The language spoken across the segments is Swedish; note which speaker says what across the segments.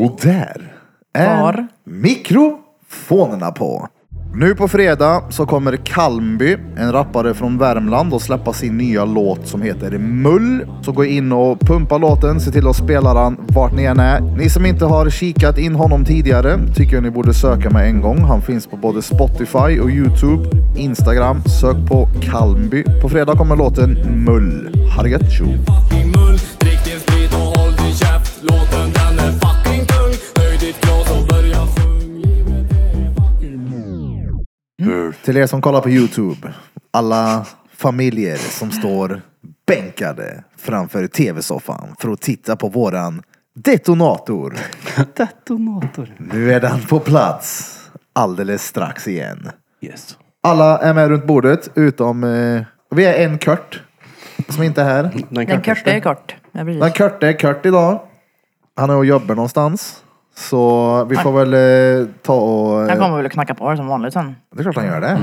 Speaker 1: Och där är
Speaker 2: Var?
Speaker 1: mikrofonerna på. Nu på fredag så kommer Kalmby, en rappare från Värmland, att släppa sin nya låt som heter Mull. Så gå in och pumpa låten, se till att spela den vart ni än är. Ni som inte har kikat in honom tidigare tycker jag ni borde söka med en gång. Han finns på både Spotify och Youtube, Instagram. Sök på Kalmby. På fredag kommer låten Mull. Ha det gött, tjo!
Speaker 3: fucking mull Drick din sprit och håll din käft Låten den är fucking tung Höj ditt glas och börja sjung Livet är fucking
Speaker 1: Till er som kollar på Youtube, alla familjer som står bänkade framför tv-soffan för att titta på våran detonator.
Speaker 2: Detonator.
Speaker 1: Nu är den på plats alldeles strax igen.
Speaker 2: Yes.
Speaker 1: Alla är med runt bordet utom, eh, vi är en Kurt som inte är här.
Speaker 2: Den korta är kort. Ja, precis.
Speaker 1: Den Kurte är Kurt idag. Han är och jobbar någonstans. Så vi får väl eh, ta och...
Speaker 2: Jag
Speaker 1: Eh,
Speaker 2: kommer väl att knacka på det som vanligt sen.
Speaker 1: det är klart han gör det.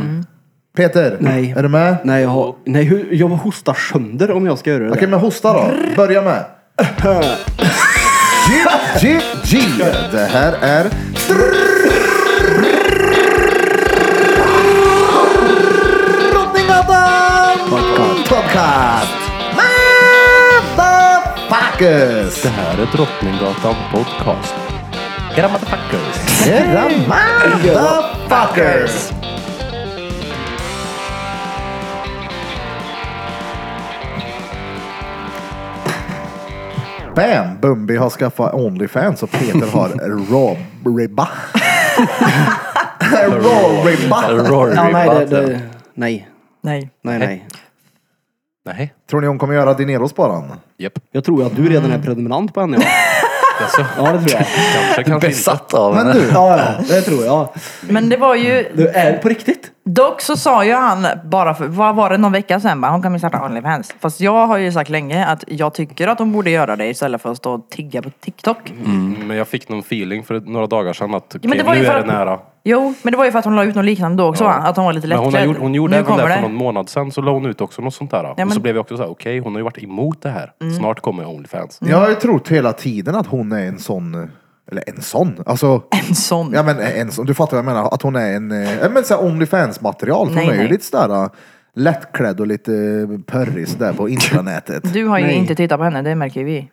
Speaker 1: Peter,
Speaker 4: Nej.
Speaker 1: är du med?
Speaker 4: Nej, jag, har, nej, hur- jag hostar sönder om jag ska göra det.
Speaker 1: Okej, men hosta då. Börja med. G, G, G. Det här är... Drottninggatan Podcast! Motherfuckers!
Speaker 5: Det här är Drottninggatan Podcast. Era motherfuckers.
Speaker 1: Era motherfuckers! Bam! Bumbi har skaffat Onlyfans och Peter har Raw-ribba. Raw-ribba.
Speaker 5: Rory
Speaker 4: Ja, nej, det, det, nej,
Speaker 2: Nej.
Speaker 4: nej, nej.
Speaker 5: Nej.
Speaker 1: Tror ni hon kommer göra dineros på den?
Speaker 5: Japp.
Speaker 4: Jag tror att du redan
Speaker 2: Mm.
Speaker 4: är prenumerant på henne. Ja,
Speaker 5: Jaså?
Speaker 4: ja det tror jag.
Speaker 5: Kanske, kanske inte.
Speaker 6: Besatt av
Speaker 1: Men
Speaker 6: henne.
Speaker 1: du,
Speaker 4: Ja, ja, det tror jag.
Speaker 2: Men det var ju,
Speaker 5: Mm.
Speaker 4: Du är på riktigt?
Speaker 2: dock så sa ju han bara för, vad var det någon vecka sedan bara, hon kommer starta Onlyfans. Fast jag har ju sagt länge att jag tycker att hon borde göra det istället för att stå och tigga på TikTok.
Speaker 5: Mm, Men jag fick någon feeling för några dagar sedan att
Speaker 2: Ja, men det
Speaker 5: okej,
Speaker 2: var ju
Speaker 5: nu
Speaker 2: för
Speaker 5: är det
Speaker 2: att-
Speaker 5: nära.
Speaker 2: Jo, men det var ju för att hon la ut något liknande då också va? Att hon var lite
Speaker 5: Men
Speaker 2: lättklädd.
Speaker 5: hon, har gjort, hon gjorde
Speaker 2: nu
Speaker 5: även
Speaker 2: kommer
Speaker 5: det
Speaker 2: det.
Speaker 5: för någon månad sedan så la hon ut också något sånt där.
Speaker 2: men- Mm.
Speaker 5: Och så blev jag också så här, okej hon har ju varit emot det här. Snart kommer Onlyfans.
Speaker 1: jag har ju trott hela tiden att hon är en sån... Eller en sån? Alltså...
Speaker 2: En sån.
Speaker 1: Ja men en sån, du fattar vad jag menar. Att hon är en, eh, ja, men såhär Onlyfans-material. För
Speaker 2: Nej,
Speaker 1: hon är ju
Speaker 2: nej.
Speaker 1: lite sådär eh, lättklädd och lite eh, pörrig sådär på intranätet.
Speaker 2: Du har ju
Speaker 4: Nej.
Speaker 2: inte tittat på henne, det märker ju vi.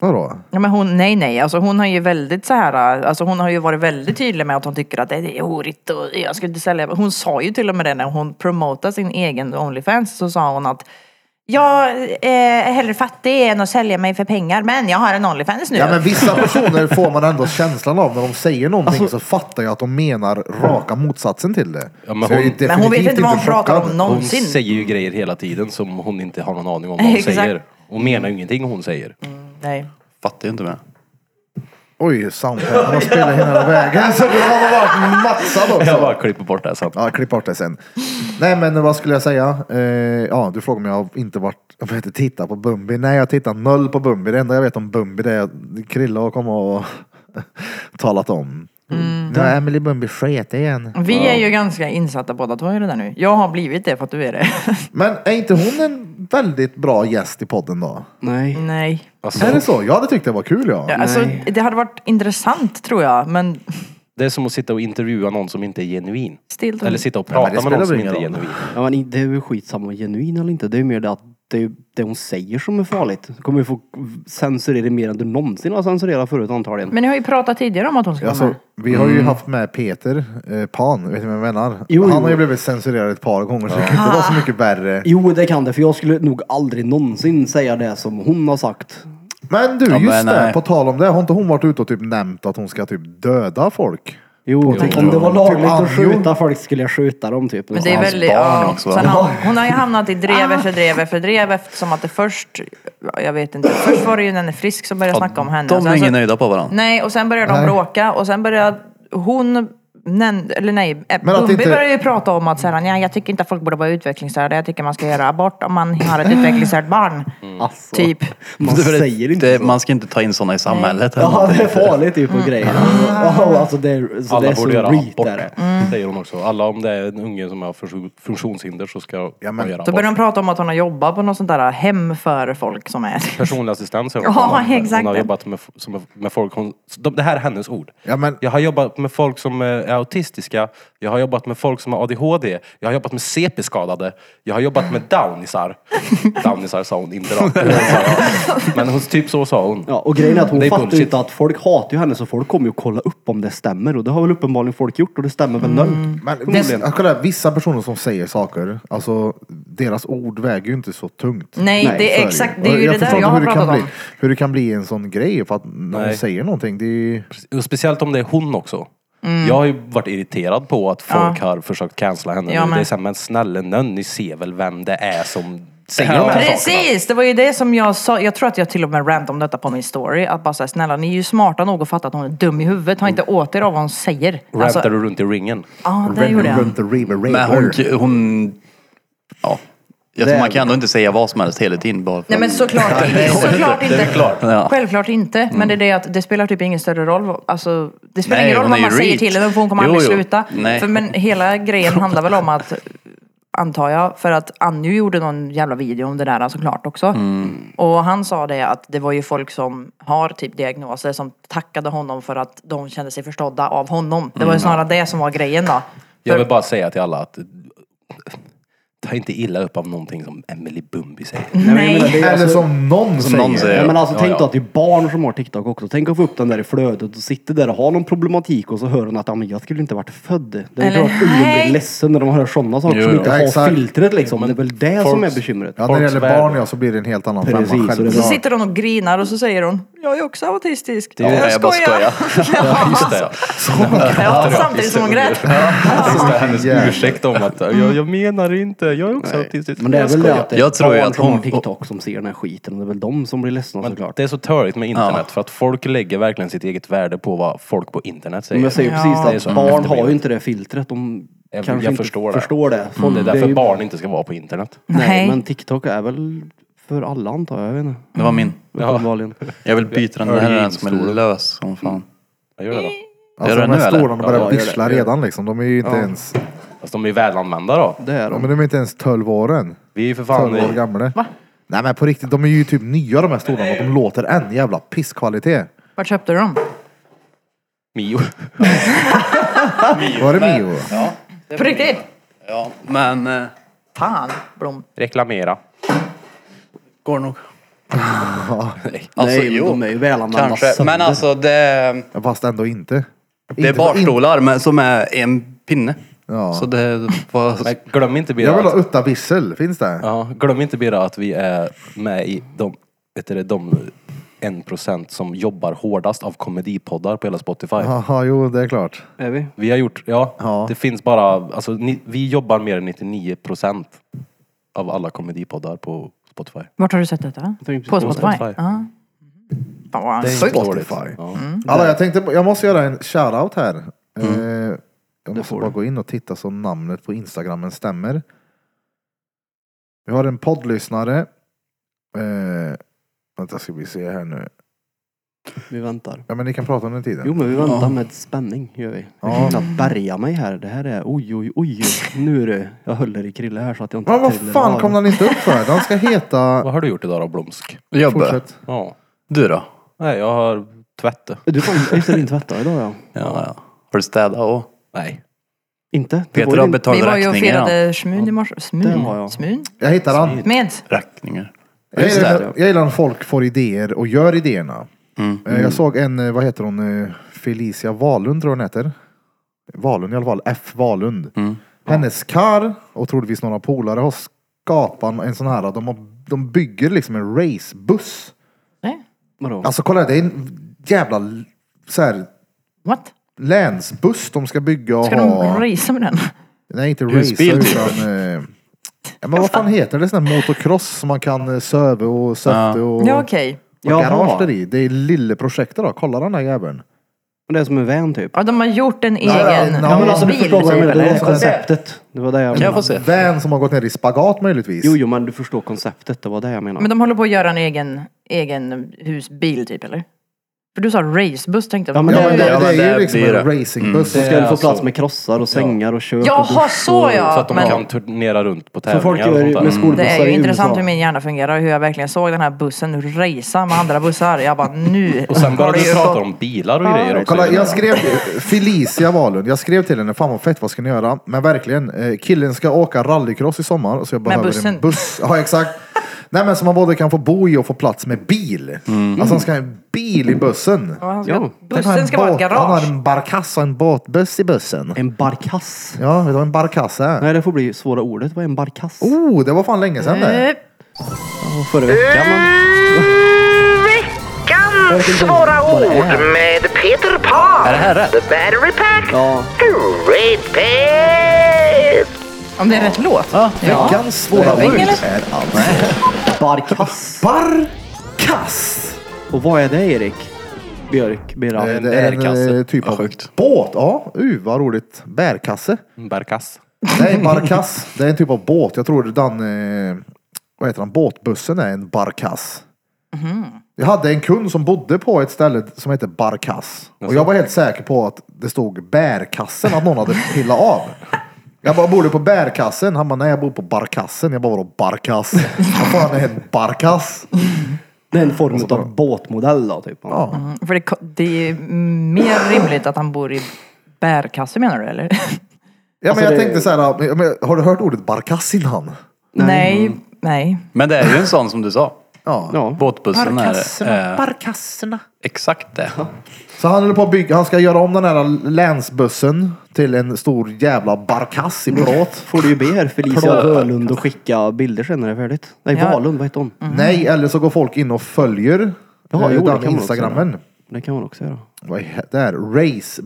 Speaker 1: Vadå?
Speaker 2: Ja, men hon, nej, nej. Alltså, hon har ju väldigt så här, alltså, hon har ju varit väldigt tydlig med att hon tycker att det är horigt och jag skulle inte sälja. Hon sa ju till och med det när hon promotade sin egen Onlyfans så sa hon att jag är hellre fattig än att sälja mig för pengar men jag har en Onlyfans nu.
Speaker 1: Ja men vissa personer får man ändå känslan av när de säger någonting
Speaker 2: Alltså-
Speaker 1: så fattar jag att de menar raka motsatsen till det.
Speaker 5: Ja, men
Speaker 1: Så jag är
Speaker 5: hon-
Speaker 1: definitivt
Speaker 2: Men hon vet inte vad hon pratar
Speaker 1: chockad.
Speaker 2: om
Speaker 5: Hon
Speaker 2: någonsin.
Speaker 5: säger ju grejer hela tiden som hon inte har någon aning om vad hon
Speaker 2: Exakt. Mm.
Speaker 5: säger. Hon menar ju ingenting hon säger.
Speaker 2: Nej.
Speaker 6: Fattar ju inte med.
Speaker 1: Oj, soundtracken har spelat hela vägen så du har varit maxad också.
Speaker 5: Jag bara klipper bort det här sen.
Speaker 1: Ja, klipp bort det sen. Nej, men vad skulle jag säga? Eh, ja, du frågade om jag inte varit, om jag inte tittat på Bumbi. Nej, jag tittar noll på Bumbi. Det enda jag vet om Bumbi det är att Krilla har kommit och talat om. Nu har Emily Bumbi sket igen.
Speaker 2: Vi är ju ganska insatta båda två i det där nu. Jag har blivit det för att du är det.
Speaker 1: Men är inte hon en väldigt bra gäst i podden då?
Speaker 4: Nej.
Speaker 2: nej.
Speaker 5: Alltså,
Speaker 1: Är det så? Jag hade tyckt det var kul ja.
Speaker 2: Ja, alltså,
Speaker 4: Nej.
Speaker 2: det hade varit intressant tror jag men
Speaker 5: det är som att sitta och intervjua någon som inte är genuin.
Speaker 2: still.
Speaker 5: Eller sitta och
Speaker 1: Ja, men det
Speaker 5: prata med
Speaker 1: spelar
Speaker 5: någon som
Speaker 1: väl
Speaker 5: inte är
Speaker 1: ingen roll.
Speaker 5: genuin.
Speaker 4: Ja, men i- det är ju skitsamma om genuin eller inte. Det är ju mer det att det, är ju det hon säger som är farligt. Du kommer ju få censurera mer än du någonsin har censurerat förut antagligen.
Speaker 2: Men ni har ju pratat tidigare om att hon ska vara
Speaker 1: Alltså,
Speaker 2: med.
Speaker 1: vi har ju haft med Peter eh, Pan, vet ni vem jag menar?
Speaker 4: Mm. Jo,
Speaker 1: Han har ju
Speaker 4: jo.
Speaker 1: blivit censurerad ett par gånger så det kan inte vara så mycket värre.
Speaker 4: Jo, det kan det. För jag skulle nog aldrig någonsin säga det som hon har sagt.
Speaker 1: Men du,
Speaker 6: Ja,
Speaker 1: just
Speaker 6: men,
Speaker 1: det.
Speaker 6: nej.
Speaker 1: På tal om det. Har inte hon varit ute och typ nämnt att hon ska typ döda folk?
Speaker 4: Jo,
Speaker 1: TikTok.
Speaker 4: om det var lagligt att
Speaker 1: Typ, ah, jo.
Speaker 4: skjuta folk skulle jag skjuta dem typ.
Speaker 2: Men det är
Speaker 6: hans
Speaker 2: väldigt,
Speaker 6: barn
Speaker 2: ja,
Speaker 6: också, va?
Speaker 2: sen har, hon har ju hamnat i drev
Speaker 1: Ah.
Speaker 2: efter drev efter drev eftersom att det först, ja, jag vet inte, först var det ju när hon är frisk som började snacka om henne.
Speaker 6: De
Speaker 2: Och
Speaker 6: är
Speaker 2: sen så-
Speaker 6: inga nöjda på varandra.
Speaker 2: Nej, och sen började de bråka och sen började hon Nej, eller nej, eh,
Speaker 1: Men att
Speaker 2: Bumbi
Speaker 1: inte-
Speaker 2: började ju prata om att så här, nej, jag tycker inte att folk borde vara utvecklingsstörda. Jag tycker man ska göra abort om man har
Speaker 1: Mm.
Speaker 2: ett utvecklingsstört barn.
Speaker 6: Mm.
Speaker 4: Alltså,
Speaker 2: Typ.
Speaker 4: Man
Speaker 6: Det är väl-
Speaker 4: säger inte
Speaker 6: det,
Speaker 4: så.
Speaker 6: Man ska inte ta in sådana i samhället.
Speaker 4: Ja, det är farligt typ och grejer. Ja, alltså det är så, det
Speaker 5: Alla
Speaker 4: är så
Speaker 5: borde göra
Speaker 4: reet
Speaker 5: abort,
Speaker 4: är det. Mm.
Speaker 5: säger hon också. Alla om det är en unge som har funktion- funktionshinder så ska
Speaker 1: Ja, men-
Speaker 5: man göra
Speaker 2: Då började
Speaker 5: abort.
Speaker 2: de prata om att hon har jobbat på något sånt där hem för folk som är...
Speaker 5: Personlig assistans har
Speaker 2: Ja,
Speaker 5: jobbat med.
Speaker 2: exakt.
Speaker 5: Hon har jobbat med, f- som, med folk, hon, så de, det här är hennes ord.
Speaker 1: Ja, men-
Speaker 5: Jag har jobbat med folk som eh, är autistiska, jag har jobbat med folk som har ADHD, jag har jobbat med CP-skadade, jag har jobbat med downisar. Downisar sa hon inte då. Men hon, typ så sa hon.
Speaker 4: Ja, och grejen är att hon
Speaker 5: Det är
Speaker 4: fattar ju
Speaker 5: bullshit.
Speaker 4: inte att folk hatar ju henne så folk kommer ju kolla upp om det stämmer och det har väl uppenbarligen folk gjort och det stämmer väl nu.
Speaker 1: Men alltså,
Speaker 4: Förmodligen.
Speaker 1: viss, ja, kolla, här, vissa personer som säger saker, alltså deras ord väger ju inte så tungt.
Speaker 2: Nej,
Speaker 4: Nej,
Speaker 2: det
Speaker 1: Så
Speaker 2: är
Speaker 1: ju.
Speaker 2: exakt det är
Speaker 1: Och
Speaker 2: ju det
Speaker 1: förstår
Speaker 2: där jag
Speaker 1: inte hur
Speaker 2: har
Speaker 1: det
Speaker 2: pratat
Speaker 1: kan
Speaker 2: om.
Speaker 1: Bli, hur det kan bli en sån grej för att när
Speaker 5: Nej.
Speaker 1: hon säger någonting, det är ju...
Speaker 5: Och speciellt om det är hon också.
Speaker 2: Mm.
Speaker 5: Jag har ju varit irriterad på att folk har försökt cancella henne.
Speaker 2: Ja,
Speaker 5: nu.
Speaker 2: men-
Speaker 5: Det är såhär, men snälla nån, ni ser väl vem det är som säger
Speaker 6: Ja.
Speaker 5: de här sakerna?
Speaker 2: Precis! Det var ju det som jag sa. Jag tror att jag till och med rant om detta på min story. Att bara säga snälla ni är ju smarta nog att fatta att hon är dum i huvudet. Ta inte åt er av vad hon säger. Alltså,
Speaker 5: Rantar du runt i ringen?
Speaker 2: ja, det gjorde jag.
Speaker 1: Runt the river, river.
Speaker 6: Men hon... hon ja. Jag tror man kan ändå inte säga vad som helst hela tiden. Bara för
Speaker 2: Nej men såklart, såklart inte.
Speaker 6: Ja.
Speaker 2: Självklart inte. Men det är det att det spelar typ ingen större roll. Alltså, det spelar
Speaker 6: Nej,
Speaker 2: ingen roll
Speaker 6: hon
Speaker 2: vad
Speaker 6: är ju
Speaker 2: man säger
Speaker 6: reet.
Speaker 2: till henne för hon kommer
Speaker 6: Jo,
Speaker 2: aldrig
Speaker 6: jo.
Speaker 2: sluta.
Speaker 6: Nej.
Speaker 2: För, men hela grejen handlar väl om att Antar jag, för att Anju gjorde någon jävla video om det där såklart också.
Speaker 6: Mm.
Speaker 2: Och han sa det att det var ju folk som har typ diagnoser som tackade honom för att de kände sig förstådda av honom. Det var
Speaker 6: Mm.
Speaker 2: ju snarare det som var grejen då.
Speaker 5: Jag vill bara säga till alla att eh, ta inte illa upp av någonting som Emily Bumbi säger.
Speaker 2: Nej.
Speaker 1: Eller som någon
Speaker 6: Som
Speaker 1: säger.
Speaker 6: någon säger.
Speaker 4: Nej, men alltså
Speaker 5: Ja,
Speaker 4: tänk
Speaker 5: ja.
Speaker 4: då att det är barn som har TikTok också. Tänk att få upp den där i flödet och sitta där och ha någon problematik och så hör hon att ah, men jag skulle inte varit född. Det är
Speaker 2: Eller,
Speaker 4: klart ungen
Speaker 2: hej.
Speaker 4: blir ledsen när de hör sådana saker
Speaker 6: Jo,
Speaker 4: som
Speaker 6: jo.
Speaker 4: inte
Speaker 1: Ja,
Speaker 4: har
Speaker 1: exakt.
Speaker 4: filtret liksom.
Speaker 5: Men
Speaker 4: det är väl det
Speaker 5: folks-
Speaker 4: som är bekymret.
Speaker 1: Ja, när det gäller
Speaker 5: Folks värld.
Speaker 1: barn ja, så blir det en helt annan
Speaker 4: Precis,
Speaker 1: femma.
Speaker 4: och det är
Speaker 2: Så
Speaker 4: bra.
Speaker 1: Självklart.
Speaker 2: sitter hon och grinar och så säger hon, jag är också autistisk.
Speaker 6: Ja, jag bara
Speaker 2: Ja, alltså.
Speaker 5: Just det.
Speaker 2: Ja, samtidigt som hon grät.
Speaker 5: Just det, hennes
Speaker 1: Jävlar.
Speaker 5: ursäkt om att eh, jag, jag menar inte, jag är också autistisk.
Speaker 4: Men det är
Speaker 5: Jag
Speaker 4: väl det
Speaker 5: skojar.
Speaker 4: att det är
Speaker 6: Jag tror ju
Speaker 4: barn
Speaker 6: att
Speaker 4: som har
Speaker 6: hon-
Speaker 4: TikTok som ser den här skiten och det är väl de som blir ledsna
Speaker 5: Men
Speaker 4: såklart.
Speaker 5: Det är så törligt med internet
Speaker 6: Ja.
Speaker 5: för att folk lägger verkligen sitt eget värde på vad folk på internet säger.
Speaker 4: Men jag säger
Speaker 2: Ja.
Speaker 4: precis
Speaker 5: Det är så
Speaker 4: att barn
Speaker 5: efterblivet.
Speaker 4: har ju inte det filtret. De
Speaker 5: Jag-
Speaker 4: kanske
Speaker 5: jag
Speaker 4: inte
Speaker 5: förstår det. Mm.
Speaker 4: förstår Mm. det. Folk-
Speaker 5: Det är därför
Speaker 4: ju-
Speaker 5: barn inte ska vara på internet.
Speaker 4: Nej,
Speaker 2: Nej.
Speaker 4: men TikTok är väl för alla antar jag. Jag vet inte.
Speaker 6: Det var min.
Speaker 4: Uppenbarligen.
Speaker 6: Jag vill byta den. Det här är den som är lös som fan.
Speaker 5: Jag gör det då.
Speaker 1: Alltså,
Speaker 6: Gör det
Speaker 1: de
Speaker 6: nu,
Speaker 1: här
Speaker 6: eller?
Speaker 1: stolarna börjar
Speaker 4: Ja, gör det,
Speaker 1: pyssla
Speaker 4: gör det.
Speaker 1: redan liksom. De är ju inte ens...
Speaker 5: Fast de är välanvända då.
Speaker 4: Det är
Speaker 1: Ja,
Speaker 4: de.
Speaker 1: men de är inte ens 12 år än.
Speaker 5: Vi är ju för fan...
Speaker 1: 12 år
Speaker 5: vi-
Speaker 1: gamla. Nej men på riktigt, de är ju typ nya de här stolarna och de låter en jävla pisskvalitet.
Speaker 2: Vart köpte du dem?
Speaker 5: Mio.
Speaker 1: Var det Mio?
Speaker 2: På riktigt?
Speaker 6: Ja, men... eh,
Speaker 2: Fan, Blom.
Speaker 5: Reklamera.
Speaker 6: Går nog. Nej,
Speaker 4: Nej, men de är ju välanvända
Speaker 6: alltså, Kanske.
Speaker 4: sönder.
Speaker 6: Men alltså det...
Speaker 1: Fast ändå inte.
Speaker 6: Det
Speaker 1: Inte-
Speaker 6: är
Speaker 1: in-
Speaker 6: barstolar men som är en pinne.
Speaker 1: Ja.
Speaker 6: Så det var...
Speaker 5: Men glöm inte
Speaker 1: Jag
Speaker 5: Bira
Speaker 1: vill ha
Speaker 5: att,
Speaker 1: Utta Bissel, finns det?
Speaker 5: ja, glöm inte Bira att vi är med i de, vet du, det, de 1% som jobbar hårdast av komedipoddar på hela Spotify.
Speaker 1: Jaha, jo det är klart.
Speaker 4: Är vi?
Speaker 5: Vi har gjort, ja,
Speaker 1: Ja.
Speaker 5: det finns bara, alltså ni, vi jobbar mer än 99% av alla komedipoddar på Spotify.
Speaker 2: Vart har du sett detta?
Speaker 4: tänkte
Speaker 2: På
Speaker 4: på
Speaker 2: Spotify? Ja.
Speaker 5: Spotify.
Speaker 2: Fan vad sjukt.
Speaker 1: Spotify. Alla, jag, tänkte, på- jag måste göra en shoutout här. Eh, jag måste bara gå in och titta så namnet på instagrammen stämmer. Vi har en poddlyssnare. Eh, vänta ska vi se här nu.
Speaker 4: Vi väntar.
Speaker 1: Ja men ni kan prata under tiden.
Speaker 4: Jo men vi väntar med spänning gör vi. Jag kan
Speaker 1: Ja.
Speaker 4: knappt bärga mig här. Det här är oj oj oj. Nu är det. Jag höll i krille här så att jag inte
Speaker 1: Men vad
Speaker 4: trillar
Speaker 1: fan
Speaker 4: av.
Speaker 1: kom den inte upp för? Den ska heta...
Speaker 5: Vad har du gjort idag då Blomsk?
Speaker 6: Jobbe.
Speaker 1: Fortsätt.
Speaker 5: Ja.
Speaker 6: Du då?
Speaker 5: Nej, jag har tvättat.
Speaker 4: Du fan, just det, din tvättare idag ja.
Speaker 6: Ja, ja. Har du städat och?
Speaker 5: Nej.
Speaker 4: Inte? Det var
Speaker 6: Peter har
Speaker 4: din-
Speaker 6: betalat
Speaker 2: Vi var ju och
Speaker 6: räkningar. han.
Speaker 2: firade Smyn i morse.
Speaker 4: det var
Speaker 2: Smyn?
Speaker 4: jag.
Speaker 2: Smyn?
Speaker 1: Jag hittar han.
Speaker 2: Med?
Speaker 6: Räkningar.
Speaker 1: Jag
Speaker 6: Just
Speaker 1: gillar,
Speaker 6: det.
Speaker 1: jag gillar när folk får idéer och gör idéerna. Eh, Jag såg en, eh, vad heter hon, eh, Felicia Wahlund tror jag hon heter. Wahlund i alla fall, F Wahlund. Hennes kar och troligtvis några polare har skapat en sån här, de, har, de bygger liksom en racebuss.
Speaker 2: Nej.
Speaker 4: Vadå?
Speaker 1: Alltså kolla det är en jävla l- så här,
Speaker 2: What?
Speaker 1: länsbuss de ska bygga och
Speaker 2: Ska
Speaker 1: ha.
Speaker 2: de racea med den?
Speaker 1: Nej inte racer
Speaker 6: Husbil, typ.
Speaker 1: utan... Eh, ja, men vad fan heter det? Sån här motocross som man kan eh, söva och söfte och...
Speaker 2: Ja okej.
Speaker 1: Ja,
Speaker 4: Jaha.
Speaker 1: garage där i. Det är lille projektet då. Kolla den här jäveln.
Speaker 4: Men det är som en van typ.
Speaker 2: Ja, de har gjort en
Speaker 1: ja,
Speaker 2: egen
Speaker 1: ja, men alltså,
Speaker 4: du
Speaker 2: bil.
Speaker 4: förstår vad jag menar. Det var
Speaker 2: Liksom.
Speaker 4: konceptet. Det var det jag
Speaker 6: Kan jag
Speaker 4: menade.
Speaker 6: få se?
Speaker 1: Vän som har gått ner i spagat möjligtvis.
Speaker 4: Jo, jo, men du förstår konceptet. Det var det jag menade.
Speaker 2: Men de håller på att göra en egen, egen husbil typ eller? För du sa racebuss tänkte jag.
Speaker 4: Ja, men
Speaker 1: Ja,
Speaker 2: det,
Speaker 1: men det,
Speaker 6: Ja, men
Speaker 1: det är ju
Speaker 6: det
Speaker 1: liksom
Speaker 6: blir
Speaker 1: en
Speaker 6: det.
Speaker 1: racingbuss.
Speaker 4: Så ska
Speaker 5: Det är
Speaker 4: du få plats
Speaker 5: alltså-
Speaker 4: med krossar och sängar och kök och
Speaker 2: Jaha,
Speaker 4: dusch
Speaker 2: så
Speaker 4: och-
Speaker 2: ja!
Speaker 5: Så att de
Speaker 2: men
Speaker 5: kan turnera runt på
Speaker 4: Som folk
Speaker 5: tävlingar och
Speaker 4: gör
Speaker 5: sånt där.
Speaker 4: med skolbussar
Speaker 2: det är ju
Speaker 4: i
Speaker 2: intressant
Speaker 4: USA.
Speaker 2: hur min hjärna fungerar och hur jag verkligen såg den här bussen racea med andra bussar. Jag bara nu
Speaker 5: Och sen
Speaker 2: har
Speaker 5: började
Speaker 2: det
Speaker 5: du
Speaker 2: ju
Speaker 5: prata
Speaker 2: gått-
Speaker 5: om bilar och grejer också.
Speaker 1: Kolla, jag skrev Felicia Wahlund. Jag skrev till henne, fan vad fett, vad ska ni göra? Men verkligen, eh, killen ska åka rallycross i sommar så jag behöver en
Speaker 2: bussen.
Speaker 1: buss. Ja, exakt. Nej men som man både kan få bo i och få plats med bil. Alltså han ska ha en bil i bussen.
Speaker 2: Ja, han ska-
Speaker 4: Ja.
Speaker 1: Han har en
Speaker 2: Bussen ska vara ett
Speaker 1: båt- Han har
Speaker 2: garage.
Speaker 1: en barkass och en båtbuss i bussen.
Speaker 4: En barkass.
Speaker 1: Ja, vet du vad en barkass är?
Speaker 4: Nej, det får bli svåra ordet. Vad är en barkass?
Speaker 1: Oh, det var fan länge sedan det.
Speaker 2: Eh,
Speaker 4: Förra veckan. men-
Speaker 7: Mm, Veckans svåra ord med Peter Pan.
Speaker 6: Är det här rätt?
Speaker 7: The Battery Pack.
Speaker 4: Ja.
Speaker 7: Great Pet.
Speaker 2: Om det är rätt låt.
Speaker 1: Veckans svåra ord
Speaker 2: Eller?
Speaker 1: är alltså
Speaker 4: Barkass.
Speaker 1: barkass.
Speaker 4: Och vad är det, Erik? Björk, Birra.
Speaker 1: Eh, Det är en
Speaker 6: bärkasse.
Speaker 1: eh, typ
Speaker 6: Vad
Speaker 1: av
Speaker 6: sjukt.
Speaker 1: båt. Ja, uh, vad roligt. Bärkasse.
Speaker 5: Bärkass.
Speaker 1: Nej, barkass. Det är en typ av båt. Jag tror den, eh, vad heter den, båtbussen är en barkass. Jag hade en kund som bodde på ett ställe som heter Barkass. Och jag var helt säker på att det stod bärkassen, att någon hade pillat av. Jag bara, bor du på bärkassen? Han bara, nej jag bor på barkassen. Jag bara, vadå barkass? Vad fan är en barkass?
Speaker 4: Det är en form av båtmodell då, typ.
Speaker 1: alltså Ja.
Speaker 2: Mm, För det, ko- det är mer rimligt att han bor i bärkasse menar du eller?
Speaker 1: Ja, men
Speaker 4: Alltså,
Speaker 1: jag
Speaker 4: det-
Speaker 1: tänkte så här, men- men har du hört ordet barkass innan?
Speaker 2: Nej, nej.
Speaker 6: Men det är ju en sån som du sa.
Speaker 1: Ja.
Speaker 4: Ja.
Speaker 6: Båtbussen är
Speaker 1: Barkasserna,
Speaker 6: eh,
Speaker 1: barkasserna.
Speaker 6: exakt det.
Speaker 1: Så han håller på att bygga, han ska göra om den här länsbussen till en stor jävla barkass i plåt.
Speaker 2: Mm.
Speaker 4: Får du ju be här Felicia
Speaker 6: Plåt.
Speaker 4: Wölund och skicka bilder sen när det är färdigt. Nej,
Speaker 2: Ja. Mm.
Speaker 4: Wahlund, vad heter hon?
Speaker 1: Nej, eller så går folk in och följer
Speaker 4: Ja,
Speaker 1: ja,
Speaker 4: jo, det kan
Speaker 1: den
Speaker 4: man också
Speaker 1: instagrammen.
Speaker 4: göra. Det kan hon också göra.
Speaker 1: Vad är det här?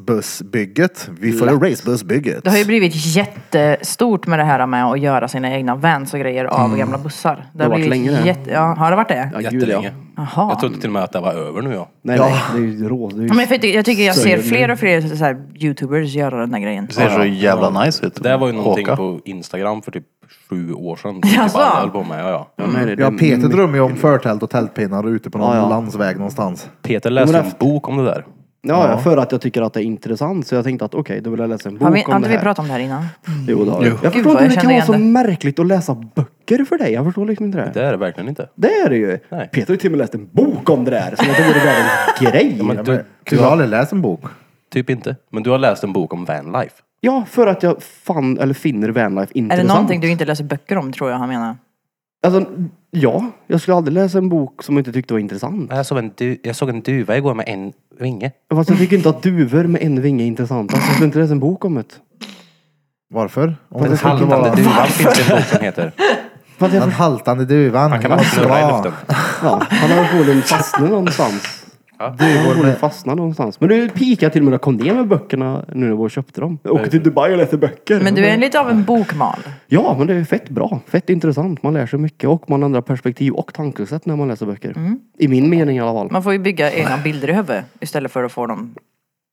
Speaker 1: Racebussbygget. Vi följer racebussbygget.
Speaker 2: Det har ju blivit jättestort med det här med att göra sina egna vans och grejer av gamla bussar. Det har
Speaker 4: varit
Speaker 2: blivit
Speaker 4: länge det.
Speaker 2: jätte... Ja, har det varit det?
Speaker 4: Ja, gud, ja.
Speaker 5: Jättelänge.
Speaker 2: Jaha.
Speaker 5: Jag trodde till och med att det var över nu ja.
Speaker 4: Nej,
Speaker 1: Ja.
Speaker 4: nej, det är ju rå. Det är ju
Speaker 2: Ja, Men för jag, ty- jag tycker jag ser
Speaker 4: Säger
Speaker 2: fler och fler så här, youtubers göra den här grejen.
Speaker 6: Det ser så jävla nice ut.
Speaker 5: Det var ju någonting
Speaker 6: Åka.
Speaker 5: på Instagram för typ sju år sedan.
Speaker 2: Jaså?
Speaker 5: Typ alla höll på med, ja, ja.
Speaker 4: Nej, det är
Speaker 1: Ja,
Speaker 4: det.
Speaker 1: Peter drömmer ju om förtält och tältpinnar ute på någon
Speaker 4: Ja, ja.
Speaker 1: landsväg någonstans.
Speaker 5: Peter läste
Speaker 4: Men
Speaker 5: en bok om det där.
Speaker 4: Ja, ja, för att jag tycker att det är intressant. Så jag tänkte att okej, då vill jag läsa en bok
Speaker 2: Har vi, har
Speaker 4: om det
Speaker 2: inte vi
Speaker 4: här.
Speaker 2: pratat om det här innan?
Speaker 4: Jo, det har jag. Jag
Speaker 2: Gud,
Speaker 4: förstår inte hur
Speaker 2: vad jag
Speaker 4: det kan
Speaker 2: kände
Speaker 4: vara så
Speaker 2: igen
Speaker 4: märkligt att läsa böcker för dig. Jag förstår liksom inte det.
Speaker 5: Det är det verkligen inte.
Speaker 4: Det är det ju.
Speaker 5: Nej.
Speaker 4: Peter har ju till och med läst en bok om det där. Som att det vore världens grej. Ja,
Speaker 5: Men du,
Speaker 1: Du har aldrig läst en bok?
Speaker 5: typ inte. Men du har läst en bok om vanlife.
Speaker 4: för att jag fann, eller finner vanlife
Speaker 2: Är
Speaker 4: intressant.
Speaker 2: det någonting du inte läser böcker om tror jag han menar?
Speaker 4: Alltså, ja. Jag skulle aldrig läsa en bok som jag inte tyckte var intressant.
Speaker 5: Jag såg en, du, jag såg en duva igår med en vinge.
Speaker 4: Fast jag tycker inte att duvor med en vinge är intressanta. Så jag skulle inte läsa en bok om det.
Speaker 1: Varför? Om det skulle
Speaker 5: Haltande
Speaker 1: vara
Speaker 5: duvan finns det en bok som heter.
Speaker 4: För att jag
Speaker 1: den haltande duvan.
Speaker 5: Man kan bara
Speaker 1: Ja,
Speaker 5: snurra i
Speaker 1: bra.
Speaker 5: luften.
Speaker 4: Ja, han har förmodligen fastnat någonstans. Han har förmodligen fastnat någonstans. Men nu pikar jag till och med att jag kom ner med böckerna nu när jag var och köpte dem. Jag åkte till Dubai och läste böcker.
Speaker 2: Men du är lite av en bokmal.
Speaker 4: Ja, men det är fett bra. Fett intressant. Man lär sig mycket och man ändrar perspektiv och tankesätt när man läser böcker. I min mening i alla fall.
Speaker 2: Man får ju bygga egna bilder i huvudet istället för att få dem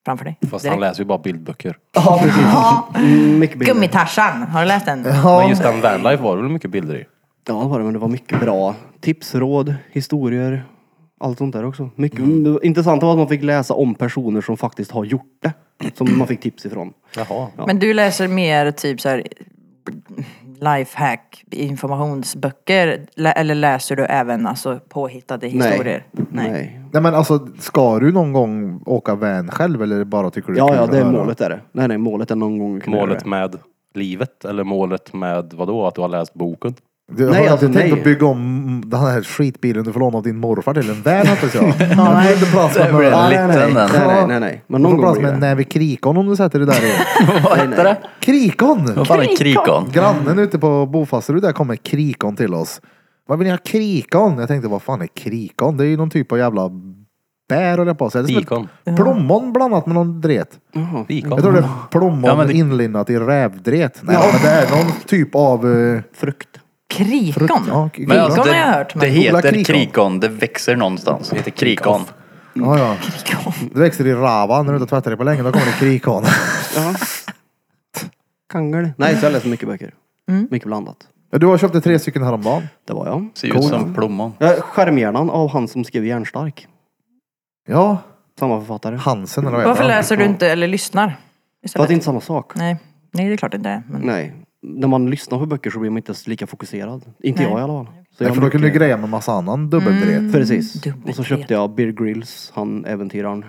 Speaker 2: framför dig.
Speaker 5: Fast
Speaker 2: direkt.
Speaker 5: han läser ju bara bildböcker.
Speaker 4: Ja, precis. Mm, mycket bilder.
Speaker 2: Gummitarsan, har du läst den?
Speaker 5: Men just den vanlife var det väl mycket bilder i?
Speaker 4: Ja, det var det. Men det var mycket bra. Tips, råd, historier. Allt sånt där också. Mycket, mm. det var intressant var att man fick läsa om personer som faktiskt har gjort det. Som man fick tips ifrån.
Speaker 5: Jaha.
Speaker 2: Men du läser mer typ så här lifehack, informationsböcker lä- eller läser du även alltså påhittade historier?
Speaker 4: Nej. Nej.
Speaker 1: Nej men alltså, ska du någon gång åka van själv eller bara tycker du
Speaker 4: Ja,
Speaker 1: kul
Speaker 4: ja,
Speaker 1: att
Speaker 4: det är
Speaker 1: höra?
Speaker 4: målet är det. Nej, nej, målet är någon gång. att kunna göra
Speaker 5: Målet
Speaker 4: det.
Speaker 5: med livet eller målet med vadå? Att du har läst boken?
Speaker 1: Du har
Speaker 4: Nej,
Speaker 1: nej,
Speaker 4: alltså,
Speaker 1: alltså, tänkt
Speaker 4: nej.
Speaker 1: att bygga om den här skitbilen du får låna av din morfar till en van hoppas jag. ja,
Speaker 4: nej.
Speaker 1: inte plats med
Speaker 6: Det blir
Speaker 1: några-
Speaker 6: en
Speaker 4: Nej, nej,
Speaker 6: liten
Speaker 4: nej,
Speaker 6: den.
Speaker 4: nej, nej, nej, nej. Men
Speaker 1: Du får
Speaker 4: någon gång
Speaker 1: plats
Speaker 4: blir
Speaker 1: med en
Speaker 4: det.
Speaker 1: näve krikon om du sätter dig där i.
Speaker 6: Vad heter det?
Speaker 1: Krikon!
Speaker 6: Vad fan är krikon?
Speaker 1: Grannen ute på Bofasterud där kommer krikon till oss. Vad vill ni ha krikon? Jag tänkte vad fan är krikon? Det är ju någon typ av jävla bär höll jag på att säga. Det är som ett
Speaker 5: Bikon.
Speaker 1: Plommon blandat med någon dret. Jag tror
Speaker 5: Bikon.
Speaker 1: det är plommon
Speaker 6: Ja, men det-
Speaker 1: inlindat i rävdret. Nej men det är någon typ av... eh,
Speaker 4: Frukt.
Speaker 2: Krikon?
Speaker 1: ja,
Speaker 2: Krikon har jag hört.
Speaker 6: alltså, det
Speaker 2: Men...
Speaker 1: Googla
Speaker 6: heter
Speaker 1: krikon.
Speaker 6: krikon. Det växer någonstans. Det heter krikon.
Speaker 1: Ja, ja. Det växer i Rava när du inte har tvättat dig på länge. Då kommer det krikon.
Speaker 4: Ja. Kangel. Mm. Nej, så jag läser mycket böcker. Mycket blandat.
Speaker 1: Ja, Du har köpt tre stycken häromdagen.
Speaker 4: Det var jag.
Speaker 6: Ser ju
Speaker 1: Cool.
Speaker 6: ut som plommon.
Speaker 4: Ja, Skärmhjärnan av han som skrev Järnstark.
Speaker 1: Ja,
Speaker 4: Samma författare.
Speaker 1: Hansen eller vad heter
Speaker 2: Varför
Speaker 1: han?
Speaker 2: läser du inte eller lyssnar?
Speaker 4: För att
Speaker 2: Istället?
Speaker 4: det är inte samma sak.
Speaker 2: Nej. Nej, det är klart det inte är. Men...
Speaker 4: Nej. När man lyssnar på böcker så blir man inte lika fokuserad. Inte
Speaker 2: Nej. Mm,
Speaker 4: jag i alla fall. Så
Speaker 1: Nej,
Speaker 4: jag
Speaker 1: för då kunde du
Speaker 4: brukar-
Speaker 1: greja med massa annan dubbeltret.
Speaker 4: Precis.
Speaker 2: dubbeltret.
Speaker 4: Och så köpte jag Beer Grylls, han äventyraren,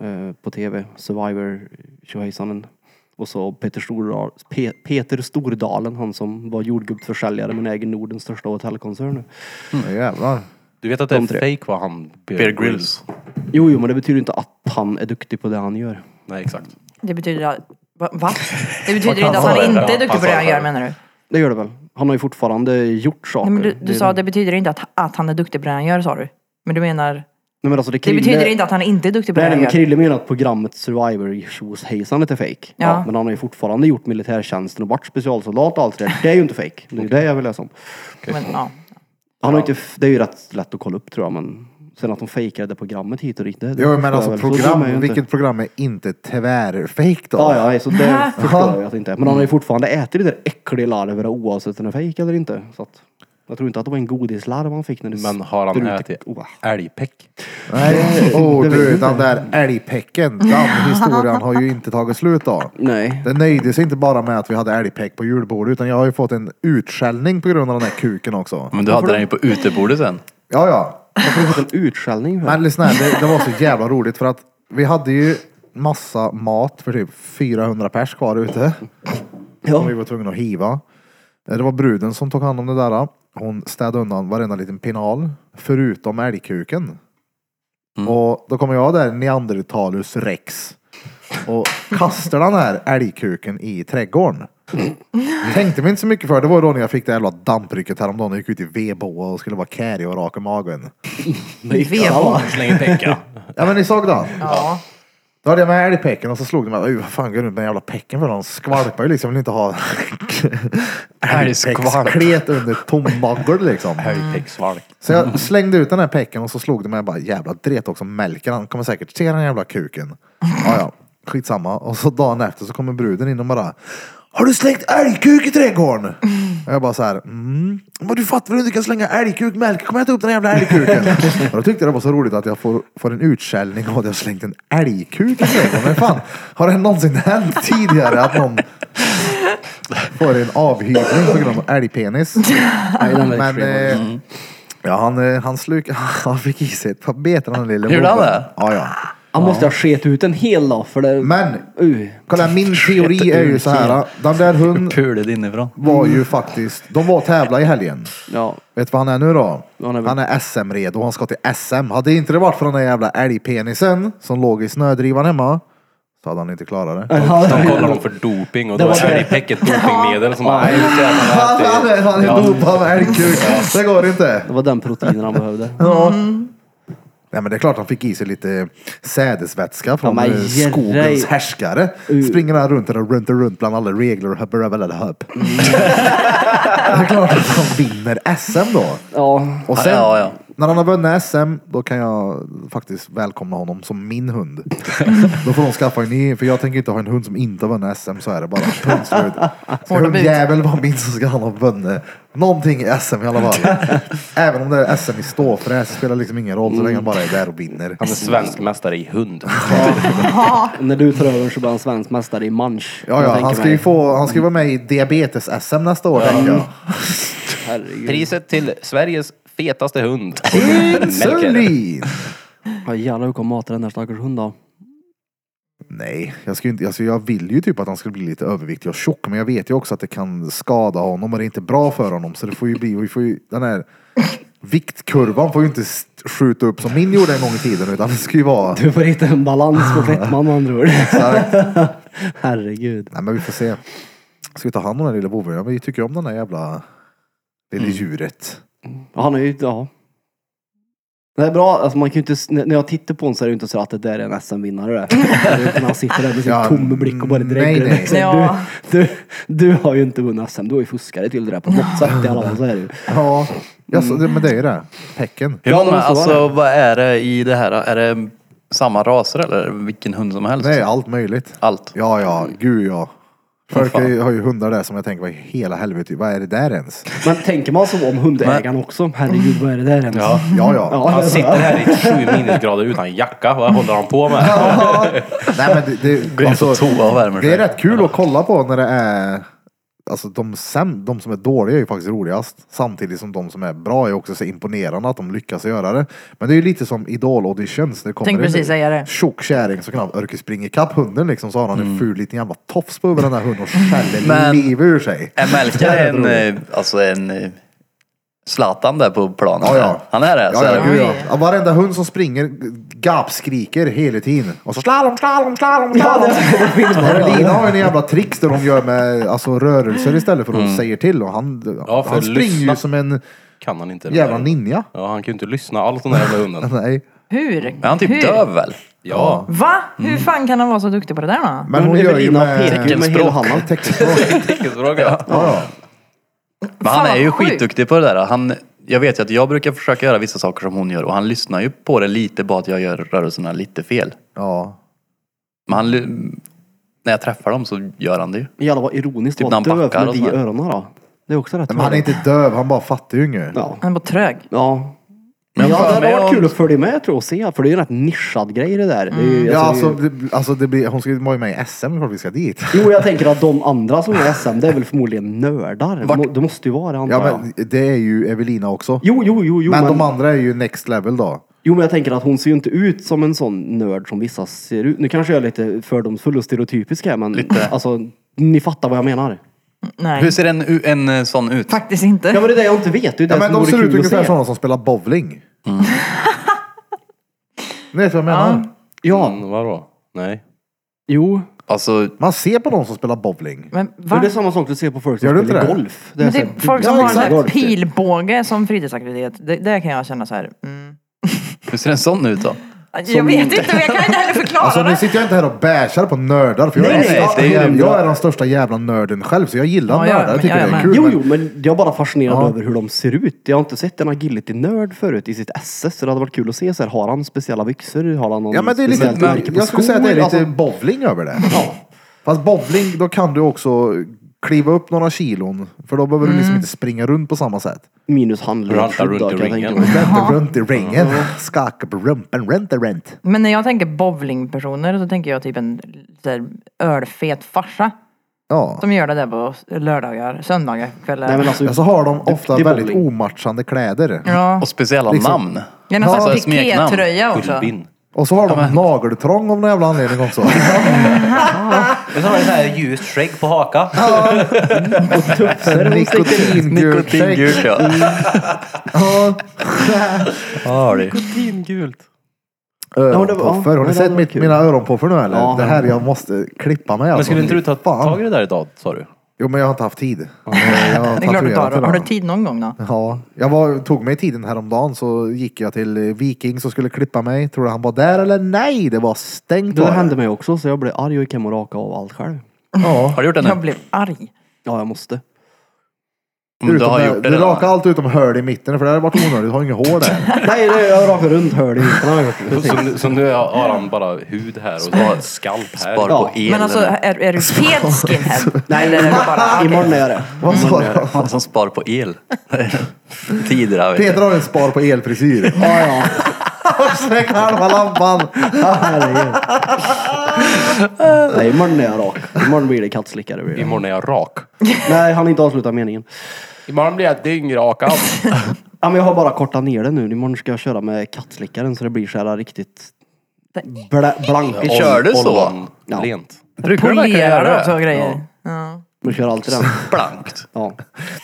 Speaker 4: eh, på tv. Survivor, tjohejsanen. Och så Peter, Stordal, Pe- Peter Stordalen, han som var jordgubbsförsäljare men äger Nordens största hotellkoncern nu.
Speaker 2: Mm.
Speaker 1: Ja, Jävlar.
Speaker 5: Du vet att det är
Speaker 4: De tre.
Speaker 5: fake vad han...
Speaker 6: Bear Grylls.
Speaker 4: Jo, jo, men det betyder inte att han är duktig på det han gör.
Speaker 5: Nej, exakt.
Speaker 2: Det betyder att... Va? Va? Det betyder inte att
Speaker 1: sa
Speaker 2: han
Speaker 1: det?
Speaker 2: inte
Speaker 5: Ja,
Speaker 2: är duktig
Speaker 5: han
Speaker 2: på
Speaker 5: sa
Speaker 2: det han
Speaker 5: det.
Speaker 2: gör menar du?
Speaker 4: Det gör det väl? Han har ju fortfarande gjort saker.
Speaker 2: Nej, men du, du
Speaker 4: Det-
Speaker 2: sa att det betyder inte att, att han är duktig på det han gör sa du. Men du menar...
Speaker 4: Nej, men alltså det,
Speaker 2: Det
Speaker 4: Krille-
Speaker 2: betyder inte att han inte är duktig på det
Speaker 4: Nej, nej,
Speaker 2: han
Speaker 4: men
Speaker 2: gör.
Speaker 4: Krille menar att programmet Survivor tjoshejsanet är fake.
Speaker 2: Ja.
Speaker 4: Men han har ju fortfarande gjort militärtjänsten och varit specialsoldat och allt det där. Det är ju inte fake. Det är ju det jag vill läsa om.
Speaker 2: Men, ja.
Speaker 4: Han har inte, det är ju rätt lätt att kolla upp tror jag men sen att de fejkade det programmet hit och dit. Det, det
Speaker 1: Jo, men
Speaker 4: förstår jag
Speaker 1: alltså
Speaker 4: väl. Så dum är jag
Speaker 1: program,
Speaker 4: inte.
Speaker 1: vilket program är inte tvärfejk då?
Speaker 4: Ja, ja, nej, så det förstår jag ju att det inte är. Men han har ju fortfarande ätit det där äckliga larverna oavsett om den är fejk eller inte. Så att, jag tror inte att det var en godislarv han fick när det
Speaker 5: Men har han
Speaker 4: struket-
Speaker 5: ätit
Speaker 4: Oh,
Speaker 5: älgpäck?
Speaker 1: Nej, oh,
Speaker 4: det vet
Speaker 1: du,
Speaker 4: jag
Speaker 1: den där älgpäcken, den historien har ju inte tagit slut då.
Speaker 4: Nej.
Speaker 1: Det nöjde sig inte bara med att vi hade älgpäck på julbordet utan jag har ju fått en utskällning på grund av den här kuken också.
Speaker 6: Men du hade den ju på utebordet sen.
Speaker 1: Ja, ja.
Speaker 4: Varför har du fått en utskällning? för?
Speaker 1: Men lyssna här, det, det var så jävla roligt för att vi hade ju massa mat för typ 400 pers kvar ute. Som
Speaker 4: ja.
Speaker 1: vi var tvungna att hiva. Eh, Det var bruden som tog hand om det där. Hon städade undan varenda liten penal. Förutom älgkuken. Och då kommer jag där, Neandertalus rex. Och kastar den här älgkuken i trädgården. Tänkte mig inte så mycket för. Det var då när jag fick det jävla damprycket häromdagen. Jag gick ut i vedboa och skulle vara kärig och rak i magen.
Speaker 2: Vevo.
Speaker 5: Slänger pengar.
Speaker 1: Ja men ni såg den?
Speaker 2: Ja.
Speaker 1: Då hade jag med älgpäcken och så slog de mig. "Uy, Vad fan går jag runt med den jävla päcken för? De skvalpar ju liksom. Vill inte ha
Speaker 6: Älgskvalp.
Speaker 1: älgpäcksklet under tommageln liksom.
Speaker 5: Älgpäcksvalk.
Speaker 1: Så
Speaker 4: Mm.
Speaker 1: jag slängde ut den här päcken och så slog det mig. Jag bara jävla dret också. Melker han kommer säkert se den jävla kuken. Ja ja, skitsamma. Och så dagen efter så kommer bruden in och bara. Har du slängt älgkuk i trädgården? Och jag bara så här. Mm. Men du fattar väl hur du kan slänga älgkuk? Melker kommer äta upp den jävla älgkuken. och då tyckte jag det var så roligt att jag får, får en utskällning av att jag har slängt en älgkuk i trädgården. Men fan, har det någonsin hänt tidigare att någon får en avhyvling på grund av älgpenis?
Speaker 4: Nej, den Mm. är
Speaker 1: Men
Speaker 4: extrem.
Speaker 1: eh, ja, han, eh, han, sluk, han fick i sig ett par beten han lille
Speaker 6: Gjorde han
Speaker 1: boven.
Speaker 6: det?
Speaker 1: Ja, ja.
Speaker 4: Han måste ha sket ut en hel dag för det...
Speaker 1: Men
Speaker 4: Uh.
Speaker 1: kolla, min teori är ju så här. eh, Den där hunden
Speaker 6: Pulet inifrån.
Speaker 1: var ju faktiskt, de var och tävlade i helgen.
Speaker 4: Ja.
Speaker 1: Vet du vad han är nu då?
Speaker 4: Han är väl-
Speaker 1: Han är SM-redo, han ska till SM. Hade inte det varit för den där jävla älgpenisen som låg i snödrivan hemma så hade han inte klarat det.
Speaker 5: De kollar dem för doping och
Speaker 4: Det
Speaker 5: då
Speaker 4: var
Speaker 5: är
Speaker 4: det.
Speaker 5: älgpäck ett dopingmedel som bara...
Speaker 1: Han, han är, han är dopad med älgkuk. Det går inte.
Speaker 4: Det var den proteinen han behövde.
Speaker 1: Nej men det är klart han fick i sig lite sädesvätska från
Speaker 4: men
Speaker 1: eh,
Speaker 4: jävlar.
Speaker 1: skogens härskare. Springer han runt där och runt och runt bland alla regler och höpper över eller höpp. det är klart att han vinner SM då.
Speaker 4: Ja.
Speaker 1: Och sen
Speaker 6: Ja, ja.
Speaker 1: när han har vunnit SM då kan jag faktiskt välkomna honom som min hund. då får de skaffa en ny, för jag tänker inte ha en hund som inte har vunnit SM så är det bara. Punkt slut. Ska
Speaker 2: Hårda bud.
Speaker 1: hundjävel vara min så ska han ha vunnit någonting i SM i alla fall. Även om det är SM i ståfräs det spelar liksom ingen roll så länge han bara är där och vinner.
Speaker 5: Han är svensk mästare i hund.
Speaker 4: När du tar över så blir han svensk mästare i mansch.
Speaker 1: Ja,
Speaker 4: Jag
Speaker 1: ja,
Speaker 4: tänker
Speaker 1: han ska
Speaker 4: mig.
Speaker 1: ju få, han ska ju vara med i diabetes-SM nästa år, tänker jag.
Speaker 4: Herregud.
Speaker 5: Priset till Sveriges fetaste hund.
Speaker 1: Insulin!
Speaker 4: Ja, jävlar hur kom mata den där stackars hunden då?
Speaker 1: Nej, jag, ska ju inte, alltså jag vill ju typ att han ska bli lite överviktig och tjock, men jag vet ju också att det kan skada honom och det är inte bra för honom. Så det får ju bli, vi får ju, den här viktkurvan får ju inte st- skjuta upp som min gjorde en gång i tiden, utan det ska ju vara...
Speaker 4: Du får hitta en balans på fetman med andra ord. Herregud.
Speaker 1: Nej, men vi får se. Ska vi ta hand om den här lilla boven? Ja, men vi tycker ju om den här jävla... lilla djuret.
Speaker 4: Ja, Han är ju, ja. Det är bra, alltså man kan ju inte, s- när när jag tittar på honom så är det ju inte så att det där är en SM-vinnare det. Det är ju När han sitter där med sin
Speaker 1: Ja, Mm,
Speaker 4: tom blick och bara
Speaker 1: nej,
Speaker 4: dreglar.
Speaker 1: nej.
Speaker 4: Så
Speaker 2: Ja.
Speaker 4: Du, du, du har ju inte vunnit SM, du har ju fuskare till det där på något sätt i alla fall. Så är det ju.
Speaker 1: Ja, ja så, det, men det är ju det. Häcken.
Speaker 6: Hur
Speaker 4: Ja,
Speaker 6: många,
Speaker 4: men så var
Speaker 6: alltså vad är det i det här? Är det samma raser eller vilken hund som helst?
Speaker 1: Nej, allt möjligt.
Speaker 6: Allt.
Speaker 1: Ja, ja, gud ja. Folk
Speaker 6: fan.
Speaker 1: har ju hundar där som jag tänker, vad i hela helvete, vad är det där ens?
Speaker 4: Men tänker man så om hundägaren också? Herregud, vad är det där ens?
Speaker 5: Ja.
Speaker 1: Ja, ja.
Speaker 5: Han sitter här i sju minusgrader utan jacka. Vad håller han på med?
Speaker 1: Nej, men det, det,
Speaker 6: Går in på toa och värmer
Speaker 1: Alltså, det är
Speaker 6: sig.
Speaker 1: rätt kul att kolla på när det är Alltså de, säm- de som är dåliga är ju faktiskt roligast. Samtidigt som de som är bra är också så imponerande att de lyckas göra det. Men det är ju lite som Idol auditions. Det kommer
Speaker 2: Tänkte
Speaker 1: en
Speaker 2: precis säga det.
Speaker 1: Tjock kärring som knappt orkar springa ikapp hunden liksom. Så har han en ful liten jävla tofs på över den där hunden och skäller
Speaker 6: Men-
Speaker 1: livet ur sig.
Speaker 6: Är Melker
Speaker 1: Det är
Speaker 6: en, eh, alltså en eh, Zlatan där på planen?
Speaker 1: Ja, ja.
Speaker 6: Han är det? så
Speaker 1: Ja,
Speaker 6: är
Speaker 1: ja,
Speaker 6: det.
Speaker 1: gud, ja.
Speaker 2: Oj.
Speaker 1: Ja, Varenda hund som springer gapskriker hela tiden. Och så slalom, slalom, slalom, slalom. Ja, Lina har ju en jävla tricks där de gör med alltså, rörelser istället för att de säger till. Och han,
Speaker 5: Mm. Ja, för
Speaker 1: han
Speaker 5: att
Speaker 1: springer
Speaker 5: lyssna.
Speaker 1: ju som en
Speaker 5: Kan han inte.
Speaker 1: jävla ninja.
Speaker 5: Ja, han kan ju inte lyssna alls den där jävla hunden.
Speaker 1: Nej.
Speaker 2: Hur?
Speaker 6: Men han är
Speaker 2: Hur?
Speaker 6: typ döv väl?
Speaker 5: Ja.
Speaker 2: Va?
Speaker 4: Mm.
Speaker 2: Hur fan kan han vara så duktig på det där då?
Speaker 1: Men hon gör ju
Speaker 4: Evelina
Speaker 1: med...
Speaker 4: pekar ju med hela
Speaker 6: Teckenspråk.
Speaker 4: handen.
Speaker 1: Teckenspråk.
Speaker 5: Teckenspråk. Ja.
Speaker 1: Ja,
Speaker 6: Men han
Speaker 2: Fan,
Speaker 6: är ju
Speaker 2: vad sjukt.
Speaker 6: skitduktig på det där. Han, jag vet ju att jag brukar försöka göra vissa saker som hon gör och han lyssnar ju på det lite bara att jag gör rörelserna lite fel.
Speaker 1: ja.
Speaker 6: Men han, ly- när jag träffar dem så gör han det ju.
Speaker 4: Jävlar vad ironiskt
Speaker 6: Typ
Speaker 4: att
Speaker 6: när
Speaker 4: vara döv
Speaker 6: han backar
Speaker 4: med
Speaker 6: och
Speaker 4: de
Speaker 6: sådär.
Speaker 4: öronen då. Det är också rätt
Speaker 1: Men han är
Speaker 4: roligt.
Speaker 1: inte döv, han bara fattar ju inget.
Speaker 4: Ja.
Speaker 2: Han är bara trög.
Speaker 4: ja.
Speaker 6: Men
Speaker 4: ja,
Speaker 6: fan,
Speaker 4: det hade
Speaker 6: men
Speaker 4: varit
Speaker 6: jag-
Speaker 4: kul att följa med tror jag och se. För det är ju en rätt nischad grej det där. Det är ju,
Speaker 1: Ja,
Speaker 4: alltså,
Speaker 1: alltså,
Speaker 4: det är ju-
Speaker 1: det, alltså det blir, hon ska ju vara med i SM, klart vi ska dit.
Speaker 4: Jo, jag tänker att de andra som är SM, det är väl förmodligen nördar.
Speaker 6: Vart-
Speaker 4: Må- Det måste ju vara det antar
Speaker 1: Ja,
Speaker 4: jag.
Speaker 1: men det är ju Evelina också.
Speaker 4: Jo, jo, jo, jo.
Speaker 1: Men de andra är ju next level då.
Speaker 4: Jo, men jag tänker att hon ser ju inte ut som en sån nörd som vissa ser ut. Nu kanske jag är lite fördomsfull och stereotypisk här, men
Speaker 6: Lite.
Speaker 4: alltså, ni fattar vad jag menar.
Speaker 2: Nej.
Speaker 6: Hur ser en, u- en eh, sån ut?
Speaker 2: Faktiskt inte.
Speaker 4: Ja, men det är det jag inte vet. Det är
Speaker 1: Ja,
Speaker 4: det
Speaker 1: men
Speaker 4: som
Speaker 1: de
Speaker 4: vore
Speaker 1: ser ut
Speaker 4: kul att
Speaker 1: ungefär
Speaker 4: se.
Speaker 1: som de som spelar bowling. Ni vet vad jag menar?
Speaker 2: Ja.
Speaker 4: Ja,
Speaker 5: Mm, vadå? Nej.
Speaker 4: jo.
Speaker 6: Alltså,
Speaker 1: Man ser på de som spelar bowling.
Speaker 2: Men
Speaker 4: Men
Speaker 2: va?
Speaker 4: det är samma sak du ser på folk som
Speaker 1: Gör du
Speaker 4: spelar
Speaker 1: inte det?
Speaker 4: golf. är
Speaker 2: Men det
Speaker 4: så här
Speaker 2: är
Speaker 4: dubbla
Speaker 2: folk som har en
Speaker 4: golf.
Speaker 2: sån här pilbåge som fritidsaktivitet. Det, det kan jag känna så här. Mm.
Speaker 6: hur ser en sån ut då?
Speaker 2: Jag vet inte, men jag kan inte heller förklara
Speaker 1: Alltså nu
Speaker 2: det.
Speaker 1: sitter jag inte här och bashar på nördar. För jag,
Speaker 6: Nej,
Speaker 1: är,
Speaker 6: nej,
Speaker 1: jag,
Speaker 6: det är ju
Speaker 1: jag,
Speaker 6: det.
Speaker 1: är den största jävla nörden själv. Så jag gillar
Speaker 2: Ja, jag
Speaker 1: nördar. Jag
Speaker 2: med,
Speaker 1: tycker
Speaker 2: jag
Speaker 1: det är kul.
Speaker 2: med.
Speaker 4: Jo,
Speaker 1: men-
Speaker 4: jo, men jag är bara fascinerad
Speaker 1: Ja.
Speaker 4: över hur de ser ut. Jag har inte sett en agility-nörd förut i sitt SS, så det hade varit kul att se så här, har han speciella byxor? Har han någon
Speaker 1: Ja, men det är lite,
Speaker 4: speciellt märke på
Speaker 1: jag skulle säga att det är lite
Speaker 4: skor? Alltså,
Speaker 1: bowling över det. Fast bowling, då kan du också kliva upp några kilon. För då behöver du liksom inte springa runt på samma sätt.
Speaker 4: minus handled.
Speaker 5: Ranta runt i ringen.
Speaker 1: Rent runt i ringen. Skaka på rumpen, rent rent.
Speaker 2: Men när jag tänker bowlingpersoner så tänker jag typ en så här, ölfet farsa.
Speaker 1: Ja.
Speaker 2: Som gör det där på lördagar, söndagar, kvällar.
Speaker 4: Nej, men alltså,
Speaker 1: Ja, så har de ofta
Speaker 4: Duktig
Speaker 1: väldigt
Speaker 4: bowling.
Speaker 1: omatchande kläder.
Speaker 2: Ja.
Speaker 6: Och speciella
Speaker 1: Liksom.
Speaker 6: namn.
Speaker 2: Det är någon
Speaker 1: Ja,
Speaker 2: sån här
Speaker 6: så smeknamn.
Speaker 2: pikétröja också.
Speaker 5: Gullbin.
Speaker 1: Och så har de nageltrång av någon jävla anledning också.
Speaker 5: Och så har han så här ljust skägg på haka.
Speaker 1: Nikotingult skägg.
Speaker 6: Nikotingult ja.
Speaker 1: Ja.
Speaker 6: Ja, det.
Speaker 5: Nikotingult.
Speaker 1: Öronpoffer. Har
Speaker 4: ja,
Speaker 1: ni
Speaker 4: det
Speaker 1: sett
Speaker 4: var
Speaker 1: mitt,
Speaker 4: kul.
Speaker 1: mina öronpoffer nu eller?
Speaker 4: Ja.
Speaker 1: det här jag måste klippa mig
Speaker 5: Men
Speaker 1: alltså.
Speaker 5: skulle inte du ta
Speaker 1: Fan.
Speaker 5: tag i det där idag, sa du?
Speaker 1: Jo men jag har inte haft tid. Eh, Jag har
Speaker 2: Det är klart du
Speaker 1: tatuerat
Speaker 2: tar. Har du
Speaker 1: idag.
Speaker 2: tid någon gång då?
Speaker 1: Ja, jag var, tog mig tiden häromdagen så gick jag till eh, Viking som skulle klippa mig. Tror du han var där eller? Nej, det var stängt.
Speaker 4: det
Speaker 1: var det.
Speaker 4: hände mig också, så jag blev arg och gick hem och rakade av allt själv.
Speaker 1: Ja.
Speaker 6: Har du gjort det
Speaker 2: Jag
Speaker 6: nu?
Speaker 2: blev arg.
Speaker 4: Ja, jag måste.
Speaker 6: Om Mm, Du
Speaker 1: Utom
Speaker 6: har
Speaker 1: det-
Speaker 6: gjort det
Speaker 1: du
Speaker 6: redan.
Speaker 1: rakade allt utom hål i mitten för det hade varit onödigt. Du har inget hår där.
Speaker 4: Nej, det, jag rakar runt hörde i mitten har jag gjort.
Speaker 5: Så, nu- så nu har han bara hud här och skalp här.
Speaker 6: Bara på
Speaker 4: Ja.
Speaker 6: el.
Speaker 2: Men alltså,
Speaker 6: eller-
Speaker 2: är, är du helt skinhead? Nej, eller är du bara... okej.
Speaker 4: Imorgon är jag det.
Speaker 1: Vad sa du?
Speaker 6: Han som spar på el. Tider där, vet du.
Speaker 1: Peter har en spar på elfrisyr.
Speaker 4: Ja, ja.
Speaker 1: Släck halva lampan.
Speaker 4: Herregud. Nej, imorgon är jag rak. Imorgon blir det kattslickare. Blir det.
Speaker 5: Imorgon är jag rak.
Speaker 4: Nej, han inte avsluta meningen.
Speaker 5: Imorgon blir jag dyngrakad.
Speaker 4: Ja, men jag har bara kortat ner det nu. Imorgon ska jag köra med kattslickaren så det blir så här riktigt bla blankigt.
Speaker 6: Ja, Kör du
Speaker 5: All-
Speaker 6: så?
Speaker 5: all one.
Speaker 4: Ja.
Speaker 5: Lent.
Speaker 6: Brukar du verkligen
Speaker 2: Polerar du
Speaker 6: göra
Speaker 2: också och
Speaker 6: det?
Speaker 2: grejer? Ja.
Speaker 4: Man kör alltid den.
Speaker 6: Blankt.
Speaker 4: Ja.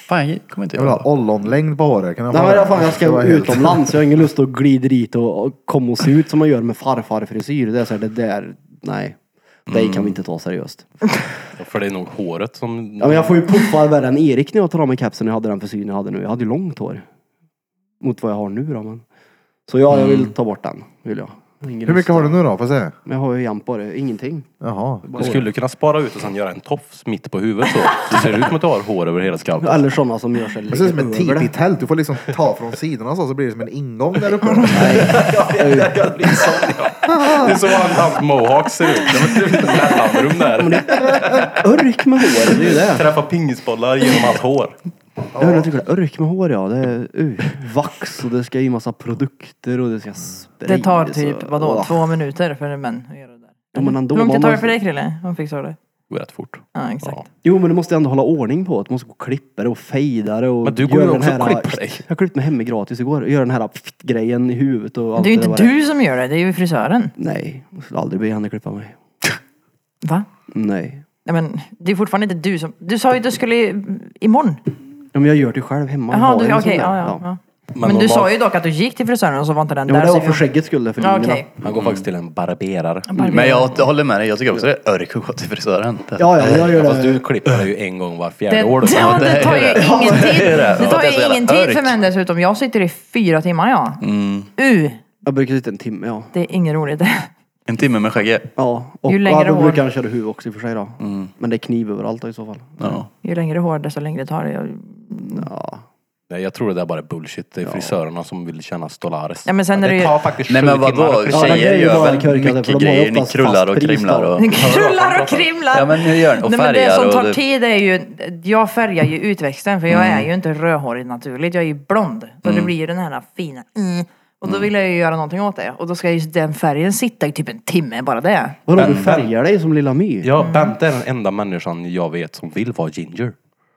Speaker 6: Fan, jag kommer inte
Speaker 1: Jag vill
Speaker 6: göra
Speaker 1: ha
Speaker 6: det.
Speaker 1: ollonlängd på håret. Kan jag
Speaker 4: Nej,
Speaker 1: få
Speaker 4: men
Speaker 1: det?
Speaker 4: jag, fan, jag
Speaker 1: Det
Speaker 4: ska
Speaker 1: var helt-
Speaker 4: utomlands. Jag har ingen lust att glida dit och, och komma och se ut som man gör med farfarfrisyr. Det är så här, det där, nej. Det kan
Speaker 1: Mm.
Speaker 4: vi inte ta seriöst.
Speaker 5: För det är nog håret som...
Speaker 4: Ja, men jag får ju puffa värre än Erik när jag tar av mig kepsen och jag hade den försyn jag hade nu. Jag hade ju långt hår. Mot vad jag har nu då. Men. Så ja, jag vill ta bort den. Vill jag.
Speaker 1: Mm. Hur mycket har du nu då? Får jag se?
Speaker 4: Men jag har ju jämt bara ingenting.
Speaker 1: Jaha.
Speaker 5: Du skulle kunna spara ut och sen göra en tofs mitt på huvudet så. Det ser ut som att du har hår över hela skallen.
Speaker 4: Eller sådana som gör
Speaker 1: Det
Speaker 4: sig lite
Speaker 1: ser ut som ett
Speaker 4: över det.
Speaker 1: tipi-tält. Du får liksom ta från sidorna så, så blir det som en ingång där uppe.
Speaker 5: Jag blir sån, ja. Det är som han hans mohawk ser ut. Det var ett mellanrum där.
Speaker 4: Örk med hår, det är ju det.
Speaker 5: Träffa pingisbollar genom hans hår.
Speaker 4: Jag hörde att du tycker örk med hår ja. Det är uh, vax och det ska i massa produkter och det ska sprays.
Speaker 2: Det tar typ,
Speaker 4: och-
Speaker 2: vadå,
Speaker 4: alltså, Åh.
Speaker 2: två minuter för en man att göra det där.
Speaker 4: Ja, men ändå,
Speaker 2: Hur lång tid
Speaker 4: man
Speaker 2: tar det
Speaker 4: måste-
Speaker 2: för dig Krille? Om fixar du det?
Speaker 5: Det går rätt fort.
Speaker 2: Ja, exakt.
Speaker 4: Jo men du måste ändå hålla ordning på det. Du måste gå och klippa det och fejda det och
Speaker 5: Men du går
Speaker 4: göra
Speaker 5: ju
Speaker 4: den
Speaker 5: också och klipper dig.
Speaker 4: Jag klippte mig hemma gratis igår. Gör den här pft grejen i huvudet och allt
Speaker 2: Det är ju
Speaker 4: där
Speaker 2: inte du som gör det, det är ju frisören.
Speaker 4: Nej, jag skulle aldrig be henne klippa mig.
Speaker 2: Va?
Speaker 4: Nej.
Speaker 2: Nej men det är fortfarande inte du som... Du sa ju att du skulle i- imorgon.
Speaker 4: Ja, men jag gör det själv hemma. Jag
Speaker 2: Jaha,
Speaker 4: har
Speaker 2: du-
Speaker 4: ju en
Speaker 2: okej.
Speaker 4: sån där.
Speaker 2: ja, ja, ja. Men, du
Speaker 5: normalt-
Speaker 2: sa ju dock att du gick till frisören och så var inte den
Speaker 4: Ja,
Speaker 2: där.
Speaker 4: men det
Speaker 2: så
Speaker 4: var
Speaker 2: jag-
Speaker 4: för skäggets skull det är för
Speaker 2: Ja,
Speaker 4: min
Speaker 2: Okej.
Speaker 4: del.
Speaker 5: Han går faktiskt till en barberare.
Speaker 6: Men jag håller med dig, jag tycker också det är örk att gå till frisören.
Speaker 4: Ja, ja, jag gör det.
Speaker 5: Fast du klipper dig ju en gång var
Speaker 2: Det,
Speaker 5: fjärde år. du.
Speaker 2: ja, det tar ju ingen tid.
Speaker 6: det är det.
Speaker 2: Det tar
Speaker 6: Det är så
Speaker 2: ju
Speaker 6: jävla
Speaker 2: ingen tid
Speaker 6: örk.
Speaker 2: för mig dessutom. Jag sitter i fyra timmar ja. Uh,
Speaker 4: Jag brukar sitta en timme, ja.
Speaker 2: det är inget roligt.
Speaker 6: En timme med skägg.
Speaker 4: Ja, och
Speaker 2: Ju
Speaker 4: ju
Speaker 2: längre
Speaker 4: längre då
Speaker 2: hår-
Speaker 4: brukar han köra huvud också i och för sig då.
Speaker 5: Mm.
Speaker 4: Men det är kniv överallt då, i så fall.
Speaker 6: Ja.
Speaker 2: Ju längre hår desto längre tar det. Jag-
Speaker 4: Ja.
Speaker 5: Nej, jag tror det där bara är bullshit. Det är frisörerna som vill känna stolares.
Speaker 2: Ja, men sen är det ju-
Speaker 5: tar faktiskt
Speaker 6: Nej
Speaker 5: sju
Speaker 6: men
Speaker 5: timmar att
Speaker 6: vadå,
Speaker 5: klippa.
Speaker 4: Ja, det är
Speaker 6: tjejer
Speaker 4: ju
Speaker 6: gör
Speaker 4: bara
Speaker 6: väl
Speaker 4: körkade, för de har
Speaker 6: mycket
Speaker 4: ju
Speaker 6: grejer. Ni
Speaker 4: oftast
Speaker 6: krullar
Speaker 4: fast
Speaker 6: och
Speaker 4: pris då.
Speaker 6: krimlar och...
Speaker 2: Krullar och krimlar.
Speaker 6: Ja men hur gör ni? Och
Speaker 2: Nej, men det
Speaker 6: färgar
Speaker 2: som
Speaker 6: och...
Speaker 2: tar tid är ju, jag färgar ju utväxten för jag är ju inte rödhårig naturligt, jag är ju blond. Så det blir ju den här fina, mm. och då vill jag ju göra någonting åt det. Och då ska ju den färgen sitta i typ en timme, bara det.
Speaker 4: Vadå, du färgar dig som Lilla My?
Speaker 5: Ja, Bente är den enda människan jag vet som vill vara ginger.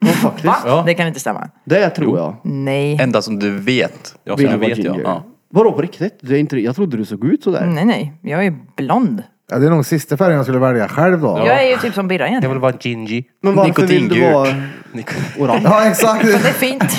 Speaker 4: Ja, faktiskt.
Speaker 2: Va? Det kan inte stämma.
Speaker 4: Det tror jag.
Speaker 2: Nej.
Speaker 6: Enda som du vet.
Speaker 5: Ja,
Speaker 4: Vill
Speaker 5: så nu
Speaker 4: vara
Speaker 5: vet jag.
Speaker 4: ginger.
Speaker 5: Ja.
Speaker 4: Vadå, på riktigt? Det är inte... Jag trodde du såg ut sådär.
Speaker 2: Nej, nej. Jag är ju blond.
Speaker 1: Ja, det är nog sista färgen jag skulle välja själv då. Ja,
Speaker 2: Jag är ju typ som Birra
Speaker 5: Jag
Speaker 2: egentligen.
Speaker 5: vill vara gingy.
Speaker 4: Men varför vill du
Speaker 6: Nikotingult.
Speaker 4: vara orange?
Speaker 1: exakt.
Speaker 2: Det är fint.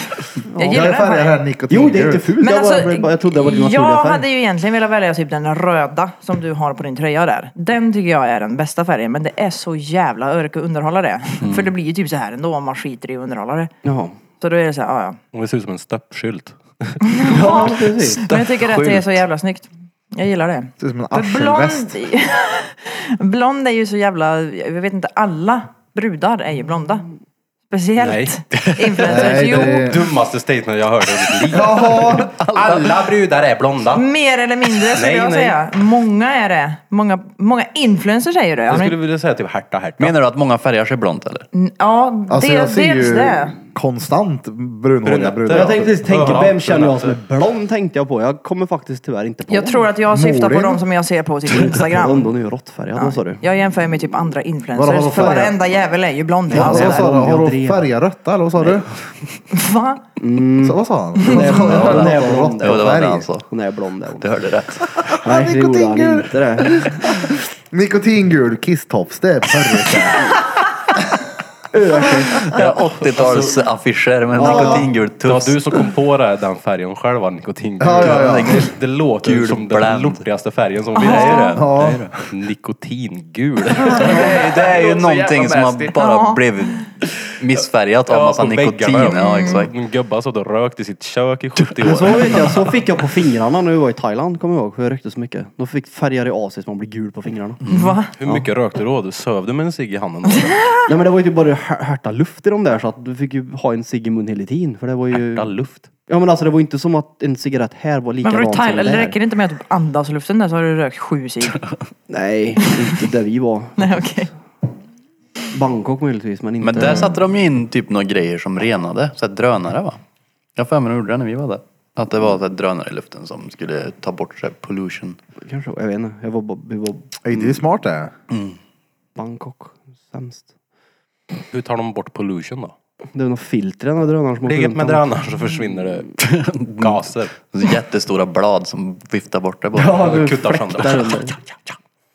Speaker 2: Jag
Speaker 1: Jag
Speaker 2: gillar
Speaker 1: är
Speaker 2: den
Speaker 1: färgad
Speaker 2: färgen.
Speaker 1: här nikotin.
Speaker 4: Jo, det är inte fult.
Speaker 2: Men
Speaker 4: Jag,
Speaker 2: alltså,
Speaker 4: bara, jag trodde det var din naturliga
Speaker 2: jag
Speaker 4: färg.
Speaker 2: hade ju egentligen velat välja typ den röda som du har på din tröja där. Den tycker jag är den bästa färgen men det är så jävla örk att underhålla det.
Speaker 4: Mm.
Speaker 2: För det blir ju typ så här ändå om man skiter i att underhålla det.
Speaker 4: Jaha.
Speaker 2: Så då är det så här, ja, ja.
Speaker 5: Hon ser ut som en stöppskylt.
Speaker 4: Ja, precis.
Speaker 2: Men jag tycker att det är så jävla snyggt. Jag gillar det.
Speaker 1: Det ser ut som en
Speaker 2: För
Speaker 1: arselväst.
Speaker 2: blond, blond är ju så jävla, jag vet inte, alla brudar är ju blonda. Speciellt influencers.
Speaker 1: Nej,
Speaker 2: jo,
Speaker 1: det är...
Speaker 5: Dummaste statement jag hört i mitt liv.
Speaker 1: Jaha!
Speaker 5: Alla brudar är blonda.
Speaker 2: Mer eller mindre skulle
Speaker 5: Nej,
Speaker 2: jag
Speaker 5: nej.
Speaker 2: säga. Många är det. Många, många influencers är ju det.
Speaker 5: Jag
Speaker 2: Jag
Speaker 5: skulle vilja säga typ herta herta.
Speaker 6: Menar du att många färgar sig blont eller?
Speaker 2: Ja,
Speaker 1: Alltså
Speaker 2: det,
Speaker 1: jag ser
Speaker 2: dels
Speaker 1: ju
Speaker 2: det.
Speaker 1: konstant brunhåriga
Speaker 5: Brunetter.
Speaker 1: brudar.
Speaker 4: Jag tänkte precis tänka,
Speaker 5: Ja,
Speaker 4: vem känner jag som
Speaker 5: brunette.
Speaker 4: är blond? Tänkte jag på. Jag kommer faktiskt tyvärr inte på
Speaker 2: Jag tror att jag syftar på
Speaker 1: Morin.
Speaker 2: de som jag ser på typ
Speaker 4: Blond,
Speaker 2: Instagram.
Speaker 4: hon är ju råttfärgad, vad sa du?
Speaker 2: Jag jämför med typ andra
Speaker 1: Vadå, vadå,
Speaker 2: influencers. För
Speaker 1: färg?
Speaker 2: varenda jävel är ju blond.
Speaker 1: Ja,
Speaker 2: Alltså,
Speaker 1: vad sa du?
Speaker 4: jag
Speaker 1: Har du
Speaker 4: drev.
Speaker 1: färgat rötta eller vad sa du?
Speaker 2: Va?
Speaker 1: Så, vad sa han?
Speaker 4: hon är
Speaker 1: Råtta och
Speaker 4: blond.
Speaker 6: Jo det var
Speaker 1: färg.
Speaker 6: det han sa.
Speaker 4: Hon är blond där. hon.
Speaker 6: Du hörde rätt.
Speaker 4: Nej, det gjorde han
Speaker 1: Nikotingul.
Speaker 4: inte det.
Speaker 1: Nikotingul kisstofs, det är perrigt.
Speaker 6: Ja, 80-talsaffischer med nikotingul
Speaker 5: Det var
Speaker 6: tufs.
Speaker 5: du som kom på det, den färgen själv, var nikotingul.
Speaker 1: Ja, ja, ja.
Speaker 5: Det, det låter ju
Speaker 6: Gul
Speaker 5: som den
Speaker 6: bland.
Speaker 5: lortigaste färgen som finns.
Speaker 6: Det är ju det.
Speaker 1: Ja.
Speaker 5: Nikotingul. Det
Speaker 6: Det är ju- Det är ju
Speaker 5: låter så
Speaker 6: någonting
Speaker 5: jävla
Speaker 6: som
Speaker 5: nasty.
Speaker 6: har
Speaker 2: Ja.
Speaker 6: bara blivit missfärgat av massa
Speaker 5: på
Speaker 6: nikotin.
Speaker 5: väggarna,
Speaker 6: Ja
Speaker 4: Mm.
Speaker 6: exakt.
Speaker 5: En gubbe som hade rökt i sitt kök i 70
Speaker 4: Men Så,
Speaker 5: år.
Speaker 4: vet jag, så fick jag på fingrarna när vi var i Thailand, kommer jag ihåg, för jag rökte så mycket. Då fick färgade av sig så man blir gul på fingrarna.
Speaker 5: Mm.
Speaker 2: Va?
Speaker 5: Hur mycket rökte du då? Du Söv du med en cigg i handen?
Speaker 4: Nej men det var ju typ bara här- härta luft i de där så att du fick ju ha en cigg i mun hela tiden. För det var ju...
Speaker 5: Härta luft.
Speaker 4: Ja men alltså det var ju inte som att en cigarett här var
Speaker 2: Men
Speaker 4: likadan
Speaker 2: var du
Speaker 4: som den
Speaker 2: Thailand? Eller
Speaker 4: där.
Speaker 2: räcker det inte med att du andas luften där så har du rökt sju cigg?
Speaker 4: Nej, inte där vi var.
Speaker 2: Nej okej.
Speaker 4: Bangkok möjligtvis men inte...
Speaker 6: Men där satte de ju in typ några grejer som renade. Så här drönare va? Jag har för mig de gjorde det när vi var där. Att det var så här drönare i luften som skulle ta bort så här pollution.
Speaker 4: Kanske, jag vet inte. Jag var, bara- vi var
Speaker 1: Ey, Det är ju smart det.
Speaker 4: Bangkok. Sämst.
Speaker 5: Hur tar de bort pollution då?
Speaker 4: Det var någon filter i den här drönaren som
Speaker 5: Ligg upp med
Speaker 4: här.
Speaker 5: drönaren så försvinner det gaser.
Speaker 6: Så jättestora blad som viftar bort det bara.
Speaker 4: Ja,
Speaker 5: Och
Speaker 4: du
Speaker 5: kuttar
Speaker 4: fläktar
Speaker 5: sönder.
Speaker 4: under.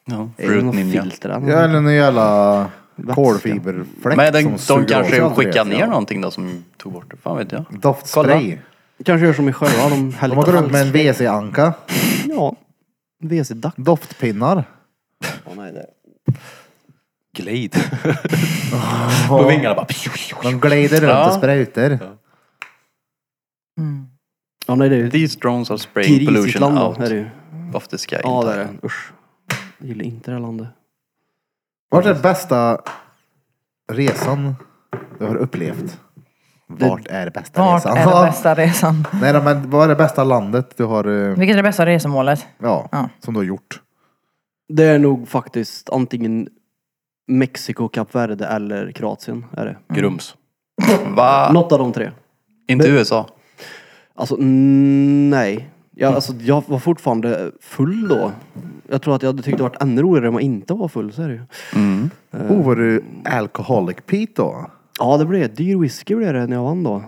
Speaker 6: Ja,
Speaker 4: Det är
Speaker 6: Fruit
Speaker 4: någon
Speaker 6: Ninja.
Speaker 4: filter där.
Speaker 1: Ja, eller en jävla
Speaker 4: Vätska.
Speaker 1: kolfiberfläkt
Speaker 6: Men den,
Speaker 1: suger
Speaker 6: de
Speaker 1: åt sig
Speaker 6: kanske
Speaker 1: allt
Speaker 6: skickar
Speaker 1: det.
Speaker 6: ner någonting då som tog bort det. Fan vet jag.
Speaker 1: Doftspray.
Speaker 4: Kanske gör som i sjöar, de
Speaker 1: De har
Speaker 4: häller
Speaker 1: gått
Speaker 4: lite
Speaker 1: runt med en
Speaker 4: halsduk.
Speaker 1: WC-anka.
Speaker 4: Ja. WC-dack.
Speaker 1: Doftpinnar.
Speaker 5: Glade. På vingarna bara.
Speaker 2: Mm.
Speaker 1: De glider runt och sprutar.
Speaker 4: Ja, nej, det är ju
Speaker 6: These drones are spraying
Speaker 4: grisigt
Speaker 6: pollution
Speaker 4: land då,
Speaker 6: out
Speaker 4: är det ju.
Speaker 6: of the sky.
Speaker 4: Ja, det är det. Usch. Jag gillar inte det här landet.
Speaker 1: Vart är bästa resan du har upplevt? Vart är det bästa
Speaker 2: Vart
Speaker 1: resan?
Speaker 2: är den bästa resan?
Speaker 1: Nej då, men vad är det bästa landet du har, eh,
Speaker 2: Vilket är det bästa resemålet?
Speaker 1: ja,
Speaker 2: Ja.
Speaker 1: som du har gjort?
Speaker 4: Det är nog faktiskt antingen Mexiko, Kap Verde eller Kroatien. Är det.
Speaker 5: Grums.
Speaker 6: Va?
Speaker 4: Något av de tre.
Speaker 6: Inte USA?
Speaker 4: Alltså, mm, nej. Jag, alltså, jag var fortfarande full då. Jag tror att jag hade tyckt det varit ännu roligare om jag inte var full, så är det ju.
Speaker 1: Oh, var du alcoholic Pete då?
Speaker 4: Ja, det blev dyr whisky blev det när jag vann då.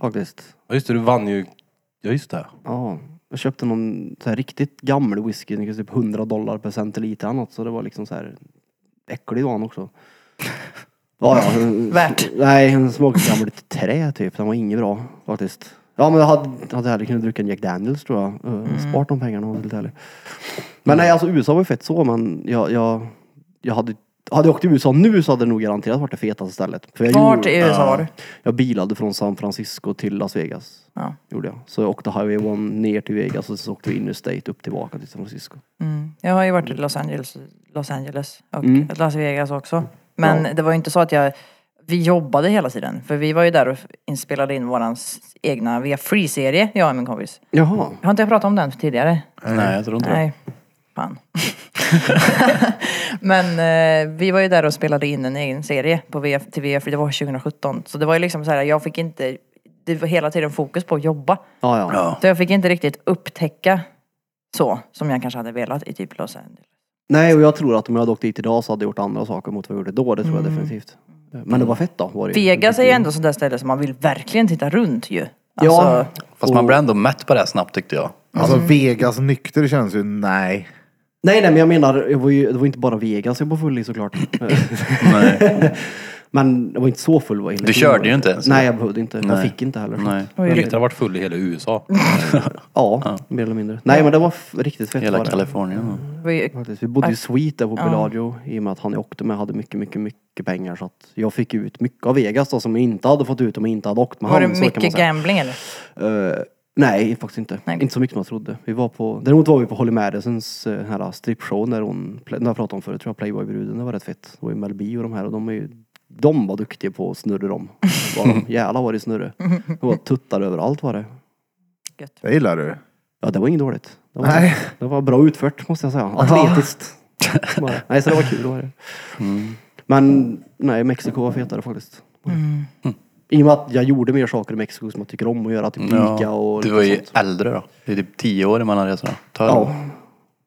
Speaker 4: Faktiskt.
Speaker 5: Ja just det, du vann ju... Ja just det.
Speaker 4: Ja. Jag köpte någon så här riktigt gammal whisky, den kostade typ 100 dollar per centiliter eller något, så det var liksom så här äcklig var han också. Ja, ja. en-
Speaker 2: Värt.
Speaker 4: Nej, den smakade gammalt trä typ. Den var inget bra faktiskt. Ja, men jag hade, hade hellre kunnat dricka en Jack Daniels tror jag. Eh, Spart de pengarna om jag var ärlig. Men nej, alltså USA var ju fett så, men jag, jag, jag hade hade jag åkt till USA nu så hade det nog garanterat varit det fetaste stället. För jag
Speaker 2: Vart
Speaker 4: gjorde-
Speaker 2: i USA var du?
Speaker 4: jag bilade från San Francisco till Las Vegas.
Speaker 2: Ja.
Speaker 4: Gjorde jag. Så jag åkte Highway 1 ner till Vegas och så åkte vi interstate upp tillbaka till San Francisco.
Speaker 2: Jag har ju varit i Los Angeles, Los Angeles och
Speaker 1: Mm.
Speaker 2: Las Vegas också. Men det var ju inte så att jag, vi jobbade hela tiden. För vi var ju där och inspelade in våran s- egna via Free-serie, jag och min kompis.
Speaker 4: Jaha.
Speaker 2: Har inte jag pratat om den tidigare?
Speaker 6: Nej, jag tror inte det.
Speaker 2: Nej, fan. Men eh, vi var ju där och spelade in en egen serie på VF, till VF, det var 2017. Så det var ju liksom så här, jag fick inte, det var hela tiden fokus på att jobba.
Speaker 4: Ja, ja.
Speaker 6: Ja.
Speaker 2: Så jag fick inte riktigt upptäcka så, som jag kanske hade velat i typ Los Angeles.
Speaker 4: Nej, och jag tror att om jag hade åkt dit idag så hade jag gjort andra saker mot vad jag gjorde då. Det tror jag definitivt. Men det var fett då. Var det ju.
Speaker 2: Mm. Vegas är ju ändå sånt där ställe som man vill verkligen titta runt ju. Alltså,
Speaker 4: Ja.
Speaker 6: Fast man blir ändå mätt på det här snabbt tyckte jag.
Speaker 1: Alltså Vegas nykter känns ju, nej.
Speaker 4: Nej, nej, men jag menar, jag var ju, det var inte bara Vegas jag var full i såklart. Eh,
Speaker 6: Nej.
Speaker 4: men jag var inte så full. Var jag hela
Speaker 6: Du
Speaker 4: tiden.
Speaker 6: körde ju inte ens.
Speaker 4: Nej, jag behövde inte. Jag
Speaker 6: Nej.
Speaker 4: fick inte heller.
Speaker 6: Nej.
Speaker 2: det var ju
Speaker 5: Peter
Speaker 2: lite-
Speaker 5: har varit full i hela USA.
Speaker 4: Ja, mer eller mindre. Nej, men det var f- riktigt fett.
Speaker 6: Hela
Speaker 4: var det. Mm.
Speaker 6: Kalifornien.
Speaker 2: det var ju-
Speaker 4: Faktiskt. Vi bodde i suite där på Bellagio i och med att han jag åkte med hade mycket, mycket, mycket pengar. Så att jag fick ut mycket av Vegas då, som jag inte hade fått ut om jag inte hade åkt med
Speaker 2: Var det
Speaker 4: han. så kan man
Speaker 2: mycket
Speaker 4: säga.
Speaker 2: gambling eller?
Speaker 4: Eh, nej, faktiskt inte.
Speaker 2: Nej.
Speaker 4: Inte så mycket som jag trodde. Vi var på, däremot var vi på Holly Madisons uh, här strippshow när hon, pla- när jag pratade om förut, tror jag, Playboy-bruden. Det var rätt fett. Det var ju Mel B och de här och de är ju de var duktiga på att snurra dem. Var de. Jävlar var det snurre. Det var tuttar överallt var det.
Speaker 2: Gött.
Speaker 1: Det gillar du.
Speaker 4: Ja, det var inget dåligt. Det var,
Speaker 1: Nej.
Speaker 4: det var bra utfört måste jag säga. Atletiskt. Bara. nej, så det var kul. det Var det.
Speaker 6: Mm.
Speaker 4: Men nej, Mexiko var fetare faktiskt.
Speaker 6: Mm.
Speaker 4: I och med att jag gjorde mer saker i Mexiko som jag tycker om att göra, typ dyka och
Speaker 6: Du var ju
Speaker 4: sånt.
Speaker 6: äldre då. Det är typ 10 år mellan resorna. 12,
Speaker 4: Ja.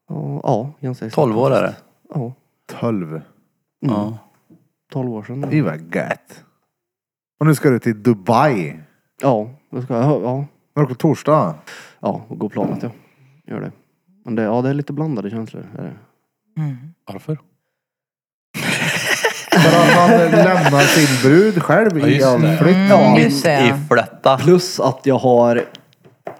Speaker 4: Ja, ja ganska exakt.
Speaker 6: 12 år är det.
Speaker 4: Ja,
Speaker 1: 12.
Speaker 4: Mm.
Speaker 6: Ja.
Speaker 4: 12 år sedan.
Speaker 1: Det var gött. Och nu ska du till Dubai.
Speaker 4: Ja, jag ska, ja, ja,
Speaker 1: Några torsdag.
Speaker 4: ja, och gå planet ja. Gör det. Men det, ja, det är lite blandade känslor. Är det.
Speaker 5: Varför?
Speaker 1: För att han lämnar sin brud själv
Speaker 5: Ja,
Speaker 1: i
Speaker 5: just
Speaker 1: all
Speaker 5: det.
Speaker 1: flytt.
Speaker 2: Ja, just
Speaker 6: Mitt i
Speaker 2: det.
Speaker 6: flätta.
Speaker 4: Plus att jag har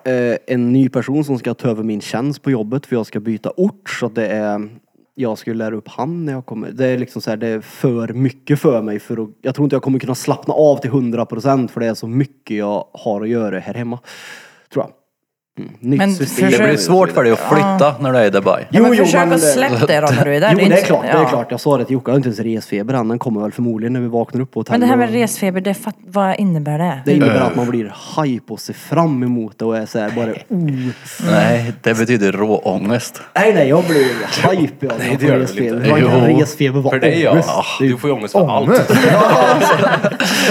Speaker 4: eh, en ny person som ska ta över min tjänst på jobbet för jag ska byta ort. Så att det är, jag ska ju lära upp han när jag kommer. Det är liksom så här, det är för mycket för mig. För att, jag tror inte jag kommer kunna slappna av till 100% för det är så mycket jag har att göra här hemma. Tror jag. Mm. Nytt
Speaker 2: Men
Speaker 4: system.
Speaker 6: Det
Speaker 2: försök-
Speaker 6: blir svårt för dig att flytta när du är i Dubai.
Speaker 2: Ja, men
Speaker 4: Jo, jo,
Speaker 2: försök
Speaker 4: men
Speaker 2: att
Speaker 4: det-
Speaker 2: släppa det då när du är där.
Speaker 4: Jo,
Speaker 2: inte
Speaker 4: det är
Speaker 2: så-
Speaker 4: klart, det
Speaker 2: ja.
Speaker 4: är klart. Jag sa det till Jocke, jag har inte ens resfeber än. Den kommer väl förmodligen när vi vaknar upp på hotellet.
Speaker 2: Men det här med
Speaker 4: och-
Speaker 2: resfeber, det, fatt- vad innebär det?
Speaker 4: Det innebär att man blir hype och ser fram emot det och är såhär bara oh.
Speaker 6: Nej, det betyder råångest.
Speaker 4: Nej nej, jag blir hype jag. Nej,
Speaker 5: det gör du
Speaker 4: resfeber.
Speaker 5: väl
Speaker 4: Vad
Speaker 6: inte?
Speaker 4: kan
Speaker 6: Jo.
Speaker 4: resfeber vara?
Speaker 5: För dig ja. Ah,
Speaker 4: Ångest.
Speaker 5: Du får ju ångest för allt.
Speaker 1: Ångest.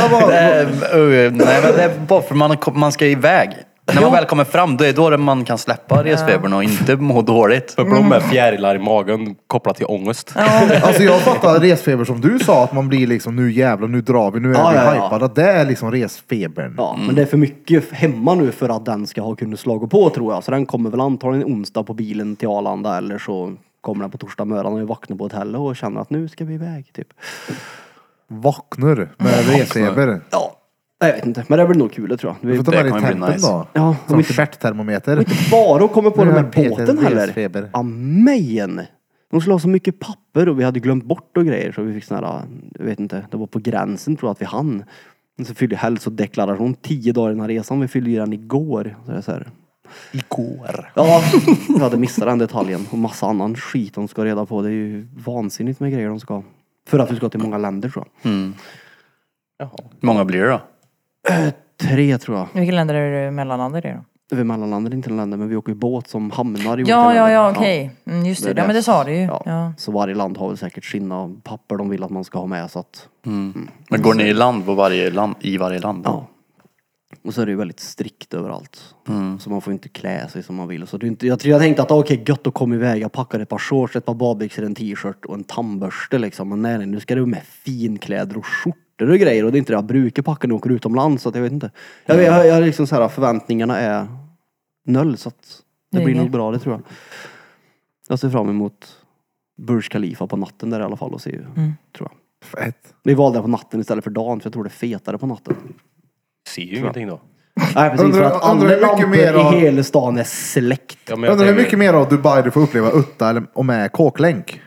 Speaker 1: Vad var-
Speaker 6: Eh, eh, Nej, men det är bara för man, kom- man ska iväg. När man väl kommer fram, då är då det man kan släppa resfebern och inte må dåligt.
Speaker 5: För Blom
Speaker 4: Mm.
Speaker 5: är fjärilar i magen kopplat till ångest.
Speaker 1: Alltså jag fattar resfeber som du sa, att man blir liksom nu jävlar, nu drar vi, nu är
Speaker 4: Ja,
Speaker 1: vi
Speaker 4: ja, ja.
Speaker 1: hypade. Att Det är liksom resfebern.
Speaker 4: Ja,
Speaker 5: Mm.
Speaker 4: men det är för mycket hemma nu för att den ska ha kunnat slå på tror jag. Så den kommer väl antagligen onsdag på bilen till Arlanda eller så kommer den på torsdag morgon när vi vaknar på hotellet och känner att nu ska vi iväg typ.
Speaker 1: Vaknar med resfeber.
Speaker 4: Ja, jag vet inte. Men det blir nog kul det tror jag.
Speaker 1: Du får
Speaker 4: Vi,
Speaker 1: ta med
Speaker 6: Det
Speaker 1: dig
Speaker 6: kommer bli
Speaker 1: tempen
Speaker 6: nice.
Speaker 1: då.
Speaker 4: Ja,
Speaker 1: Som
Speaker 4: om inte-
Speaker 1: stjärttermometer.
Speaker 4: bara att komma på
Speaker 1: Nu
Speaker 4: den här
Speaker 1: har Peter
Speaker 4: båten heller.
Speaker 1: resfeber.
Speaker 4: Amen! De skulle ha så mycket papper och vi hade glömt bort och grejer så vi fick såna här, jag vet inte, det var på gränsen tror jag att vi hann. Men så fyllde jag hälsodeklaration tio dagar innan resan. Vi fyllde ju den igår. Så jag så här.
Speaker 5: Igår.
Speaker 4: Ja, jag hade missat den detaljen. Och massa annan skit de ska reda på. Det är ju vansinnigt med grejer de ska. För att vi ska till många länder tror jag.
Speaker 6: Hur många blir det då?
Speaker 4: Tre tror jag.
Speaker 2: Vilka länder är det mellanlandar i då?
Speaker 4: Vi mellanlandar inte länder men vi åker ju båt som hamnar i olika
Speaker 2: Ja, ja,
Speaker 4: länder.
Speaker 2: ja, okej. Mm, just det. Ja, men det sa du ju.
Speaker 4: Ja.
Speaker 2: Ja.
Speaker 4: Så varje land har väl säkert sina papper de vill att man ska ha med så att
Speaker 6: Mm. Men går ni i land, på varje land i varje land?
Speaker 4: Ja. Och så är det ju väldigt strikt överallt. Så man får inte klä sig som man vill. Så det är inte, jag, tror- jag tänkte att ah, okej, gött att komma iväg. Jag packar ett par shorts, ett par badbyxor, en t-shirt och en tandborste liksom. Men nej, nej, nu ska du med finkläder och skjortor och grejer. Och det är inte det jag brukar packa när jag åker utomlands. Så att jag vet inte. Jag, jag, jag liksom så här, förväntningarna är noll. Så att det
Speaker 2: Det
Speaker 4: blir
Speaker 2: är
Speaker 4: nog
Speaker 2: det.
Speaker 4: bra, det tror jag. Jag ser fram emot Burj Khalifa på natten där i alla fall och se ju, tror jag.
Speaker 1: Fett.
Speaker 4: Vi valde det på natten istället för dagen för jag tror det är fetare på natten.
Speaker 5: Ser ju ingenting då.
Speaker 4: Nej precis,
Speaker 1: Undrar-
Speaker 4: för att
Speaker 1: undrar
Speaker 4: alla
Speaker 1: hur mycket
Speaker 4: lampor
Speaker 1: mer av-
Speaker 4: i hela stan är släckt.
Speaker 5: Ja, men jag
Speaker 1: Undrar hur
Speaker 5: tänker-
Speaker 1: mycket mer av Dubai du får uppleva utta eller, och med kåklänk.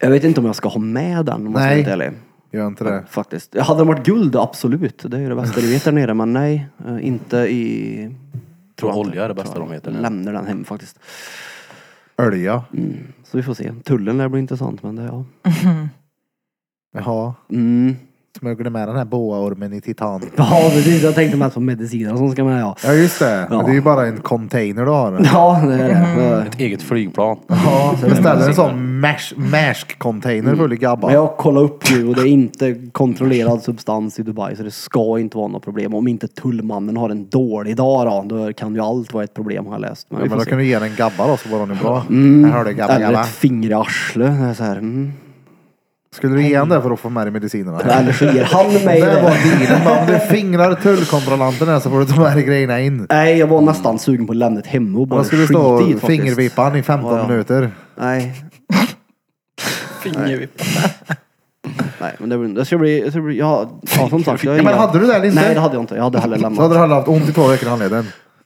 Speaker 4: Jag vet inte om jag ska ha med den om jag ska vara
Speaker 1: Nej.
Speaker 4: helt ärlig.
Speaker 1: Gör inte det.
Speaker 4: Faktiskt. Hade den varit guld, absolut. Det är ju det bästa du vet där nere. Men nej, eh, inte i...
Speaker 5: Tror
Speaker 4: jag inte.
Speaker 5: olja är det bästa
Speaker 4: Tror jag
Speaker 5: de heter
Speaker 4: inte.
Speaker 5: nu.
Speaker 4: Lämnar den hem faktiskt.
Speaker 1: Ölja.
Speaker 4: Mm. Så vi får se. Tullen lär bli intressant men det, ja.
Speaker 1: Jaha.
Speaker 4: Mm.
Speaker 1: Smög du med den här boaormen i titan?
Speaker 4: Ja precis, jag tänkte mest på mediciner som ska med ja.
Speaker 1: Ja just det.
Speaker 4: Ja.
Speaker 1: Men det är ju bara en container du har.
Speaker 4: Ja, det är det.
Speaker 5: Ett eget flygplan.
Speaker 4: Mm.
Speaker 1: Ja, beställer en sån mash- mash-container
Speaker 4: Mm.
Speaker 1: full i gabbar.
Speaker 4: Men jag kollade upp nu och det är inte kontrollerad substans i Dubai så det ska inte vara något problem. Om inte tullmannen har en dålig dag då, då kan ju allt vara ett problem har jag läst. Men
Speaker 1: Ja,
Speaker 4: vi
Speaker 1: men då
Speaker 4: får se.
Speaker 1: kan
Speaker 4: Mm.
Speaker 1: du ge den gabba då så var den ju bra. Här har du gabba
Speaker 4: Eller
Speaker 1: gabba.
Speaker 4: ett finger i arslet. Det är så här, mm.
Speaker 1: Skulle du ge den där för att få med dig medicinerna?
Speaker 4: Eller så ger han mig
Speaker 1: Det
Speaker 4: det.
Speaker 1: var dealen. Men Om du fingrar tullkontrollanten här så får du ta med dig grejerna in.
Speaker 4: Nej, jag var nästan sugen på att lämna ett hem och bara
Speaker 1: Då skulle du
Speaker 4: skita
Speaker 1: stå
Speaker 4: i det
Speaker 1: och
Speaker 4: faktiskt.
Speaker 1: fingervippa han i 15
Speaker 4: Ja, ja.
Speaker 1: minuter.
Speaker 4: Nej. Fingervipp. Nej, men det, blir- det ska bli... Det ska bli ja, ja, som sagt. Jag har
Speaker 1: Ja, men
Speaker 4: inga-
Speaker 1: hade du det eller inte?
Speaker 4: Nej, det hade jag inte. Jag hade heller
Speaker 1: Så hade
Speaker 4: lämnat.
Speaker 1: han haft ont i två veckor i handleden.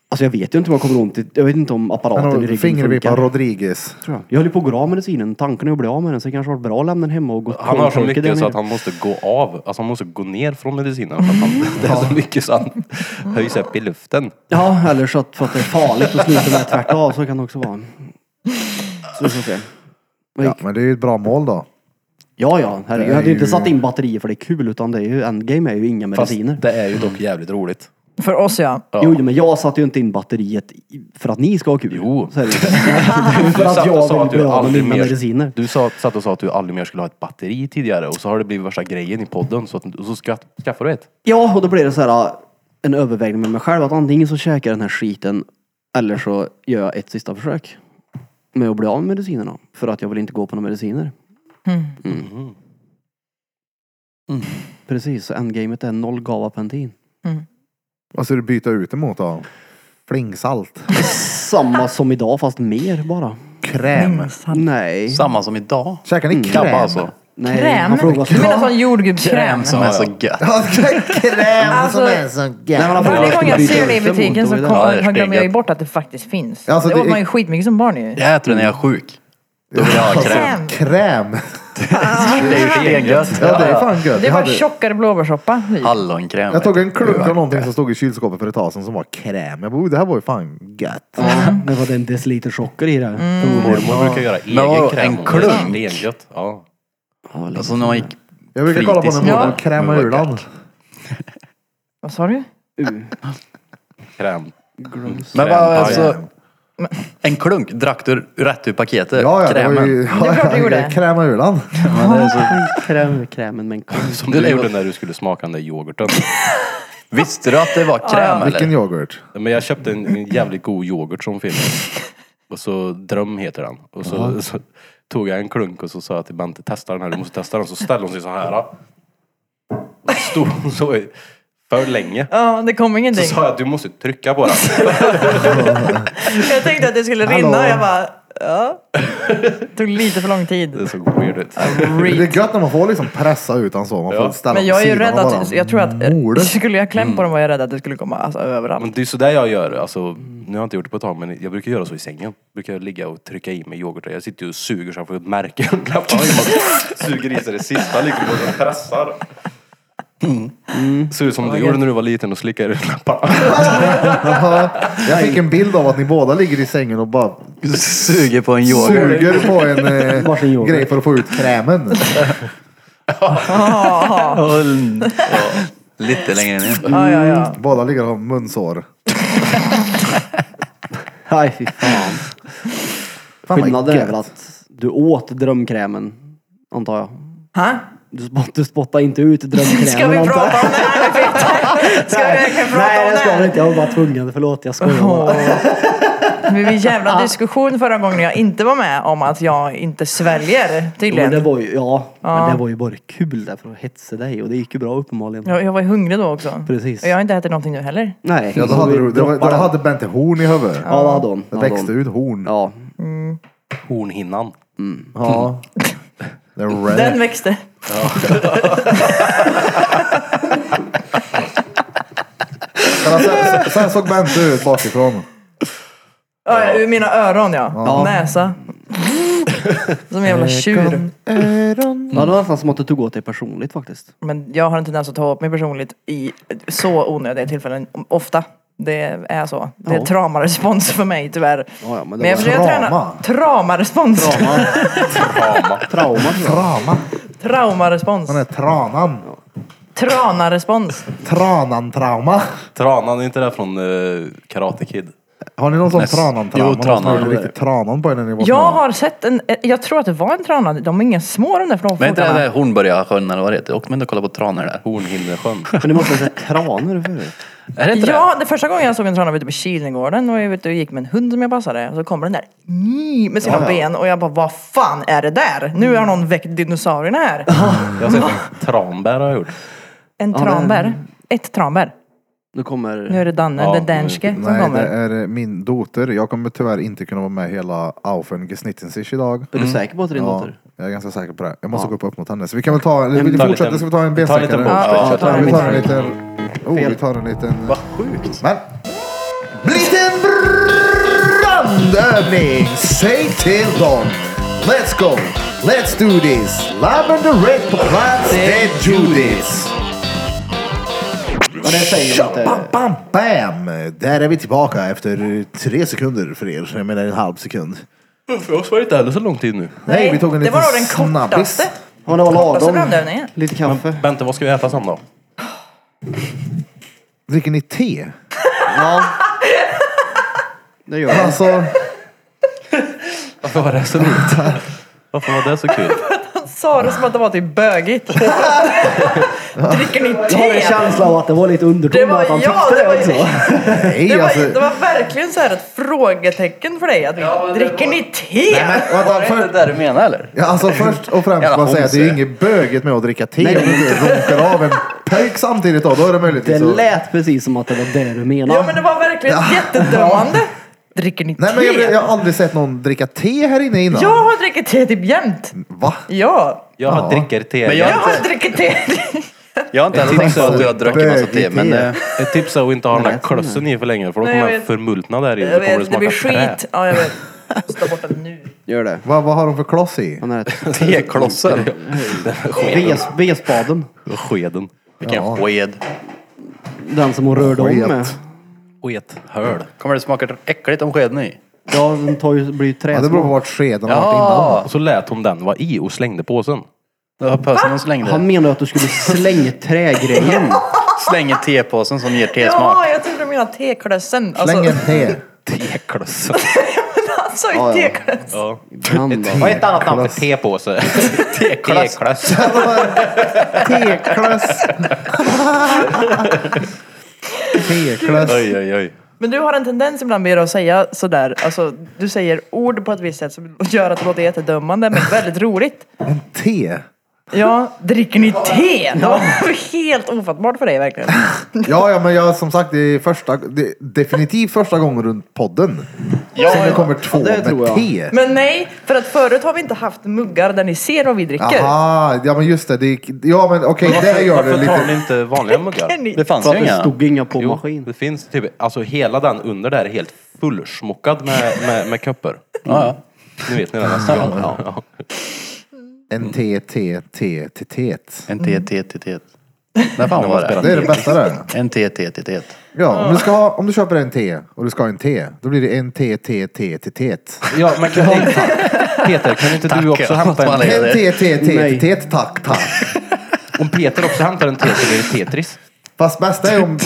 Speaker 4: Alltså jag vet ju inte om jag kommer ont i... Jag vet inte om apparaten i
Speaker 1: Han
Speaker 4: ryggen
Speaker 1: fingervippar
Speaker 4: funkar.
Speaker 1: Rodriguez.
Speaker 4: tror jag. Jag höll ju på att gå av medicinen. Tanken är att bli av med den. Så det kanske var bra att lämna den hemma och gå
Speaker 5: Han har så
Speaker 4: kolvtorka den
Speaker 5: mycket så
Speaker 4: ner.
Speaker 5: att han måste gå av. Alltså han måste gå ner från medicinen. För att han,
Speaker 4: Mm.
Speaker 5: det är så mycket så han höjs upp i luften.
Speaker 4: Ja, eller så att, för att det är farligt att sluta med tvärt av. Så kan det också vara. Så vi får se. Men-
Speaker 1: Ja, men det är ju ett bra mål då.
Speaker 4: Ja, ja. Herre,
Speaker 1: Det är
Speaker 4: jag hade ju inte
Speaker 1: ju-
Speaker 4: satt in batterier för det är kul utan det är ju, endgame är ju inga
Speaker 5: Fast
Speaker 4: mediciner.
Speaker 5: det är ju dock jävligt roligt.
Speaker 2: För oss ja.
Speaker 5: Ja.
Speaker 4: Jo, jo, men jag satte ju inte in batteriet i- för att ni ska ha kul.
Speaker 5: Jo.
Speaker 4: Så är det ju. för att
Speaker 5: satt och
Speaker 4: jag
Speaker 5: sa
Speaker 4: vill
Speaker 5: att du
Speaker 4: bli av med
Speaker 5: aldrig
Speaker 4: mina
Speaker 5: mer-
Speaker 4: mediciner.
Speaker 5: Du sa, satt och sa att du aldrig mer skulle ha ett batteri tidigare och så har det blivit värsta grejen i podden så, att, och så ska, skaffar du ett.
Speaker 4: Ja, och då blir det så här äh, en övervägning med mig själv att antingen så käkar jag den här skiten eller så gör jag ett sista försök med att bli av med medicinerna. För att jag vill inte gå på några mediciner. Mm. Precis, så endgamet är noll gavapentin.
Speaker 1: Vad ska du byta ut emot då? Flingsalt.
Speaker 4: Samma som idag fast mer bara.
Speaker 1: Kräm.
Speaker 4: Nej.
Speaker 6: Samma som idag.
Speaker 1: Käkar ni kräm?
Speaker 6: Gabba alltså.
Speaker 4: Nej,
Speaker 2: Kräm?
Speaker 4: Han frågar vad
Speaker 2: Du menar sån jordgubbskräm?
Speaker 6: Som är så gött.
Speaker 1: kräm
Speaker 2: Alltså,
Speaker 4: Nej, men alltså, han frågar
Speaker 2: Varje gång jag
Speaker 4: skulle byta
Speaker 2: ser det i
Speaker 4: ut dem
Speaker 2: butiken
Speaker 4: mot
Speaker 2: så
Speaker 4: dem
Speaker 2: kom,
Speaker 4: idag.
Speaker 6: Ja, det är
Speaker 2: jag glömmer jag ju
Speaker 6: steget.
Speaker 2: bort att det faktiskt finns.
Speaker 1: Alltså,
Speaker 2: det
Speaker 1: det
Speaker 2: åt
Speaker 1: är-
Speaker 2: man ju skitmycket som barn ju.
Speaker 6: Jag äter den när jag är sjuk. Då vill jag ha kräm.
Speaker 2: Kräm.
Speaker 1: Kräm.
Speaker 6: Det är ju stengött.
Speaker 1: Ja, det är fan gött.
Speaker 2: Det
Speaker 1: Jag
Speaker 2: var
Speaker 1: hade-
Speaker 2: tjockare blåbärssoppa. typ.
Speaker 6: Hallonkräm.
Speaker 1: Jag tog en klunk av någonting som stod i kylskåpet för ett tag sedan som var kräm. Jag bara, "Oh, det här var ju fan gött.
Speaker 4: Ja, det var en deciliter socker i det. Mm.
Speaker 5: Mormor brukar göra egen
Speaker 6: vadå,
Speaker 5: kräm.
Speaker 6: en
Speaker 5: och det är
Speaker 6: klunk?
Speaker 5: Stengött. Ja.
Speaker 6: Alltså när man gick...
Speaker 1: Jag brukar kolla på
Speaker 6: Fritids-
Speaker 1: när mormor
Speaker 6: Ja.
Speaker 1: krämar
Speaker 6: Men
Speaker 1: ur
Speaker 6: vad
Speaker 1: den.
Speaker 2: Vad sa du?
Speaker 5: Kräm.
Speaker 6: Men vad,
Speaker 5: Krämpaj.
Speaker 6: alltså... En klunk drack du rätt ur paketet?
Speaker 1: Ja, ja, det var
Speaker 6: Krämen.
Speaker 1: ju...
Speaker 2: Det är klart du
Speaker 1: jag
Speaker 2: gjorde.
Speaker 1: Krämar ur den.
Speaker 4: Kräm, krämen med en kung.
Speaker 5: Som du gjorde när du skulle smaka den där yoghurten.
Speaker 6: Visste du att det var kräm
Speaker 1: Vilken
Speaker 6: eller?
Speaker 1: yoghurt?
Speaker 5: Nej, Men jag köpte en, en jävligt god yoghurt som finns. Och så Dröm heter den. Och så, så tog jag en klunk och så sa jag till Bente, testa den här, du måste testa den. Så ställde hon sig så här. då. Och så Stod hon så i- för länge.
Speaker 2: Ja, det kom
Speaker 5: Så
Speaker 2: ingenting.
Speaker 5: sa jag, du måste trycka på den.
Speaker 2: Jag tänkte att det skulle rinna och jag bara, ja. Det tog lite för lång
Speaker 5: Det
Speaker 2: tid.
Speaker 5: såg weird ut.
Speaker 1: Det är gött när man får liksom pressa ut den så. Man får ställa
Speaker 2: Men
Speaker 1: på
Speaker 2: jag är ju
Speaker 1: sidan
Speaker 2: rädd
Speaker 1: och bara
Speaker 2: att, jag tror att,
Speaker 1: morde.
Speaker 2: skulle jag kläm på den var jag rädd att det skulle komma alltså, överallt.
Speaker 5: Men det är sådär jag gör. Alltså,
Speaker 6: Mm.
Speaker 5: nu har jag inte gjort det på ett tag, men jag brukar göra så i sängen. Brukar jag ligga och trycka i mig yoghurt. Jag sitter ju och suger så jag får ett märke under läpparna. Man Suger i sig det sista liksom och pressar.
Speaker 6: Mm.
Speaker 5: Ser ut som du gjorde när du var liten och slickade i läpparna.
Speaker 1: Jag fick en bild av att ni båda ligger i sängen och bara
Speaker 6: Suger på en yoghurt.
Speaker 1: suger på en
Speaker 4: Varsin
Speaker 1: eh,
Speaker 4: yoghurt.
Speaker 1: grej för att få ut krämen.
Speaker 6: Ja, Lite längre ner.
Speaker 2: Ja, ja, ja.
Speaker 1: Båda ligger och har munsår.
Speaker 4: Nej, fy fan.
Speaker 1: Fan, vad
Speaker 4: Skillnaden är
Speaker 1: gött.
Speaker 4: väl att du åt drömkrämen, antar jag.
Speaker 2: Ha?
Speaker 4: Du, spott, du spottade inte ut drömkrämen
Speaker 2: Ska vi
Speaker 4: antar
Speaker 2: prata om det här Peter? Ska vi verkligen prata
Speaker 4: Nej,
Speaker 2: om
Speaker 4: det
Speaker 2: det
Speaker 4: ska vi
Speaker 2: här?
Speaker 4: inte. Jag var bara tvungen. Förlåt, jag skojar bara.
Speaker 2: Åh. Det blev en jävla diskussion förra gången jag inte var med om att jag inte sväljer
Speaker 4: Jo, men
Speaker 2: tydligen.
Speaker 4: det var ju, ja, men det var ju bara kul där för att hetsa dig och det gick ju bra uppenbarligen.
Speaker 2: Jag, jag var ju hungrig då också.
Speaker 4: Precis.
Speaker 2: Och jag har inte ätit någonting nu heller.
Speaker 4: Nej.
Speaker 1: Ja, då
Speaker 4: så
Speaker 1: hade,
Speaker 4: vi
Speaker 1: du, det var, då
Speaker 4: droppar den.
Speaker 1: hade Bente horn i huvudet.
Speaker 4: Ja, det hade hon.
Speaker 1: Det
Speaker 4: hade
Speaker 1: växte
Speaker 4: hon.
Speaker 1: ut horn.
Speaker 4: Ja.
Speaker 2: Mm.
Speaker 5: Hornhinnan.
Speaker 1: Ja. Det är red.
Speaker 2: Den växte.
Speaker 1: Men sen, sen såg Bente ut bakifrån.
Speaker 2: Ja. Ur mina öron ja. Näsa. Som en
Speaker 4: Eh,
Speaker 2: jävla tjur.
Speaker 4: ja, det var nästan som att du tog åt dig personligt faktiskt.
Speaker 2: Men jag har en tendens att ta upp mig personligt i så onödiga tillfällen. Ofta. Det är så. Det är
Speaker 4: Ja.
Speaker 2: traumarespons för mig tyvärr.
Speaker 4: Ja, ja, men det
Speaker 2: Men jag
Speaker 4: var-
Speaker 2: försöker träna.
Speaker 1: Trauma.
Speaker 2: Traumarespons.
Speaker 4: Trauma tror jag.
Speaker 1: Trama.
Speaker 2: Traumarespons.
Speaker 1: Han är tranan.
Speaker 2: Tranarespons.
Speaker 1: Tranan-trauma.
Speaker 5: Tranan, är inte det från eh, Karate Kid?
Speaker 1: Har ni någon sån
Speaker 6: Nej,
Speaker 1: tranan-trauma?
Speaker 6: jo,
Speaker 1: Någon som
Speaker 6: tranan.
Speaker 1: gjorde riktigt tranan på er när ni var
Speaker 2: Jag
Speaker 1: små?
Speaker 2: har sett en, eh, jag tror att det var en trana. De är inga små de där
Speaker 6: Men inte det
Speaker 2: flåfåglarna.
Speaker 6: där Hornborgasjön eller vad det heter? Åk med och kolla på tranor där.
Speaker 5: Hornhinnesjön.
Speaker 4: Men du måste ha sett tranor förut.
Speaker 6: Är det inte
Speaker 2: Ja, det första gången jag såg en trana var ute på Kilengården och jag ute och gick med en hund som jag passade. Och så kommer den där "Nj", med sina ben och jag bara, vad fan är det där? Nu har någon väckt dinosaurierna här.
Speaker 5: Jag har sett en tranbär har jag gjort.
Speaker 2: En tranbär. Ett tranbär.
Speaker 4: Nu kommer...
Speaker 2: Nu är det Danne,
Speaker 5: Ja,
Speaker 2: den danske, som
Speaker 1: Nej, det
Speaker 2: kommer.
Speaker 1: är min doter. Jag kommer tyvärr inte kunna vara med hela Aufen Gesnittensich idag.
Speaker 6: Mm.
Speaker 4: Är du säker på att det är din dotter?
Speaker 1: jag är ganska säker på det. Jag måste gå upp och öppna henne. Så vi kan väl ta, eller vill vi
Speaker 5: Ta
Speaker 1: fortsätta?
Speaker 5: lite-
Speaker 1: Ska vi ta en
Speaker 5: ta lite
Speaker 1: bensträckare?
Speaker 5: bonus.
Speaker 2: Ja, vi tar en
Speaker 1: vi tar en
Speaker 2: bonus.
Speaker 1: liten... Oh, vi tar en liten...
Speaker 6: Vad sjukt.
Speaker 1: Men... Liten brandövning! Säg till dem! Let's go! Let's do this! Lavender red på plats, they do this!
Speaker 4: Ja, det säger du
Speaker 1: Bam,
Speaker 4: inte.
Speaker 1: bam, bam! Där är vi tillbaka efter tre sekunder för er. Jag menar en halv sekund.
Speaker 5: För oss var det inte heller så lång tid nu.
Speaker 1: Nej, vi tog en
Speaker 2: det
Speaker 1: liten
Speaker 2: var nog den
Speaker 1: snabbis.
Speaker 2: kortaste.
Speaker 4: Ja, det var
Speaker 2: Kortaste
Speaker 4: lagom.
Speaker 2: brandövningen.
Speaker 4: Lite kaffe.
Speaker 5: Bente, vad ska vi äta sen då?
Speaker 1: Dricker ni te?
Speaker 4: Ja. Det gör jag.
Speaker 1: Alltså,
Speaker 5: Varför var det så roligt? Varför var det så kul?
Speaker 2: Sa det som att det var typ bögigt. Dricker ni
Speaker 4: Jag har en
Speaker 2: te?
Speaker 4: känsla av att det var lite
Speaker 2: Det
Speaker 4: underton med
Speaker 2: var-
Speaker 4: att han
Speaker 2: ja,
Speaker 4: tyckte
Speaker 2: det var-
Speaker 4: det också.
Speaker 1: nej
Speaker 2: Det
Speaker 1: alltså.
Speaker 2: var, det var verkligen så här ett frågetecken för dig. Att, dricker ni te?
Speaker 1: Vänta,
Speaker 6: Är det inte
Speaker 1: för,
Speaker 6: det du menar eller?
Speaker 1: ja, alltså först och främst
Speaker 6: Jävla
Speaker 1: bara säga att det är ju
Speaker 6: homse.
Speaker 1: inget böget med att dricka te om du inte runkar av en pöjk samtidigt då. Då är det
Speaker 4: Det
Speaker 1: möjligtvis så.
Speaker 4: lät precis som att det var det du menade.
Speaker 2: Ja men det var verkligen jättedömande. Dricker ni
Speaker 1: Nej men jag,
Speaker 2: te?
Speaker 1: jag har aldrig sett någon dricka te här inne innan.
Speaker 2: Jag har druckit te typ jämt.
Speaker 1: Va?
Speaker 2: Ja,
Speaker 5: Jag
Speaker 1: Ja.
Speaker 5: dricker te.
Speaker 6: Men
Speaker 2: jag
Speaker 6: jag-
Speaker 2: har druckit te.
Speaker 6: Jag har inte heller tänkt så att du har druckit massa te, men
Speaker 1: Bög i te.
Speaker 6: eh,
Speaker 5: Ett tips är att inte ha den där
Speaker 4: Nej, jag
Speaker 5: klössen i för länge för då
Speaker 2: Nej,
Speaker 5: kommer
Speaker 2: jag
Speaker 5: den
Speaker 2: vet.
Speaker 5: förmultna där i och
Speaker 2: Jag
Speaker 5: då kommer det
Speaker 2: vet, det
Speaker 5: smaka
Speaker 2: blir
Speaker 5: skit.
Speaker 2: skit. Ja jag vet. Måste bort den nu.
Speaker 4: Gör det.
Speaker 1: Vad vad har de för kloss i?
Speaker 4: Han är
Speaker 6: teklossen.
Speaker 4: Ves, vespaden.
Speaker 5: Skeden.
Speaker 6: Vilken sked.
Speaker 4: Den som hon rörde om
Speaker 1: Sket.
Speaker 4: med.
Speaker 5: Sket. Höl.
Speaker 6: Kommer det smaka äckligt om skeden är i?
Speaker 4: Ja, den tar ju, blir ju
Speaker 1: Ja, det beror på
Speaker 4: träsmak.
Speaker 1: vart skeden har varit innan.
Speaker 6: Ja,
Speaker 5: Och så lät hon den vara i och slängde påsen.
Speaker 6: då har pösen och slängde.
Speaker 4: Han
Speaker 6: Han
Speaker 4: menade att du skulle slänga trägrejen.
Speaker 6: slänger tepåsen som ger
Speaker 2: Ja,
Speaker 6: tesmak.
Speaker 2: jag trodde du menade teklössen. Alltså,
Speaker 1: Släng en te.
Speaker 5: Teklössen.
Speaker 2: alltså i teklöss.
Speaker 5: Ja.
Speaker 4: Ibland då.
Speaker 5: Vad är ett annat namn för tepåse? Teklöss.
Speaker 1: Teklöss. Teklöss.
Speaker 5: Oj, oj, oj.
Speaker 2: Men du har en tendens ibland med att säga sådär, alltså du säger ord på ett visst sätt som gör att det låter jättedömande men väldigt roligt.
Speaker 1: En te.
Speaker 2: Ja, dricker ni te? Det var helt ofattbart för dig verkligen.
Speaker 1: Ja, ja, men jag som sagt, det är första, det är definitivt första gången runt podden.
Speaker 6: Ja,
Speaker 1: Sen det
Speaker 6: ja.
Speaker 1: kommer två
Speaker 4: det tror
Speaker 1: med
Speaker 4: jag.
Speaker 1: te.
Speaker 2: Men nej, för att förut har vi inte haft muggar där ni ser vad vi dricker.
Speaker 1: Aha, ja men just det. det ja men okej, det gör det
Speaker 5: Varför tar
Speaker 1: lite.
Speaker 5: ni inte vanliga muggar?
Speaker 2: Dricker ni?
Speaker 6: Det fanns
Speaker 4: För
Speaker 6: ju
Speaker 4: att det
Speaker 6: inga.
Speaker 4: stod inga på
Speaker 5: Jo,
Speaker 4: maskin.
Speaker 5: det finns typ, alltså hela den under där är helt fullsmockad med, med, med kupper.
Speaker 6: Ja, ja.
Speaker 5: Nu vet ni det nästa gång. Ja.
Speaker 1: En te, te, te, te, te.
Speaker 6: En te, te, te, te. När fan var det?
Speaker 1: Det är det bästa där.
Speaker 6: En T, T, T, T.
Speaker 1: Ja, om du, ska ha, om du köper en T och du ska ha en T, då blir det en T, T, T, T, T.
Speaker 5: Ja, men kan, hej, Peter, kan inte
Speaker 6: Tack,
Speaker 5: du också
Speaker 6: ja.
Speaker 5: hämta
Speaker 6: Man
Speaker 5: en...
Speaker 6: är-
Speaker 1: En T, T, T,
Speaker 4: Nej.
Speaker 1: T, tack, tack.
Speaker 5: Om Peter också hämtar en te så blir det Tetris.
Speaker 1: Fast bästa är om,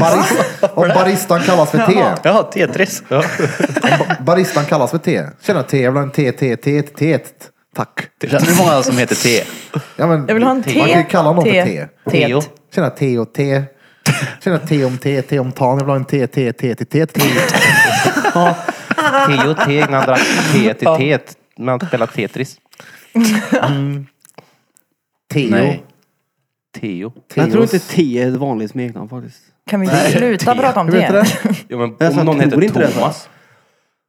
Speaker 1: barista, om baristan kallas för T.
Speaker 6: Jaha, Tetris.
Speaker 1: Baristan kallas för T. Tjena T, jag vill ha en T, T, T, T, T, tack.
Speaker 6: Hur många som heter T?
Speaker 1: Ja, men,
Speaker 2: Jag vill ha en T.
Speaker 1: Man kan ju kalla någon för T.
Speaker 2: T. T.
Speaker 1: Tjena T och T. Tjena T om T, T om tan. Jag vill ha en T, T, T, T, T, T.
Speaker 5: Teo och Teg när han drack te till teet. När han spelade Tetris.
Speaker 1: Teo.
Speaker 6: Nej.
Speaker 5: Teo.
Speaker 4: Jag tror inte T är ett vanligt smeknamn faktiskt.
Speaker 2: Kan vi sluta prata om
Speaker 1: Hur heter
Speaker 2: det?
Speaker 1: det?
Speaker 5: Ja, men
Speaker 4: Jag sa,
Speaker 5: om någon
Speaker 4: tror inte det,
Speaker 5: heter
Speaker 4: sa jag.
Speaker 5: Thomas.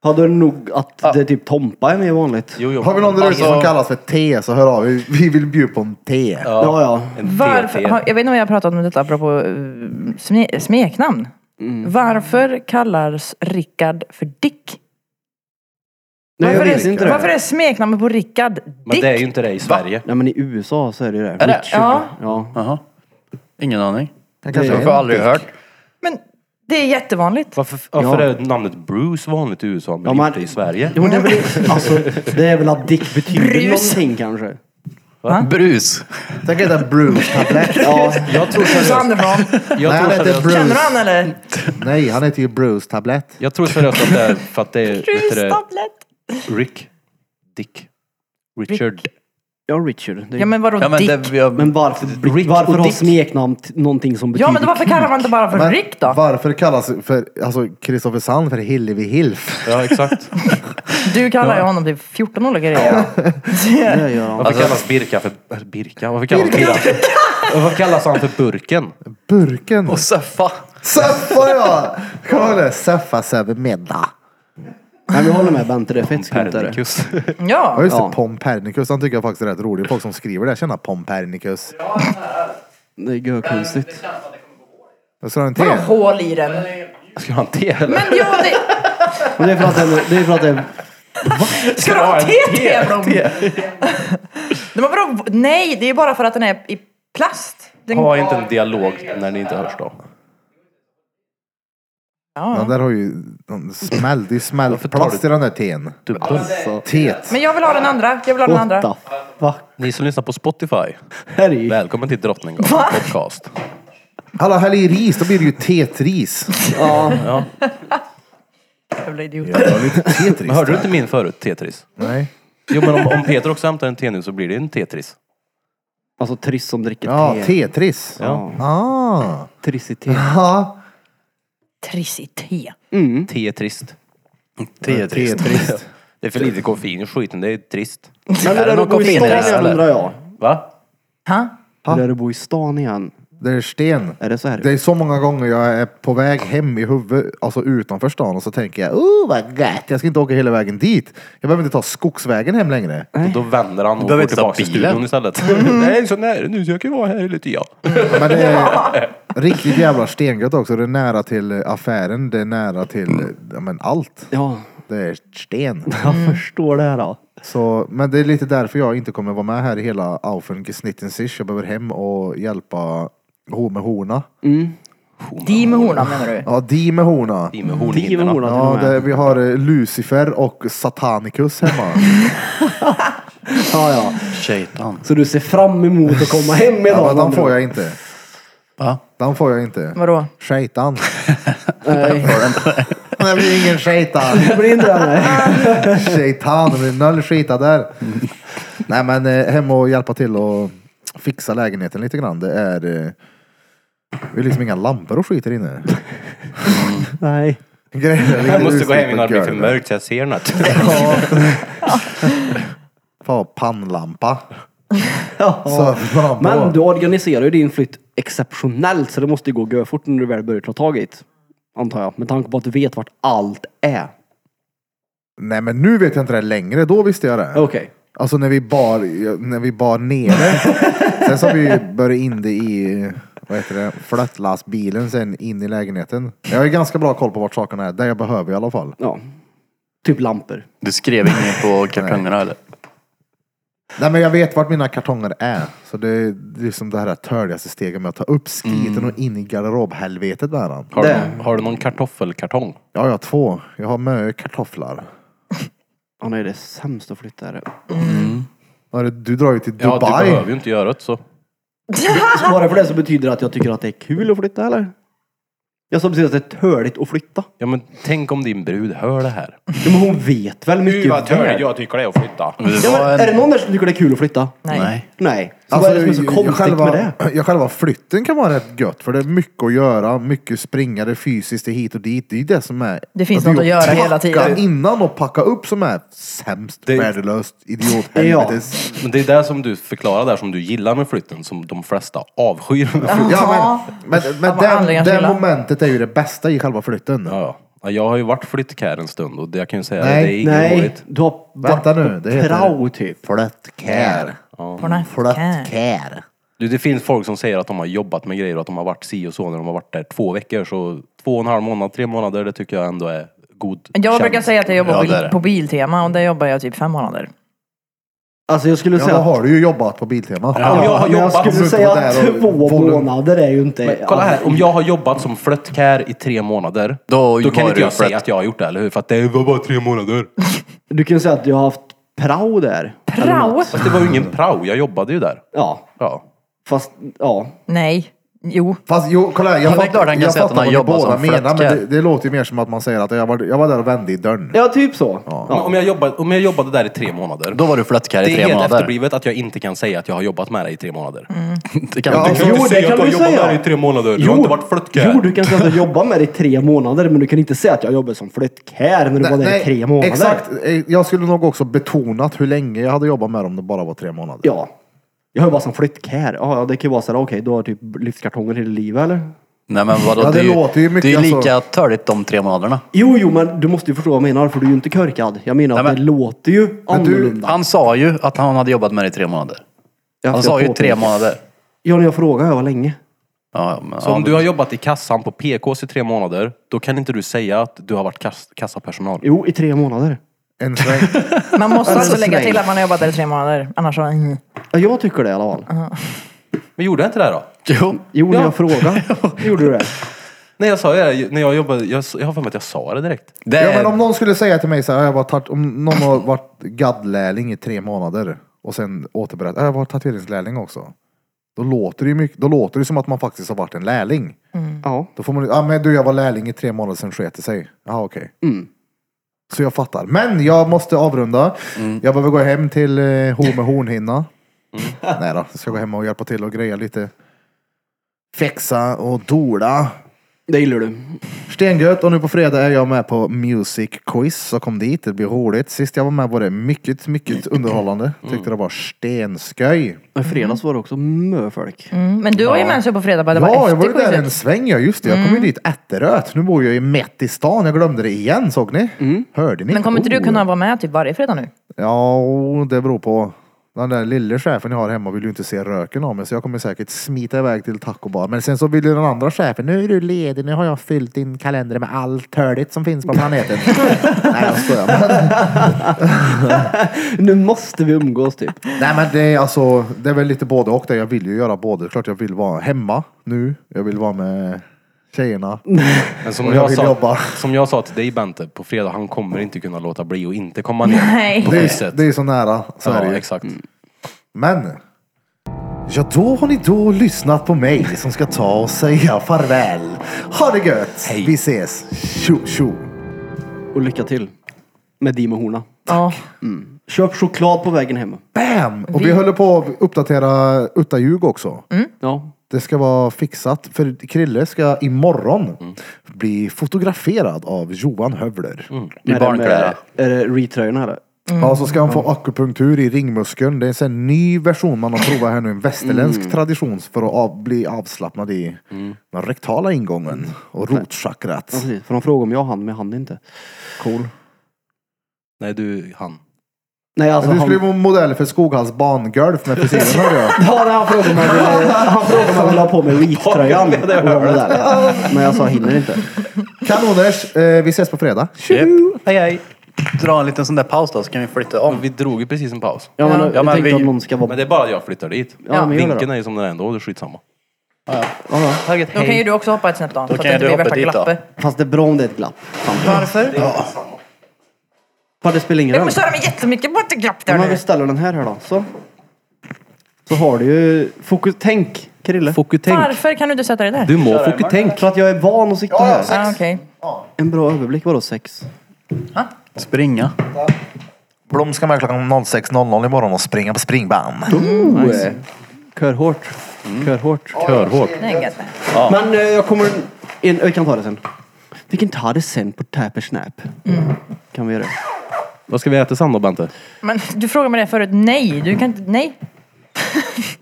Speaker 4: Hade du nog att det typ Tompa är mer vanligt?
Speaker 5: Jo, jo.
Speaker 1: Har vi någon där ute som
Speaker 6: Alltså-
Speaker 1: kallas för T så hör av er. Vi vill bjuda på en T.
Speaker 4: Ja, ja.
Speaker 5: En te,
Speaker 2: Varför,
Speaker 5: te.
Speaker 2: har, jag vet inte om jag har pratat om detta apropå eh, sme, smeknamn. Varför kallas Rickard för Dick?
Speaker 4: Nej, jag
Speaker 2: varför,
Speaker 4: vet
Speaker 2: är,
Speaker 4: inte
Speaker 2: varför
Speaker 4: det.
Speaker 2: är smeknamnet på Rickard Dick?
Speaker 5: Men det är ju inte det i Sverige.
Speaker 4: Nej men i USA så är det ju det.
Speaker 6: Är det?
Speaker 4: Richard.
Speaker 2: Ja.
Speaker 4: ja.
Speaker 6: Jaha. Ingen aning.
Speaker 1: Han
Speaker 6: Jag
Speaker 1: kanske
Speaker 6: har
Speaker 1: är en
Speaker 6: aldrig
Speaker 1: T.
Speaker 6: hört.
Speaker 2: Men det är jättevanligt.
Speaker 5: Varför, varför
Speaker 4: Ja.
Speaker 5: är namnet Bruce vanligt i USA men,
Speaker 4: Ja, men-
Speaker 5: inte i Sverige?
Speaker 4: Jo, men det, är väl, alltså, det är väl att Dick betyder
Speaker 2: Brus.
Speaker 4: någonting kanske.
Speaker 6: Brus.
Speaker 1: Tänk att det är Bruce-tablett.
Speaker 4: Ja,
Speaker 5: Jag tror
Speaker 2: Bruce
Speaker 5: seriöst,
Speaker 2: Andersson.
Speaker 5: jag
Speaker 1: Nej,
Speaker 5: tror
Speaker 1: han heter
Speaker 5: seriöst,
Speaker 2: Känner du
Speaker 1: Bruce.
Speaker 2: han eller?
Speaker 1: Nej, han heter ju Bruce-tablett.
Speaker 5: jag tror seriöst att det är för att det är vet du
Speaker 2: Bruce
Speaker 5: det,
Speaker 2: Tablett.
Speaker 5: Rick. Dick. Richard.
Speaker 4: ja Richard. Det,
Speaker 2: Ja men vadå
Speaker 6: Ja, men
Speaker 2: Dick?
Speaker 6: det, jag,
Speaker 4: men varför,
Speaker 5: Rick
Speaker 4: varför
Speaker 5: och
Speaker 4: har
Speaker 5: Dick.
Speaker 4: smeknamn t- någonting som betyder
Speaker 2: ja men då varför kallar man inte bara för Rick då?
Speaker 1: varför kallas för, alltså, Kristoffer Sand för Hillevi Hilf?
Speaker 5: Ja, exakt.
Speaker 2: Du kallar ju honom typ 14 olika grejer.
Speaker 4: det gör han?
Speaker 5: Varför kallas Alltså, Birka för... äh, Birka? Varför kallas, Birka? Varför kallas han för Burken?
Speaker 1: Burken.
Speaker 6: och Saffa.
Speaker 1: Seffa ja! Kommer du ihåg det? Seffas över middag.
Speaker 4: Nej, men jag håller med Bente, det är fett skumt. är det.
Speaker 5: Pernikus.
Speaker 1: Ja
Speaker 2: Ja.
Speaker 1: just
Speaker 4: Ja.
Speaker 1: det, Pompernicus. Han tycker jag faktiskt är rätt rolig. Folk som skriver det. Tjena Pompernicus.
Speaker 4: Det är görkonstigt.
Speaker 1: Jag sa en T.
Speaker 2: Vadå hål i den?
Speaker 5: Ska du ha en te eller?
Speaker 2: Men ja det...
Speaker 4: Men det är för att det är, det är, för att det är
Speaker 2: Ska du ha TT Blom? Nej, men vadå? Nej, det är bara för att den är i plast. Den...
Speaker 5: Ha inte en dialog när ni inte hörs då.
Speaker 1: Den där har ju de smäll, det är ju smällplast i den där T'n.
Speaker 5: Du,
Speaker 1: Tet.
Speaker 2: Men jag vill ha den andra. Jag vill ha den
Speaker 4: what
Speaker 2: andra.
Speaker 4: the fuck.
Speaker 5: ni som lyssnar på Spotify,
Speaker 4: Herregud.
Speaker 5: välkommen till Drottninggatan podcast.
Speaker 1: Hallå, häll i ris. Då blir det ju tetris.
Speaker 2: Jävla idiot.
Speaker 1: Jag har lite tetris.
Speaker 5: Men hörde du inte min förut, Tetris?
Speaker 1: Nej.
Speaker 5: Jo men om, om Peter också hämtar en te nu så blir det en Tetris.
Speaker 4: Alltså Triss som dricker
Speaker 1: Ja,
Speaker 4: te.
Speaker 1: tetris.
Speaker 4: Ja.
Speaker 1: Ah.
Speaker 4: Triss i te.
Speaker 1: Ja.
Speaker 2: Triss i te.
Speaker 5: Te är trist.
Speaker 6: Tetris.
Speaker 1: Tetris.
Speaker 5: Det är för lite koffein i skiten, det är trist.
Speaker 4: Men hur är det
Speaker 6: någon
Speaker 4: att bo i
Speaker 6: koffein i
Speaker 4: stan
Speaker 6: det här,
Speaker 4: igen
Speaker 6: eller?
Speaker 4: undrar jag.
Speaker 5: Va?
Speaker 2: Ha?
Speaker 4: Hur är det att bo i stan igen?
Speaker 1: Det är sten.
Speaker 4: Är det så här?
Speaker 1: Det är så många gånger jag är på väg hem i huvudet, alltså utanför stan och så tänker jag, oh vad gött, jag ska inte åka hela vägen dit. Jag behöver inte ta skogsvägen hem längre.
Speaker 5: Då vänder han och
Speaker 6: behöver
Speaker 5: går
Speaker 6: inte ta
Speaker 5: tillbaka till
Speaker 6: bilen.
Speaker 5: studion istället. Nej, så nära nu, så jag kan vara här lite ja.
Speaker 1: Men det är riktigt jävla stengött också. Det är nära till eh, affären, det är nära till eh, ja, men allt.
Speaker 4: Ja,
Speaker 1: Det är sten.
Speaker 4: jag förstår det här. Då.
Speaker 1: Så, men det är lite därför jag inte kommer vara med här i hela Aufen gesnitten sich. Jag behöver hem och hjälpa ho med horna.
Speaker 2: Di med honan menar du?
Speaker 1: Ja, di med horna.
Speaker 5: I med
Speaker 4: Tio
Speaker 5: hornhinnorna.
Speaker 4: hornor
Speaker 1: Ja,
Speaker 4: till och
Speaker 1: det,
Speaker 4: med.
Speaker 1: vi har eh, Lucifer och Satanicus hemma.
Speaker 4: Ja, ja.
Speaker 6: Shaitan.
Speaker 4: Så du ser fram emot att komma hem
Speaker 1: Ja,
Speaker 4: idag?
Speaker 1: men
Speaker 4: med
Speaker 1: den
Speaker 4: andra
Speaker 1: får
Speaker 4: ord.
Speaker 1: jag inte.
Speaker 6: Va?
Speaker 1: Den får jag inte.
Speaker 2: Vadå?
Speaker 1: Shaitan.
Speaker 4: Nej,
Speaker 1: Det blir ingen shaitan.
Speaker 4: det blir inte det. Nej.
Speaker 1: Shaitan, det blir noll skita där. Nej men eh, hem och hjälpa till och fixa lägenheten lite grann. Det är, eh, det är liksom inga lampor och skit där inne.
Speaker 4: Nej.
Speaker 1: Grejer ligger
Speaker 5: Jag måste gå hem
Speaker 1: utslitna
Speaker 5: innan det blir för
Speaker 1: golv.
Speaker 5: mörkt så jag ser något.
Speaker 1: Fan pannlampa. Så öppnar han på.
Speaker 4: Men du organiserar ju din flytt exceptionellt så det måste ju gå görfort när du väl börjar ta tag i det. Antar jag. Med tanke på att du vet vart allt är.
Speaker 1: Nej men nu vet jag inte det längre. Då visste jag det.
Speaker 4: Okej.
Speaker 1: Alltså när vi bar, när vi bar nere. sen så har vi börjat in det i, vad heter det, flöttlastbilen sen in i lägenheten. Jag har ju ganska bra koll på vart sakerna är, där jag behöver i alla fall.
Speaker 4: Ja. Typ lampor.
Speaker 6: Du skrev inget på kartongerna eller?
Speaker 1: Nej men jag vet vart mina kartonger är. Så det är liksom det här törligaste steget med att ta upp
Speaker 5: Mm.
Speaker 1: skiten och in i garderobhelvetet med den.
Speaker 5: Har,
Speaker 4: Det-
Speaker 5: du, någon- har du någon kartoffelkartong?
Speaker 1: Ja, jag har två. Jag har med kartofflar.
Speaker 4: Han är det sämsta flyttare.
Speaker 1: Vad är det? Du drar ju till
Speaker 5: Ja, typ du
Speaker 1: Dubai.
Speaker 5: behöver ju inte göra det så.
Speaker 4: Bara för det så betyder det att jag tycker att det är kul att flytta eller? Jag sa precis att det är töligt att flytta.
Speaker 5: Ja men tänk om din brud hör det här.
Speaker 4: Ja, men hon vet väl mycket väl.
Speaker 5: jag tycker det är att flytta.
Speaker 4: Ja, men, är det någon där som tycker det är kul att flytta?
Speaker 2: Nej.
Speaker 4: Nej. Så Alltså, vad är det som är så konstigt
Speaker 1: Alltså, själva,
Speaker 4: med det?
Speaker 1: Ja, själva flytten kan vara rätt gött för det är mycket att göra, mycket springa, det är fysiskt, det är hit och dit. Det är ju det som är...
Speaker 2: Det finns
Speaker 1: är
Speaker 2: något att göra hela
Speaker 1: packa
Speaker 2: tiden.
Speaker 1: innan och packa upp som är sämst,
Speaker 5: Det-
Speaker 1: värdelöst, idiothelvetes.
Speaker 5: Men det är det som du förklarar där som du gillar med flytten som de flesta avskyr med flytten.
Speaker 1: Ja, men men, men
Speaker 2: Av anledningar
Speaker 1: det, det
Speaker 2: till.
Speaker 1: momentet är ju det bästa i själva flytten.
Speaker 5: Ja, ja. ja. Jag har ju varit flyttkär en stund och det jag kan ju säga
Speaker 1: Nej,
Speaker 5: att det är inget
Speaker 4: Nej.
Speaker 5: roligt.
Speaker 4: Du har
Speaker 1: Vänta nu, det heter-
Speaker 4: Prao typ.
Speaker 1: Flättkär.
Speaker 2: Flättkär.
Speaker 1: Flättkär.
Speaker 5: Du, det finns folk som säger att de har jobbat med grejer och att de har varit si och så när de har varit där två veckor. Så två och en halv månad, tre månader, det tycker jag ändå är god
Speaker 2: Jag
Speaker 5: tjänst.
Speaker 2: brukar säga att jag jobbar
Speaker 6: Ja,
Speaker 2: på,
Speaker 6: det är det.
Speaker 2: på Biltema och där jobbar jag typ fem månader.
Speaker 4: Alltså jag skulle
Speaker 1: Ja, då
Speaker 4: säga att...
Speaker 1: har du ju jobbat på Biltema.
Speaker 5: Om jag har
Speaker 4: men jag
Speaker 5: jobbat-
Speaker 4: skulle
Speaker 1: Om du
Speaker 4: säga
Speaker 1: inte var där
Speaker 4: att
Speaker 1: och-
Speaker 4: två
Speaker 1: Volum.
Speaker 4: månader är ju inte...
Speaker 5: Kolla här, om jag har jobbat som flöttkär i tre månader,
Speaker 6: Då
Speaker 5: då, kan inte
Speaker 6: var det
Speaker 5: jag
Speaker 6: flött.
Speaker 5: säga att jag har gjort det, eller hur? För att det var bara tre månader.
Speaker 4: Du kan ju säga att jag har haft prao där. Eller
Speaker 2: Prao?
Speaker 4: något.
Speaker 5: Fast det var ju ingen prao, jag jobbade ju där.
Speaker 4: Ja.
Speaker 5: Ja.
Speaker 4: Fast, ja.
Speaker 2: Nej. Jo.
Speaker 1: Fast jo, kolla här, jag
Speaker 6: Ja, det är klart
Speaker 1: fattar,
Speaker 6: han kan
Speaker 1: jag
Speaker 6: säga att
Speaker 1: fattar vad
Speaker 6: han har
Speaker 1: ni
Speaker 6: jobbat
Speaker 1: båda
Speaker 6: som
Speaker 1: menar, men
Speaker 6: flättkär.
Speaker 1: det, det låter ju mer som att man säger att jag var, jag var där och vände i dörren.
Speaker 4: Ja, typ så.
Speaker 5: Om-
Speaker 4: Ja.
Speaker 5: Om jag jobbade, om jag jobbade där i tre månader,
Speaker 6: Då var du flättkär
Speaker 5: det
Speaker 6: i
Speaker 5: är
Speaker 6: tre
Speaker 5: helt
Speaker 6: månader.
Speaker 5: efterblivet att jag inte kan säga att jag har jobbat med dig i tre månader.
Speaker 6: Det kan
Speaker 4: Ja,
Speaker 6: inte-
Speaker 4: Mm. jo, det
Speaker 5: inte säga
Speaker 4: kan
Speaker 5: att
Speaker 4: du
Speaker 5: jag har jobbat
Speaker 4: säga.
Speaker 5: där i tre månader. Du har inte varit flöttkär.
Speaker 4: Jo, du kan säga att jag jobbar med det i tre månader, men du kan inte säga att jag jobbar som flyttkär när du var där i tre månader.
Speaker 1: Exakt, Eh, jag skulle nog också betonat hur länge jag hade jobbat med dem om det bara var tre månader.
Speaker 4: Ja. Jag jobbar som flyttkär. Ja, ja, det kan ju vara så här, okej, du har typ lyftkartonger hela livet eller?
Speaker 6: Nej men vadå,
Speaker 1: Ja, det
Speaker 6: är
Speaker 1: låter ju mycket,
Speaker 6: Det är
Speaker 1: alltså.
Speaker 6: ju lika törligt de tre månaderna.
Speaker 4: Jo, jo, men du måste ju förstå vad jag menar, för du är ju inte körkad. Jag menar att
Speaker 6: Nej, men-
Speaker 4: det låter ju
Speaker 1: du-
Speaker 4: annorlunda.
Speaker 6: Han sa ju att han hade jobbat med det i tre månader.
Speaker 4: Jag-
Speaker 6: Han
Speaker 4: jag
Speaker 6: sa ju
Speaker 4: påpekar.
Speaker 6: tre månader.
Speaker 4: Ja, när jag frågade, jag var länge.
Speaker 6: Ja, ja, men,
Speaker 5: Så om
Speaker 6: ja,
Speaker 5: du har jobbat i kassan på PKs i tre månader, då kan inte du säga att du har varit kass, kassapersonal.
Speaker 4: Jo, i tre månader.
Speaker 1: En sväng.
Speaker 2: Man
Speaker 4: Alltså,
Speaker 2: måste alltså lägga
Speaker 4: nej.
Speaker 2: till att man har jobbat där i tre månader. Annars så... mm.
Speaker 4: Ja, jag tycker det i alla fall.
Speaker 5: Men gjorde jag inte det här då?
Speaker 6: Jo,
Speaker 4: Jo, när
Speaker 5: Ja.
Speaker 4: jag frågade gjorde du det.
Speaker 5: Nej, jag sa ju det. När jag jobbade, jag, jag har för mig att jag sa det direkt.
Speaker 6: det
Speaker 1: ja,
Speaker 6: är...
Speaker 1: men om någon skulle säga till mig så här, "Ja, jag var tat- om någon har varit gaddlärling i tre månader och sen återberättar, "Ja, jag var tatueringslärling också. Då låter det ju mycket, då låter det som att man faktiskt har varit en lärling.
Speaker 4: Ja.
Speaker 1: Då får man ja ah, men du jag var lärling i tre månader sen sket det sig. Jaha okej. Så jag fattar. Men jag måste avrunda. Jag behöver gå hem till eh, ho med hornhinna. Nej då, jag ska gå hem och hjälpa till och greja lite. Fixa och dola.
Speaker 4: Det gillar du.
Speaker 1: Stengött och nu på fredag är jag med på Music Quiz. Så kom dit, det blir roligt. Sist jag var med var det mycket, mycket underhållande. Tyckte det var stensköj.
Speaker 4: I fredags var det också mö folk.
Speaker 2: Mm. Men du var ju med sig på fredag bara. Det var
Speaker 1: Ja, jag var
Speaker 2: efter Mm.
Speaker 1: ju där en
Speaker 2: quizet.
Speaker 1: sväng ja, just det. Jag kom ju dit ätteröt. Nu bor jag ju mitt i stan. Jag glömde det igen, såg ni? Hörde ni?
Speaker 2: Mm. Men kommer inte du
Speaker 1: Oh.
Speaker 2: kunna vara med typ varje fredag nu?
Speaker 1: Ja, oh, det beror på. Den där lille chefen jag har hemma vill ju inte se röken av mig så jag kommer säkert smita iväg till taco bar. Men sen så vill ju den andra chefen, nu är du ledig, nu har jag fyllt din kalender med allt törligt som finns på planeten. Nej, jag skojar. Men,
Speaker 4: Nu måste vi umgås typ.
Speaker 1: nej, men det är alltså, det är väl lite både och. Det. Jag vill ju göra både. Klart jag vill vara hemma nu. Jag vill vara med tjejerna.
Speaker 5: Men som
Speaker 1: Och
Speaker 5: jag,
Speaker 1: jag vill
Speaker 5: sa,
Speaker 1: jobba.
Speaker 5: som jag sa till dig Bente, på fredag, han kommer inte kunna låta bli och inte komma ner
Speaker 2: Nej.
Speaker 5: på
Speaker 1: Det är,
Speaker 5: quizet.
Speaker 1: det är så nära. Så är det
Speaker 5: ja,
Speaker 1: ju.
Speaker 5: exakt.
Speaker 4: Mm.
Speaker 1: Men. Ja, då har ni då lyssnat på mig som ska ta och säga farväl. Ha det gött!
Speaker 5: Hej.
Speaker 1: Vi ses! Tjo, tjo!
Speaker 4: Och lycka till. Med Dimo Horna.
Speaker 2: Ja.
Speaker 4: Köp choklad på vägen hem.
Speaker 1: Bam! Och vi, Mm. håller på att uppdatera Utta Ljug också.
Speaker 4: Ja.
Speaker 1: Det ska vara fixat. För Krille ska imorgon bli fotograferad av Johan Hövler.
Speaker 6: I
Speaker 4: Med den,
Speaker 6: barnkläder.
Speaker 4: eh, Är det retröjorna eller?
Speaker 1: Ja, så ska han få akupunktur i ringmuskeln. Det är en sån här ny version man har provat här nu. En västerländsk tradition för att av, bli avslappnad i den rektala ingången och rotchakrat.
Speaker 4: Ja, precis. För de frågade om jag hann, men jag hann inte.
Speaker 1: Cool.
Speaker 5: Nej, du, han.
Speaker 4: Nej, alltså
Speaker 1: du
Speaker 4: han...
Speaker 1: skulle ju vara modell för Skoghalls bangolf med frisyren hörde jag.
Speaker 4: Ja, nej, han frågade om jag ville, han frågade om jag ville ha på mig retröjan. Och jag var där. Men jag sa hinner inte.
Speaker 1: Kanoners, eh, vi ses på fredag.
Speaker 6: Japp.
Speaker 2: Hej hej.
Speaker 6: dra en liten sån där paus då så kan vi flytta om.
Speaker 5: Vi drog ju precis en paus.
Speaker 4: Ja, men,
Speaker 6: Ja,
Speaker 4: jag
Speaker 6: men
Speaker 4: tänkte
Speaker 6: vi-
Speaker 4: att någon ska vara...
Speaker 5: Men det är bara att jag flyttar dit.
Speaker 4: Ja, men gör det
Speaker 5: Vinkeln
Speaker 4: då.
Speaker 5: är ju som den är ändå, det är skitsamma.
Speaker 6: Target,
Speaker 2: Då kan ju du också hoppa ett snäpp då. så att
Speaker 6: kan
Speaker 2: det inte
Speaker 6: jag
Speaker 2: blir
Speaker 6: hoppa
Speaker 2: värsta
Speaker 6: dit då.
Speaker 2: glappet.
Speaker 4: Fast det är bra om det är ett glapp.
Speaker 2: Varför?
Speaker 4: Fan, det spelar ingen
Speaker 2: Jag
Speaker 4: roll.
Speaker 2: kommer störa mig jättemycket på ett glapp där
Speaker 4: Om man vill
Speaker 2: nu.
Speaker 4: ställa den här här då, så. Så har du ju... Fokus... Tänk, Krille.
Speaker 5: Fokutänk.
Speaker 2: Varför kan du inte sätta dig där?
Speaker 5: Du må fokutänk.
Speaker 4: För att jag är van att sitta här.
Speaker 2: Ah, okej.
Speaker 4: En bra överblick, vadå sex?
Speaker 6: Springa.
Speaker 1: Blom ska med klockan 06.00 imorgon och springa på springband.
Speaker 4: Nice. Kör hårt. Kör hårt.
Speaker 5: Körhårt.
Speaker 2: Nej, inget.
Speaker 4: Men eh, jag kommer... In, vi kan ta det sen. Vi kan ta det sen på Tapper Snap. Kan vi göra.
Speaker 5: Vad ska vi äta sen då Bente?
Speaker 2: Men du frågade mig det förut. Nej, du kan inte. Nej.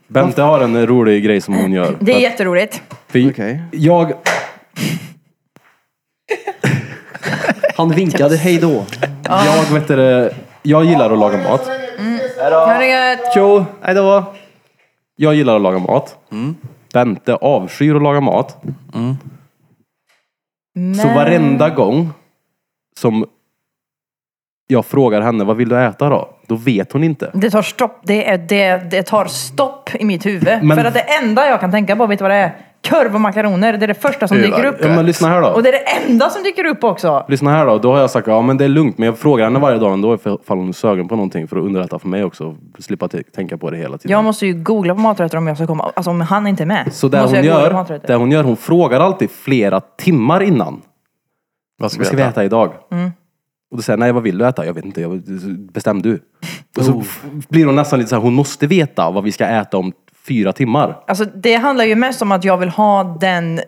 Speaker 5: Bente har en rolig grej som hon gör.
Speaker 2: Det är jätteroligt.
Speaker 5: För
Speaker 4: Okej.
Speaker 5: Jag...
Speaker 4: Han vinkade hej då.
Speaker 5: Jag vet det, Jag gillar att laga mat.
Speaker 2: Ha det gött.
Speaker 5: Tjo! Hej då! Jag gillar att laga mat. Bente avskyr att laga mat. Så
Speaker 2: Men-
Speaker 5: varenda gång som jag frågar henne vad vill du äta då? Då vet hon inte.
Speaker 2: Det tar stopp. Det, är, det, det tar stopp i mitt huvud.
Speaker 5: Men-
Speaker 2: För att det enda jag kan tänka på, vet du vad det är? Korv och makaroner. Det är det första som dyker upp.
Speaker 5: Ja, men lyssna här
Speaker 2: Och
Speaker 5: då.
Speaker 2: det är det enda som dyker upp också.
Speaker 5: Lyssna här då. Då har jag sagt ja men det är lugnt. Men jag frågar henne varje dag ändå ifall hon är sugen på någonting för att underlätta för mig också. Slippa t- tänka på det hela tiden.
Speaker 2: Jag måste ju googla på maträtter om jag ska komma. Alltså om han inte är med.
Speaker 5: Så det
Speaker 2: måste
Speaker 5: hon,
Speaker 2: jag googla på
Speaker 5: gör,
Speaker 2: maträtter.
Speaker 5: det hon gör, hon frågar alltid flera timmar innan.
Speaker 6: Vad ska
Speaker 5: Vad ska vi äta idag?
Speaker 2: Mm.
Speaker 5: Och då säger jag, nej vad vill du äta? Jag vet inte, jag, bestäm du.
Speaker 4: Oh.
Speaker 5: Och så f- blir hon nästan lite så här, hon måste veta vad vi ska äta om fyra timmar.
Speaker 2: Alltså det handlar ju mest om att jag vill ha den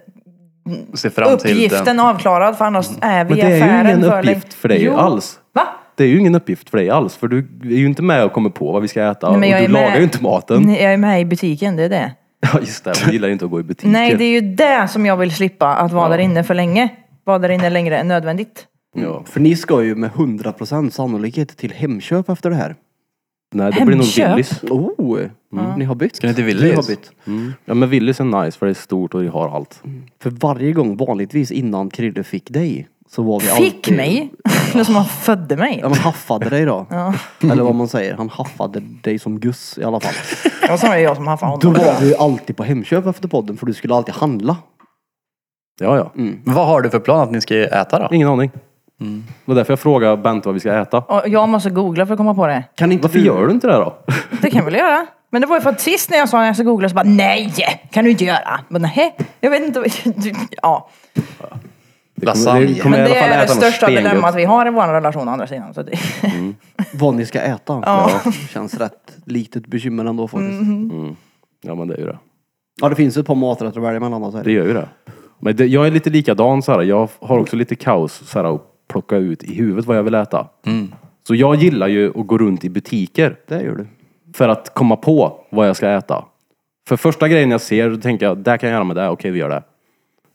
Speaker 6: Se fram till
Speaker 2: uppgiften
Speaker 6: den.
Speaker 2: avklarad för annars är vi
Speaker 5: Men
Speaker 2: i
Speaker 5: det är ju
Speaker 2: affären
Speaker 5: ingen
Speaker 2: för länge.
Speaker 5: uppgift för dig
Speaker 2: jo.
Speaker 5: alls.
Speaker 2: Va?
Speaker 5: Det är ju ingen uppgift för dig alls, för du är ju inte med och kommer på vad vi ska äta.
Speaker 2: Nej, men jag
Speaker 5: och
Speaker 2: är
Speaker 5: du
Speaker 2: med.
Speaker 5: lagar ju inte maten.
Speaker 2: Nej, jag är med i butiken, det är det.
Speaker 5: Ja just det, hon gillar ju inte att gå i butiker.
Speaker 2: Nej, det är ju det som jag vill slippa. Att vara där inne för länge. Vara där inne längre än nödvändigt.
Speaker 5: ja.
Speaker 4: För ni ska ju med 100% sannolikhet till Hemköp efter det här.
Speaker 5: nej, det blir nog
Speaker 2: Hemköp.
Speaker 5: Willys.
Speaker 4: Oh! Ni har bytt. Ska
Speaker 6: ni till
Speaker 4: Ni har
Speaker 6: Willys?
Speaker 4: bytt.
Speaker 5: Mm. Ja men Willys är nice för det är stort och det har allt.
Speaker 4: För varje gång vanligtvis innan Krille fick dig så var vi
Speaker 2: Fick
Speaker 4: alltid...
Speaker 2: mig? Det är som han födde mig.
Speaker 4: Ja men haffade dig då. Eller vad man säger. Han haffade dig som guss i alla fall.
Speaker 2: Och så är det jag som har fan
Speaker 4: Då
Speaker 2: honom.
Speaker 4: var vi ju alltid på Hemköp efter podden för du skulle alltid handla.
Speaker 5: Ja
Speaker 4: Mm.
Speaker 5: ja,
Speaker 6: Vad har du för plan att ni ska äta då?
Speaker 5: ingen aning. Det var därför jag frågade Bente vad vi ska äta.
Speaker 2: Och jag måste googla för att komma på det.
Speaker 4: Kan inte
Speaker 5: Varför
Speaker 4: du...
Speaker 5: gör du inte det då?
Speaker 2: Det kan jag väl göra. Men det var ju för att sist när jag sa att jag ska googla så bara nej, kan du inte göra. Men nej, jag vet inte. du- Ja.
Speaker 5: Lasagne.
Speaker 2: Men
Speaker 5: i alla
Speaker 2: det är
Speaker 5: fall
Speaker 2: det
Speaker 5: äta något
Speaker 2: största
Speaker 5: stengött.
Speaker 2: dilemmat vi har i vår relation å andra sidan. Så det,
Speaker 4: Vad ni ska äta.
Speaker 2: Ja. Mm.
Speaker 4: Känns rätt litet bekymmer ändå faktiskt.
Speaker 5: Ja men det är ju det.
Speaker 4: Ja det finns ju ett par maträtter att välja mellan då, så är
Speaker 5: Det
Speaker 4: det.
Speaker 5: gör ju det. Men det, jag är lite likadan så här. Jag har också lite kaos så här, att plocka ut i huvudet vad jag vill äta. Så jag gillar ju att gå runt i butiker
Speaker 4: Det gör du.
Speaker 5: för att komma på vad jag ska äta. För första grejen jag ser, då tänker jag, där kan jag göra med det, okej vi gör det.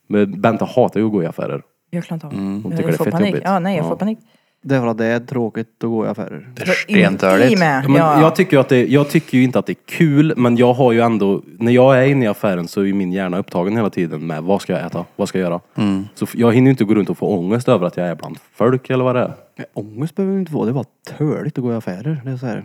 Speaker 5: Men Bente hatar ju att gå i affärer.
Speaker 2: jag klarar inte av
Speaker 5: hon
Speaker 2: Jag-
Speaker 5: Mm, tycker det
Speaker 2: Jag
Speaker 5: är
Speaker 2: får
Speaker 5: fett
Speaker 2: panik.
Speaker 5: jobbigt.
Speaker 2: Ja, nej, jag
Speaker 5: Ja.
Speaker 2: får panik.
Speaker 4: Det är för att det är tråkigt att gå i affärer.
Speaker 6: Det är
Speaker 2: För in- Alltså, I
Speaker 6: stentörligt.
Speaker 2: med.
Speaker 5: Men
Speaker 2: Ja.
Speaker 5: jag, tycker ju att det, jag tycker ju inte att det är kul, men jag har ju ändå, när jag är inne i affären så är ju min hjärna upptagen hela tiden med vad ska jag äta, vad ska jag göra?
Speaker 6: Mm.
Speaker 5: Så f- jag hinner ju inte gå runt och få ångest över att jag är bland folk eller vad det är.
Speaker 4: Nej, Ångest behöver vi inte få. Det är bara töligt att gå i affärer. Det är så här.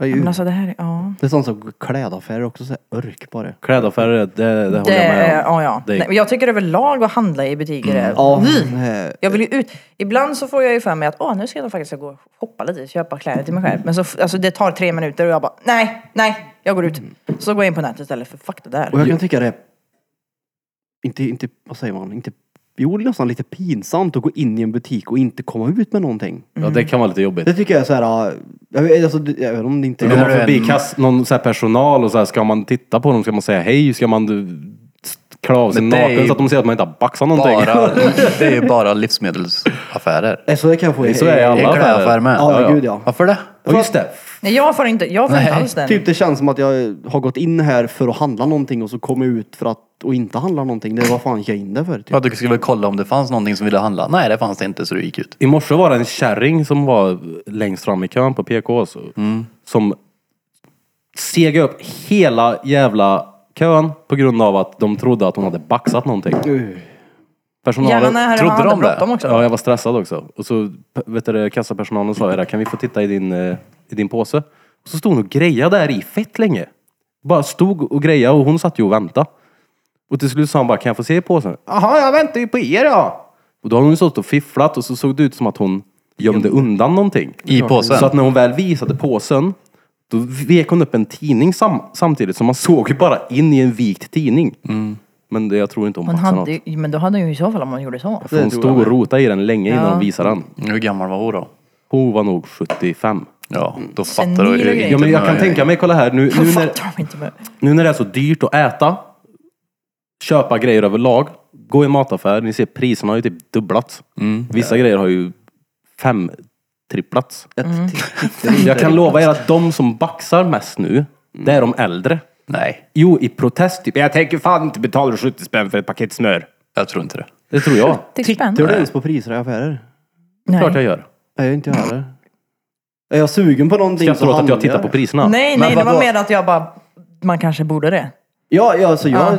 Speaker 4: Aj,
Speaker 2: Men alltså det här, ja.
Speaker 4: Det är sånt som klädaffärer också. Så här, örk bara.
Speaker 5: Klädaffärer, det, det håller
Speaker 2: Det,
Speaker 5: jag med om.
Speaker 2: ja, ja.
Speaker 5: Det- Mm.
Speaker 2: Nej, men jag tycker överlag att handla i butiker är...
Speaker 4: Ja. eh,
Speaker 2: Jag vill ju ut. Ibland så får jag ju för mig att åh, nu ska jag faktiskt gå och shoppa lite, köpa kläder till mig själv. Men så, f- alltså, det tar tre minuter och jag bara, nej, nej, jag går ut. Så går jag in på nätet istället för fuck det där.
Speaker 4: Och jag kan tycka det är... Inte, inte, vad säger man? Inte, jo, det är nästan lite pinsamt att gå in i en butik och inte komma ut med någonting.
Speaker 5: Ja, det kan vara lite jobbigt.
Speaker 4: Det tycker jag är så här... äh, Jag vet, alltså, det- jag vet om det inte
Speaker 5: Går man
Speaker 6: Mm. du en-
Speaker 5: förbi kass, någon så här personal och så här, ska man titta på dem? Ska man säga hej? Ska man du, s- klä av sig
Speaker 6: Men det är
Speaker 5: naken
Speaker 6: ju
Speaker 5: så att de ser att man inte har baxat någonting?
Speaker 6: Bara, det är ju bara livsmedelsaffärer.
Speaker 4: Nej, så det kan jag få...
Speaker 5: Det är så jag är
Speaker 6: Det
Speaker 5: alla
Speaker 6: är klädaffär med.
Speaker 4: Ja, gud ja.
Speaker 6: Varför det?
Speaker 5: Ja, just det.
Speaker 2: Nej, jag får inte, jag får inte alls den.
Speaker 4: Typ det känns som att jag har gått in här för att handla någonting och så kom jag ut för att och inte handla någonting. Det är vad fan gick jag in där för? Typ.
Speaker 6: För att du skulle kolla om det fanns någonting som ville handla. Nej, det fanns det inte så du gick ut.
Speaker 5: I morse var det en kärring som var längst fram i kön på PK. Så, Som segade upp hela jävla kön på grund av att de trodde att hon hade baxat någonting. Personalen
Speaker 2: Jävlarna här, han
Speaker 5: trodde
Speaker 2: hade
Speaker 5: de det.
Speaker 2: bråttom också.
Speaker 5: Ja, jag var stressad också. Och så p- vet du, kassapersonalen sa ju det, kan vi få titta i din, eh, i din påse? Och så stod hon och grejade där i fett länge. Bara stod och grejade och hon satt ju och väntade. Och till slut sa han bara, kan jag få se i påsen? Jaha, jag väntar ju på er ja! Och då har hon ju stått och fifflat och så såg det ut som att hon gömde undan någonting.
Speaker 6: I påsen?
Speaker 5: Så att när hon väl visade påsen, då vek hon upp en tidning sam- samtidigt. Så man såg ju bara in i en vikt tidning. Men det, jag tror inte hon
Speaker 2: Mm. Men,
Speaker 5: baxade något.
Speaker 2: hade, ju- men då hade hon ju i så fall om man gjorde så.
Speaker 5: För hon stod och rotade i den länge innan
Speaker 2: Ja.
Speaker 5: hon visade den.
Speaker 6: Hur gammal var hon då?
Speaker 5: Hon var nog 75.
Speaker 6: Ja, då
Speaker 2: Senil
Speaker 6: fattar du
Speaker 2: och
Speaker 6: ju
Speaker 2: grejer.
Speaker 6: inte
Speaker 5: Ja men jag kan
Speaker 6: några-
Speaker 5: tänka mig, kolla här, nu,
Speaker 2: Nu
Speaker 5: nu, när,
Speaker 2: fattar de inte med.
Speaker 5: nu när det är så dyrt att äta, köpa grejer överlag, gå i mataffär, ni ser priserna har ju typ dubblats. Vissa grejer har ju fem tripplats. Jag kan lova er att de som baxar mest nu, det är de äldre.
Speaker 6: Nej,
Speaker 5: Jo, i protest typ.
Speaker 8: Jag tänker fan inte betala 70 spänn för ett paket smör.
Speaker 6: jag tror inte det.
Speaker 5: Det tror jag.
Speaker 2: Det är
Speaker 4: Tittar du
Speaker 2: spännande.
Speaker 4: ens på priser i affärer?
Speaker 5: Klart jag
Speaker 2: Nej.
Speaker 5: gör.
Speaker 4: Nej, inte jag heller. Är jag sugen på någonting
Speaker 5: Ska jag
Speaker 4: så
Speaker 5: tro att jag
Speaker 4: handlar
Speaker 5: tittar på priserna?
Speaker 2: Nej,
Speaker 4: Men
Speaker 2: nej, det var
Speaker 4: vadå?
Speaker 2: mer att jag bara, man kanske borde det.
Speaker 4: Ja, ja alltså jag,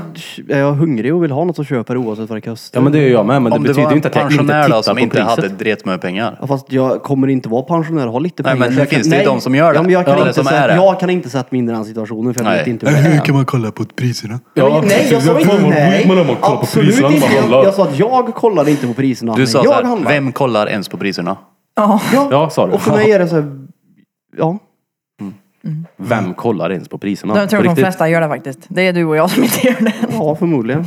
Speaker 4: är jag hungrig och vill ha något så köper jag oavsett vad det kostar.
Speaker 5: Ja men det gör jag med, men det
Speaker 6: Om det
Speaker 5: betyder
Speaker 6: var
Speaker 5: ju
Speaker 6: en
Speaker 5: inte att jag inte
Speaker 6: pensionär
Speaker 5: tittar
Speaker 6: då
Speaker 5: på
Speaker 6: som inte
Speaker 5: priset.
Speaker 6: hade dret med pengar.
Speaker 4: Ja, fast jag kommer inte vara pensionär och ha lite
Speaker 6: Nej,
Speaker 4: pengar.
Speaker 6: men
Speaker 4: så
Speaker 6: det
Speaker 4: jag kan-
Speaker 6: finns det ju de som gör det.
Speaker 4: Ja, men jag, kan
Speaker 6: Ja, det
Speaker 4: inte
Speaker 6: som
Speaker 4: sätta,
Speaker 6: är det.
Speaker 4: jag kan inte sätta mig in i den situationen för jag
Speaker 6: Nej.
Speaker 4: vet inte hur det är.
Speaker 9: man kolla på priserna?
Speaker 4: Ja, nej, jag sa inte nej. Absolut inte. Jag, jag sa att jag kollade inte på priserna.
Speaker 6: Du
Speaker 4: men
Speaker 6: sa
Speaker 4: jag
Speaker 6: såhär,
Speaker 4: handlar.
Speaker 6: vem kollar ens på priserna?
Speaker 2: Ja.
Speaker 5: Ja, sa du.
Speaker 4: Och för mig är det så här, ja.
Speaker 5: Vem kollar ens på priserna?
Speaker 2: Jag tror
Speaker 5: På
Speaker 2: de
Speaker 5: riktigt.
Speaker 2: flesta gör det faktiskt. Det är du och jag som inte gör det.
Speaker 4: Ja, förmodligen.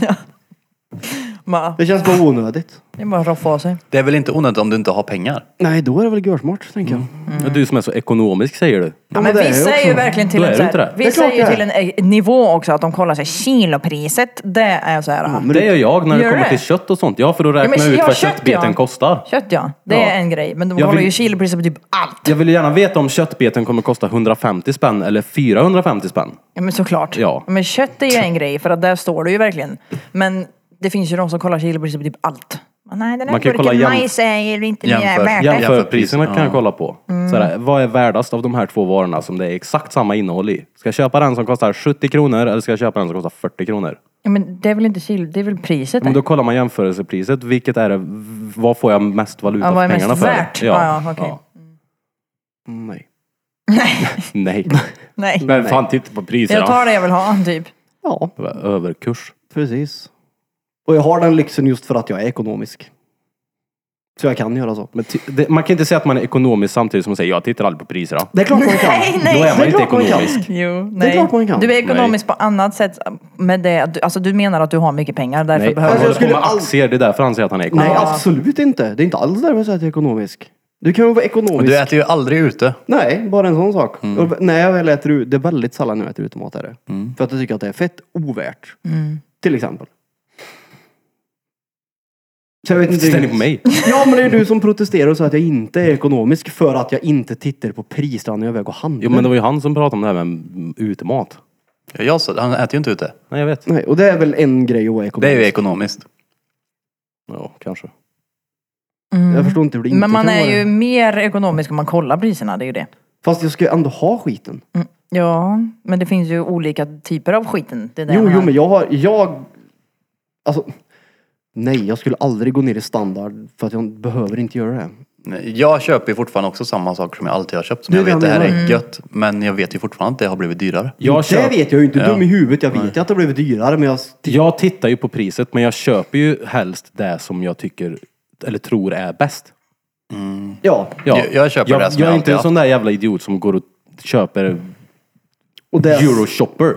Speaker 2: Man,
Speaker 4: Det känns bara onödigt.
Speaker 2: det är bara att roffa av sig.
Speaker 6: Det är väl inte onödigt om du inte har pengar?
Speaker 4: Nej, då är det väl görsmart, tänker jag.
Speaker 5: Ja, Du som är så ekonomisk säger du.
Speaker 2: Mm. Ja, men
Speaker 4: det är jag
Speaker 2: vissa är
Speaker 4: också.
Speaker 2: ju verkligen till
Speaker 5: Då är
Speaker 2: en,
Speaker 5: det
Speaker 2: så
Speaker 5: inte det.
Speaker 2: här,
Speaker 5: Det
Speaker 4: är
Speaker 2: vissa
Speaker 4: klart
Speaker 2: är ju
Speaker 4: det är.
Speaker 2: till en eh, nivå också att de kollar sig kilopriset. Det är så här.
Speaker 4: men
Speaker 5: Det gör jag när det
Speaker 2: Gör
Speaker 5: kommer
Speaker 2: det?
Speaker 5: till kött och sånt. Ja, för då
Speaker 2: Ja,
Speaker 5: räknar
Speaker 2: men
Speaker 5: jag ut
Speaker 2: ja,
Speaker 5: vad
Speaker 2: kött,
Speaker 5: köttbeten
Speaker 2: ja.
Speaker 5: kostar.
Speaker 2: Kött ja, det
Speaker 5: Ja.
Speaker 2: är en grej. Men de
Speaker 5: Jag
Speaker 2: kollar
Speaker 5: vill-
Speaker 2: ju kilopriset på typ allt.
Speaker 5: Jag vill ju gärna veta om köttbeten kommer kosta 150 spänn eller 450 spänn.
Speaker 2: Ja men såklart.
Speaker 5: Ja.
Speaker 2: Men kött är ju en grej för att där står det ju verkligen. Men det finns ju de som kollar kilopriset på typ allt. Men Nej den här
Speaker 5: Man kan ju kolla
Speaker 2: burken
Speaker 5: jäm-
Speaker 2: majs är ju inte
Speaker 6: Jämför.
Speaker 2: mer värt.
Speaker 6: Jämför.
Speaker 5: Jämför priserna
Speaker 6: pris,
Speaker 5: kan jag
Speaker 6: ja.
Speaker 5: kolla på.
Speaker 2: Mm.
Speaker 5: Så här, vad är värdast av de här två varorna som det är exakt samma innehåll i? Ska jag köpa den som kostar 70 kronor eller ska jag köpa den som kostar 40 kronor?
Speaker 2: Ja, men det är väl inte kilo, det är väl priset?
Speaker 5: Men
Speaker 2: det.
Speaker 5: då kollar man jämförelsepriset. Vilket är det? v- Vad får jag mest valuta
Speaker 2: Ja, vad är
Speaker 5: för
Speaker 2: mest
Speaker 5: pengarna för?
Speaker 2: värt? Ja, ja, okej.
Speaker 4: Mm, Nej.
Speaker 5: Nej.
Speaker 2: Nej.
Speaker 8: Men fan titta på priserna.
Speaker 2: Jag tar det jag vill ha typ.
Speaker 4: Ja,
Speaker 5: Det var Överkurs.
Speaker 4: precis. Och jag har den lyxen just för att jag är ekonomisk. Så jag kan göra så.
Speaker 5: Men ty- det, man kan inte säga att man är ekonomisk samtidigt som man säger jag tittar aldrig på priserna.
Speaker 4: Det är klart man kan.
Speaker 2: Nej,
Speaker 5: Då
Speaker 2: nej.
Speaker 5: är man
Speaker 4: är
Speaker 5: inte
Speaker 4: klart man kan.
Speaker 5: ekonomisk.
Speaker 2: Jo, nej.
Speaker 4: klart man kan.
Speaker 2: Du är ekonomisk på annat sätt med det. att du- Alltså du menar att du har mycket pengar därför
Speaker 5: Nej, han
Speaker 2: behöver
Speaker 4: Alltså,
Speaker 5: håller
Speaker 2: du...
Speaker 4: jag skulle
Speaker 5: på med
Speaker 4: all-
Speaker 5: aktier. Det är därför han säger att han är ekonomisk.
Speaker 4: Nej, absolut inte. Det är inte alls därför jag säger att jag är ekonomisk. Du kan ju vara ekonomisk.
Speaker 6: Du äter Mm. ju aldrig ute.
Speaker 4: Nej, bara en sån sak. Och när jag väl äter ut, det är väldigt sällan jag äter utemat är det.
Speaker 6: Mm.
Speaker 4: För att jag tycker att det är fett ovärt.
Speaker 2: Mm.
Speaker 4: Till exempel. Så jag vet inte
Speaker 5: Ställ dig
Speaker 4: riktigt.
Speaker 5: på mig.
Speaker 4: Ja men det är du som protesterar och säger att jag inte är ekonomisk för att jag inte tittar på priserna när jag väger och handlar.
Speaker 5: Jo men det var ju han som pratade om det här med mm, utemat.
Speaker 6: Ja, Jag sa, han äter ju inte ute.
Speaker 5: Nej jag vet.
Speaker 4: Nej, och det är väl en grej att vara ekonomisk.
Speaker 6: Det är ju ekonomiskt.
Speaker 5: Ja kanske.
Speaker 4: Jag förstår inte hur det inte
Speaker 2: Mm. Men man
Speaker 4: kan
Speaker 2: är
Speaker 4: vara
Speaker 2: ju
Speaker 4: det.
Speaker 2: mer ekonomisk om man kollar priserna, det är ju det.
Speaker 4: Fast jag ska ju ändå ha skiten.
Speaker 2: Ja, men det finns ju olika typer av skiten. Det är det
Speaker 4: Jo,
Speaker 2: jag
Speaker 4: jo
Speaker 2: menar.
Speaker 4: men jag har, jag... Alltså... Nej, jag skulle aldrig gå ner i standard för att jag behöver inte göra det.
Speaker 6: Nej, Jag köper ju fortfarande också samma saker som jag alltid har köpt. Som
Speaker 4: Det
Speaker 6: jag
Speaker 4: är det
Speaker 6: vet det
Speaker 4: jag
Speaker 6: här
Speaker 4: menar.
Speaker 6: är gött. Men jag vet ju fortfarande att det har blivit dyrare.
Speaker 5: Jag,
Speaker 4: det
Speaker 5: köp,
Speaker 4: vet jag ju inte. Dum i huvudet. Jag vet ju att det blev dyrare men jag...
Speaker 5: jag tittar ju på priset men jag köper ju helst det som jag tycker eller tror är bäst.
Speaker 4: Ja.
Speaker 5: Ja.
Speaker 6: Jag- jag köper det som
Speaker 5: jag
Speaker 6: jag
Speaker 5: är
Speaker 6: alltid
Speaker 5: inte en
Speaker 6: haft.
Speaker 5: sån där jävla idiot som går och köper
Speaker 4: Och det...
Speaker 5: euroshopper.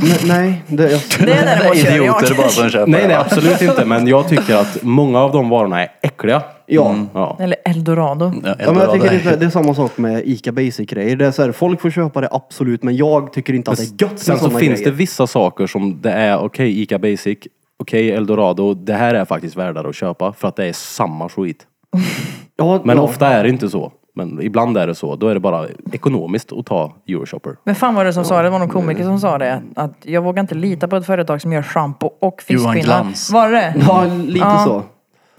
Speaker 4: Nej, nej. Det, jag,
Speaker 2: Det är däremot gör
Speaker 6: Idioter
Speaker 2: jag.
Speaker 6: bara som köper.
Speaker 5: Nej nej absolut inte men jag tycker att många av de varorna är äckliga.
Speaker 4: ja.
Speaker 5: Ja.
Speaker 2: Eller eldorado.
Speaker 6: Ja,
Speaker 4: Ja, men jag tycker
Speaker 6: Eldorado.
Speaker 4: det, är- det är samma sak med Ica Basic-grejer. Det är så här, folk får köpa det absolut, men jag tycker inte att det är gött med
Speaker 5: Sen så
Speaker 4: såna
Speaker 5: finns det
Speaker 4: grejer.
Speaker 5: vissa saker som det är okej Ica Basic, okej Eldorado, det här är faktiskt värdare att köpa för att det är samma skit.
Speaker 4: Ja,
Speaker 5: Men
Speaker 4: ja.
Speaker 5: ofta är det inte så. Men ibland är det så. Då är det bara ekonomiskt att ta Euroshopper.
Speaker 2: Men fan var det som sa det? Det var någon komiker som sa det. Att jag vågar inte lita på ett företag som gör schampo och
Speaker 6: Johan Glans.
Speaker 2: fiskpinnar. Var det
Speaker 4: Ja, lite så.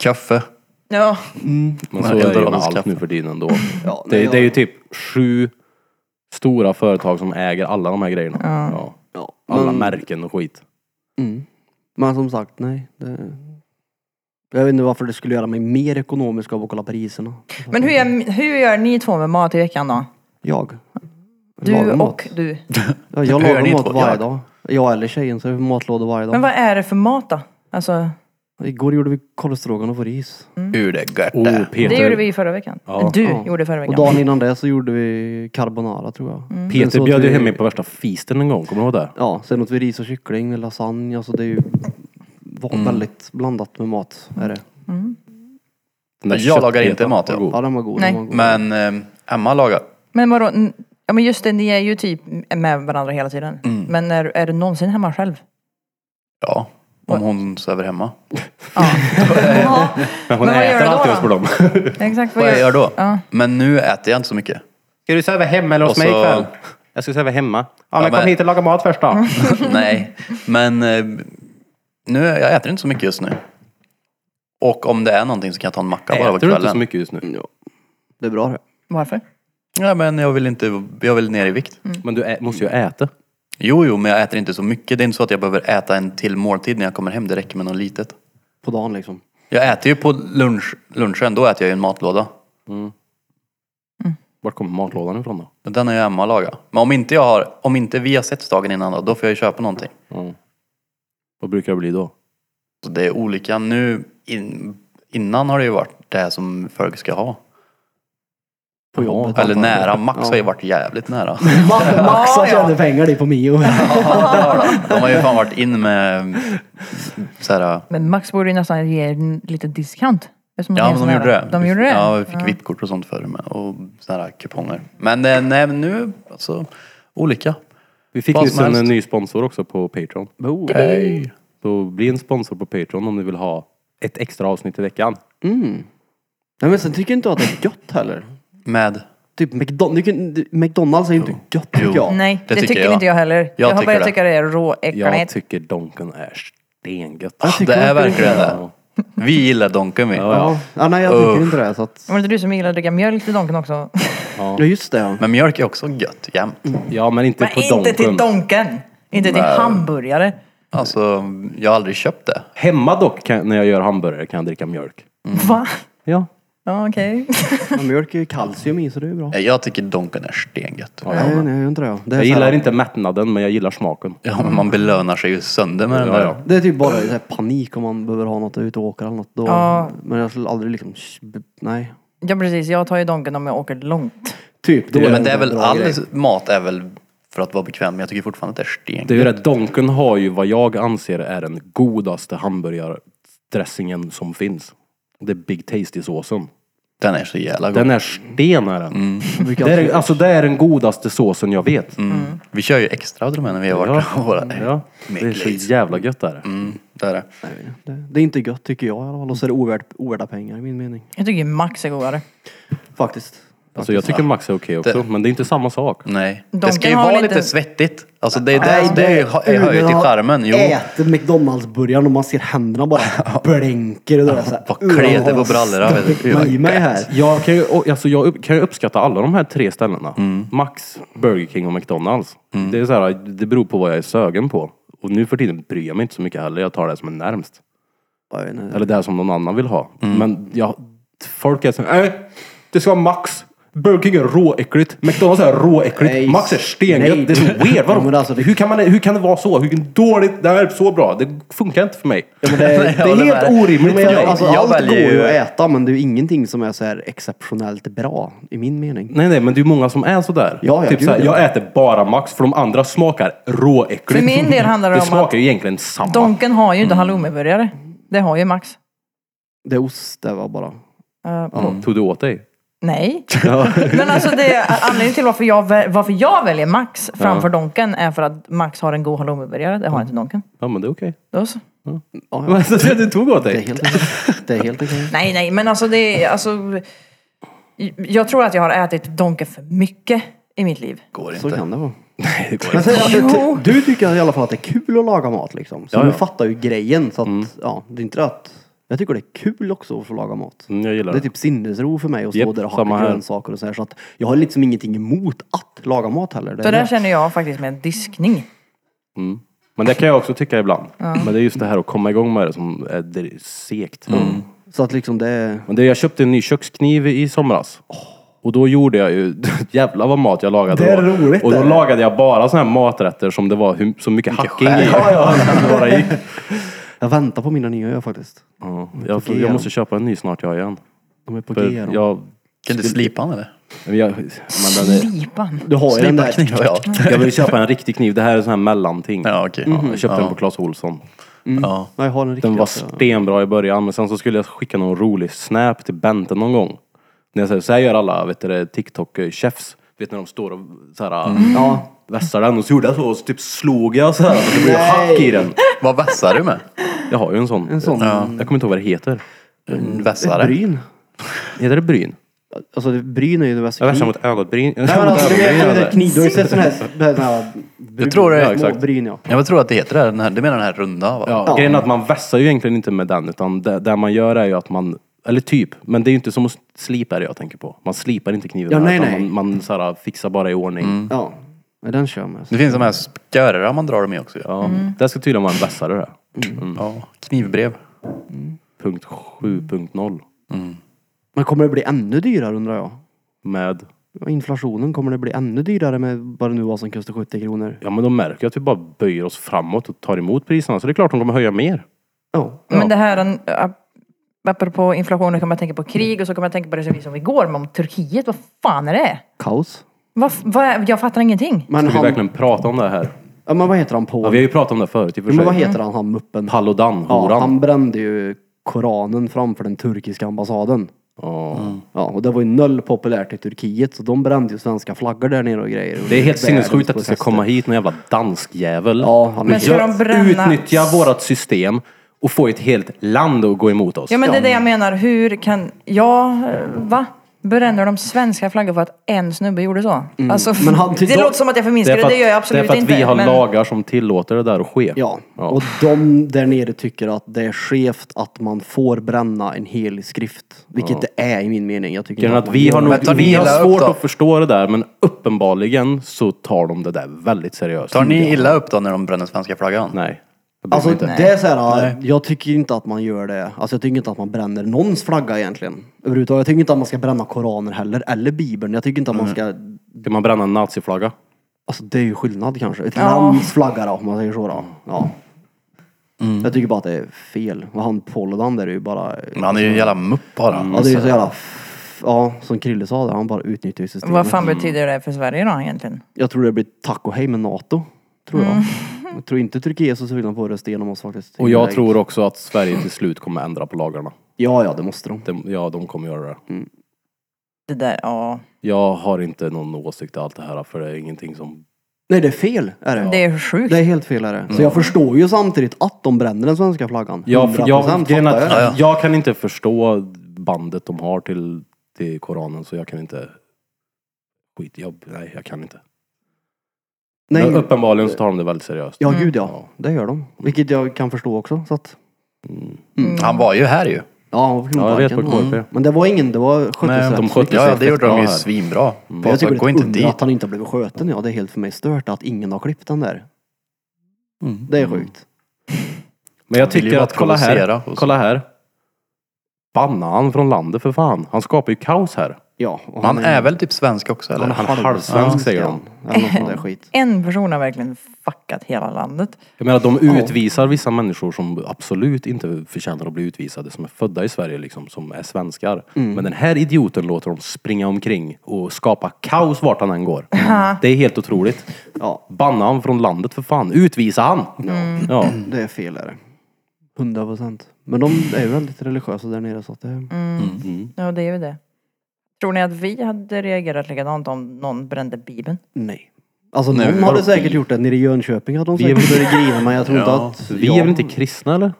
Speaker 6: Kaffe.
Speaker 2: Ja.
Speaker 5: Men
Speaker 6: Nej,
Speaker 5: så är det ju med
Speaker 6: Eldorados
Speaker 5: allt
Speaker 6: kaffe.
Speaker 5: nu för tiden ändå.
Speaker 4: Ja,
Speaker 5: det,
Speaker 4: nej,
Speaker 5: det är ju
Speaker 4: jag-
Speaker 5: typ sju stora företag som äger alla de här grejerna. Ja.
Speaker 4: Ja,
Speaker 5: Alla
Speaker 4: men,
Speaker 5: märken och skit.
Speaker 4: men som sagt, nej. Det, Jag vet inte varför det skulle göra mig mer ekonomisk av att kolla priserna.
Speaker 2: Men hur gör, hur gör ni två med mat i veckan då?
Speaker 4: Jag.
Speaker 2: Du
Speaker 4: Lagar mat.
Speaker 2: och du.
Speaker 4: Ja, jag
Speaker 6: Hur gör
Speaker 4: lagar
Speaker 6: ni
Speaker 4: mat
Speaker 6: två?
Speaker 4: varje
Speaker 6: Jag.
Speaker 4: dag. Jag eller tjejen så är det matlådor varje dag.
Speaker 2: Men vad är det för mat då? Alltså,
Speaker 4: Igår gjorde vi korvstroganoff och ris.
Speaker 2: Mm.
Speaker 6: Hur det gött
Speaker 5: Oh,
Speaker 6: det.
Speaker 2: det
Speaker 5: Peter,
Speaker 2: gjorde vi förra veckan.
Speaker 5: Ja.
Speaker 2: du
Speaker 4: Ja.
Speaker 2: gjorde förra
Speaker 4: Och
Speaker 2: veckan. Mm.
Speaker 4: dagen innan det så gjorde vi carbonara tror jag. Sen
Speaker 5: Peter
Speaker 4: så åt
Speaker 5: bjöd ju
Speaker 4: vi-
Speaker 5: hem mig på värsta feasten en gång, kommer du ihåg det?
Speaker 4: Ja, sen åt vi ris och kyckling med lasagne. Alltså det är ju var
Speaker 5: Mm.
Speaker 4: väldigt blandat med mat. Är det.
Speaker 5: Den där
Speaker 6: Jag lagar
Speaker 5: köttbetan
Speaker 6: inte mat,
Speaker 5: var
Speaker 6: ja.
Speaker 5: god.
Speaker 4: Ja, den var god.
Speaker 2: Nej.
Speaker 4: Den var god.
Speaker 6: Men ehm, Emma lagar.
Speaker 2: Men vadå? n- Ja men just det, ni är ju typ med varandra hela tiden. Men är, är du någonsin hemma själv?
Speaker 6: Ja, om hon sover hemma.
Speaker 2: Ja. ja.
Speaker 5: Men hon
Speaker 2: Men vad gör
Speaker 5: äter
Speaker 2: du då
Speaker 5: alltid
Speaker 2: då?
Speaker 5: hos på dem.
Speaker 2: Exakt.
Speaker 6: Vad jag gör då?
Speaker 2: Ja.
Speaker 6: Men nu äter jag inte så mycket.
Speaker 5: Ska du sova hemma eller
Speaker 6: hos mig ikväll?
Speaker 5: Jag ska sova hemma. Ja, Mm.
Speaker 6: men kom men- hit
Speaker 5: och laga mat först då.
Speaker 6: Nej, men eh, nu, jag äter inte så mycket just nu. Och om det är någonting så kan jag ta en macka bara på
Speaker 5: Äter du inte så
Speaker 6: kvällen.
Speaker 5: mycket just nu?
Speaker 4: Det är bra det.
Speaker 2: Varför?
Speaker 6: Ja, men jag vill inte, jag vill ner i vikt.
Speaker 5: Men du ä- måste ju äta.
Speaker 6: Jo, jo, men jag äter inte så mycket. Det är inte så att jag behöver äta en till måltid när jag kommer hem. Det räcker med något litet.
Speaker 4: På dagen liksom.
Speaker 6: Jag äter ju på lunch, lunchen, då äter jag ju en matlåda.
Speaker 5: Vart kommer matlådan ifrån då?
Speaker 6: Men Den har ju Emma lagat. Men om inte, jag har, om inte vi har sett dagen innan då, då får jag ju köpa någonting.
Speaker 5: Vad brukar det bli då?
Speaker 6: Så det är olika nu. In, innan har det ju varit det här som folk ska ha.
Speaker 4: På jobbet.
Speaker 6: Eller
Speaker 4: antagligen.
Speaker 6: nära. Max
Speaker 4: Ja.
Speaker 6: har ju varit jävligt nära.
Speaker 4: Max, Max har tjänat pengar det på Mio.
Speaker 6: De har ju fan varit in med så här,
Speaker 2: Men Max borde ju nästan ge en liten discount. eftersom
Speaker 6: Ja,
Speaker 2: är så
Speaker 6: men de gjorde
Speaker 2: nära.
Speaker 6: det.
Speaker 2: De gjorde det?
Speaker 6: Ja, vi fick vittkort och sånt förr med. Och sådana här kuponger. Men eh, nej, men nu, alltså, olika.
Speaker 5: Vi fick
Speaker 6: Vad
Speaker 5: nyss
Speaker 6: som
Speaker 5: en
Speaker 6: helst.
Speaker 5: ny sponsor också på Patreon.
Speaker 6: Hej!
Speaker 5: Oh. Så bli en sponsor på Patreon om ni vill ha ett extra avsnitt i veckan.
Speaker 4: Nej men sen tycker inte jag att det är gött heller.
Speaker 6: Med,
Speaker 4: Typ McDon- du kan- du- McDonalds är ju inte gött tycker jag.
Speaker 2: Nej, det,
Speaker 6: Det
Speaker 2: tycker,
Speaker 6: tycker jag.
Speaker 2: inte jag heller. Jag, har
Speaker 6: tycker
Speaker 2: börjat
Speaker 6: det.
Speaker 2: tycka det är
Speaker 5: Jag
Speaker 2: råäckligt.
Speaker 5: tycker Donken är stengött.
Speaker 2: Ah.
Speaker 4: Jag tycker
Speaker 6: det är
Speaker 4: inte
Speaker 6: verkligen det. Vi gillar Donken vi.
Speaker 4: Ja. ja, nej jag tycker inte det. Så att,
Speaker 2: Var det inte du som gillade att dricka mjölk till Donken också?
Speaker 4: ja just det. ja.
Speaker 6: Men mjölk är också gött jämt.
Speaker 5: Ja, men inte
Speaker 2: Men
Speaker 5: på
Speaker 2: inte till
Speaker 5: Donken.
Speaker 2: Donken! Inte till hamburgare.
Speaker 6: Alltså, jag har aldrig köpt det.
Speaker 5: Hemma dock, kan, när jag gör hamburgare, kan jag dricka mjölk.
Speaker 2: Va?
Speaker 5: Ja.
Speaker 2: Ja, okej.
Speaker 4: Men mjölk är ju kalcium i så det är ju bra.
Speaker 6: Nej, Jag tycker Donken är stengött.
Speaker 4: Nej, nej jag gör inte det. Det är,
Speaker 5: Jag
Speaker 4: så här-
Speaker 5: gillar inte mättnaden, men jag gillar smaken.
Speaker 6: Ja, men man belönar sig ju sönder med den
Speaker 5: Ja,
Speaker 6: där.
Speaker 5: ja.
Speaker 4: det är typ bara så här panik om man behöver ha något ute och åka eller något. Då,
Speaker 2: Ja.
Speaker 4: Men jag skulle aldrig liksom, sh- b- nej.
Speaker 2: Ja, precis. Jag tar ju Donken om jag åker långt.
Speaker 4: Typ. Då
Speaker 6: Ja, men
Speaker 4: en
Speaker 6: det är väl,
Speaker 4: bra
Speaker 6: all
Speaker 4: grej.
Speaker 6: mat är väl för att vara bekväm, men jag tycker fortfarande att det är stengött.
Speaker 5: Det är ju det, Donken har ju vad jag anser är den godaste hamburgardressingen som finns. Det är Big Tasty-såsen.
Speaker 6: Den är så jävla god.
Speaker 5: Den är sten är den.
Speaker 6: Mm.
Speaker 4: Jag brukar
Speaker 5: Det är,
Speaker 4: alltid-
Speaker 5: alltså det är den godaste såsen jag vet.
Speaker 6: Vi kör ju extra av de här när vi har varit och våra...
Speaker 5: Ja. Det är så jävla gött där.
Speaker 6: Mm, det är det.
Speaker 4: det, det är inte gött tycker jag i alla fall. Och så är det ovärt, ovärda pengar i min mening.
Speaker 2: Jag tycker ju Max är godare.
Speaker 4: Faktiskt.
Speaker 5: Alltså jag tycker Max är okej också,
Speaker 6: Det-
Speaker 5: men det är inte samma sak.
Speaker 6: Nej. det
Speaker 2: Donken
Speaker 6: ska ju
Speaker 2: har
Speaker 6: vara
Speaker 2: väl
Speaker 6: lite
Speaker 2: inte-
Speaker 6: svettigt. Alltså det är det, det, är- det hör ju till charmen. Jo.
Speaker 4: Äter McDonalds-burgaren och man ser händerna bara blänker. Och det är så här,
Speaker 6: Vad kletig
Speaker 4: "Ugh,
Speaker 6: på brallorna, vet du."
Speaker 4: stoppar i mig här.
Speaker 5: Jag kan ju, och- alltså jag upp- kan ju uppskatta alla de här tre ställena.
Speaker 6: Mm.
Speaker 5: Max, Burger King och McDonalds. Det, är så här, det beror på vad jag är sögen på. Och nu för tiden bryr jag mig inte så mycket heller. Jag tar det som är närmst.
Speaker 4: Oj, nej.
Speaker 5: Eller det som någon annan vill ha.
Speaker 4: Mm.
Speaker 5: Men jag, folk är så här, nej, det ska vara Max. Burger King är råäckligt. McDonalds är råäckligt.
Speaker 4: Nej.
Speaker 5: Max är
Speaker 4: Nej.
Speaker 5: stengött. Det är så weird.
Speaker 4: Ja, men
Speaker 5: Vadå?
Speaker 4: alltså, det-
Speaker 5: hur, kan man, hur kan det vara så? Hur kan dåligt? Det här är så bra. Det funkar inte för mig.
Speaker 4: Ja, men det,
Speaker 6: Nej,
Speaker 4: det
Speaker 6: jag håller
Speaker 4: är
Speaker 6: med.
Speaker 4: helt orimligt.
Speaker 6: Men
Speaker 4: för
Speaker 6: jag-
Speaker 4: mig. alltså,
Speaker 6: jag
Speaker 4: allt
Speaker 6: väljer
Speaker 4: går ju
Speaker 6: ju-
Speaker 4: att äta men det är ju ingenting som är så här exceptionellt bra i min mening.
Speaker 5: Nej, nej, men det är ju många som är sådär.
Speaker 4: Ja, ja,
Speaker 5: typ
Speaker 4: gud,
Speaker 5: såhär,
Speaker 4: ja.
Speaker 5: jag äter bara Max för de andra smakar råäckligt.
Speaker 2: För min del handlar det
Speaker 5: det
Speaker 2: om att-
Speaker 5: smakar ju egentligen samma.
Speaker 2: Donken har ju inte halloumiburgare. Det har ju Max.
Speaker 4: Det är ost det var bara.
Speaker 2: Eh,
Speaker 5: Tog du åt dig?
Speaker 2: Nej. Men alltså det, anledningen till varför jag, väl- varför jag väljer Max framför Donken är för att Max har en god halloumiburgare. Det har inte Donken.
Speaker 5: Ja, men det är okej.
Speaker 2: Då så.
Speaker 4: Ja, ja.
Speaker 5: Men så du tog åt
Speaker 4: Det är
Speaker 5: dig?
Speaker 4: helt okej. Det är helt okej.
Speaker 2: Nej, nej, men alltså det är alltså. Jag tror att jag har ätit Donken för mycket i mitt liv.
Speaker 6: går
Speaker 4: Så
Speaker 6: inte.
Speaker 4: kan det vara.
Speaker 5: Nej, det går
Speaker 4: Men
Speaker 5: inte.
Speaker 4: sen,
Speaker 2: Jo.
Speaker 4: alltså, du tycker i alla fall att det är kul att laga mat liksom. Så
Speaker 5: Ja, ja.
Speaker 4: du fattar ju grejen. Så att,
Speaker 6: Mm.
Speaker 4: ja, det är inte att... Jag tycker det är kul också att få laga mat.
Speaker 5: Mm, jag gillar
Speaker 4: Det är
Speaker 5: det.
Speaker 4: typ sinnesro för mig att stå
Speaker 5: Japp,
Speaker 4: där och
Speaker 5: samma
Speaker 4: hacka
Speaker 5: här.
Speaker 4: grönsaker och så här. Så att jag har liksom ingenting emot att laga mat heller. Det
Speaker 2: Så
Speaker 4: är
Speaker 2: där
Speaker 4: det.
Speaker 2: känner jag faktiskt med diskning.
Speaker 5: Men det kan jag också tycka ibland. Men det är just det här att komma igång med det som är dr- segt.
Speaker 9: Mm.
Speaker 5: Mm.
Speaker 4: Så att liksom det är...
Speaker 5: Men det, jag köpte en ny kökskniv i somras. Och då gjorde jag ju, jävlar vad mat jag lagade
Speaker 9: Det är
Speaker 5: då.
Speaker 9: roligt,
Speaker 5: Och då
Speaker 9: det.
Speaker 5: lagade jag bara såna här maträtter som det var hur, så mycket hacking i. som det bara gick.
Speaker 4: Jag väntar på mina nya öar faktiskt.
Speaker 5: Ja, jag,
Speaker 4: På G
Speaker 5: jag
Speaker 4: igen.
Speaker 5: måste köpa en ny snart jag igen.
Speaker 4: De är på
Speaker 5: För
Speaker 4: G. de.
Speaker 5: jag,
Speaker 6: Kan du slipa han eller?
Speaker 5: men jag, men den är,
Speaker 2: Pipan.
Speaker 4: Du har ju den
Speaker 6: Slipa
Speaker 4: där.
Speaker 6: knivar ja.
Speaker 5: jag vill köpa en riktig kniv, det här är en sån här mellanting.
Speaker 6: Ja okej.
Speaker 5: Ja, jag köpte den på Clas Ohlson.
Speaker 6: Ja.
Speaker 4: Nej, jag har den riktiga.
Speaker 5: Den var
Speaker 4: alltså.
Speaker 5: stenbra i början, men sen så skulle jag skicka någon rolig snap till Bente någon gång. När jag säger, så här gör alla vet du, det, TikTok-chefs. Vet när de står och så här,
Speaker 4: Mm.
Speaker 5: ja, vässar den och så gjorde jag så och så typ slog jag så här. Så det blev hack i den.
Speaker 6: Vad vässar du med?
Speaker 5: Jag har ju en sån.
Speaker 4: En sån.
Speaker 5: Ja. Jag kommer inte ihåg vad det heter.
Speaker 6: En
Speaker 4: Ett
Speaker 6: vässare?
Speaker 4: bryn.
Speaker 5: Heter det bryn?
Speaker 4: Alltså det- bryn är ju det bästa
Speaker 5: Jag vässar
Speaker 4: kniv.
Speaker 5: mot ögonbryn.
Speaker 4: Nej men alltså det är- det är
Speaker 5: Ögonbryn.
Speaker 4: kniv. Du har ju sett sån här... den här bryn-
Speaker 6: tror det är-
Speaker 5: Ja, exakt.
Speaker 4: Små bryn ja.
Speaker 6: Jag tror att det heter det. här, Den här du menar den här runda va?
Speaker 5: Ja, Grejen är att man vässar ju egentligen inte med den utan det, det man gör är ju att man, eller typ, men det är ju inte som att slipa det jag tänker på. Man slipar inte kniven
Speaker 4: Ja,
Speaker 5: med,
Speaker 4: nej,
Speaker 5: utan
Speaker 4: nej. Mm.
Speaker 5: man, man så här, fixar bara i ordning.
Speaker 4: Ja. Nej, Den kör man.
Speaker 6: Det finns de här skörer man drar dem i också ju.
Speaker 5: Ja,
Speaker 2: Mm.
Speaker 5: Det ska tydligen vara en vässare det.
Speaker 6: Ja. Knivbrev.
Speaker 5: Punkt 7.0
Speaker 4: Men kommer det bli ännu dyrare undrar jag?
Speaker 5: med,
Speaker 4: Ja, Inflationen, kommer det bli ännu dyrare med vad det nu var som kostade 70 kronor?
Speaker 5: ja men de märker att vi bara böjer oss framåt och tar emot priserna så det är klart de kommer höja mer.
Speaker 4: Ja.
Speaker 2: Men det här, äh, apropå inflationen kan man tänka på krig och så kan man tänka på det som vi som igår, men om Turkiet, vad fan är det?
Speaker 4: Kaos.
Speaker 2: Vad, f- vad, är- jag fattar ingenting.
Speaker 4: Men
Speaker 5: Ska vi
Speaker 4: han...
Speaker 5: verkligen prata om det här?
Speaker 4: Ja, men vad heter han på?
Speaker 5: Ja, vi har ju pratat om det förut i och för
Speaker 4: men vad
Speaker 5: sig.
Speaker 4: heter han, han muppen?
Speaker 5: Paludan,
Speaker 4: Ja,
Speaker 5: horan.
Speaker 4: han brände ju Koranen framför den turkiska ambassaden.
Speaker 5: Ja.
Speaker 4: Ja, och det var ju noll populärt i Turkiet, så de brände ju svenska flaggor där nere och grejer.
Speaker 5: Det är helt
Speaker 4: Världens
Speaker 5: sinnessjukt att det ska
Speaker 4: protester.
Speaker 5: komma hit någon jävla dansk jävel.
Speaker 4: Ja, han är-
Speaker 2: Men ska de bränna-
Speaker 5: Utnyttja vårat system och få ett helt land att gå emot oss.
Speaker 2: Ja men det är det jag menar, hur kan, ja, eh, va? Bränner de svenska flaggor för att en snubbe gjorde så? Alltså,
Speaker 4: Men han-
Speaker 2: det
Speaker 4: då-
Speaker 2: låter som att jag
Speaker 5: Mm. Det
Speaker 2: förminskar
Speaker 5: är
Speaker 2: det,
Speaker 5: för att,
Speaker 2: det gör jag
Speaker 5: det
Speaker 2: absolut
Speaker 5: är för att
Speaker 2: inte.
Speaker 5: vi har
Speaker 2: men,
Speaker 5: lagar som tillåter det där att ske.
Speaker 4: Ja.
Speaker 5: Ja.
Speaker 4: och de där nere tycker att det är skevt att man får bränna en helig skrift. Vilket det är i min mening. Jag tycker
Speaker 5: Grejen är
Speaker 4: inte
Speaker 5: Att
Speaker 4: man
Speaker 5: vi
Speaker 4: gör
Speaker 5: har,
Speaker 4: det.
Speaker 5: nog,
Speaker 6: tar ni
Speaker 5: vi har
Speaker 6: illa upp
Speaker 5: svårt
Speaker 6: då?
Speaker 5: att förstå det där men uppenbarligen så tar de det där väldigt seriöst.
Speaker 6: Tar ni illa upp då när de bränner svenska flaggan?
Speaker 5: Nej. det blir
Speaker 4: Alltså
Speaker 5: inte.
Speaker 4: det är så här, jag tycker inte att man gör det. Alltså jag tycker inte att man bränner någons flagga egentligen. Överhuvudtaget. Jag tycker inte att man ska bränna koraner heller, eller bibeln. Jag tycker inte att man
Speaker 5: Mm.
Speaker 4: ska...
Speaker 5: Ska man bränna en naziflagga?
Speaker 4: Alltså det är ju skillnad kanske. Ett
Speaker 2: Ja.
Speaker 4: lands flagga då, om man säger så då. Ja.
Speaker 5: Mm.
Speaker 4: Jag tycker bara att det är fel. Och han Polodan där är ju bara...
Speaker 6: Men han är ju en jävla mupp bara.
Speaker 4: Mm. Ja, det är ju så jävla... f- Ja, som Krille sa där, han bara utnyttjar ju systemet.
Speaker 2: Vad fan betyder det för Sverige då egentligen?
Speaker 4: Jag tror det blir tack och hej med NATO. Tror
Speaker 2: Mm.
Speaker 4: jag. Jag tror inte Turkiet är så sugna på att rösta igenom oss faktiskt.
Speaker 5: Och jag tror också att Sverige till slut kommer ändra på lagarna.
Speaker 4: Ja, ja, det måste de.
Speaker 5: De, ja, de kommer göra det.
Speaker 2: Det där, ja.
Speaker 5: Jag har inte någon åsikt i allt det här för det är ingenting som...
Speaker 4: Nej, det är fel. Är det.
Speaker 2: Det är sjukt.
Speaker 4: Det är helt fel är det.
Speaker 5: Mm.
Speaker 4: Så jag förstår ju samtidigt att de bränner den svenska flaggan.
Speaker 5: Jag, jag, grejen är
Speaker 4: fattar jag.
Speaker 5: att, jag kan inte förstå bandet de har till, till Koranen så jag kan inte... Skit, jag, nej jag kan inte. Men
Speaker 4: Nej,
Speaker 5: uppenbarligen så tar de det väldigt seriöst.
Speaker 4: ja gud
Speaker 5: Mm.
Speaker 4: ja. Det gör de. Vilket jag kan förstå också. Så att,
Speaker 6: Mm. Han var ju här ju.
Speaker 4: Mm. ja, och
Speaker 5: Ja, jag vet på
Speaker 4: Kronparken.
Speaker 5: KP.
Speaker 4: Mm. Men det var ingen, det var
Speaker 6: Nej,
Speaker 4: sköttes
Speaker 5: de
Speaker 4: rätt
Speaker 5: skötte
Speaker 4: snyggt.
Speaker 5: sig.
Speaker 6: Ja, ja, det gjorde de ju
Speaker 5: Ja.
Speaker 6: svinbra.
Speaker 4: Men Mm. Jag
Speaker 6: Alltså,
Speaker 4: tycker
Speaker 6: gå
Speaker 4: det är
Speaker 6: inte
Speaker 4: ett under
Speaker 6: dit.
Speaker 4: att han inte har blivit sköten. Ja, det är helt för mig stört att ingen har klippt den där.
Speaker 6: Mm.
Speaker 4: Det är sjukt.
Speaker 5: Men jag
Speaker 6: Han vill ju
Speaker 5: tycker
Speaker 6: bara
Speaker 5: att, kolla
Speaker 6: provocera
Speaker 5: här,
Speaker 6: och så.
Speaker 5: kolla här. Banna han från landet för fan. Han skapar ju kaos här.
Speaker 4: Ja, och
Speaker 6: Han är väl typ svensk också eller?
Speaker 5: han är halvsvensk, säger de.
Speaker 4: Eller något sånt där skit.
Speaker 2: En person har verkligen fuckat hela landet.
Speaker 5: Jag menar de utvisar vissa människor som absolut inte förtjänar att bli utvisade. Som är födda i Sverige liksom, som är svenskar.
Speaker 6: Mm.
Speaker 5: Men den här idioten låter dem springa omkring och skapa kaos vart han än går. Det är helt otroligt.
Speaker 4: Ja,
Speaker 5: Banna han från landet för fan. Utvisa han! Ja.
Speaker 4: det är fel är det. 100 procent. Men de är väldigt religiösa där nere så att det...
Speaker 2: Mm. Ja, det är ju det. Tror ni att vi hade reagerat likadant om någon brände bibeln?
Speaker 4: Nej. Alltså någon hade säkert gjort det. Nere i Jönköping hade de säkert börjat grina men jag tror inte att...
Speaker 5: Vi är väl inte kristna eller?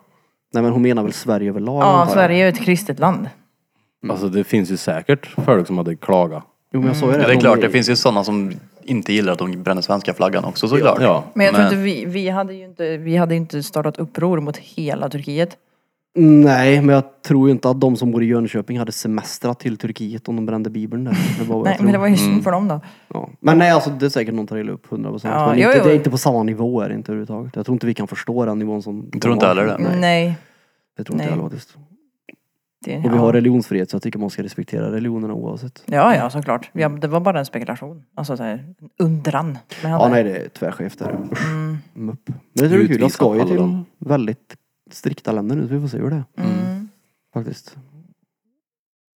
Speaker 4: Nej men hon menar väl Sverige överlag?
Speaker 2: Ja,
Speaker 4: antar jag.
Speaker 2: Sverige är ju ett kristet land.
Speaker 6: Mm.
Speaker 5: Alltså det finns ju säkert folk som hade klagat.
Speaker 4: Jo men jag sa ju det.
Speaker 6: Ja, det är
Speaker 4: de
Speaker 6: klart, det finns ju sådana som inte gillar att de bränner svenska flaggan också såklart.
Speaker 5: Ja.
Speaker 2: Men jag tror inte vi, vi hade ju inte, vi hade ju inte startat uppror mot hela Turkiet.
Speaker 4: Nej, men jag tror ju inte att de som bor i Jönköping hade semestrat till Turkiet om de brände bibeln där. Det var vad
Speaker 2: Nej,
Speaker 4: jag
Speaker 2: men det
Speaker 4: tror.
Speaker 2: var ju synd för dem då.
Speaker 4: Ja. Men nej, alltså det är säkert någon tar illa upp, 100 procent.
Speaker 2: Ja,
Speaker 4: men
Speaker 2: jo,
Speaker 4: inte,
Speaker 2: jo.
Speaker 4: det är inte på samma nivå är det inte överhuvudtaget. Jag tror inte vi kan förstå den nivån som...
Speaker 6: Jag tror inte heller det.
Speaker 4: Nej,
Speaker 2: Nej.
Speaker 4: jag tror inte
Speaker 2: Nej.
Speaker 4: heller faktiskt.
Speaker 2: Det,
Speaker 4: Och vi
Speaker 2: ja.
Speaker 4: har religionsfrihet så jag tycker man ska respektera religionerna oavsett.
Speaker 2: ja, ja, såklart. Ja, det var bara en spekulation. Alltså så här, en undran. Men han
Speaker 4: Ja,
Speaker 2: är-
Speaker 4: nej det är tvärskevt där. Usch.
Speaker 2: Mm.
Speaker 4: Mupp. Men det tror jag är kul. Jag
Speaker 6: Utvisa
Speaker 4: ska ju
Speaker 6: alla
Speaker 4: till
Speaker 6: dem.
Speaker 4: väldigt strikta länder nu så vi får se hur det är.
Speaker 2: Mm.
Speaker 4: Faktiskt.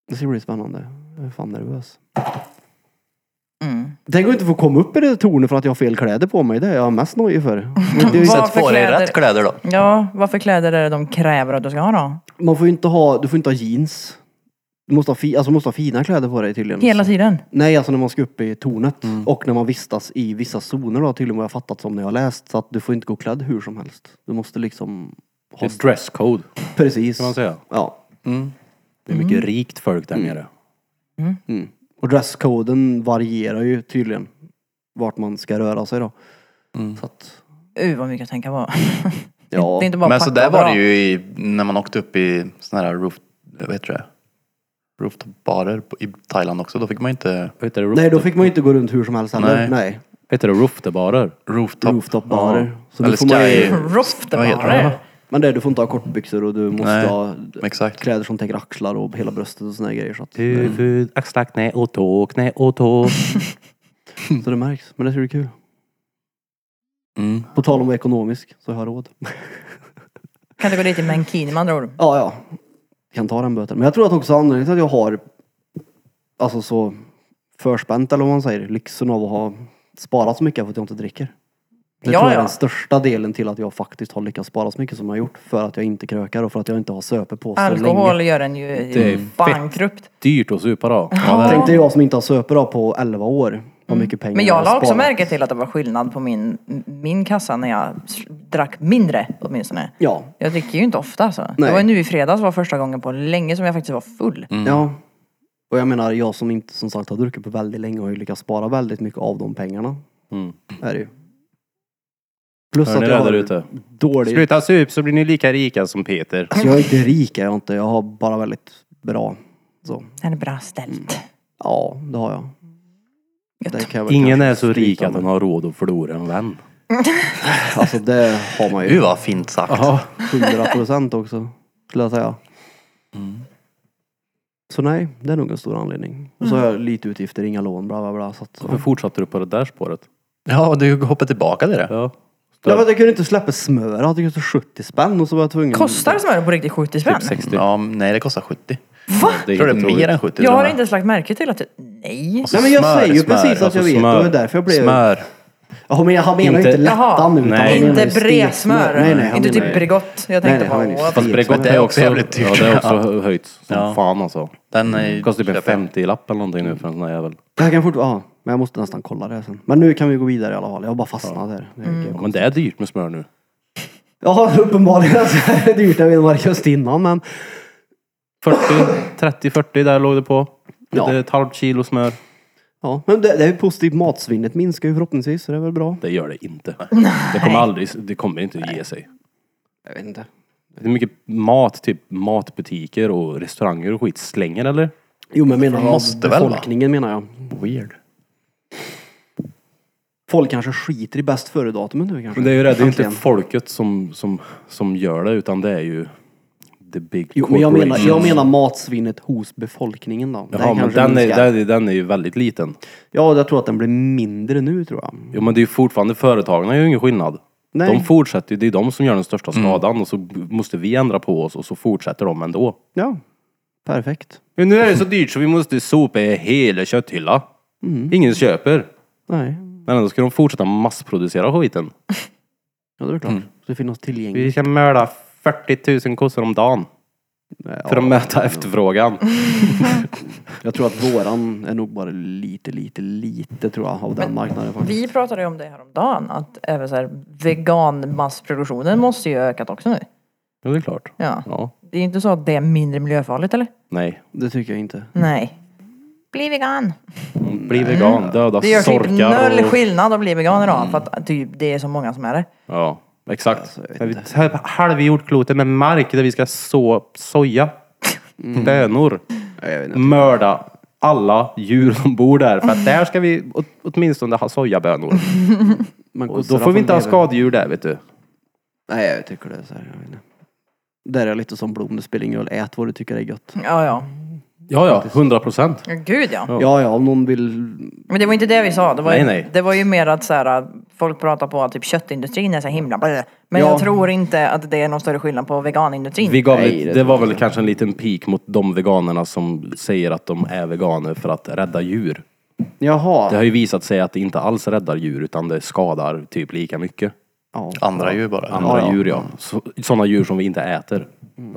Speaker 4: Det ska bli spännande. Jag är fan nervös.
Speaker 2: Mm.
Speaker 4: Tänk att inte få komma upp i det tornet för att jag har fel kläder på mig. Det är jag mest nojig för. Men det är ju så
Speaker 2: Vad
Speaker 6: Sätt
Speaker 2: för
Speaker 6: på dig
Speaker 2: kläder?
Speaker 6: rätt kläder då.
Speaker 2: Ja, vad för kläder är det de kräver att du ska ha då?
Speaker 4: att man får ju inte ha, du får inte ha jeans. Du måste ha, fi, alltså du måste ha fina kläder på dig tydligen.
Speaker 2: Hela tiden?
Speaker 4: Nej, alltså när man ska upp i tornet. Och när man vistas i vissa zoner då, tydligen vad jag fattat som när jag har läst. Så att du får inte gå klädd hur som helst. Du måste liksom
Speaker 5: Det
Speaker 4: ha...
Speaker 5: är dresscode,
Speaker 4: Precis.
Speaker 5: kan man säga.
Speaker 4: Ja.
Speaker 5: Det är mycket rikt folk där nere.
Speaker 4: Mm. Och dresskoden varierar ju tydligen vart man ska röra sig då. Så att,
Speaker 2: Uh, vad mycket att tänka på.
Speaker 4: ja.
Speaker 2: Det är inte bara
Speaker 6: Men
Speaker 2: packa
Speaker 6: så där
Speaker 2: och
Speaker 6: var
Speaker 2: dra.
Speaker 6: det ju i, när man åkte upp i såna här roof, vad heter det? Rooftop-barer på- i Thailand också. Då fick man inte
Speaker 5: Vad heter det?
Speaker 4: Nej, då fick man ju inte gå runt hur som helst heller. Nej.
Speaker 6: Nej.
Speaker 5: Heter det roofterbarer?
Speaker 6: rooftop.
Speaker 4: Rooftop-barer. Så då
Speaker 6: Ja. Eller
Speaker 4: får man ju-
Speaker 6: sky.
Speaker 2: Rofte
Speaker 6: Vad heter
Speaker 2: bara.
Speaker 6: det?
Speaker 4: Men det, du får inte ha kortbyxor och du måste
Speaker 6: Nej,
Speaker 4: ha
Speaker 6: exakt.
Speaker 4: kläder som täcker axlar och hela bröstet och såna här grejer. Så, att,
Speaker 5: Huvud, axlar, knä och tå, knä och tå.
Speaker 4: så det märks. Men det ser ju kul.
Speaker 6: Mm.
Speaker 4: På tal om att vara ekonomisk, så har jag råd.
Speaker 2: Kan du gå dit i mankini med andra ord?
Speaker 4: Ja, ja. Kan ta den böten. Men jag tror att också anledningen till att jag har alltså så förspänt eller vad man säger, lyxen av att ha sparat så mycket är för att jag inte dricker. Det
Speaker 2: Ja,
Speaker 4: tror jag är
Speaker 2: ja.
Speaker 4: den största delen till att jag faktiskt har lyckats spara så mycket som jag har gjort. För att jag inte krökar och för att jag inte har söpit på så
Speaker 2: Alkohol
Speaker 4: länge.
Speaker 2: gör en ju
Speaker 5: Det är fett.
Speaker 2: bankrupt. Mm.
Speaker 5: Dyrt att supa då.
Speaker 4: Tänk dig jag som inte har söpit då på 11 år. Vad mycket pengar
Speaker 2: Men jag la också
Speaker 4: sparat.
Speaker 2: märke till att det var skillnad på min, min kassa när jag s- drack mindre åtminstone.
Speaker 4: Ja.
Speaker 2: Jag dricker ju inte ofta alltså.
Speaker 4: Nej. Mm.
Speaker 2: Det var ju nu i fredags var första gången på länge som jag faktiskt var full.
Speaker 5: Mm.
Speaker 4: ja. Och jag menar, jag som inte som sagt har druckit på väldigt länge har ju lyckats spara väldigt mycket av de pengarna.
Speaker 5: Mm.
Speaker 4: Är det ju. Plus
Speaker 5: Hör ni
Speaker 4: att jag
Speaker 5: det där
Speaker 4: har
Speaker 5: ute?
Speaker 4: dålig
Speaker 5: Sluta sup så blir ni lika rika som Peter.
Speaker 4: Så jag är inte rik är jag inte. Jag har bara väldigt bra. Så.
Speaker 2: Den är bra ställt.
Speaker 4: Mm. Ja, det har jag. Det
Speaker 2: Gött.
Speaker 4: kan jag väl
Speaker 5: Ingen
Speaker 4: kanske
Speaker 5: är så rik
Speaker 4: skryta
Speaker 5: att
Speaker 4: med.
Speaker 5: han har råd att förlora en vän.
Speaker 4: Alltså det har man
Speaker 6: Gud
Speaker 4: ju.
Speaker 6: vad fint sagt.
Speaker 4: Hundra procent också. Skulle jag säga.
Speaker 5: Mm.
Speaker 4: Så nej, det är nog en stor anledning. Och så har jag lite utgifter, inga lån, bla bla bla. Så att,
Speaker 5: Varför
Speaker 4: så.
Speaker 5: fortsatte du på det där spåret?
Speaker 6: Ja, du hoppar tillbaka till det.
Speaker 5: Ja.
Speaker 4: Jag, vet, jag kunde inte släppa smöret. Det kostade 70 spänn och så var jag tvungen.
Speaker 2: Kostar smör på riktigt 70 spänn?
Speaker 5: Typ 60.
Speaker 6: Ja, nej, det kostar 70.
Speaker 2: Va?
Speaker 5: Det
Speaker 6: Jag tror det
Speaker 5: inte
Speaker 6: är mer
Speaker 5: troligt.
Speaker 6: än 70.
Speaker 2: Jag
Speaker 6: tror
Speaker 2: har inte ens lagt märke till att... Nej.
Speaker 4: typ Nej men jag säger ju precis att
Speaker 5: alltså
Speaker 4: jag vet.
Speaker 5: smör.
Speaker 4: Och det är därför jag blev...
Speaker 5: Smör.
Speaker 4: Ja, men jag- han menar ju
Speaker 5: Inte-
Speaker 4: inte lättan nu.
Speaker 5: Jaha.
Speaker 4: utan han
Speaker 5: Nej.
Speaker 4: menar ju
Speaker 2: Inte
Speaker 4: stekt
Speaker 2: bredsmör.
Speaker 4: smör. Nej, nej, han
Speaker 2: inte
Speaker 4: menar
Speaker 2: typ
Speaker 4: ju-
Speaker 2: Bregott. Jag
Speaker 4: Nej,
Speaker 2: tänkte
Speaker 4: nej, han menar ju
Speaker 2: bara...
Speaker 4: stekt
Speaker 5: Fast Bregott
Speaker 4: smör.
Speaker 6: Det
Speaker 5: är
Speaker 6: är
Speaker 5: också,
Speaker 6: också jävligt dyrt.
Speaker 5: ja, det är också höjts som
Speaker 6: Ja.
Speaker 5: fan alltså.
Speaker 6: Den är ju...
Speaker 5: Det kostar typ en
Speaker 6: köper jag.
Speaker 5: 50-lapp eller någonting nu för en sån här jävel.
Speaker 4: Jag kan fortfarande, ja. Men jag måste nästan kolla det sen. Men nu kan vi gå vidare i alla fall. Jag har bara fastnat där. Det är
Speaker 2: Mm.
Speaker 4: okej.
Speaker 5: Ja, men det är dyrt med smör nu.
Speaker 4: Ja, uppenbarligen så är det dyrt. Jag vet inte vad det just innan men.
Speaker 5: 40, 30-40 där låg det på.
Speaker 4: Ja.
Speaker 5: Det är ett halvt kilo smör.
Speaker 4: Ja, men det, det är ju positivt. Matsvinnet minskar ju förhoppningsvis så det är väl bra.
Speaker 5: Det gör det inte. Det kommer aldrig, det kommer inte att ge sig.
Speaker 4: Jag vet inte.
Speaker 5: Hur mycket mat, typ matbutiker och restauranger och skit slänger eller?
Speaker 4: Jo men jag menar jag
Speaker 6: Måste väl, va?
Speaker 4: befolkningen menar jag.
Speaker 6: Weird.
Speaker 4: Folk kanske skiter i bäst före-datumet nu kanske.
Speaker 5: Men det är ju det, det är inte
Speaker 4: Äntligen.
Speaker 5: folket som, som, som gör det utan det är ju the big
Speaker 4: Jo men jag menar, jag
Speaker 5: corporations.
Speaker 4: menar matsvinnet hos befolkningen då. Det
Speaker 5: Jaha, men
Speaker 4: kanske
Speaker 5: den är,
Speaker 4: minskar.
Speaker 5: den, är- den är ju väldigt liten.
Speaker 4: Ja, jag tror att den blir mindre nu tror jag.
Speaker 5: Jo men det är ju fortfarande, företagen gör ju ingen skillnad.
Speaker 4: Nej.
Speaker 5: De fortsätter ju, det är de som gör den största skadan och så måste vi ändra på oss och så fortsätter de ändå.
Speaker 4: Ja. Perfekt.
Speaker 5: Men nu är det så dyrt så vi måste sopa i hela kötthyllan. Ingen köper.
Speaker 4: Nej.
Speaker 5: Men ändå ska de fortsätta massproducera skiten.
Speaker 4: Ja, det är klart. Så det finns något tillgängligt.
Speaker 5: Mm. Vi ska mörda 40 000 kossor om dagen
Speaker 4: Ja.
Speaker 5: för att möta efterfrågan.
Speaker 4: Jag tror att våran är nog bara lite, lite, lite tror jag av den marknaden faktiskt.
Speaker 2: Vi pratade ju om det här om dagen att även så här veganmassproduktionen måste ju ha ökat också nu.
Speaker 5: Jo, det är klart.
Speaker 2: Ja.
Speaker 5: Ja.
Speaker 2: Det är inte så att det är mindre miljöfarligt eller?
Speaker 5: Nej.
Speaker 4: Det tycker jag inte.
Speaker 2: Nej. Bli vegan!
Speaker 5: Bli vegan, döda
Speaker 2: Det gör typ
Speaker 5: sorkar
Speaker 2: noll
Speaker 5: och...
Speaker 2: skillnad att bli vegan idag för att typ det är så många som är det.
Speaker 5: Ja. Exakt.
Speaker 4: Alltså, jag vet
Speaker 5: Men vi tar halv jordklotet med mark där vi ska så soja, Mm. bönor,
Speaker 4: Nej, jag vet inte.
Speaker 5: mörda alla djur som bor där. För att där ska vi åt, åtminstone ha sojabönor.
Speaker 4: Man
Speaker 5: Och då får vi inte ha skadedjur där vet du.
Speaker 4: Nej, jag tycker det är så här. Jag vet inte. Där är jag lite som Blom, det spelar ingen roll. Ät vad du tycker är gött.
Speaker 2: Ja, ja.
Speaker 5: Ja, ja. 100 procent.
Speaker 2: Ja, Gud ja.
Speaker 4: Ja, ja, om någon vill...
Speaker 2: Men det var inte det vi sa. Det var,
Speaker 5: Nej,
Speaker 2: ju,
Speaker 5: nej.
Speaker 2: Det var ju mer att så här, folk pratar på att typ, köttindustrin är så himla blä. Men
Speaker 4: Ja.
Speaker 2: jag tror inte att det är någon större skillnad på veganindustrin.
Speaker 5: Vi gav
Speaker 4: Nej,
Speaker 5: lite,
Speaker 4: det
Speaker 5: det var
Speaker 4: tror
Speaker 5: väl kanske en liten pik mot de veganerna som säger att de är veganer för att rädda djur.
Speaker 4: Jaha.
Speaker 5: Det har ju visat sig att det inte alls räddar djur utan det skadar typ lika mycket.
Speaker 4: Ja.
Speaker 6: Andra djur bara.
Speaker 5: Andra
Speaker 4: Ja, ja.
Speaker 5: djur ja. Så, sådana djur som vi inte äter.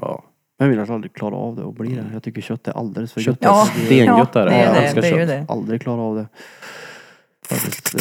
Speaker 5: Ja.
Speaker 4: Men jag vill att aldrig klara av det och bli det. Jag tycker kött är alldeles för
Speaker 5: Kött
Speaker 4: gött. Alltså,
Speaker 5: är
Speaker 2: Ja.
Speaker 5: stengött
Speaker 2: Ja,
Speaker 5: är det.
Speaker 2: det är
Speaker 5: Jag
Speaker 2: det.
Speaker 5: älskar
Speaker 2: Det är ju
Speaker 5: kött.
Speaker 2: det.
Speaker 4: Aldrig klara av det. Faktiskt,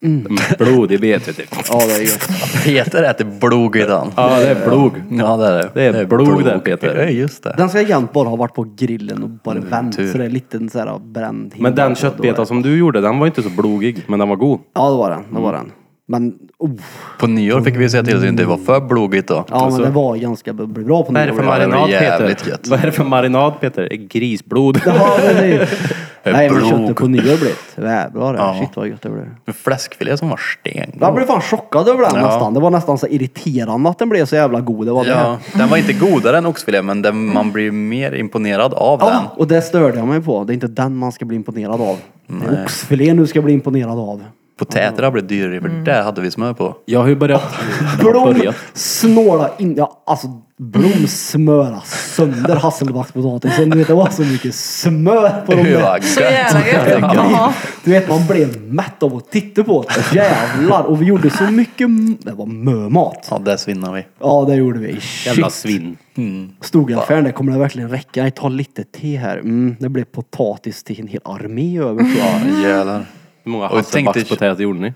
Speaker 4: det-
Speaker 5: Blodig vet du.
Speaker 4: Ja, det är gött.
Speaker 6: Peter äter blod idag.
Speaker 5: Ja det är blod.
Speaker 6: Ja det är det.
Speaker 5: Det är blod där, Peter.
Speaker 6: Ja just det.
Speaker 4: Den ska egentligen bara ha varit på grillen och bara vänt.
Speaker 6: tur.
Speaker 4: Så det är lite så här bränd hinna
Speaker 5: Mm, Men
Speaker 4: på,
Speaker 5: den
Speaker 4: då är det-
Speaker 5: köttbetan som du gjorde, den var inte så blodig, men den var god.
Speaker 4: Ja, det var den. Det var
Speaker 5: Mm.
Speaker 4: den. Men, oh,
Speaker 6: På nyår fick vi säga till att det inte var för blodigt då.
Speaker 4: ja, men det var ganska b- bra på
Speaker 5: Vad är det för
Speaker 4: nyår.
Speaker 6: det var
Speaker 5: marinad
Speaker 6: jävligt
Speaker 5: Peter?
Speaker 6: gött.
Speaker 5: Vad är det för marinad Peter? Grisblod.
Speaker 4: Ja, precis. Nej, men
Speaker 6: Brok.
Speaker 4: köttet på nyår blev det. det. är Bra det.
Speaker 6: Ja.
Speaker 4: Shit vad gött det blev.
Speaker 6: En fläskfilé som var sten.
Speaker 4: Jag blev fan chockad över den nästan. Det var nästan så irriterande att den blev så jävla god. Det var
Speaker 6: Ja,
Speaker 4: det.
Speaker 6: den var inte godare än oxfilé men den, man blir mer imponerad av
Speaker 4: Ja,
Speaker 6: den.
Speaker 4: och det störde jag mig på. Det är inte den man ska bli imponerad av. Det är oxfilén du ska bli imponerad av.
Speaker 6: Potäter har blivit dyrare
Speaker 2: Mm.
Speaker 6: för där hade vi smör på.
Speaker 5: Jag har ju börjat...
Speaker 4: Blom
Speaker 5: börjat.
Speaker 4: snåla in, ja alltså Blom smöra sönder hasselbackspotatisen. Du vet det var så mycket smör på de
Speaker 6: Det
Speaker 4: där.
Speaker 6: var
Speaker 2: Så jävla
Speaker 6: gött.
Speaker 2: gött. Ja.
Speaker 4: Du vet man blev mätt av att titta på det. Jävlar. Och vi gjorde så mycket, m- det var mömat.
Speaker 6: Ja, där svinnade vi.
Speaker 4: Ja det gjorde vi.
Speaker 5: Jävla
Speaker 4: Shit.
Speaker 5: svin.
Speaker 4: Stogaffären, där kommer det verkligen räcka. Nej, ta lite te här. Mm, det blev potatis till en hel armé över. tror jag.
Speaker 6: Jävlar.
Speaker 5: Hur många
Speaker 6: Och jag tänkte-
Speaker 5: hasselbackspotäter gjorde ni?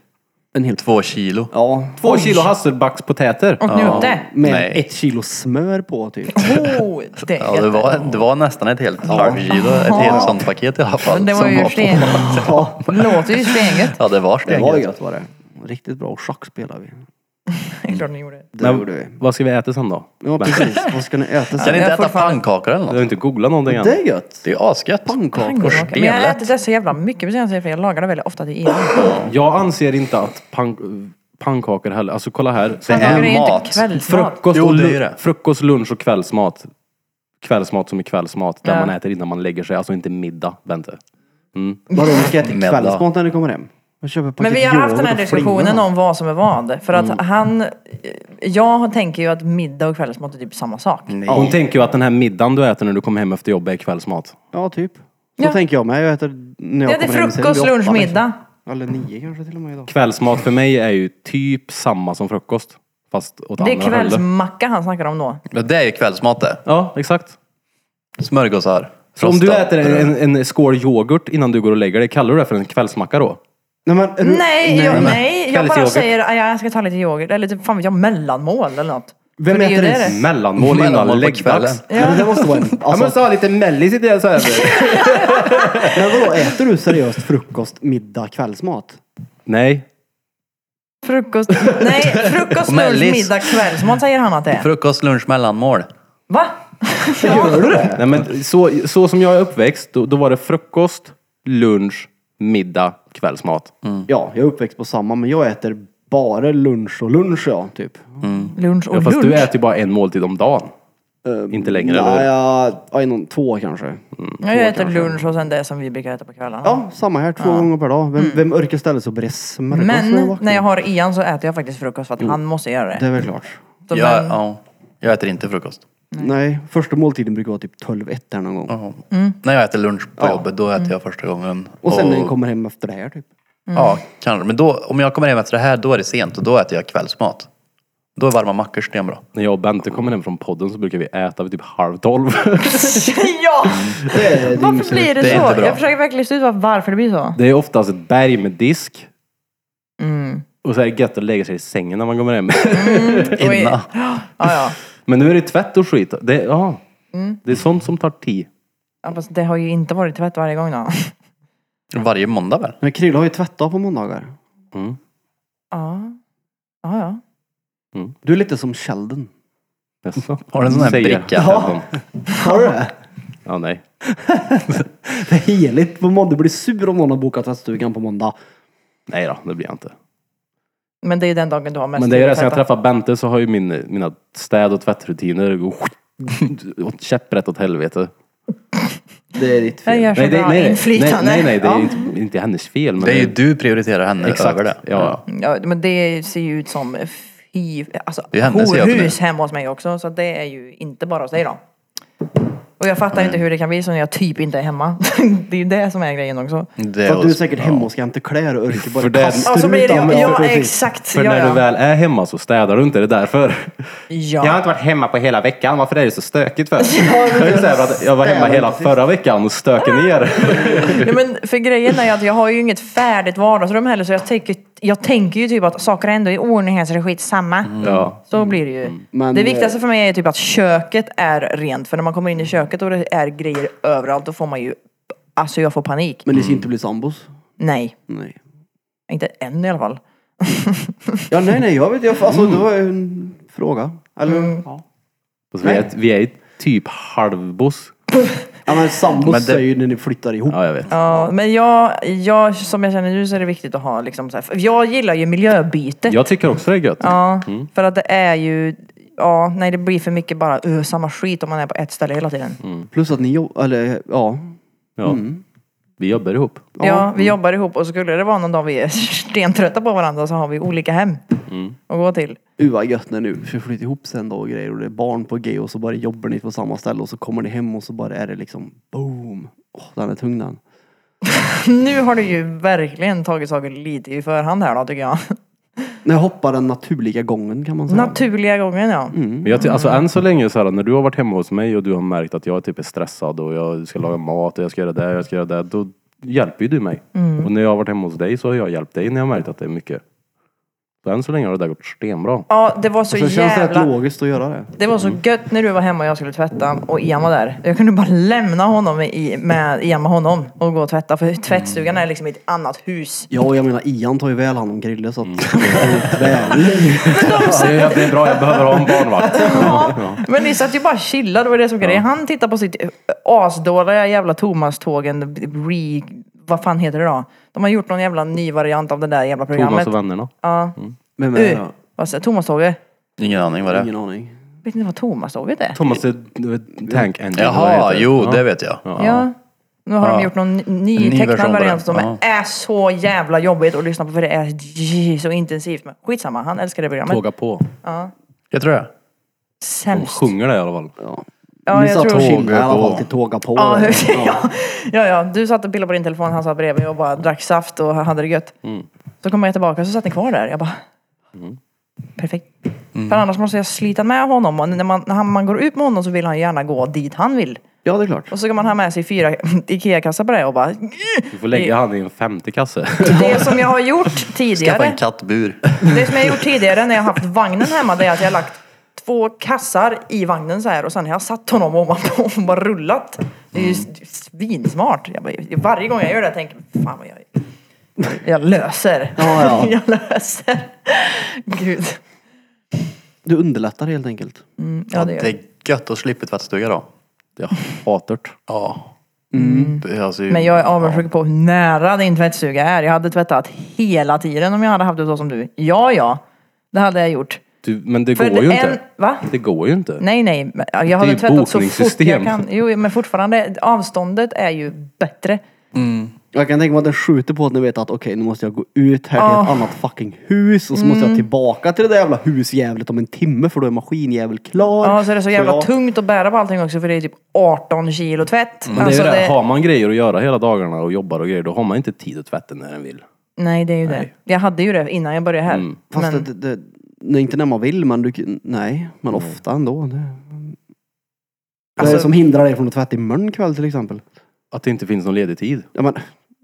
Speaker 4: En hel...
Speaker 6: Två kilo.
Speaker 4: Ja.
Speaker 5: Två kilo hasselbackspotäter.
Speaker 2: Och njutte.
Speaker 4: Med
Speaker 6: Nej.
Speaker 4: ett kilo smör på typ.
Speaker 2: Oh, det är
Speaker 6: Ja, det
Speaker 2: gött.
Speaker 6: var, det var nästan ett helt halvkilo, ett helt sånt paket i alla fall.
Speaker 2: Men det var
Speaker 6: som
Speaker 2: ju
Speaker 6: på.
Speaker 2: sten.
Speaker 4: Ja,
Speaker 2: Låter ju stengött.
Speaker 6: Ja, det var
Speaker 4: det var
Speaker 6: stengött.
Speaker 4: gött var det. Riktigt bra. Och schack spelade vi.
Speaker 2: Det är klart ni gjorde.
Speaker 4: Det gjorde vi.
Speaker 5: Vad ska vi äta sen då?
Speaker 4: Ja precis. Vad ska ni äta
Speaker 6: Kan
Speaker 4: sen?
Speaker 6: ni inte
Speaker 2: Jag
Speaker 6: äta
Speaker 2: fortfarande-
Speaker 6: pannkakor eller
Speaker 5: Du har
Speaker 6: något?
Speaker 5: inte googlat någonting än?
Speaker 4: Det är gött.
Speaker 6: Det är asgött.
Speaker 4: Pannkakor.
Speaker 6: Och
Speaker 2: Men jag
Speaker 6: stenlätt.
Speaker 2: äter det så jävla mycket på senaste tiden, för jag lagar det väldigt ofta till EU.
Speaker 5: Jag anser inte att pann- pannkakor heller, alltså kolla här.
Speaker 6: Det
Speaker 2: Pannkakor är
Speaker 6: är
Speaker 2: ju inte
Speaker 6: mat.
Speaker 2: kvällsmat.
Speaker 5: Frukost,
Speaker 6: Jo,
Speaker 5: och
Speaker 6: det är
Speaker 5: lu-
Speaker 6: ju det.
Speaker 5: frukost, lunch och kvällsmat. Kvällsmat som är kvällsmat, där
Speaker 2: Ja.
Speaker 5: man äter innan man lägger sig. Alltså inte middag, vänta.
Speaker 4: Vadå, vi ska äta
Speaker 6: Middag.
Speaker 4: kvällsmat när ni kommer hem? Jag köper ett
Speaker 2: Men vi
Speaker 4: paket
Speaker 2: har haft den
Speaker 4: yoghurt
Speaker 2: här
Speaker 4: och flingor.
Speaker 2: diskussionen om vad som är vad. För att han... Jag tänker ju att middag och kvällsmat är typ samma sak.
Speaker 5: Hon tänker ju att den här middagen du äter när du kommer hem efter jobbet är kvällsmat.
Speaker 4: Ja, typ. Så
Speaker 2: Ja.
Speaker 4: tänker jag med. Jag äter när jag
Speaker 2: Ja, det är
Speaker 4: kommer hem sen
Speaker 2: frukost,
Speaker 4: vid åtta, liksom.
Speaker 2: lunch, middag.
Speaker 4: Eller nio kanske till och med idag.
Speaker 5: Kvällsmat för mig är ju typ samma som frukost. Fast åt
Speaker 2: Det är
Speaker 5: andra hållet.
Speaker 2: kvällsmacka han snackar om då.
Speaker 6: Men det är ju kvällsmat det.
Speaker 5: Ja, exakt.
Speaker 6: Smörgåsar.
Speaker 5: Så om du
Speaker 6: frostad.
Speaker 5: äter en,
Speaker 6: Eh.
Speaker 5: en, en skål yoghurt innan du går och lägger dig, kallar du det för en kvällsmacka då?
Speaker 4: Nej, men, är du-
Speaker 2: Nej, jag, nej, jag bara
Speaker 5: Kvällsyoghurt.
Speaker 2: säger att jag ska ta lite yoghurt. Eller typ, fan vet jag, mellanmål eller något.
Speaker 4: Vem
Speaker 2: För det är ju
Speaker 4: äter
Speaker 2: det
Speaker 4: det?
Speaker 2: det-
Speaker 5: Mellanmål
Speaker 6: Mellanmål
Speaker 5: innan
Speaker 6: på kvällen.
Speaker 5: läggdags.
Speaker 4: Ja. men det måste vara en... Alltså,
Speaker 5: ha lite mellis i det så här.
Speaker 4: men vadå, äter du seriöst frukost, middag, kvällsmat?
Speaker 5: Nej,
Speaker 2: Frukost, nej, frukost,
Speaker 6: Och
Speaker 2: lunch,
Speaker 6: mellis.
Speaker 2: middag, kvällsmat säger han att det är.
Speaker 6: Frukost, lunch, mellanmål.
Speaker 2: Va?
Speaker 4: Gör du det?
Speaker 5: Nej, men så, så som jag är uppväxt, då, då var det frukost, lunch, middag, kvällsmat.
Speaker 4: Ja, jag är uppväxt på samma, men jag äter bara lunch och lunch ja, typ.
Speaker 2: Lunch och
Speaker 5: Ja, fast
Speaker 2: lunch?
Speaker 5: du äter ju bara en måltid om dagen. Inte längre, eller
Speaker 4: Eh, Nej,
Speaker 5: hur?
Speaker 4: jag... Ja, någon, två kanske.
Speaker 2: Ja, jag äter lunch och sen det som vi brukar äta på kvällarna.
Speaker 4: Ja, samma här, två gånger per dag. Vem, vem orkar ställa sig och bre smörgås
Speaker 2: Mm. Men
Speaker 4: vaknar?
Speaker 2: när jag har Ian så äter jag faktiskt frukost för att han måste göra
Speaker 4: Det
Speaker 2: det.
Speaker 4: är väl klart.
Speaker 2: Så
Speaker 6: Jag,
Speaker 2: men-
Speaker 6: ja, jag äter inte frukost.
Speaker 4: Nej. första måltiden brukar vara typ 12-1 där någon gång.
Speaker 6: Ja.
Speaker 2: Mm.
Speaker 6: När jag äter lunch på jobbet, då äter jag första gången.
Speaker 4: Och sen när ni kommer hem efter det här typ.
Speaker 6: Ja, kanske. Men då, om jag kommer hem efter det här, då är det sent och då äter jag kvällsmat. Då är varma mackor stenbra.
Speaker 5: När jag och Bente kommer hem från podden så brukar vi äta vid typ halv tolv.
Speaker 2: ja!
Speaker 4: Det är, det är
Speaker 2: Varför
Speaker 4: mysigt.
Speaker 2: blir det,
Speaker 6: Det är inte
Speaker 2: så?
Speaker 6: bra.
Speaker 2: Jag försöker verkligen lista ut varför det blir så.
Speaker 5: Det är oftast ett berg med disk.
Speaker 2: Mm.
Speaker 5: Och så är det gött att lägga sig i sängen när man kommer hem.
Speaker 2: Oj.
Speaker 6: Innan.
Speaker 2: Ja, ja.
Speaker 5: Men nu är det tvätt och skit. Det, ja. det är sånt som tar tid.
Speaker 2: ja fast Alltså, det har ju inte varit tvätt varje gång då.
Speaker 6: Varje måndag väl?
Speaker 4: Men Krille har ju tvättat på måndagar.
Speaker 2: Ja. Ja, ja.
Speaker 4: Du är lite som Sheldon.
Speaker 5: Jaså?
Speaker 6: Har du en sån här
Speaker 5: Säger
Speaker 6: bricka?
Speaker 5: han.
Speaker 4: Har du det?
Speaker 5: Ja, nej.
Speaker 4: Det är heligt. På måndag blir sur om någon har bokat tvättstugan på måndag.
Speaker 5: Nej då, det blir jag inte.
Speaker 2: Men det är ju den dagen du har mest
Speaker 5: Men det är
Speaker 2: tid
Speaker 5: ju det,
Speaker 2: att
Speaker 5: sen jag
Speaker 2: tvätta.
Speaker 5: träffade Bente så har ju min, mina städ och tvättrutiner gått åt käpprätt åt helvete.
Speaker 4: Det är ditt
Speaker 2: Jag
Speaker 4: fel.
Speaker 2: gör så bra
Speaker 5: nej, nej,
Speaker 2: inflytande.
Speaker 5: nej, nej, det är
Speaker 2: Ja.
Speaker 5: ju inte, inte hennes fel. Men
Speaker 6: Det är ju du prioriterar henne
Speaker 5: Exakt,
Speaker 6: över det.
Speaker 5: Ja.
Speaker 2: Ja, men det ser ju ut som fy, alltså,
Speaker 6: Det hände sig att det-
Speaker 2: horhus hemma hos mig också. Så det är ju inte bara hos dig då. Och jag fattar inte hur det kan bli så när jag typ inte är hemma. det är ju det som är grejen också.
Speaker 5: Mm.
Speaker 6: Det
Speaker 4: För att du är
Speaker 6: Eh, och-
Speaker 4: säkert hemma och ska hämta kläder och orkar bara
Speaker 5: För det-
Speaker 4: kastar
Speaker 2: Ja, så
Speaker 4: ut
Speaker 2: blir det
Speaker 4: dem.
Speaker 2: ja, ja
Speaker 4: precis.
Speaker 2: exakt.
Speaker 5: För
Speaker 2: ja,
Speaker 5: när
Speaker 2: ja.
Speaker 5: du väl är hemma så städar du inte, det är därför. Jag har
Speaker 2: Ja.
Speaker 5: inte varit hemma på hela veckan, varför är det så stökigt för? Jag, är så här, för att jag var hemma hela förra veckan och stökade ner.
Speaker 2: Nej, men för grejen är ju att jag har ju inget färdigt vardagsrum heller så jag tänker, jag tänker ju typ att saker ändå är i ordning här så det är skitsamma.
Speaker 5: Ja.
Speaker 2: Så blir det ju.
Speaker 4: Men,
Speaker 2: det viktigaste för mig är typ att köket är rent. För när man kommer in i köket och det är grejer överallt då får man ju, alltså jag får panik.
Speaker 4: Men ni ska inte bli sambos?
Speaker 2: Nej,
Speaker 4: Nej.
Speaker 2: inte än i alla fall.
Speaker 4: Ja, nej, nej, jag vet. Jag, alltså, det var ju en fråga. Eller?
Speaker 2: Mm.
Speaker 4: Ja.
Speaker 5: Alltså, vi, är, vi är typ halvboss.
Speaker 4: ja, men sambos
Speaker 6: Men det-
Speaker 4: är ju när ni flyttar ihop.
Speaker 5: Ja, jag vet.
Speaker 2: Ja, men jag, jag, som jag känner nu så är det viktigt att ha liksom så här, för jag gillar ju miljöbytet.
Speaker 5: Jag tycker också det är gött.
Speaker 2: Ja, för att det är ju, ja, nej det blir för mycket bara "Ö, samma skit om man är på ett ställe hela tiden.
Speaker 4: Plus att ni jobbar, eller ja.
Speaker 5: Ja. Vi jobbar ihop.
Speaker 2: Ja,
Speaker 4: mm.
Speaker 2: vi jobbar ihop och skulle det vara någon dag vi är stentrötta på varandra så har vi olika hem
Speaker 4: Mm.
Speaker 2: att gå till.
Speaker 4: Uh vad gött när nu ska flytta ihop sen då och grejer och det är barn på G och så bara jobbar ni på samma ställe och så kommer ni hem och så bara är det liksom boom. Åh, den är tung den.
Speaker 2: Nu har du ju verkligen tagit saker lite i förhand här då tycker jag.
Speaker 4: När jag hoppar den naturliga gången kan man säga.
Speaker 2: Naturliga gången ja.
Speaker 4: Mm.
Speaker 5: Men jag ty- alltså än så länge så här, när du har varit hemma hos mig och du har märkt att jag typ är stressad och jag ska laga mat och jag ska göra det och jag ska göra det. Då hjälper ju du mig.
Speaker 2: Mm.
Speaker 5: Och när jag har varit hemma hos dig så har jag hjälpt dig när jag har märkt att det är mycket. Så än så länge har det där gått stenbra.
Speaker 2: Ja, det var så
Speaker 4: så det känns rätt
Speaker 2: jävla...
Speaker 4: logiskt att göra det.
Speaker 2: Det var så gött när du var hemma och jag skulle tvätta och Ian var där. Jag kunde bara lämna honom i, med Ian med honom och gå och tvätta. För tvättstugan är liksom i ett annat hus.
Speaker 4: Ja, och jag menar Ian tar ju väl hand om Grille så att... Väl.
Speaker 5: Det är, det är bra, jag behöver ha en barnvakt.
Speaker 2: Men ni satt ju bara och chillade, det var det som grejen. Han tittar på sitt asdåliga jävla Thomas-tågen, re... Vad fan heter det då? De har gjort någon jävla ny variant av det där jävla programmet.
Speaker 5: Thomas och vännerna.
Speaker 2: Ja.
Speaker 4: Vem är
Speaker 2: Uh,
Speaker 4: det då?
Speaker 2: vad säger Thomas-tåget?
Speaker 6: Ingen aning vad det är.
Speaker 4: Ingen aning.
Speaker 2: Vet ni vad Thomas-tåget är?
Speaker 5: Thomas är du vet, tank engine. vad
Speaker 6: Jaha,
Speaker 5: heter det?
Speaker 6: jo
Speaker 5: Ja.
Speaker 6: det vet jag.
Speaker 2: Ja. Nu har de
Speaker 6: Ja.
Speaker 2: gjort någon
Speaker 6: En ny
Speaker 2: ny
Speaker 6: version
Speaker 2: tecknad
Speaker 6: på
Speaker 2: variant
Speaker 6: den.
Speaker 2: som
Speaker 6: Ja.
Speaker 2: är så jävla jobbigt att lyssna på för det är j- så intensivt. Men skitsamma, han älskar det programmet.
Speaker 5: Tåga på.
Speaker 6: Jag tror det.
Speaker 5: De
Speaker 2: Sämst.
Speaker 5: sjunger det i alla fall.
Speaker 2: Ja,
Speaker 4: Ni
Speaker 2: jag
Speaker 4: satt och
Speaker 2: tror...
Speaker 4: chillade i alla
Speaker 6: på.
Speaker 4: fall till tåga på.
Speaker 2: Ja, ja. ja, ja. Du satt och pillade på din telefon, han satt bredvid och bara drack saft och hade det gött. Så kom jag tillbaka så satt ni kvar där. Jag bara... Perfekt.
Speaker 6: Mm.
Speaker 2: För annars måste jag slita med honom och när man, när han- man går ut med honom så vill han gärna gå dit han vill.
Speaker 4: ja, det är klart.
Speaker 2: Och så kan man ha med sig fyra Ikea-kassar på det och bara...
Speaker 5: Du får lägga han i en femte kasse.
Speaker 2: Det som jag har gjort
Speaker 6: Skaffa
Speaker 2: tidigare.
Speaker 6: en kattbur.
Speaker 2: Det som jag gjort tidigare när jag haft vagnen hemma det är att jag har lagt två kassar i vagnen så här och sen har jag satt honom ovanpå och bara rullat. Det är ju svinsmart. Jag bara, varje gång jag gör det jag tänker jag, fan vad jag jag löser.
Speaker 4: Ja, ja.
Speaker 2: Jag löser. Gud.
Speaker 4: Du underlättar helt enkelt.
Speaker 2: Ja, det
Speaker 6: Det
Speaker 2: gör.
Speaker 6: är gött att slippa tvättstuga då.
Speaker 5: Jag hatar det.
Speaker 6: Ja. Det är alltså,
Speaker 2: Mm. Men jag är avundsjuk på hur nära din tvättstuga är. Jag hade tvättat hela tiden om jag hade haft det så som du. Ja, ja. Det hade jag gjort.
Speaker 5: Du, men det
Speaker 2: För
Speaker 5: går ju
Speaker 2: en-
Speaker 5: inte.
Speaker 2: va?
Speaker 5: Det går ju inte.
Speaker 2: Typ. Nej, nej. men Jag har
Speaker 5: Det är
Speaker 2: väl
Speaker 5: ju
Speaker 2: tvättat så fort jag
Speaker 5: bokningssystem.
Speaker 2: kan. Jo, men fortfarande. Avståndet är ju bättre.
Speaker 4: Jag kan tänka mig att den skjuter på att ni vet att okej nu måste jag gå ut här till ett annat fucking hus och så
Speaker 2: Mm.
Speaker 4: måste jag tillbaka till det där jävla husjävlet om en timme för då är maskinjävel klar.
Speaker 2: Ja, så är det så jävla
Speaker 4: jag-
Speaker 2: tungt att bära på allting också för det är typ 18 kilo tvätt.
Speaker 5: Men det är
Speaker 2: Alltså,
Speaker 5: ju det.
Speaker 2: det-
Speaker 5: Har man grejer att göra hela dagarna och jobbar och grejer, då har man inte tid att tvätta när den vill.
Speaker 2: Nej, det är ju det. Jag hade ju det innan jag började här.
Speaker 5: Mm.
Speaker 4: Fast
Speaker 2: Men,
Speaker 4: det, det, det, nej, inte när man vill men du kan- nej, men ofta ändå. Det, vad
Speaker 2: Alltså-
Speaker 4: är det som hindrar dig från att tvätta imorgon kväll till exempel?
Speaker 5: Att det inte finns någon ledig tid.
Speaker 4: Ja men,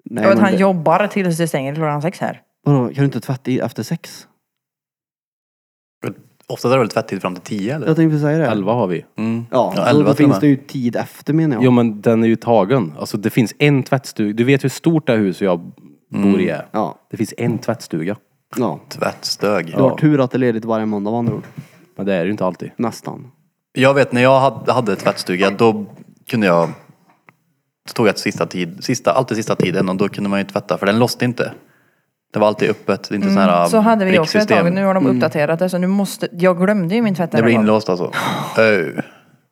Speaker 4: nej
Speaker 2: och att
Speaker 4: men
Speaker 2: han
Speaker 4: det-
Speaker 2: jobbar tills det stänger klockan sex här.
Speaker 4: vadå, kan du inte tvätta i- efter sex?
Speaker 6: Ofta är det väl tvättid fram till tio eller?
Speaker 4: Jag tänkte säga det.
Speaker 5: Elva har vi.
Speaker 6: Mm.
Speaker 4: Ja,
Speaker 6: Ja,
Speaker 4: då,
Speaker 6: elva
Speaker 4: då
Speaker 6: till
Speaker 4: finns
Speaker 6: och med.
Speaker 4: det ju tid efter menar jag.
Speaker 5: Jo men den är ju tagen. Alltså det
Speaker 2: Mm.
Speaker 5: finns en tvättstuga. Du vet hur stort det här huset jag bor i är.
Speaker 4: Ja.
Speaker 5: Det finns en tvättstuga.
Speaker 4: Ja.
Speaker 6: Tvättstök.
Speaker 4: Du har tur att det är ledigt varje måndag med andra ord.
Speaker 8: Men det är det ju inte alltid.
Speaker 4: Nästan.
Speaker 6: Jag vet när jag hade, hade tvättstuga då kunde jag... Så tog jag ett sista tid, sista, alltid sista tiden och då kunde man ju tvätta för den låste inte. Det var alltid öppet, det är inte sån här
Speaker 2: Mm. Så hade vi också ett
Speaker 6: pricksystem.
Speaker 2: tag, nu har de uppdaterat det så nu måste, jag glömde ju min tvättare.
Speaker 6: Det blir
Speaker 2: då.
Speaker 6: inlåst alltså. Öh,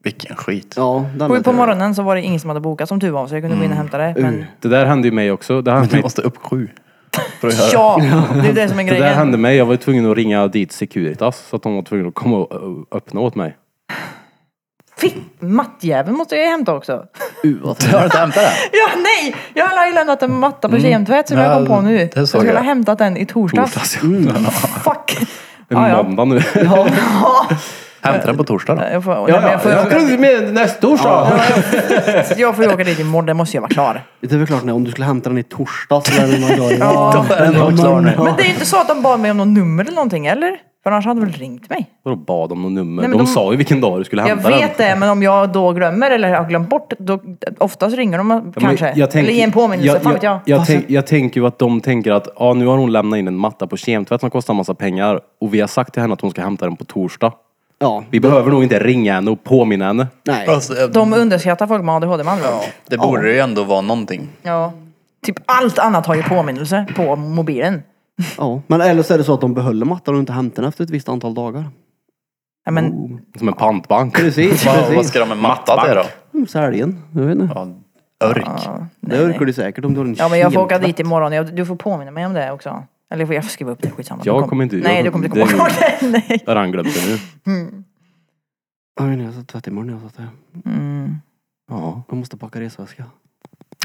Speaker 6: vilken skit.
Speaker 4: Ja, den
Speaker 2: Och
Speaker 4: är
Speaker 2: på
Speaker 4: tur.
Speaker 2: morgonen så var det ingen som hade bokat som tur var så jag kunde gå in och hämta det. Men...
Speaker 8: Det där hände ju mig också. Det
Speaker 6: Men
Speaker 8: hände
Speaker 6: du
Speaker 8: mig
Speaker 6: måste upp sju.
Speaker 2: Ja, det är det som är
Speaker 8: Det där
Speaker 2: grejen.
Speaker 8: hände mig. Jag var ju tvungen att ringa dit Securitas så att de var tvungna att komma och ö, öppna åt mig.
Speaker 2: Fick, mattjäveln måste jag ju hämta också.
Speaker 6: Du har inte hämtat den?
Speaker 2: Ja, nej! Jag har ju lämnat en matta på kemtvätt som jag kom på nu.
Speaker 6: det såg
Speaker 2: jag skulle
Speaker 6: jag.
Speaker 2: ha hämtat den i torsdags. Fuck!
Speaker 8: En
Speaker 2: Mm. Ja, ja.
Speaker 8: måndag nu.
Speaker 6: Hämta den på torsdag då.
Speaker 2: Jag får, nej, men jag, får åka,
Speaker 8: trodde med nästa torsdag.
Speaker 2: jag får ju åka dit imorgon, det måste jag vara klar.
Speaker 4: Det är väl klart, nej, om du skulle hämta den i torsdag så lär den vara klar.
Speaker 2: Ja.
Speaker 6: Då är den nog klar nu.
Speaker 2: Men det är inte så att de bad mig om något nummer eller någonting, eller? För annars hade de väl ringt mig?
Speaker 8: Vadå bad om något nummer?
Speaker 2: Nej,
Speaker 8: de,
Speaker 2: men de-
Speaker 8: sa ju vilken dag du skulle
Speaker 2: Jag
Speaker 8: hämta
Speaker 2: vet det, men om jag då glömmer eller har glömt bort, då oftast ringer de
Speaker 8: Ja, men
Speaker 2: kanske.
Speaker 8: jag tänker-
Speaker 2: eller ger en påminnelse, fan vet jag.
Speaker 8: Jag, tänk, jag tänker ju att de tänker att ja, nu har hon lämnat in en matta på kemtvätt som kostar en massa pengar och vi har sagt till henne att hon ska hämta den på torsdag.
Speaker 4: ja.
Speaker 8: Vi behöver nog inte ringa henne och påminna henne.
Speaker 4: Nej.
Speaker 6: Alltså,
Speaker 2: De underskattar folk med ADHD med andra ord.
Speaker 6: det borde ju ändå vara någonting.
Speaker 2: Ja. Typ allt annat har ju påminnelse på mobilen.
Speaker 4: Ja. Men eller så är det så att de behåller mattan och inte hämtar den efter ett visst antal dagar.
Speaker 2: Ja, men
Speaker 8: Som en pantbank.
Speaker 4: Precis,
Speaker 6: Vad, vad
Speaker 4: precis.
Speaker 6: ska de med matta till då?
Speaker 4: Mm, Säljen, jag vet inte.
Speaker 6: Ja, örk.
Speaker 4: Det orkar du säkert om du har en
Speaker 2: Ja men jag får åka
Speaker 4: kemtvätt.
Speaker 2: dit imorgon. Jag, du får påminna mig om det också. Eller jag får- jag får skriva upp det, skitsamma.
Speaker 8: Jag
Speaker 2: Du
Speaker 8: kommer inte-
Speaker 2: Nej,
Speaker 8: jag-
Speaker 2: du kommer inte
Speaker 8: det
Speaker 2: komma ihåg det. Nej.
Speaker 8: Där har han glömt det nu.
Speaker 4: Ja, men jag sa tvätt imorgon. Jag sa det.
Speaker 2: Mm.
Speaker 4: Ja. Jag måste packa resväska.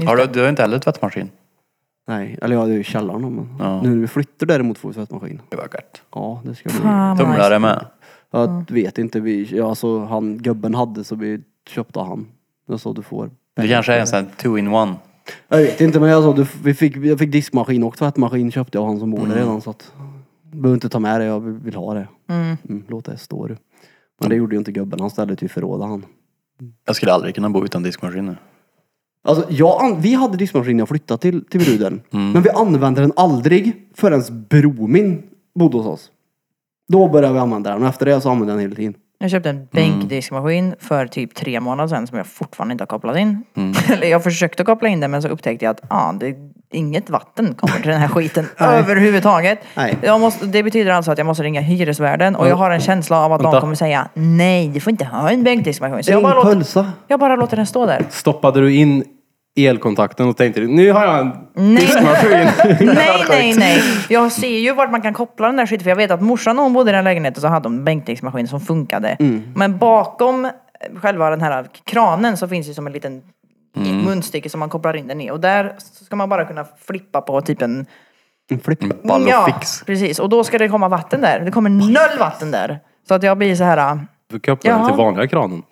Speaker 6: Har du, du har inte heller tvättmaskin?
Speaker 4: Nej, eller ja, det är ju källaren då, men.
Speaker 6: Ja.
Speaker 4: Nu när vi flyttar däremot får vi tvättmaskin.
Speaker 6: Det var gött.
Speaker 4: Ja, det ska bli.
Speaker 2: Fan, vad Ah, nice.
Speaker 6: Tumlare med.
Speaker 4: Jag vet inte, vi, ja, alltså han gubben hade så vi köpte han. Jag sa du får.
Speaker 6: Det kanske är en sån här two-in-one.
Speaker 4: Jag vet inte men jag sa du, vi fick, jag fick diskmaskin och tvättmaskin köpte jag av han som bor där redan så att. Du behöver inte ta med det, jag vill ha det. Mm, låt det stå du. Men det gjorde ju inte gubben, han ställde till förråda han.
Speaker 6: Jag skulle aldrig kunna bo utan diskmaskin nu.
Speaker 4: Alltså, jag, an- vi hade diskmaskin när jag flyttade till, till bruden. Men vi använde den aldrig förrän Bromin bodde hos oss. Då började vi använda den och efter det så använde jag den hela tiden.
Speaker 2: Jag köpte en bänkdiskmaskin för typ tre månader sedan som jag fortfarande inte har kopplat in. Eller jag försökte koppla in den men så upptäckte jag att ah, det, inget vatten kommer till den här skiten överhuvudtaget.
Speaker 4: Nej.
Speaker 2: Jag måste, det betyder alltså att jag måste ringa hyresvärden och jag har en känsla av att de
Speaker 8: Vänta.
Speaker 2: kommer säga nej, du får inte ha en bänkdiskmaskin. Så jag
Speaker 4: Ring
Speaker 2: bara, låter,
Speaker 4: Pölsa.
Speaker 2: jag bara låter den stå där.
Speaker 8: Stoppade du in elkontakten och tänkte nu har jag en
Speaker 2: Nej. nej, nej, nej. Jag ser ju vart man kan koppla den där skiten. För jag vet att morsan när hon bodde i den lägenheten så hade de en bänkningsmaskin som funkade. Men bakom själva den här kranen så finns ju som en liten munstycke som man kopplar in den i. Och där ska man bara kunna flippa på typ en...
Speaker 4: En flipp.
Speaker 6: Ball och
Speaker 2: ja,
Speaker 6: fix.
Speaker 2: precis. Och då ska det komma vatten där. Det kommer noll vatten där. Så att jag blir så här...
Speaker 8: Du kan öppna den
Speaker 2: Ja.
Speaker 8: till vanliga kranen.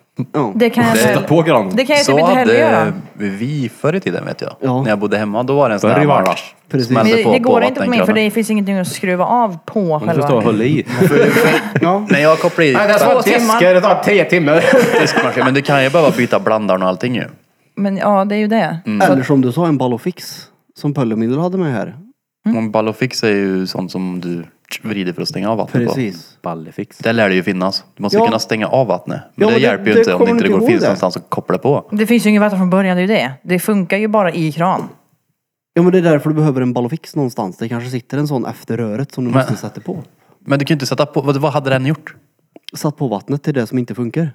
Speaker 2: Det kan jag
Speaker 8: Sätta på granen.
Speaker 2: Eh, Det kan jag
Speaker 6: Så
Speaker 2: typ inte heller göra.
Speaker 6: hade vi förr i tiden vet jag.
Speaker 4: Ja.
Speaker 6: När jag bodde hemma då var det en sån
Speaker 8: Förr i
Speaker 6: här
Speaker 8: världen.
Speaker 6: match.
Speaker 4: Precis.
Speaker 2: Men
Speaker 6: Smällde
Speaker 2: det,
Speaker 6: på
Speaker 2: det
Speaker 6: på
Speaker 2: går inte för mig för
Speaker 6: vattenkranen.
Speaker 2: det finns ingenting att skruva av på
Speaker 8: Du får stå och
Speaker 2: själva.
Speaker 8: hålla i.
Speaker 6: När jag kopplar i
Speaker 2: Två timmar.
Speaker 8: det tar tio timmar.
Speaker 6: diskmaskinen, men du kan ju behöva byta blandaren och allting ju.
Speaker 2: Men ja, det är ju det.
Speaker 4: Eller som du sa, en ballofix. Som Pöllemindel hade med här.
Speaker 6: Och ball och fix är ju sånt som du vrider för att stänga av vattnet på.
Speaker 4: Precis.
Speaker 8: Ballefix.
Speaker 6: Det lär det ju finnas. Du måste
Speaker 4: Ja.
Speaker 6: kunna stänga av vattnet.
Speaker 4: Ja,
Speaker 6: Men det,
Speaker 4: men det-
Speaker 6: hjälper ju
Speaker 4: det
Speaker 6: inte om det
Speaker 4: kommer
Speaker 6: inte
Speaker 4: inte
Speaker 6: går
Speaker 4: ihåg
Speaker 6: finns
Speaker 4: det.
Speaker 6: någonstans att koppla på.
Speaker 2: Det finns ju inget vatten från början, det är ju det. Det funkar ju bara i kran.
Speaker 4: Ja men det är därför du behöver en ballofix någonstans. Det kanske sitter en sån efter röret som du måste sätta på.
Speaker 6: Men du kan ju inte sätta på, vad vad hade den gjort?
Speaker 4: Satt på vattnet till det som inte funkar.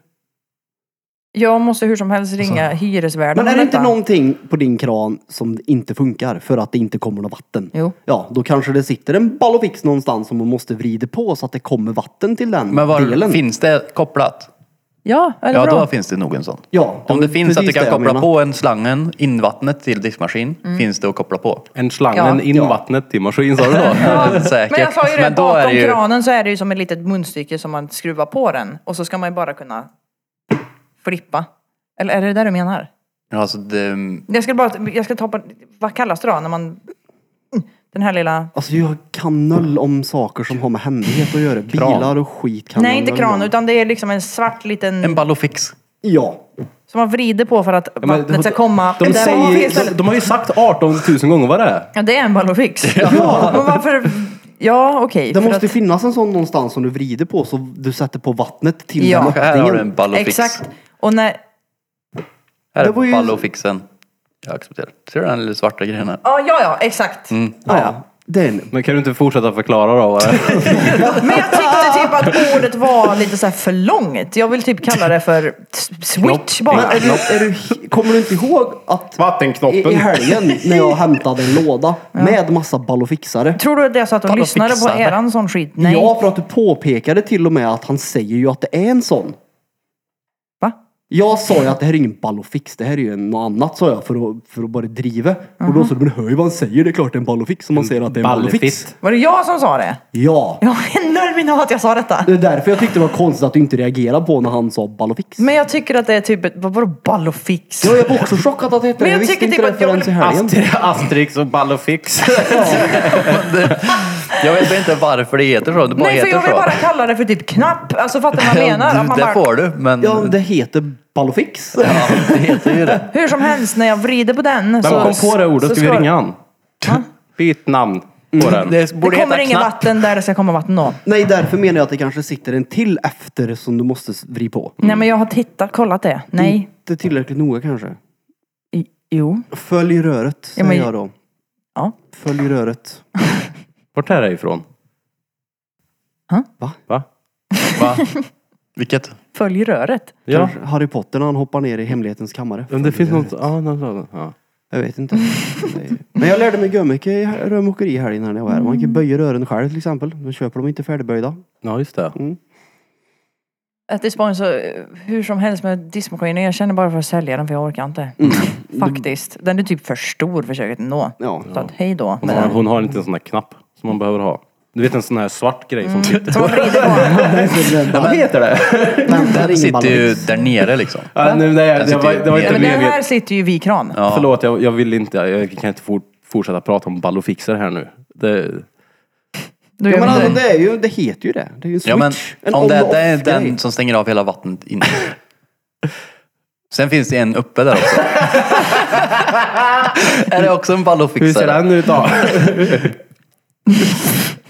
Speaker 2: Jag måste hur som helst ringa hyresvärden
Speaker 4: Men är
Speaker 2: om
Speaker 4: det inte
Speaker 2: detta.
Speaker 4: någonting på din kran som inte funkar för att det inte kommer något vatten?
Speaker 2: Jo.
Speaker 4: Ja, då kanske det sitter en ballofix någonstans som man måste vrida på så att det kommer vatten till den
Speaker 6: Men var,
Speaker 4: delen.
Speaker 6: finns det kopplat?
Speaker 2: Ja, är det
Speaker 6: Ja,
Speaker 2: bra?
Speaker 6: då finns det nog en sån.
Speaker 4: Ja,
Speaker 6: Om det finns
Speaker 4: precis
Speaker 6: att du kan
Speaker 4: det jag
Speaker 6: koppla
Speaker 4: menar. Mm.
Speaker 6: på en slangen, invattnet till diskmaskin, finns det att koppla på.
Speaker 8: En slangen
Speaker 2: Ja.
Speaker 8: in vattnet till maskin sa du då?
Speaker 6: Säkert.
Speaker 2: Men jag sa ju det,
Speaker 6: Men då är
Speaker 2: bakom
Speaker 6: det ju-
Speaker 2: kranen så är det ju som ett litet munstycke som man skruvar på den. Och så ska man ju bara kunna flippa. Eller är det det du menar?
Speaker 6: Alltså det,
Speaker 2: Jag ska bara, jag ska ta på, vad kallas det då när man... Den här lilla...
Speaker 4: Alltså jag kan noll om saker som har med händighet att göra. Bilar och skit kan
Speaker 2: Nej,
Speaker 4: jag
Speaker 2: inte
Speaker 4: noll
Speaker 2: kran
Speaker 4: om.
Speaker 2: utan det är liksom en svart liten...
Speaker 6: en ballofix.
Speaker 4: Ja.
Speaker 2: som man vrider på för att
Speaker 8: Ja, men
Speaker 2: vattnet ska komma.
Speaker 8: De,
Speaker 2: där bak
Speaker 8: säger,
Speaker 2: istället.
Speaker 8: de, de har ju sagt 18 000 gånger vad det är.
Speaker 2: Ja, det är en ballofix. Ja. Men varför Ja, okej.
Speaker 4: Det
Speaker 2: för
Speaker 4: måste
Speaker 2: att-
Speaker 4: finnas en sån någonstans som du vrider på så du sätter på vattnet till
Speaker 2: Ja.
Speaker 4: den
Speaker 6: Här har du
Speaker 4: öppningen.
Speaker 6: en ballofix.
Speaker 2: Exakt. Och när...
Speaker 6: Här
Speaker 4: Det var ju-
Speaker 6: är ballofixen. Jag accepterar. Ser du den lilla svarta grejen här?
Speaker 2: Ja, ja, ja, exakt.
Speaker 8: Mm.
Speaker 4: Ja, ja. Den.
Speaker 8: Men kan du inte fortsätta förklara då?
Speaker 2: Men jag tyckte typ att ordet var lite så här för långt. Jag vill typ kalla det för t- switch
Speaker 4: Men
Speaker 2: bara.
Speaker 4: är du, är du, he- kommer du inte ihåg att i, i
Speaker 8: Vattenknoppen.
Speaker 4: helgen när jag hämtade en låda med massa ballofixare?
Speaker 2: Tror du att det är så att de
Speaker 6: Fan, de
Speaker 2: lyssnade på
Speaker 6: fixar det.
Speaker 2: eran sån skit? Nej.
Speaker 4: Ja, för att du påpekade till och med att han säger ju att det är en sån.
Speaker 2: Va?
Speaker 4: Jag sa ju att det här är ingen ballofix, det här är ju en- något annat sa jag för att, för att bara driva. Och då sa du, men hör ju vad han säger, det är klart det är en ballofix om man säger att det är en ballofix.
Speaker 8: Ballefitt.
Speaker 2: Var det jag som sa det?
Speaker 4: Ja.
Speaker 2: Jag är nöjd med att jag sa detta.
Speaker 4: Det är därför jag tyckte det var konstigt att du inte reagerade på när han sa ballofix.
Speaker 2: Men jag tycker att det är typ, ett- vad var det ball och fix?
Speaker 4: Ja, jag var också chockad att det hette det.
Speaker 2: Men jag
Speaker 4: Jag visste
Speaker 2: tycker
Speaker 4: inte
Speaker 2: typ
Speaker 4: det
Speaker 2: att jag
Speaker 4: förrän i helgen.
Speaker 8: Astri- Asterix och Ballofix.
Speaker 6: Jag vet inte varför det heter så. Det bara
Speaker 2: Nej, för
Speaker 6: heter
Speaker 2: jag vill
Speaker 6: så.
Speaker 2: bara kalla det för typ knapp. Alltså fattar du vad jag
Speaker 6: Ja,
Speaker 2: menar? Att
Speaker 6: du,
Speaker 2: man
Speaker 6: det
Speaker 2: bara,
Speaker 6: får du, men
Speaker 4: Ja, det heter ballofix.
Speaker 6: Ja, det heter ju det.
Speaker 2: hur som helst, när jag vrider på den
Speaker 8: Vem
Speaker 2: så...
Speaker 8: kom på det ordet?
Speaker 2: Alltså, så
Speaker 8: Ska vi ringa han? Byt namn på den.
Speaker 6: Mm, Det borde
Speaker 2: Det kommer
Speaker 6: heta
Speaker 2: inget
Speaker 6: knapp.
Speaker 2: vatten där det ska komma vatten då.
Speaker 4: Nej, därför menar jag att det kanske sitter en till efter som du måste vrida på.
Speaker 2: Nej men jag har tittat, kollat det. Nej.
Speaker 4: Inte tillräckligt noga kanske.
Speaker 2: I, jo.
Speaker 4: Följ röret, säger
Speaker 2: Ja, men-
Speaker 4: jag då.
Speaker 2: Ja.
Speaker 4: Följ röret.
Speaker 8: Vart är det ifrån?
Speaker 4: Va?
Speaker 8: Va?
Speaker 6: Va? Vilket?
Speaker 2: Följ röret.
Speaker 8: Ja.
Speaker 4: Kanske Harry Potter när han hoppar ner i hemlighetens kammare.
Speaker 8: Men det finns något... Ja, något sådant. Ja.
Speaker 4: Jag vet inte. Nej. Men jag lärde mig gömmycke i hel- rörmokeri i helgen när jag var här. Man kan böja rören själv till exempel. Då köper de inte färdigböjda.
Speaker 8: ja, just det.
Speaker 2: At this point så, eh, hur som helst med diskmaskinen, jag känner bara för att sälja den för jag orkar inte.
Speaker 4: Mm.
Speaker 2: Faktiskt. Den är typ för stor för köket ändå.
Speaker 4: Ja.
Speaker 2: Så att hej då.
Speaker 8: Hon har, hon har inte en sån här knapp som man behöver ha. Du vet en sån här svart grej som sitter...
Speaker 2: Så man vrider på den.
Speaker 8: Vad heter det?
Speaker 4: Men där är
Speaker 6: Den
Speaker 4: ingen
Speaker 6: sitter ju
Speaker 4: ballongfix.
Speaker 6: där nere liksom.
Speaker 8: Ja, nej, nej, det, var, Alltså, det var
Speaker 6: Ja,
Speaker 8: inte
Speaker 2: Men den här
Speaker 8: meningen.
Speaker 2: sitter ju vid kran.
Speaker 6: Ja.
Speaker 8: Förlåt, jag, jag vill inte... Jag kan inte for, fortsätta prata om ballofixer här nu. Det,
Speaker 2: Då
Speaker 4: Ja,
Speaker 2: gör
Speaker 4: men
Speaker 2: vi
Speaker 4: alltså,
Speaker 2: det.
Speaker 4: det, är ju, det heter ju det. Det är ju en switch.
Speaker 6: Ja, men
Speaker 4: en
Speaker 6: om det,
Speaker 4: on-off
Speaker 6: det är
Speaker 4: grej.
Speaker 6: den som stänger av hela vattnet inne. Sen finns det en uppe där också. är det också en ballofixare?
Speaker 8: hur ser den ut då?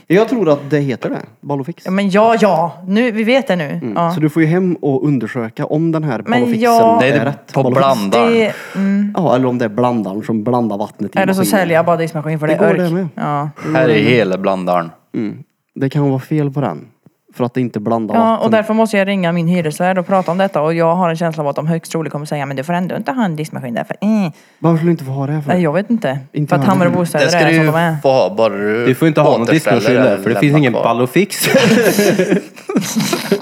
Speaker 4: Jag tror att det heter det. Ballofix.
Speaker 2: Ja, men ja, ja. Nu, vi vet det nu. Ja.
Speaker 4: Mm. Så du får ju hem och undersöka om den här ballofixen
Speaker 2: jag-
Speaker 6: Nej,
Speaker 4: är
Speaker 6: det är
Speaker 4: rätt.
Speaker 6: på
Speaker 4: ballofix.
Speaker 6: blandaren.
Speaker 2: Det, mm,
Speaker 4: Ja, eller om det är blandaren som blandar vattnet i
Speaker 2: eller så
Speaker 4: maskinen.
Speaker 2: säljer jag bara diskmaskinen för det,
Speaker 4: Det går
Speaker 2: är
Speaker 4: det med.
Speaker 2: örk. Ja.
Speaker 6: Här är hela blandaren.
Speaker 2: Mm.
Speaker 4: Det kan vara fel på den. För att det inte blandar
Speaker 2: ja,
Speaker 4: vatten.
Speaker 2: och därför måste jag ringa min hyresvärd och prata om detta och jag har en känsla av att de högst troligt kommer säga men du får ändå inte ha en diskmaskin därför. Mm.
Speaker 4: Varför skulle du inte få ha det här för?
Speaker 2: Nej, jag vet inte.
Speaker 4: Inte
Speaker 2: för att
Speaker 4: jag
Speaker 2: Hammarö
Speaker 4: heller.
Speaker 6: Det
Speaker 2: bostäder
Speaker 6: ska
Speaker 2: är
Speaker 6: du
Speaker 2: som
Speaker 6: ju
Speaker 2: de är.
Speaker 6: få ha bara du
Speaker 8: Du får inte ha någon
Speaker 6: återställer
Speaker 8: diskmaskin
Speaker 6: eller
Speaker 8: där, för det
Speaker 6: lämnar
Speaker 8: finns ingen
Speaker 6: kvar.
Speaker 8: ballofix.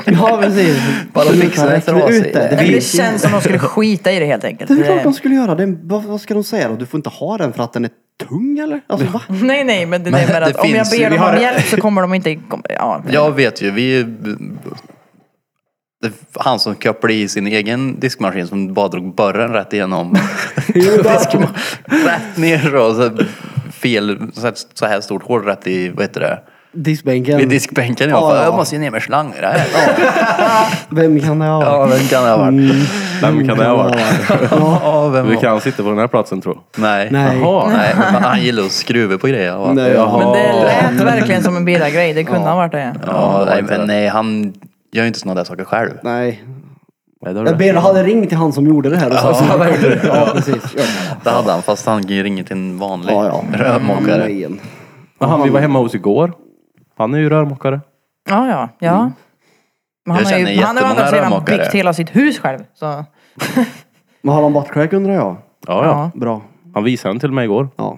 Speaker 4: Ja, precis.
Speaker 6: Ballongfixen
Speaker 4: Sluta
Speaker 6: heter
Speaker 4: räkna
Speaker 6: av sig.
Speaker 4: ut det.
Speaker 6: Det
Speaker 2: Nej, men Det
Speaker 4: finns ju-
Speaker 2: känns som de skulle skita i det helt enkelt.
Speaker 4: Det är klart de skulle göra det. Vad, vad ska de säga då? Du får inte ha den för att den är tung eller? Alltså va?
Speaker 2: Nej nej men det,
Speaker 6: Men
Speaker 2: är mer
Speaker 6: det
Speaker 2: att om jag
Speaker 6: finns ju,
Speaker 2: ber
Speaker 6: vi
Speaker 2: dem om
Speaker 6: har-
Speaker 2: hjälp så kommer de inte... kom- Ja.
Speaker 6: Jag vet ju, vi... Det är han som kopplade i sin egen diskmaskin som bara drog borren rätt igenom. Diskma- rätt ner och så fel, så här- så här stort hål rätt i, vad heter det?
Speaker 4: Diskbänken.
Speaker 6: I diskbänken. Jag,
Speaker 4: Ja,
Speaker 6: bara,
Speaker 4: ja.
Speaker 6: jag måste ju ner med slang i det här.
Speaker 4: Vem kan det ha
Speaker 6: Ja,
Speaker 4: varit?
Speaker 6: vem kan det ha varit?
Speaker 8: Vem kan det ha varit?
Speaker 4: Ja.
Speaker 6: Ja, vem
Speaker 8: Du
Speaker 6: var-
Speaker 8: kan sitta på den här platsen tror
Speaker 6: Nej.
Speaker 4: Nej.
Speaker 8: Jaha.
Speaker 6: Nej, men han gillar att skruva på grejer. va?
Speaker 4: Mm, Nej, ja.
Speaker 2: Men det lät verkligen som en grej. Det kunde ha varit det.
Speaker 6: Ja, nej, men nej, han gör ju inte sådana där saker själv.
Speaker 4: Nej.
Speaker 8: Nej, det har du
Speaker 4: Jag
Speaker 8: rätt i.
Speaker 4: ber hade ringt till han som gjorde det här och sagt ja, ja, precis. Gör det.
Speaker 6: Det hade han, fast han ringer till en vanlig
Speaker 4: Ja, ja.
Speaker 6: rövmokare.
Speaker 4: Nej, en.
Speaker 8: Men han vi var hemma hos igår. Han är ju rörmokare.
Speaker 2: Ja ja. ja. Men han
Speaker 6: Mm. Jag
Speaker 2: har ju
Speaker 6: känner
Speaker 2: han har å andra
Speaker 6: jättemånga
Speaker 2: sidan
Speaker 6: rörmokare.
Speaker 2: byggt hela sitt hus själv. Så.
Speaker 4: Men har han buttcrack undrar jag?
Speaker 8: Ja, ja.
Speaker 4: Bra.
Speaker 8: Han visade den till mig igår.
Speaker 4: Ja.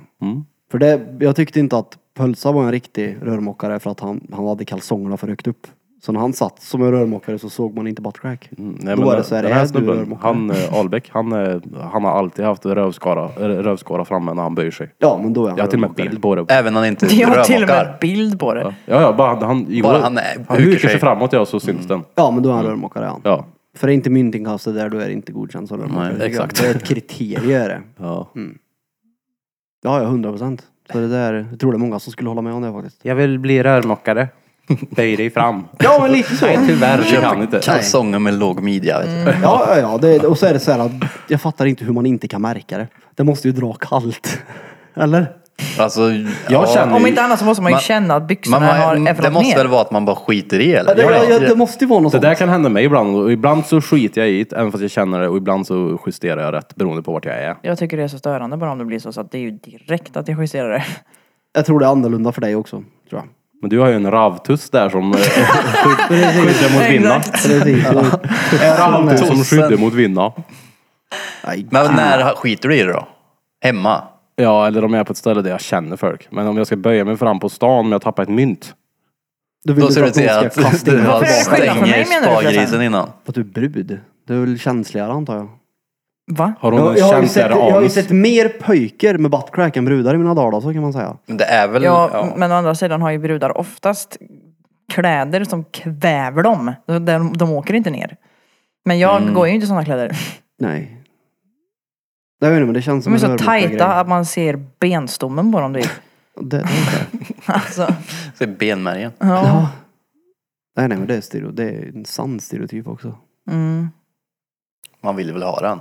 Speaker 4: För det, jag tyckte inte att Pölsa var en riktig rörmokare för att han, han hade kalsongerna för högt upp. Så när han satt som en rörmokare så såg man inte buttcrack.
Speaker 5: Mm.
Speaker 8: Mm, Nej,
Speaker 4: Då
Speaker 8: men
Speaker 4: är det så här,
Speaker 8: den
Speaker 4: är
Speaker 8: här
Speaker 4: du
Speaker 8: snubben,
Speaker 4: rörmokare?
Speaker 8: han, eh, Albeck, han, eh, han har alltid haft rövskara, eh, rövskara framme när han böjer sig.
Speaker 4: Ja, men då är han
Speaker 8: Jag har till och med
Speaker 4: rörmokare.
Speaker 8: bild på det.
Speaker 6: Även när han inte
Speaker 2: Jag har till och med
Speaker 6: rövmokar.
Speaker 2: bild på det.
Speaker 8: Ja, ja, bara han, igår,
Speaker 6: Bara han, eh,
Speaker 8: han hukar sig Mm. framåt ja, så syns den.
Speaker 4: Ja, men då är han rörmokare ja.
Speaker 8: Ja.
Speaker 4: För är inte myntinkastet där, då är det inte godkänt som rörmokare.
Speaker 6: Nej,
Speaker 4: tycker jag.
Speaker 6: exakt.
Speaker 4: Det är ett kriterium är det.
Speaker 8: Ja.
Speaker 4: Ja, ja, hundra procent. Så det där, jag tror det är många som skulle hålla med om det faktiskt.
Speaker 8: Jag vill bli rörmokare. Böj dig fram.
Speaker 4: Ja, men lite så.
Speaker 8: Nej, tyvärr. Jag kan inte.
Speaker 6: Kalsonger med låg midja. Vet du.
Speaker 2: Mm.
Speaker 4: Ja, ja, ja. Det, och så är det så här att jag fattar inte hur man inte kan märka det. Det måste ju dra kallt. Eller?
Speaker 6: Alltså,
Speaker 5: Jag känner
Speaker 2: Om
Speaker 5: ju-
Speaker 2: inte annat så måste man ju
Speaker 6: Man-
Speaker 2: känna att
Speaker 6: man,
Speaker 2: byxorna har
Speaker 6: man, det
Speaker 2: efteråt
Speaker 6: måste
Speaker 2: ner.
Speaker 6: väl vara att man bara skiter i eller?
Speaker 4: det, ja, det måste ju vara något
Speaker 8: Det
Speaker 4: sånt.
Speaker 8: där kan hända mig ibland. Och ibland så skiter jag i det, även fast jag känner det. Och ibland så justerar jag rätt beroende på vart jag är.
Speaker 2: Jag tycker det är så störande bara om det blir så, så att det är ju direkt att jag justerar det.
Speaker 4: Jag tror det är annorlunda för dig också. Tror jag.
Speaker 8: Men du har ju en ravtuss där som eh, skyddar mot vinna.
Speaker 4: Precis.
Speaker 8: En ravtuss som skyddar mot vinna.
Speaker 4: Nej.
Speaker 2: Mm.
Speaker 6: Men när skiter du i det då? Hemma?
Speaker 8: Ja, eller om jag är på ett ställe där jag känner folk. Men om jag ska böja mig fram på stan men jag tappar ett mynt.
Speaker 4: Du vill
Speaker 6: Då ser
Speaker 4: inte
Speaker 6: du
Speaker 4: att någon
Speaker 6: till
Speaker 4: ska
Speaker 6: att
Speaker 4: kasta in
Speaker 6: du
Speaker 4: den
Speaker 2: Varför är det skillnad för
Speaker 6: stänger
Speaker 2: mig, menar du,
Speaker 6: spargrisen
Speaker 2: förresten?
Speaker 6: innan.
Speaker 4: För att du är brud. Du är väl känsligare antar jag?
Speaker 2: Va?
Speaker 8: Har hon en
Speaker 4: jag, har ju sett,
Speaker 8: känsligare
Speaker 4: jag har ju
Speaker 8: anus?
Speaker 4: sett mer pöjker med buttcrack än brudar i mina dagar då, så kan man säga.
Speaker 6: Men det är väl...
Speaker 2: Ja, mm.
Speaker 6: ja.
Speaker 2: men å andra sidan har ju brudar oftast kläder som kväver dem. De, de åker inte ner. Men jag
Speaker 4: Mm.
Speaker 2: går ju inte i sådana kläder.
Speaker 4: Nej. Jag vet inte men det känns
Speaker 2: De är
Speaker 4: som
Speaker 2: så
Speaker 4: en
Speaker 2: tajta
Speaker 4: rörmokare-grej.
Speaker 2: att man ser benstommen på dem. Det är.
Speaker 4: Det, det är inte.
Speaker 2: Alltså,
Speaker 6: Så är benmärgen.
Speaker 2: ja.
Speaker 4: Ja. Nej nej men det är, stereo, det är en sann stereotyp också.
Speaker 2: Mm.
Speaker 6: Man vill väl ha den.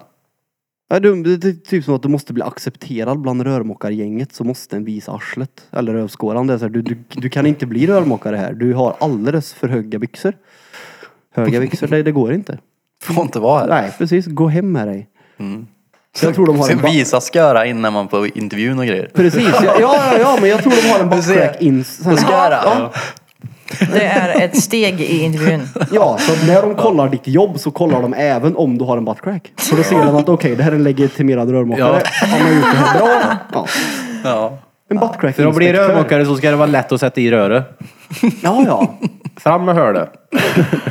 Speaker 4: Ja, du, det är typ som att du måste bli accepterad bland rörmokargänget så måste en visa arslet. Eller rövskåran. Det är så här, du, du, du kan inte bli rörmokare här. Du har alldeles för höga byxor. Höga byxor, det, det går inte.
Speaker 6: Får inte vara här.
Speaker 4: Nej precis, gå hem med dig.
Speaker 6: Mm.
Speaker 4: Så jag tror de har en
Speaker 6: Sen
Speaker 4: ba-
Speaker 6: visa sköra innan man på intervjun och grejer.
Speaker 4: Precis, ja, ja, ja men jag tror de har en
Speaker 6: Du ser.
Speaker 4: buttcrack in. Sen,
Speaker 6: Sköra.
Speaker 2: Det är ett steg i intervjun.
Speaker 4: ja, så att när de kollar ditt jobb så kollar de även om du har en buttcrack. För då ser de att okej, det här är en legitimerad rörmokare. Han har gjort det här bra. Ja.
Speaker 6: Ja.
Speaker 4: En buttcrack
Speaker 8: För att bli rörmokare så ska det vara lätt att sätta i röret.
Speaker 4: Ja, ja.
Speaker 8: Fram med hörde.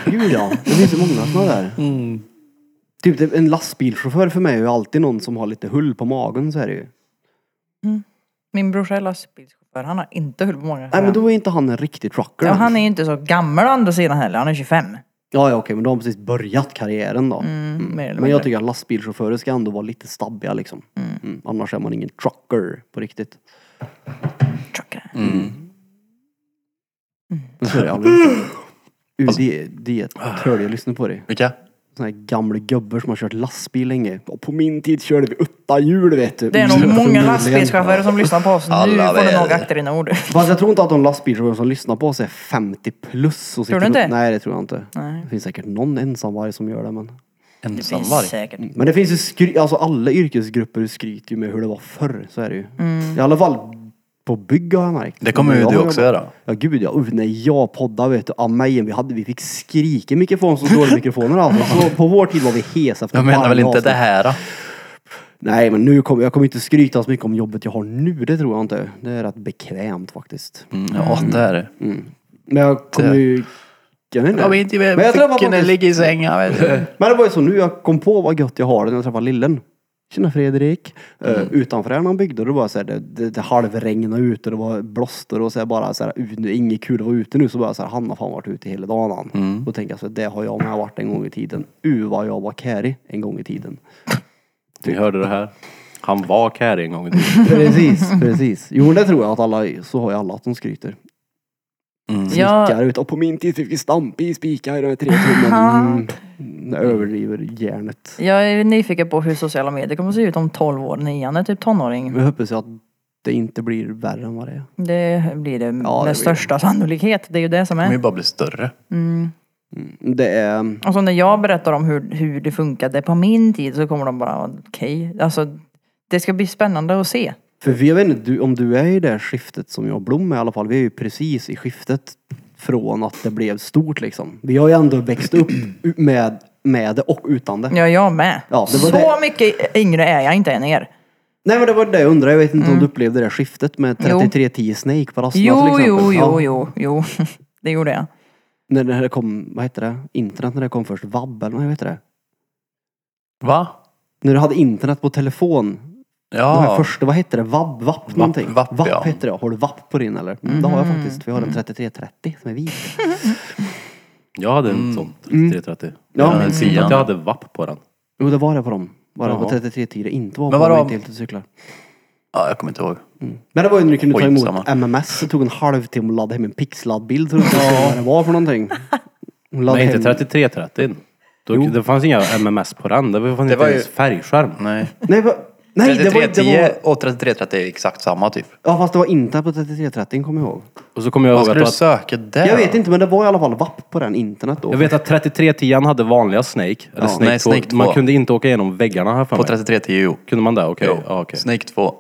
Speaker 4: Gud ja, det finns ju många sådana där.
Speaker 2: Mm.
Speaker 4: Typ det- en lastbilschaufför för mig är ju alltid någon som har lite hull på magen så är det ju.
Speaker 2: Min brorsa är lastbilschaufför. Han har inte hull på många
Speaker 4: Nej men då är inte han en riktig trucker.
Speaker 2: Ja,
Speaker 4: än.
Speaker 2: han är ju inte så gammal å andra sidan heller. Han är 25.
Speaker 4: Ja, ja okej men då har han precis börjat karriären då.
Speaker 2: Mm. Mer eller
Speaker 4: Mm. Men
Speaker 2: mindre.
Speaker 4: jag tycker att lastbilschaufförer ska ändå vara lite stabbiga liksom. Mm. Annars är man ingen trucker på riktigt.
Speaker 2: Truckare.
Speaker 6: Mm.
Speaker 4: Så är det aldrig. Ur det, det är ett törd jag lyssnar på det.
Speaker 6: Vilka?
Speaker 4: Sådana här gamla gubbar som har kört lastbil länge. Och på min tid körde vi åtta hjul vet du.
Speaker 2: Det är nog många
Speaker 4: Mm. Förmodligen.
Speaker 2: lastbilschaufförer som lyssnar på oss. Nu
Speaker 6: Alla
Speaker 2: får du
Speaker 6: väl.
Speaker 2: nog akta dina ord.
Speaker 4: Fast jag tror inte att de lastbilschaufförer som lyssnar på oss är 50 plus. Och
Speaker 2: Tror du
Speaker 4: sitter-
Speaker 2: inte?
Speaker 4: Nej, det tror jag inte.
Speaker 2: Nej.
Speaker 4: Det finns säkert någon ensamvarg som gör det. Men,
Speaker 2: Det finns
Speaker 4: Mm.
Speaker 6: Ensamvarg.
Speaker 2: säkert.
Speaker 4: men det finns ju skry- alltså alla yrkesgrupper skryter ju med hur det var förr. Så är det ju.
Speaker 2: Mm.
Speaker 4: I alla fall på bygg har jag märkt.
Speaker 6: Det kommer ju
Speaker 4: Jag
Speaker 6: du
Speaker 4: har
Speaker 6: också
Speaker 4: jobbat-
Speaker 6: göra.
Speaker 4: Ja gud ja. Uff, när jag poddade vet du. Ah, mig, vi, hade, vi fick skrika i mikrofon som dåliga mikrofoner alltså. Så på vår tid var vi hesa. efter
Speaker 6: Jag menar
Speaker 4: varje
Speaker 6: väl inte
Speaker 4: avsnitt.
Speaker 6: det här? då?
Speaker 4: Nej men nu kommer jag kommer inte skryta så mycket om jobbet jag har nu. Det tror jag inte. Det är rätt bekvämt faktiskt.
Speaker 6: Mm, Ja, det är det.
Speaker 4: Men jag kommer ju... Jag vet inte.
Speaker 6: Jag vet inte,
Speaker 4: men jag träffade
Speaker 6: ficken
Speaker 4: faktiskt...
Speaker 6: ligger i sängen. vet du.
Speaker 4: Men det var ju så nu, jag kom på vad gött jag har det när jag träffade lillen. Tjena Fredrik. Mm. utanför här när han byggde, då var så här, det, det, det halvregnade ute, det var blåster och så här, bara så här, ut, nu, inget kul att vara ute nu. Så bara jag så här, han har fan varit ute hela dagen han. Då tänker jag så här, det har jag med varit en gång i tiden. U vad jag var carry en gång i tiden.
Speaker 8: Ni hörde det här. Han var Kari en gång i tiden.
Speaker 4: Precis, precis. Jo men det tror jag att alla, så har ju alla att de skryter. Spikar
Speaker 2: Jag,
Speaker 4: ut, och på min tid fick vi stamp i spikar i de här tre tummen. Mm. Jag överdriver järnet.
Speaker 2: jag är nyfiken på hur sociala medier kommer att se ut om 12 år när Ian är typ tonåring.
Speaker 4: Men jag hoppas ju att det inte blir värre än vad det är.
Speaker 2: Det blir det med
Speaker 4: blir det. Mm.
Speaker 2: största sannolikhet. Det är ju det som
Speaker 6: De kommer ju
Speaker 2: är. Mm.
Speaker 6: bara bli större.
Speaker 4: Det är...
Speaker 2: Och så när jag berättar om hur, hur det funkade på min tid så kommer de bara okej. Alltså det ska bli spännande att se.
Speaker 4: För vi- jag vet inte du, om du är i det här skiftet som jag och Blom är i alla fall. Vi är ju precis i skiftet från att det blev stort liksom. Vi har ju ändå växt upp u- med, med det och utan det.
Speaker 2: Ja, jag med.
Speaker 4: Ja, det var
Speaker 2: så
Speaker 4: det.
Speaker 2: mycket yngre är jag inte än er.
Speaker 4: Nej men det var det jag undrade. Jag vet inte om du upplevde det här skiftet med
Speaker 2: Mm. Jo.
Speaker 4: 3310 Snake på rasterna till
Speaker 2: Jo,
Speaker 4: exempel.
Speaker 2: jo,
Speaker 4: Ja.
Speaker 2: jo, jo, jo. Det gjorde jag.
Speaker 4: När det här kom, vad heter det? Internet när det kom först. Vab eller vad heter det?
Speaker 6: Va?
Speaker 4: När du hade internet på telefon. Den här
Speaker 6: Ja.
Speaker 4: första, vad hette det? Vab, vapp någonting?
Speaker 6: vapp,
Speaker 4: vapp
Speaker 6: ja.
Speaker 4: hette det. Har du vapp på din eller? Mm, Det har jag faktiskt. Vi har en 3330 som är vit.
Speaker 8: Jag hade en sån 3330.
Speaker 4: Mm. Ja, Mm.
Speaker 8: jag
Speaker 4: men
Speaker 8: minns inte att jag hade vapp på den.
Speaker 4: Jo det var det på dem. Var det på
Speaker 8: Jaha.
Speaker 4: 33 tider inte var
Speaker 6: Men
Speaker 4: på
Speaker 6: vadå?
Speaker 4: de inte cyklar.
Speaker 6: Ja, jag kommer inte ihåg.
Speaker 4: Men det var ju när du kunde ta emot
Speaker 6: Skitsamma.
Speaker 4: MMS. Det tog en halvtimme att ladda hem en pixlad bild. Tror du inte ja. vad det var för någonting? Hon laddade
Speaker 8: Nej, inte
Speaker 4: hem-
Speaker 8: 3330. Då, det fanns inga MMS på den. Det fanns inte
Speaker 6: var ju-
Speaker 8: ens färgskärm.
Speaker 6: Nej.
Speaker 4: Nej, va- Nej, det var, det
Speaker 6: 3310
Speaker 4: var...
Speaker 6: och 3330 är exakt samma typ.
Speaker 4: Ja, fast det var inte på 3330 kommer jag ihåg.
Speaker 5: Och så kommer jag
Speaker 6: Vad
Speaker 5: ihåg att, det
Speaker 6: skulle du
Speaker 5: var-
Speaker 6: söka där?
Speaker 4: Jag vet inte, men det var i alla fall VAP på den internet då.
Speaker 5: jag vet att 3310 hade vanliga Snake. Eller
Speaker 6: Ja,
Speaker 5: snake,
Speaker 6: nej,
Speaker 5: två.
Speaker 6: Snake två.
Speaker 5: Man kunde inte åka igenom väggarna här för
Speaker 6: På
Speaker 5: mig.
Speaker 6: 3310 jo.
Speaker 5: Kunde man det? Okej.
Speaker 6: jo.
Speaker 5: Ja, okej.
Speaker 6: Snake 2.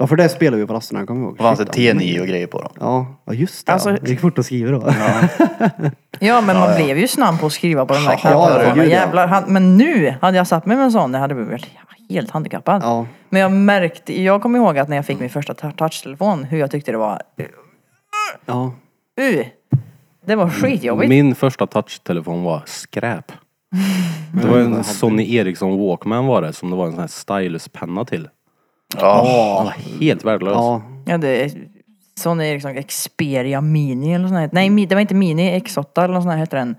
Speaker 4: Ja, för det spelade vi på rasterna, kommer jag ihåg.
Speaker 6: Det alltså, fanns
Speaker 4: Shit, alltså.
Speaker 6: ett T9 och grejer på dem.
Speaker 4: Ja, ja just det.
Speaker 2: Alltså-
Speaker 4: ja. Det gick fort att skriva då.
Speaker 2: Ja men man blev ju snabb på att skriva på de där
Speaker 4: ja,
Speaker 2: knapparna.
Speaker 4: gud, ja.
Speaker 2: Jävlar, han, men nu hade jag satt mig med en sån, det hade blivit helt handikappad.
Speaker 4: Ja.
Speaker 2: Men jag märkte, jag kommer ihåg att när jag fick min första ta- touchtelefon, hur jag tyckte det var,
Speaker 4: Ja.
Speaker 2: uh, det var skitjobbigt.
Speaker 5: Min första touchtelefon var skräp. Det var en Sony Ericsson Walkman var det, som det var en sån här styluspenna till.
Speaker 6: Ja.
Speaker 5: Den var helt värdelös.
Speaker 4: ja.
Speaker 2: Ja, det är Sony Ericsson Xperia Mini eller något sånt här. Nej, mi- det var inte Mini, X8 eller något sånt här hette den.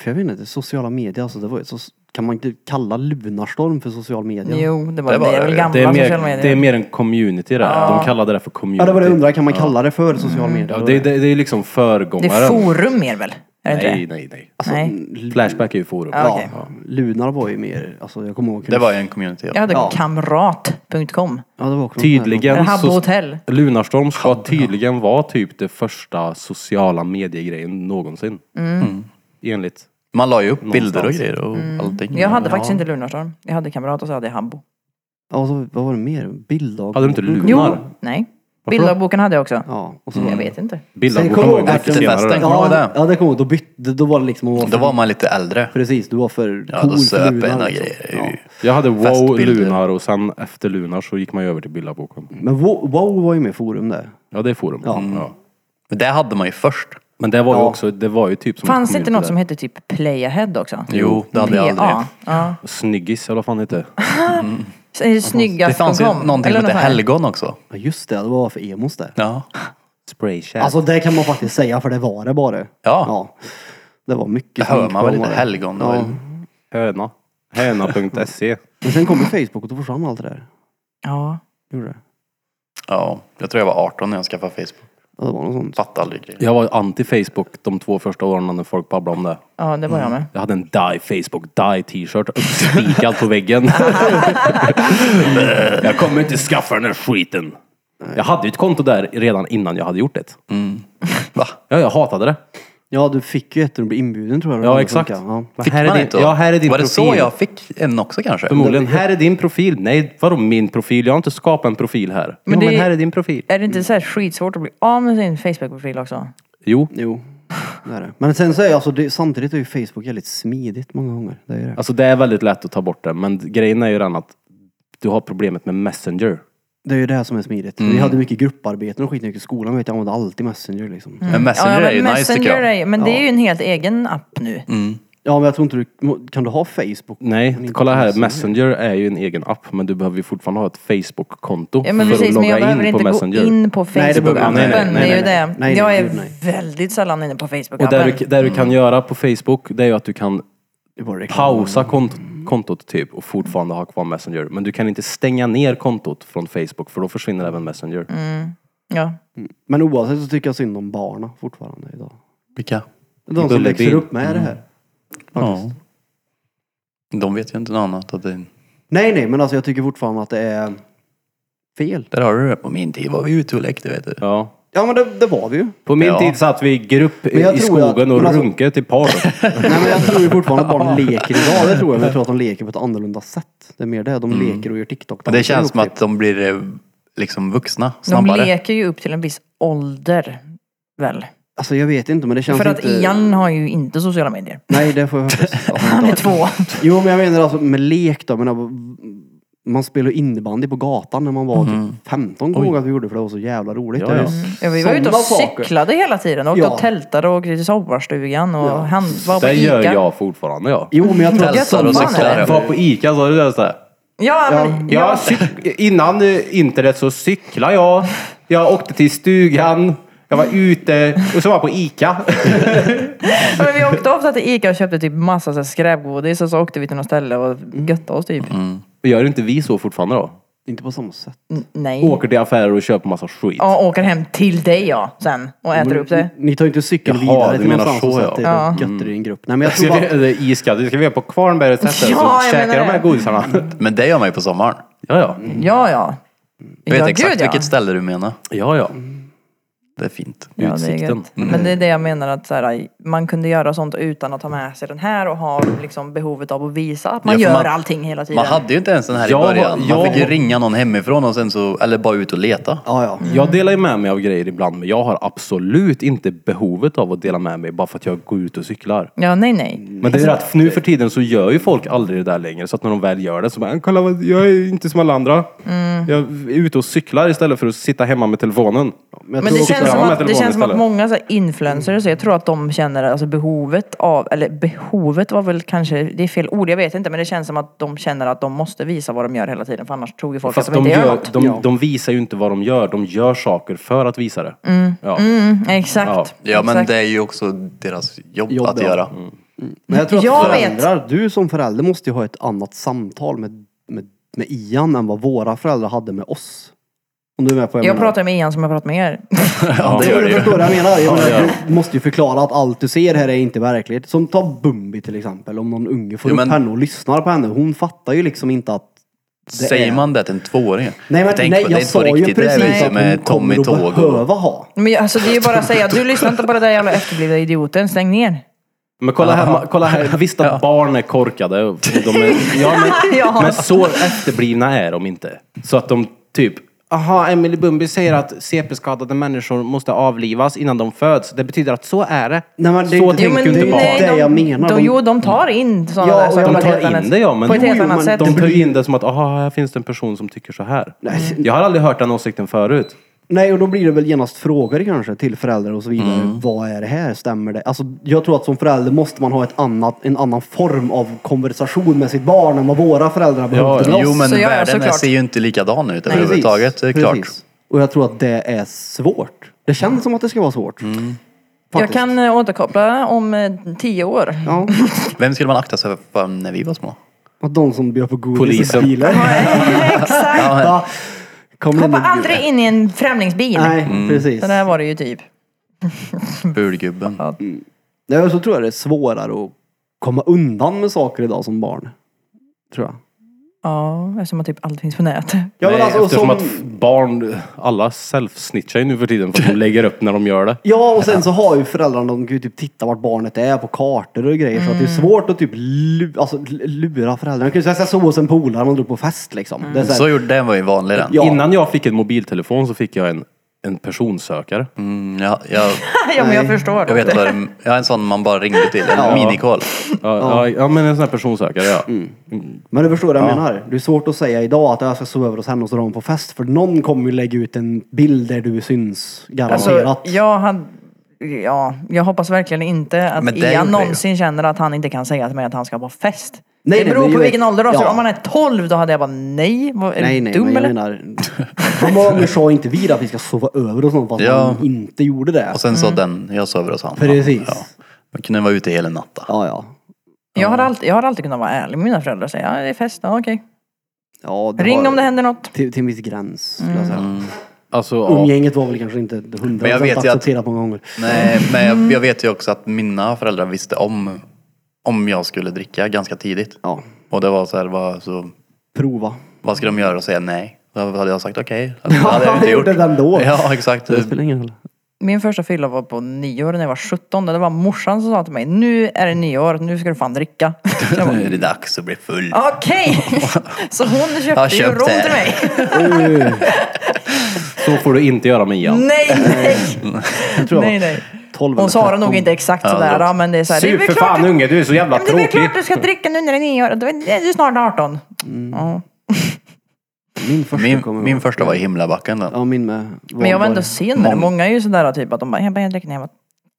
Speaker 4: För jag vet inte, sociala medier alltså. Det var ju så... Kan man inte kalla Lunarstorm för social media?
Speaker 2: Jo, det var
Speaker 6: Det
Speaker 2: det.
Speaker 6: var-
Speaker 2: är väl gamla
Speaker 5: Det är,
Speaker 2: sociala
Speaker 5: mer,
Speaker 2: medier.
Speaker 5: det är mer en community där. De kallade det för community.
Speaker 4: Ja, det var det jag undrar. Kan man kalla det för social media?
Speaker 5: Ja, det, det, det är liksom
Speaker 2: Det
Speaker 5: föregångaren.
Speaker 2: är forum mer väl? Är det inte
Speaker 5: nej,
Speaker 2: det?
Speaker 5: nej, nej.
Speaker 2: Nej.
Speaker 6: Alltså,
Speaker 5: Flashback är ju forum.
Speaker 2: Ja, okej.
Speaker 4: Ja, Lunar var ju mer, alltså jag kommer ihåg.
Speaker 6: Det var ju en community.
Speaker 2: Jag hade
Speaker 4: Ja.
Speaker 2: kamrat.com.
Speaker 4: Ja, det var också
Speaker 5: Tydligen
Speaker 2: Eller Habbo Hotel.
Speaker 5: Lunarstorm ska tydligen vara typ det första sociala mediegrejen någonsin.
Speaker 2: Mm.
Speaker 5: Enligt.
Speaker 6: Man la ju upp bilder och
Speaker 5: Någonstans.
Speaker 6: grejer och allting.
Speaker 2: Jag hade faktiskt inte Lunarstorm. Jag hade kamrat och så hade jag Habbo.
Speaker 4: Ja, så, vad var det mer? Bilddag.
Speaker 5: Hade du inte Lunar?
Speaker 2: Jo, nej. Bildagboken hade jag också.
Speaker 4: Ja, och så
Speaker 2: Jag
Speaker 4: var det...
Speaker 2: vet inte.
Speaker 5: Bildagboken var ju mycket
Speaker 6: Efterfesten.
Speaker 5: senare.
Speaker 6: Kommer du ihåg
Speaker 4: Ja,
Speaker 6: det?
Speaker 4: ja, det kommer jag ihåg. Då, bytte, då var det liksom... man
Speaker 6: Då
Speaker 4: för-
Speaker 6: var man lite äldre.
Speaker 4: Precis, du var för
Speaker 6: Ja,
Speaker 4: cool
Speaker 6: då
Speaker 4: för
Speaker 6: söp en
Speaker 4: Lunar.
Speaker 6: och
Speaker 4: liksom.
Speaker 6: grejer.
Speaker 5: Jag hade wow,
Speaker 6: Festbilder.
Speaker 5: Lunar och sen efter Lunar så gick man ju över till Bildagboken.
Speaker 4: Men wow, wow var ju med i forum där.
Speaker 5: Ja, det är forum.
Speaker 4: Mm. Ja.
Speaker 5: Ja.
Speaker 6: Men det hade man ju först.
Speaker 5: Men det var ju också, det var ju typ som...
Speaker 2: Fanns
Speaker 5: en
Speaker 2: det inte något som
Speaker 5: community
Speaker 2: hette typ Playahead också?
Speaker 6: Jo, det hade jag aldrig.
Speaker 2: PA. Ja.
Speaker 5: där. Snyggis, eller vad fan heter det?
Speaker 6: Det fanns ju
Speaker 2: Snyggast.com.
Speaker 6: någonting som
Speaker 2: något
Speaker 6: hette
Speaker 2: sånt här.
Speaker 6: helgon också.
Speaker 4: Ja, just det. Det var för emos där.
Speaker 6: Ja.
Speaker 5: Spraychat.
Speaker 4: Alltså det kan man faktiskt säga, för det var det bara. Ja. Det var
Speaker 6: Det
Speaker 4: mycket
Speaker 6: hör
Speaker 4: skit
Speaker 6: man väl
Speaker 4: på
Speaker 6: lite
Speaker 4: det.
Speaker 6: helgon.
Speaker 4: Ja.
Speaker 6: Ja.
Speaker 5: Höna. E. Höna.se.
Speaker 4: Men sen kom ju Facebook och tog fram allt det där.
Speaker 2: Ja.
Speaker 4: Gjorde det?
Speaker 6: ja. Jag tror jag var 18 när jag skaffade Facebook.
Speaker 4: Ja, det var något sånt.
Speaker 6: Fattade aldrig grejer.
Speaker 5: Jag var anti-Facebook de två första åren när folk babblade om det.
Speaker 2: ja, det var jag med.
Speaker 5: Jag hade en Die Facebook Die t-shirt uppspikad på väggen. jag kommer inte skaffa den här skiten. Jag hade ju ett konto där redan innan jag hade gjort det.
Speaker 6: Va?
Speaker 5: Ja, jag hatade det.
Speaker 4: Ja, du fick ju ett när du blev inbjuden tror jag.
Speaker 5: Ja,
Speaker 4: Det
Speaker 5: exakt.
Speaker 4: funkar. Ja.
Speaker 5: Men
Speaker 6: Fick
Speaker 5: här är
Speaker 6: man
Speaker 5: din-
Speaker 6: inte då?
Speaker 5: Ja, här är din
Speaker 6: Var det
Speaker 5: profil.
Speaker 6: så jag fick en också kanske?
Speaker 5: Förmodligen, här är din profil. Nej, vadå min profil? Jag har inte skapat en profil här. Men,
Speaker 2: Men
Speaker 5: jo,
Speaker 2: det-
Speaker 5: men här är din profil.
Speaker 2: Är det inte så här skitsvårt att bli av med sin Facebook-profil också?
Speaker 5: Jo,
Speaker 4: Jo, det är det. Men sen så är alltså, det, samtidigt är ju Facebook jävligt smidigt många gånger. Det är ju det.
Speaker 5: alltså det är väldigt lätt att ta bort det. Men grejen är ju den att du har problemet med Messenger.
Speaker 4: Det är ju det här som är smidigt.
Speaker 6: Mm.
Speaker 4: Vi hade mycket grupparbeten och skitmycket i skolan. Vet jag, jag använde alltid Messenger liksom.
Speaker 6: Men Messenger
Speaker 2: men
Speaker 6: är ju nice tycker
Speaker 2: Messenger
Speaker 6: jag.
Speaker 2: är- Men det är ju en helt egen app nu.
Speaker 4: Ja, men jag tror inte du... Kan du ha Facebook?
Speaker 5: Nej,
Speaker 4: Men inte
Speaker 5: kolla här.
Speaker 4: Messenger.
Speaker 5: Messenger är ju en egen app, men du behöver ju fortfarande ha ett Facebook-konto
Speaker 2: Ja men
Speaker 5: för
Speaker 2: precis,
Speaker 5: att
Speaker 2: men jag
Speaker 5: logga
Speaker 2: behöver
Speaker 5: in på
Speaker 2: inte gå
Speaker 5: Messenger.
Speaker 2: in på
Speaker 4: Nej, det behöver-
Speaker 2: Facebook-appen. Det
Speaker 5: nej, nej, nej,
Speaker 2: är
Speaker 4: nej,
Speaker 2: ju
Speaker 4: nej.
Speaker 2: det.
Speaker 4: Nej, nej,
Speaker 2: Jag
Speaker 4: gud,
Speaker 2: är
Speaker 4: nej.
Speaker 2: väldigt sällan inne på
Speaker 5: Och där du,
Speaker 2: Facebook-appen.
Speaker 5: där du kan
Speaker 4: Mm.
Speaker 5: göra på Facebook, det är ju att du kan
Speaker 4: Det är bara reklam.
Speaker 5: pausa kont kontot typ och fortfarande ha kvar Messenger. Men du kan inte stänga ner kontot från Facebook för då försvinner även Messenger.
Speaker 4: Mm.
Speaker 2: Ja.
Speaker 4: Men oavsett så tycker jag synd om barna fortfarande idag.
Speaker 6: Vilka?
Speaker 4: De som
Speaker 5: Bullerbyn.
Speaker 4: växer upp med det här.
Speaker 6: Ja. De vet ju inte något annat. Att det...
Speaker 4: Nej, nej, men alltså jag tycker fortfarande att det är fel.
Speaker 6: Där har du det. På min tid var vi ute och lekte vet du.
Speaker 5: Ja.
Speaker 4: Ja, men det, det var vi ju.
Speaker 5: På min
Speaker 6: Ja.
Speaker 5: tid satt vi i grupp i,
Speaker 4: Men jag
Speaker 5: i
Speaker 4: tror jag-
Speaker 5: skogen och
Speaker 4: men alltså-
Speaker 5: runkade till par.
Speaker 4: Nej, men jag tror ju fortfarande att barn leker idag. Det tror jag, men jag tror att de leker på ett annorlunda sätt. Det är mer det. De leker och gör tiktok
Speaker 6: Men det känns som att de blir eh, liksom vuxna
Speaker 2: De
Speaker 6: snabbare.
Speaker 2: leker ju upp till en viss ålder. Väl?
Speaker 4: Alltså jag vet inte, men det känns
Speaker 2: För att
Speaker 4: inte...
Speaker 2: Ian har ju inte sociala medier.
Speaker 4: Nej, det får jag hoppas. att han
Speaker 2: Han
Speaker 4: inte
Speaker 2: är
Speaker 4: har.
Speaker 2: två.
Speaker 4: Jo, men jag menar alltså med lek då. Men alltså, man spelade innebandy på gatan när man var typ 15 kommer jag ihåg att vi gjorde för det var så jävla roligt.
Speaker 5: Ja,
Speaker 4: Det är
Speaker 5: ja.
Speaker 4: ju
Speaker 2: Ja, vi var ute och
Speaker 4: sådana saker.
Speaker 2: cyklade hela tiden. Åkte
Speaker 4: Ja.
Speaker 2: och tältade och åkte till sommarstugan och han var på
Speaker 5: Det gör
Speaker 2: Ica.
Speaker 5: jag fortfarande ja.
Speaker 4: Jo, men jag tror att
Speaker 6: Tältar
Speaker 4: sådana
Speaker 6: och
Speaker 2: fan
Speaker 6: cyklar.
Speaker 5: Var på Ica sa du det sådär?
Speaker 2: Ja, men,
Speaker 5: Ja, cyk- innan eh, internet så cyklade jag. Jag åkte till stugan. Jag var ute och så var jag på Ica.
Speaker 2: men vi åkte ofta till Ica och köpte typ massa
Speaker 4: Mm.
Speaker 5: Mm.
Speaker 2: så här skräpgodis och så åkte vi till något ställe och göttade oss typ.
Speaker 5: Gör inte vi så fortfarande då?
Speaker 4: Inte på samma sätt.
Speaker 2: N- Nej.
Speaker 5: Åker till affärer och köper massa skit.
Speaker 2: Ja, åker hem till dig ja, sen. Och äter
Speaker 4: Mm.
Speaker 2: upp det.
Speaker 4: Ni, ni tar ju inte cykeln
Speaker 5: Jaha,
Speaker 4: vidare
Speaker 5: du
Speaker 4: till
Speaker 5: menar
Speaker 4: någonstans
Speaker 5: så,
Speaker 4: och
Speaker 5: ja.
Speaker 4: sätter ja. götter i en grupp. Nej men jag tror
Speaker 5: Ska vi,
Speaker 4: bara...
Speaker 5: det är iskallt. Det ska vi göra på Kvarnbergets sätt.
Speaker 2: Ja,
Speaker 5: så
Speaker 2: jag
Speaker 5: käkar
Speaker 2: menar
Speaker 5: de här
Speaker 2: det. Mm.
Speaker 5: godisarna.
Speaker 6: Men det gör man ju på sommaren.
Speaker 5: Ja, ja.
Speaker 2: Ja, ja.
Speaker 6: Jag vet
Speaker 2: ja,
Speaker 6: exakt
Speaker 2: gud, ja.
Speaker 6: vilket ställe du menar.
Speaker 5: Ja, ja.
Speaker 6: Det är fint.
Speaker 2: Ja, det är
Speaker 5: Utsikten.
Speaker 2: gött. Men det är det jag menar att så här, man kunde göra sånt utan att ha med sig den här och ha liksom behovet av att visa att man
Speaker 6: Ja, för
Speaker 2: gör
Speaker 6: man-
Speaker 2: allting hela tiden.
Speaker 6: Man hade ju inte ens den här
Speaker 5: Jag
Speaker 6: i
Speaker 5: har-
Speaker 6: början. Man
Speaker 5: jag
Speaker 6: fick ju
Speaker 5: har-
Speaker 6: ringa någon hemifrån och sen så, eller bara ut och leta.
Speaker 4: Ja, ja.
Speaker 5: Jag delar ju med mig av grejer ibland, men jag har absolut inte behovet av att dela med mig bara för att jag går ut och cyklar.
Speaker 2: Ja, nej, nej.
Speaker 5: Men det är ju att nu för tiden så gör ju folk aldrig det där längre. Så att när de väl gör det så bara, kolla vad, jag är inte som alla andra.
Speaker 2: Mm.
Speaker 5: Jag är ute och cyklar istället för att sitta hemma med telefonen.
Speaker 4: jag
Speaker 2: Men
Speaker 4: tror
Speaker 2: det
Speaker 4: också-
Speaker 2: känns,
Speaker 5: jag
Speaker 2: som
Speaker 5: har med
Speaker 2: att, det
Speaker 5: telefonen
Speaker 2: känns som att
Speaker 5: istället.
Speaker 2: många så här, influencers, så jag tror att de känner alltså, behovet av, eller behovet var väl kanske, det är fel ord, jag vet inte, men det känns som att de känner att de måste visa vad de gör hela tiden för annars tror ju folk
Speaker 5: Fast
Speaker 2: att de,
Speaker 5: de,
Speaker 2: inte gör
Speaker 5: gör,
Speaker 2: något.
Speaker 5: de, de visar ju inte vad de gör. De gör saker för att visa det. Ja.
Speaker 2: Mm, Exakt.
Speaker 5: Ja.
Speaker 6: Ja men
Speaker 2: exakt.
Speaker 6: det är ju också deras jobb,
Speaker 4: Jobb,
Speaker 6: att
Speaker 4: ja.
Speaker 6: göra.
Speaker 4: Men jag tror att
Speaker 2: Jag
Speaker 4: föräldrar, du som förälder måste ju ha ett annat samtal med, med, med Ian än vad våra föräldrar hade med oss. Om du är med på vad
Speaker 2: Jag
Speaker 4: menar.
Speaker 2: pratar med Ian som jag pratat med er.
Speaker 6: Ja, det gör det
Speaker 4: Jag
Speaker 6: ju.
Speaker 4: förstår vad jag menar. Jag menar du måste ju förklara att allt du ser här är inte verkligt. Som ta Bumbi till exempel. Om någon unge får
Speaker 6: Jo,
Speaker 4: upp
Speaker 6: men-
Speaker 4: henne och lyssnar på henne. Hon fattar ju liksom inte att... det
Speaker 6: Säger
Speaker 4: är-
Speaker 6: man det till en tvååring?
Speaker 4: Nej men
Speaker 6: Tänk
Speaker 4: nej,
Speaker 6: på, det är
Speaker 4: jag
Speaker 6: inte på
Speaker 4: sa ju
Speaker 6: riktigt. Det är
Speaker 4: precis
Speaker 6: liksom
Speaker 4: att hon
Speaker 6: med Tommy
Speaker 4: kommer att
Speaker 6: Tåg och...
Speaker 4: behöva ha.
Speaker 2: Men jag- alltså det är ju bara att säga, du lyssnar inte på den där jävla efterblivna idioten, stäng ner.
Speaker 5: Men kolla här, kolla här. Visst att barn är korkade. och De är, ja, men,
Speaker 2: Ja.
Speaker 5: men så efterblivna är de inte. Så att de typ... Aha, Emily Bumby säger att CP-skadade människor måste avlivas innan de föds. Det betyder att så är det.
Speaker 4: Nej, men det-
Speaker 5: så
Speaker 4: Jo,
Speaker 5: tänker
Speaker 4: men
Speaker 5: ju inte
Speaker 4: det-
Speaker 5: barn.
Speaker 4: nej, det jag menar.
Speaker 2: De,
Speaker 4: De-
Speaker 2: jo, de tar in sådana
Speaker 4: Ja,
Speaker 2: där
Speaker 4: och
Speaker 2: saker
Speaker 4: jag
Speaker 2: på
Speaker 4: menar-
Speaker 2: ett helt
Speaker 5: tar
Speaker 2: annat-
Speaker 5: in det ja, men
Speaker 2: på ett helt
Speaker 4: Jo, jo,
Speaker 2: annat
Speaker 4: men
Speaker 2: sätt.
Speaker 5: De tar ju in det som att aha, här finns det en person som tycker så här. Jag har aldrig hört den åsikten förut.
Speaker 4: Nej, och då blir det väl genast frågor kanske till föräldrar och så vidare.
Speaker 6: Mm.
Speaker 4: Vad är det här? Stämmer det? Alltså, jag tror att som förälder måste man ha ett annat, en annan form av konversation med sitt barn än vad våra föräldrar behövde med
Speaker 6: Jo
Speaker 4: oss.
Speaker 6: men
Speaker 2: Så gör jag
Speaker 6: världen
Speaker 2: såklart.
Speaker 6: ser ju inte likadan ut överhuvudtaget. Det är klart.
Speaker 4: Precis. Och jag tror att det är svårt. Det känns som att det ska vara svårt.
Speaker 6: Mm.
Speaker 2: Jag
Speaker 4: Faktiskt.
Speaker 2: kan eh, återkoppla om eh, tio år.
Speaker 4: Ja,
Speaker 6: Vem skulle man akta sig för när vi var små?
Speaker 4: och de som bjöd på godis
Speaker 5: Polisen.
Speaker 4: i bilar.
Speaker 2: Exakt.
Speaker 4: Ja. Kom
Speaker 2: Hoppa
Speaker 4: in i-
Speaker 2: aldrig in i en främlingsbil.
Speaker 4: Nej,
Speaker 6: Mm.
Speaker 4: precis.
Speaker 2: Så där var det ju typ.
Speaker 6: Bulgubben.
Speaker 4: Nej, och så tror jag det är svårare att komma undan med saker idag som barn. Tror jag.
Speaker 2: Ja, eftersom att typ allt finns på nätet.
Speaker 4: Ja,
Speaker 5: Nej,
Speaker 4: men alltså, och
Speaker 5: eftersom
Speaker 4: som-
Speaker 5: att f- barn, alla self-snitchar ju nu för tiden för att de lägger upp när de gör det.
Speaker 4: Ja, och sen så har ju föräldrarna, de kan ju typ titta vart barnet är på kartor och grejer. Så att det är svårt att typ lu, alltså, l- lura föräldrarna. Man kan ju säga så här, så hos en polare man drog på fest liksom. Det är så här,
Speaker 6: Så gjorde den var ju vanlig den.
Speaker 4: Ja.
Speaker 5: Innan jag fick en mobiltelefon så fick jag en, en personsökare.
Speaker 6: Mm, jag, jag,
Speaker 2: ja, men jag förstår.
Speaker 6: jag vet vad det- jag är en sån man bara ringde till. En minikål.
Speaker 5: Ja, ja. ja, men en sån här personsökare ja.
Speaker 4: Men du förstår vad jag menar. Det är svårt att säga idag att jag ska sova över hos henne och så drar hon på fest. För någon kommer ju lägga ut en bild där du syns garanterat.
Speaker 2: Alltså, jag hade... Ja, jag hoppas verkligen inte att
Speaker 6: Men det
Speaker 2: Ian
Speaker 6: gjorde
Speaker 2: någonsin känner att han inte kan säga till mig att han ska på fest.
Speaker 4: Nej,
Speaker 2: det
Speaker 4: nej,
Speaker 2: beror
Speaker 4: men
Speaker 2: på
Speaker 4: jag-
Speaker 2: vilken ålder då. Så
Speaker 4: ja.
Speaker 2: om han är 12 då hade jag bara nej. Vad, är
Speaker 4: nej,
Speaker 2: du
Speaker 4: nej,
Speaker 2: dum
Speaker 4: men jag
Speaker 2: eller?
Speaker 4: menar. Hur många gånger sa inte vi att vi ska sova över hos någon fast
Speaker 6: Ja.
Speaker 4: han inte gjorde det?
Speaker 6: Och sen så
Speaker 2: Mm.
Speaker 6: den, jag sover hos honom.
Speaker 4: Precis.
Speaker 6: Ja. Man kunde vara ute hela natten.
Speaker 4: Ja, ja.
Speaker 2: Jag har, alltid, jag har alltid kunnat vara ärlig med mina föräldrar och säga ja, det är fest, ja, okej.
Speaker 4: ja
Speaker 2: Ring
Speaker 4: var-
Speaker 2: om det händer något.
Speaker 4: Till, till en viss gräns. skulle jag säga.
Speaker 5: Alltså, ja.
Speaker 4: Umgänget var väl kanske inte
Speaker 6: Men jag vet
Speaker 4: 100%
Speaker 6: ju att-
Speaker 4: accepterat många gånger.
Speaker 6: Nej, men jag, jag vet ju också att mina föräldrar visste om om jag skulle dricka ganska tidigt.
Speaker 4: Ja,
Speaker 6: Och det var så här, vad, så,
Speaker 4: prova.
Speaker 6: vad skulle de göra och säga nej? Då hade jag sagt okej. Det hade jag inte gjort.
Speaker 4: gjorde det ändå.
Speaker 6: Ja, exakt.
Speaker 4: Det spelar ingen roll.
Speaker 2: Min första fylla var på nyår när jag var 17. Det var morsan som sa till mig, nu är det nyår, nu ska du fan dricka. Jag bara,
Speaker 6: Nu är det dags att bli full.
Speaker 2: Okej! Så hon köpte ju
Speaker 6: köpt
Speaker 2: rom
Speaker 6: det.
Speaker 2: till mig.
Speaker 5: Så får du inte göra med Ian.
Speaker 2: Nej, nej!
Speaker 4: Jag tror jag
Speaker 2: nej,
Speaker 4: var
Speaker 2: nej.
Speaker 4: 12
Speaker 2: Hon
Speaker 4: eller
Speaker 2: sa det
Speaker 4: 13.
Speaker 2: nog inte exakt sådär, ja, men det är såhär.
Speaker 5: Sug för fan unge, du är så jävla
Speaker 2: Men det är väl
Speaker 5: tråkig.
Speaker 2: klart du ska dricka nu när det är nio år. Du är ju snart 18. Ja.
Speaker 4: Min första
Speaker 6: Min,
Speaker 4: kommer jag
Speaker 6: min
Speaker 4: ihåg.
Speaker 6: första var i Himlabacken. Den.
Speaker 4: Ja, min med.
Speaker 2: Men jag var ändå sen med det.
Speaker 6: Mång-
Speaker 2: Många är ju sådär typ att de bara, jag började dricka när jag var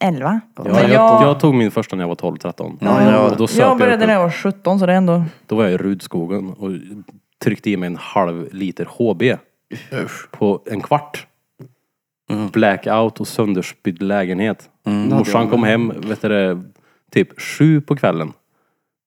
Speaker 2: 11.
Speaker 5: Ja,
Speaker 2: Men
Speaker 5: jag,
Speaker 2: jag,
Speaker 5: jag tog min första när jag var 12-13.
Speaker 6: ja.
Speaker 5: Och då söp
Speaker 2: jag
Speaker 5: jag
Speaker 2: började
Speaker 5: upp
Speaker 2: när
Speaker 5: en-
Speaker 2: jag var 17 så det är ändå...
Speaker 5: Då var jag i Rudskogen och tryckte i mig en halv liter HB. På en kvart.
Speaker 4: Mm.
Speaker 5: Blackout och sönderspydd lägenhet. Morsan kom hem, vet du det, typ sju på kvällen.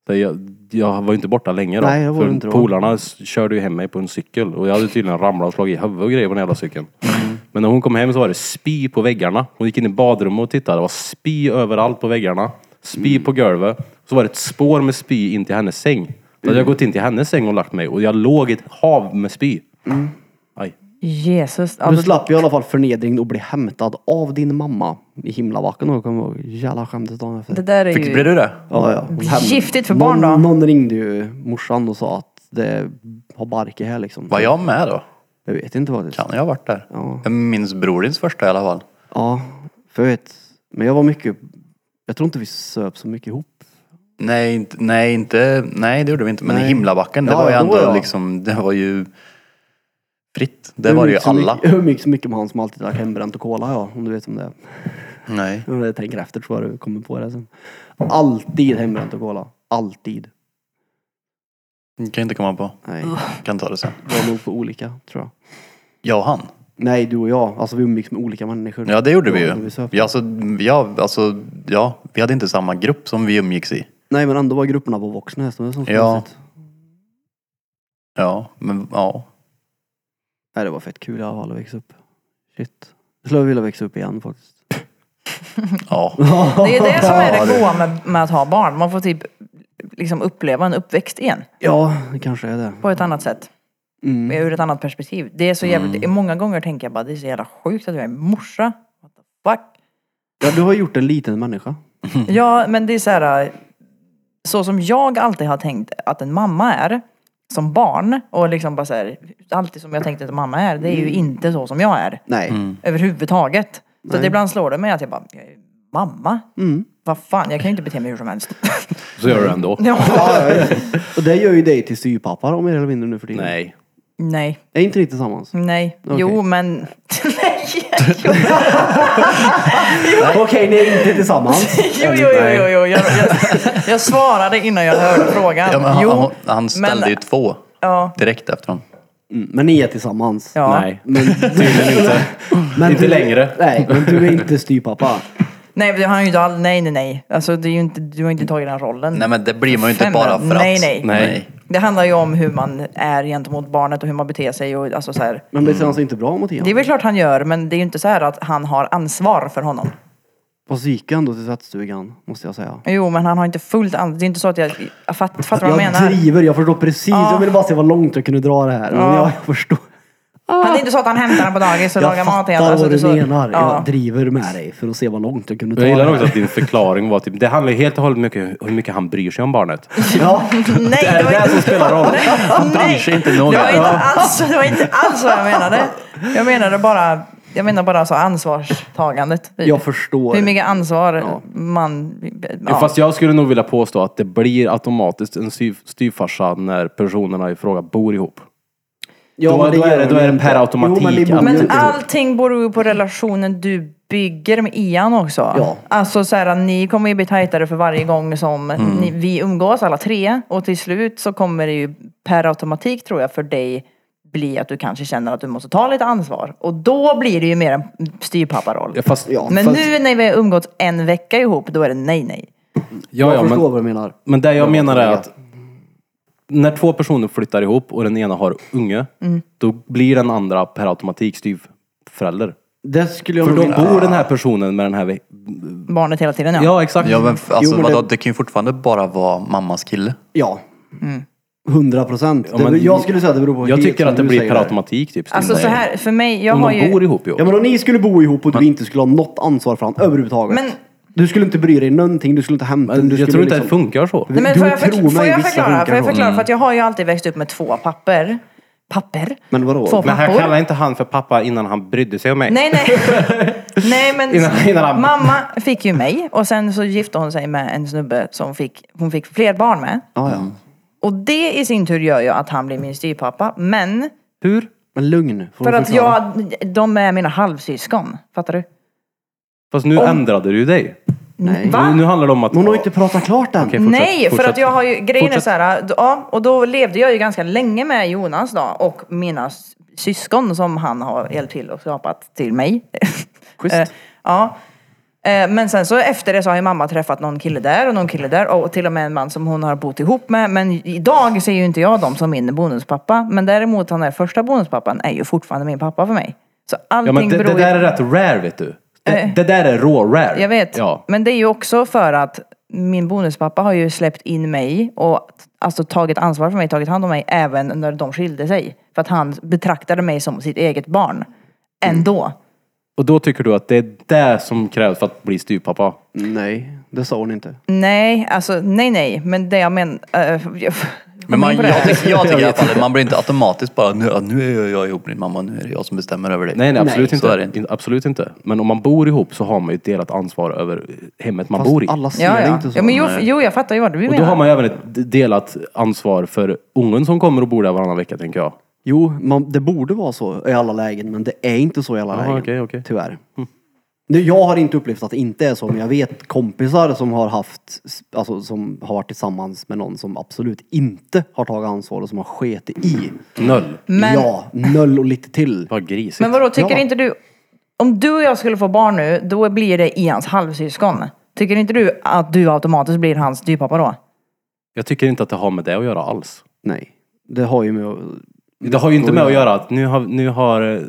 Speaker 5: Så jag, jag var ju inte borta länge då.
Speaker 4: Nej, jag var
Speaker 5: för
Speaker 4: inte då.
Speaker 5: polarna s- körde ju hem mig på en cykel och jag hade tydligen ramlat och slagit i huvudet och grejer på den jävla cykeln.
Speaker 4: Mm.
Speaker 5: Men när hon kom hem så var det spy på väggarna. Hon gick in i badrummet och tittade. Det var spy överallt på väggarna. Spy
Speaker 4: Mm.
Speaker 5: på golvet. Så var det ett spår med spy in till hennes säng. Då hade jag
Speaker 4: Mm.
Speaker 5: gått in till hennes säng och lagt mig och jag låg i ett hav med spy. Aj.
Speaker 2: Jesus. Alltså, Ja,
Speaker 4: Du
Speaker 2: då-
Speaker 4: slapp ju i alla fall förnedringen att bli hämtad av din mamma i himlavaken och kommer ihåg jävla skämtet dagen efter.
Speaker 2: Det där är
Speaker 6: Fick, blev
Speaker 2: ju...
Speaker 6: du det?
Speaker 4: Ja, ja. Hem-
Speaker 2: Giftigt för barn
Speaker 4: någon,
Speaker 2: då.
Speaker 4: Någon ringde ju morsan och sa att det har barke här liksom.
Speaker 6: Var jag med då?
Speaker 4: Jag vet inte faktiskt.
Speaker 6: Kan jag ha varit där?
Speaker 4: Ja.
Speaker 6: Jag minns brorins första i alla fall.
Speaker 4: Ja, för jag vet. Men jag var mycket, jag tror inte vi söp så mycket ihop.
Speaker 6: Nej, inte, nej, inte, nej det gjorde vi inte. Men
Speaker 4: Nej.
Speaker 6: Himlabacken, det
Speaker 4: Ja,
Speaker 6: var ju
Speaker 4: ja,
Speaker 6: ändå
Speaker 4: då ja.
Speaker 6: liksom, det var ju fritt. Det var det ju
Speaker 4: umgicks Mm, så
Speaker 6: alla.
Speaker 4: Mycket, jag umgicks så mycket med han som alltid drack hembränt och cola ja, om du vet om det är.
Speaker 6: Nej.
Speaker 4: Om jag tänker efter tror jag du kommer på det sen. Alltid hembränt och cola. Alltid.
Speaker 6: Det kan jag inte komma på.
Speaker 4: Nej,
Speaker 6: Kan ta det sen.
Speaker 4: det var nog på olika tror jag.
Speaker 6: Jag och han.
Speaker 4: Nej, du och jag. Alltså vi umgicks med olika människor.
Speaker 6: Ja det gjorde vi
Speaker 4: när
Speaker 6: ju.
Speaker 4: söp.
Speaker 6: Ja, alltså, ja, alltså, ja, vi hade inte samma grupp som vi umgicks i.
Speaker 4: Nej, men ändå var grupperna på vuxna hästar. Det är så
Speaker 6: Ja.
Speaker 4: konstigt.
Speaker 6: Ja, men ja.
Speaker 4: Nej, det var fett kul i alla fall att växa upp. Shit. Jag skulle vilja växa upp igen faktiskt.
Speaker 6: ja.
Speaker 2: Det är det som är det goa med, med att ha barn. Man får typ liksom uppleva en uppväxt igen.
Speaker 4: Ja, det kanske är det.
Speaker 2: På ett annat sätt.
Speaker 4: Mm.
Speaker 2: Ur ett annat perspektiv. Det är så jävligt... Många gånger tänker jag bara det är så jävla sjukt att jag är morsa. What the fuck?
Speaker 4: Ja, du har gjort en liten människa.
Speaker 2: Ja, men det är så här. Så som jag alltid har tänkt att en mamma är som barn och liksom bara så här, alltid som jag tänkte att en mamma är, det är ju inte så som jag är
Speaker 4: Nej.
Speaker 2: överhuvudtaget. Så att ibland slår det mig att jag bara, jag är mamma?
Speaker 6: Mm.
Speaker 2: Vad fan, jag kan ju inte bete mig hur som helst.
Speaker 5: Så gör du det ändå.
Speaker 2: ja.
Speaker 4: Ja, ja, ja. Och det gör ju dig till styvpappa om mer eller mindre nu för tiden.
Speaker 5: Nej.
Speaker 2: Nej,
Speaker 4: Är inte ni tillsammans?
Speaker 2: nej,
Speaker 4: Okej.
Speaker 2: jo men, nej,
Speaker 4: Okej, ni är inte tillsammans.
Speaker 2: jo, jo, jo, jo, jo. Jag, jag, jag svarade innan jag hörde frågan.
Speaker 6: ja men han,
Speaker 2: jo,
Speaker 6: han, han ställde
Speaker 2: men-
Speaker 6: ju två
Speaker 2: ja,
Speaker 6: direkt efter honom.
Speaker 4: Mm, Men ni är tillsammans.
Speaker 2: ja.
Speaker 5: Nej.
Speaker 4: Men,
Speaker 5: Tydligen inte.
Speaker 4: men
Speaker 5: Inte
Speaker 4: du-
Speaker 5: längre.
Speaker 4: Nej, men du är inte styvpappa.
Speaker 2: Nej, det har han ju inte all... nej, nej, nej. Alltså det är ju inte, du har inte tagit den rollen.
Speaker 6: Nej men det blir man ju inte
Speaker 2: Fem,
Speaker 6: bara för
Speaker 2: nej,
Speaker 6: att.
Speaker 2: nej.
Speaker 6: nej.
Speaker 2: Det handlar ju om hur man är gentemot barnet och hur man beter sig och alltså så här.
Speaker 4: Men beter han
Speaker 5: Mm.
Speaker 4: sig inte bra mot Ian?
Speaker 2: Det är väl klart han gör, men det är ju inte så här att han har ansvar för honom.
Speaker 4: Fast så gick jag ändå till tvättstugan, måste jag säga.
Speaker 2: Jo, men han har inte fullt ansvar. Det är inte så att jag, jag fatt, fattar vad
Speaker 4: Jag
Speaker 2: jag menar.
Speaker 4: driver, jag förstår precis.
Speaker 2: Ja.
Speaker 4: Jag ville bara se vad långt jag kunde dra det här. Men
Speaker 2: Ja.
Speaker 4: jag, jag förstår.
Speaker 2: Han är inte så att han hämtar den på dagis och
Speaker 4: Jag
Speaker 2: lagar mat
Speaker 4: fattar
Speaker 2: till henne. Alltså,
Speaker 4: vad
Speaker 2: det är
Speaker 4: du
Speaker 2: så-
Speaker 4: menar.
Speaker 2: Ja.
Speaker 4: Jag driver med dig för att se vad långt jag kunde dra
Speaker 5: Jag gillar
Speaker 4: det
Speaker 5: också
Speaker 4: här.
Speaker 5: att din förklaring var typ, det handlar ju helt och hållet om hur mycket- hur mycket han bryr sig om barnet.
Speaker 4: Ja.
Speaker 2: Nej, det var inte... Han bryr sig inte någon. Det var inte alls, det var inte alls vad jag menade. Jag menade bara, jag menar bara så ansvarstagandet. typ.
Speaker 4: Jag förstår.
Speaker 2: Hur mycket ansvar man... Ja.
Speaker 5: Fast jag skulle nog vilja påstå att det blir automatiskt en styv- styvfarsa när personerna i fråga bor ihop.
Speaker 4: Ja,
Speaker 5: Då-
Speaker 4: men
Speaker 5: då är
Speaker 4: gör
Speaker 5: det- då
Speaker 4: vi
Speaker 5: är det
Speaker 4: inte.
Speaker 5: per automatik
Speaker 4: Jo, men det
Speaker 5: att-
Speaker 4: borde
Speaker 5: Men
Speaker 4: ju
Speaker 2: Men
Speaker 4: inte.
Speaker 2: allting beror ju på relationen du bygger med Ian också.
Speaker 4: Ja.
Speaker 2: Alltså så här, ni kommer ju bli tajtare för varje gång som ni, vi umgås alla tre. Och till slut så kommer det ju per automatik tror jag för dig bli att du kanske känner att du måste ta lite ansvar. Och då blir det ju mer en styrpapparoll.
Speaker 5: Ja, Fast,
Speaker 4: Ja,
Speaker 2: Men
Speaker 4: fast-
Speaker 2: nu när vi har umgåtts en vecka ihop, då är det nej, nej.
Speaker 5: ja,
Speaker 4: Jag
Speaker 5: ja,
Speaker 4: förstår
Speaker 5: men,
Speaker 4: vad du menar.
Speaker 5: men det jag menar är att när två personer flyttar ihop och den ena har unge,
Speaker 2: Mm.
Speaker 5: då blir den andra per automatik styvförälder.
Speaker 4: Det skulle jag
Speaker 5: För
Speaker 4: nog
Speaker 5: då
Speaker 4: vilja-
Speaker 5: bor den här personen med den här... ve-
Speaker 2: Barnet hela tiden ja.
Speaker 5: Ja, exakt.
Speaker 6: Ja men f- alltså
Speaker 4: men
Speaker 6: vadå,
Speaker 4: det-
Speaker 6: det... kan ju fortfarande bara vara mammas kille.
Speaker 4: Ja.
Speaker 2: Mm.
Speaker 4: Hundra procent.
Speaker 5: men-
Speaker 4: jag skulle säga att det beror på
Speaker 5: Jag
Speaker 4: helt
Speaker 5: tycker
Speaker 4: som
Speaker 5: att det
Speaker 4: du
Speaker 5: blir
Speaker 4: säger
Speaker 5: per
Speaker 4: där.
Speaker 5: automatik typ
Speaker 2: Alltså så här, för mig, jag
Speaker 5: Om
Speaker 2: har
Speaker 5: de bor
Speaker 2: ju...
Speaker 5: ihop ju.
Speaker 4: Ja men om ni skulle bo ihop och du inte skulle ha något ansvar för honom överhuvudtaget.
Speaker 2: Men-
Speaker 4: Du skulle inte bry dig någonting, du skulle inte hämta
Speaker 5: Men
Speaker 4: du skulle
Speaker 5: jag
Speaker 4: liksom-
Speaker 5: tror inte det funkar så.
Speaker 2: Nej, men
Speaker 4: Du
Speaker 2: får, jag
Speaker 4: tror
Speaker 2: förkla-
Speaker 4: mig,
Speaker 2: får jag
Speaker 4: vissa
Speaker 2: förklara? Får
Speaker 4: funkar
Speaker 2: jag
Speaker 4: så.
Speaker 2: förklara? För att jag har ju alltid växt upp med två papper. Papper?
Speaker 4: Men vadå?
Speaker 2: Två
Speaker 5: Men han
Speaker 2: pappor.
Speaker 5: kallar inte han för pappa innan han brydde sig om mig.
Speaker 2: Nej, nej. nej, men
Speaker 5: Innan- innan han-
Speaker 2: mamma fick ju mig och sen så gifte hon sig med en snubbe som fick, hon fick fler barn med.
Speaker 4: Ja, Ah, ja.
Speaker 2: Och det i sin tur gör ju att han blir min styvpappa. Men
Speaker 5: Hur?
Speaker 4: Men lugn. Får
Speaker 2: för
Speaker 4: du
Speaker 2: att
Speaker 4: förklara.
Speaker 2: jag, de är mina halvsyskon. Fattar du?
Speaker 5: Fast nu ändrade du ju dig.
Speaker 4: Nej.
Speaker 5: Nu, nu handlar det om att...
Speaker 4: Hon har ju inte pratat klart än.
Speaker 5: Okej, fortsätt,
Speaker 2: Nej, för
Speaker 5: fortsätt.
Speaker 2: att jag har ju, grejen
Speaker 5: Fortsätt.
Speaker 2: är så här, ja, och då levde jag ju ganska länge med Jonas då och mina s- syskon som han har hjälpt till och skapat till mig.
Speaker 4: Schysst.
Speaker 2: Eh, ja. Eh, Men sen så efter det så har ju mamma träffat någon kille där och någon kille där och till och med en man som hon har bott ihop med. Men idag ser ju inte jag dem som min bonuspappa. Men däremot han där första bonuspappan är ju fortfarande min pappa för mig. Så
Speaker 5: Ja,
Speaker 2: allting
Speaker 5: men det, det
Speaker 2: beror ju...
Speaker 5: där är rätt rare vet du. Det, det där är raw rare.
Speaker 2: Eh. Jag vet.
Speaker 5: Ja.
Speaker 2: Men det är ju också för att min bonuspappa har ju släppt in mig och alltså tagit ansvar för mig, tagit hand om mig även när de skilde sig. För att han betraktade mig som sitt eget barn. Ändå.
Speaker 5: Och då tycker du att det är det som krävs för att bli styvpappa?
Speaker 4: Nej, det sa hon inte.
Speaker 2: Nej, alltså nej nej. Men det jag menar...
Speaker 6: Men man, jag, tycker, jag tycker i alla fall att man blir inte automatiskt bara nu, ja, nu är jag- jag ihop med din mamma, nu är det jag som bestämmer över dig.
Speaker 5: Nej, nej absolut,
Speaker 6: så
Speaker 5: inte.
Speaker 6: är det inte.
Speaker 5: In- absolut inte. Men om man bor ihop så har man ju ett delat ansvar över hemmet man bor i.
Speaker 4: alla ser
Speaker 2: Ja,
Speaker 4: det
Speaker 2: ja.
Speaker 4: inte så.
Speaker 2: ja men jo,
Speaker 4: Nej.
Speaker 2: jo, jag fattar ju vad du
Speaker 5: Och
Speaker 2: menar.
Speaker 5: då har man ju även ett d- delat ansvar för ungen som kommer och bor där varannan vecka tänker jag.
Speaker 4: Jo, man, det borde vara så i alla lägen, men det är inte så i alla
Speaker 5: Jaha,
Speaker 4: lägen.
Speaker 5: okej, okej. Mm.
Speaker 4: Tyvärr. Nu, jag har inte upplevt att det inte är så, men jag vet kompisar som har haft, alltså som har varit tillsammans med någon som absolut inte har tagit ansvar och som har sket i.
Speaker 5: Noll.
Speaker 2: Men-
Speaker 4: Ja, noll och lite till.
Speaker 5: Vad grisigt.
Speaker 2: Men vadå, tycker
Speaker 4: Ja.
Speaker 2: inte du... Om du och jag skulle få barn nu, då blir det i hans halvsyskon. Tycker inte du att du automatiskt blir hans styvpappa då?
Speaker 5: Jag tycker inte att det har med det att göra alls.
Speaker 4: Nej, det har ju med att-
Speaker 5: Det har ju inte med att göra att nu har, nu har, eh,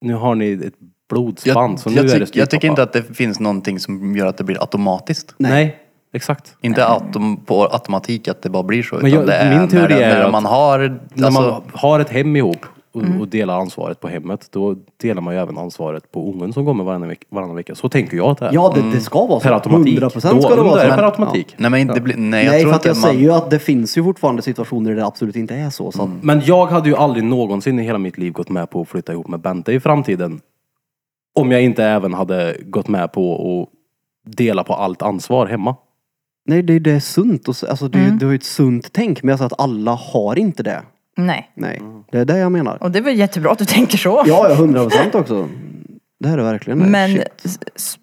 Speaker 5: nu har ni ett blodsband.
Speaker 6: Jag,
Speaker 5: så nu
Speaker 6: jag,
Speaker 5: är det
Speaker 6: tyck, jag tycker
Speaker 5: styvpappa.
Speaker 6: inte att det finns någonting som gör att det blir automatiskt.
Speaker 5: Nej. exakt.
Speaker 6: Inte autom, på automatik att det bara blir så.
Speaker 5: Men
Speaker 6: utan
Speaker 5: jag-
Speaker 6: det är
Speaker 5: min teori
Speaker 6: när, det-
Speaker 5: är ju
Speaker 6: när
Speaker 5: att-
Speaker 6: man har...
Speaker 5: När
Speaker 6: alltså,
Speaker 5: man har ett hem ihop och, och delar ansvaret på hemmet, då delar man ju även ansvaret på ungen som kommer varannan vecka. Varannan vecka. Så tänker jag att det är.
Speaker 4: Ja, det, det ska vara så.
Speaker 5: Per automatik.
Speaker 4: 100%
Speaker 5: Då-
Speaker 4: ska det
Speaker 5: då är
Speaker 4: vara
Speaker 5: det
Speaker 4: så.
Speaker 5: per automatik.
Speaker 6: Nej, men inte, blir- nej,
Speaker 4: Nej,
Speaker 6: jag tror
Speaker 4: för att
Speaker 6: inte
Speaker 4: jag
Speaker 6: man...
Speaker 4: säger ju att det finns ju fortfarande situationer där det absolut inte är så. så att,
Speaker 5: Men jag hade ju aldrig någonsin i hela mitt liv gått med på att flytta ihop med Bente i framtiden. Om jag inte även hade gått med på att dela på allt ansvar hemma.
Speaker 4: Nej, det, det är sunt. Och, s- alltså, det,
Speaker 2: Mm.
Speaker 4: det är ju ett sunt tänk, men jag säger att alla har inte det.
Speaker 2: Nej.
Speaker 4: Nej, det är det jag menar.
Speaker 2: Och det är väl jättebra att du tänker så.
Speaker 4: Ja, ja, hundra procent också. Det här är verkligen det.
Speaker 2: Men
Speaker 4: Shit.
Speaker 2: s- s-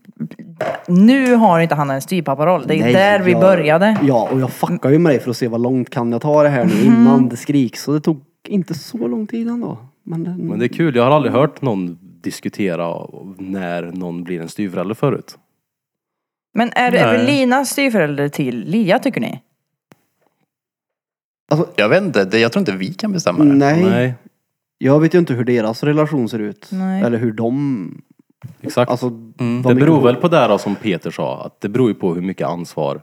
Speaker 2: nu har inte han en styvpapparoll. Det är
Speaker 4: Nej,
Speaker 2: där vi
Speaker 4: jag-
Speaker 2: började. Mm-hmm.
Speaker 4: Ja, och jag fuckar ju med dig för att se vad långt kan jag ta det här nu innan det skriks. Så det tog inte så lång tid ändå. Men,
Speaker 5: Men det är kul, jag har aldrig hört någon diskutera när någon blir en styvförälder förut.
Speaker 2: Men är det Evelina styvförälder till Lia tycker ni?
Speaker 6: Jag vet inte, det, jag tror inte vi kan bestämma det.
Speaker 4: nej.
Speaker 5: Nej,
Speaker 4: jag vet ju inte hur deras relation ser ut.
Speaker 2: Nej.
Speaker 4: Eller hur de...
Speaker 5: exakt.
Speaker 4: Alltså,
Speaker 5: Mm, det
Speaker 4: vad mycket-
Speaker 5: beror väl på det här då, som Peter sa, att det beror ju på hur mycket ansvar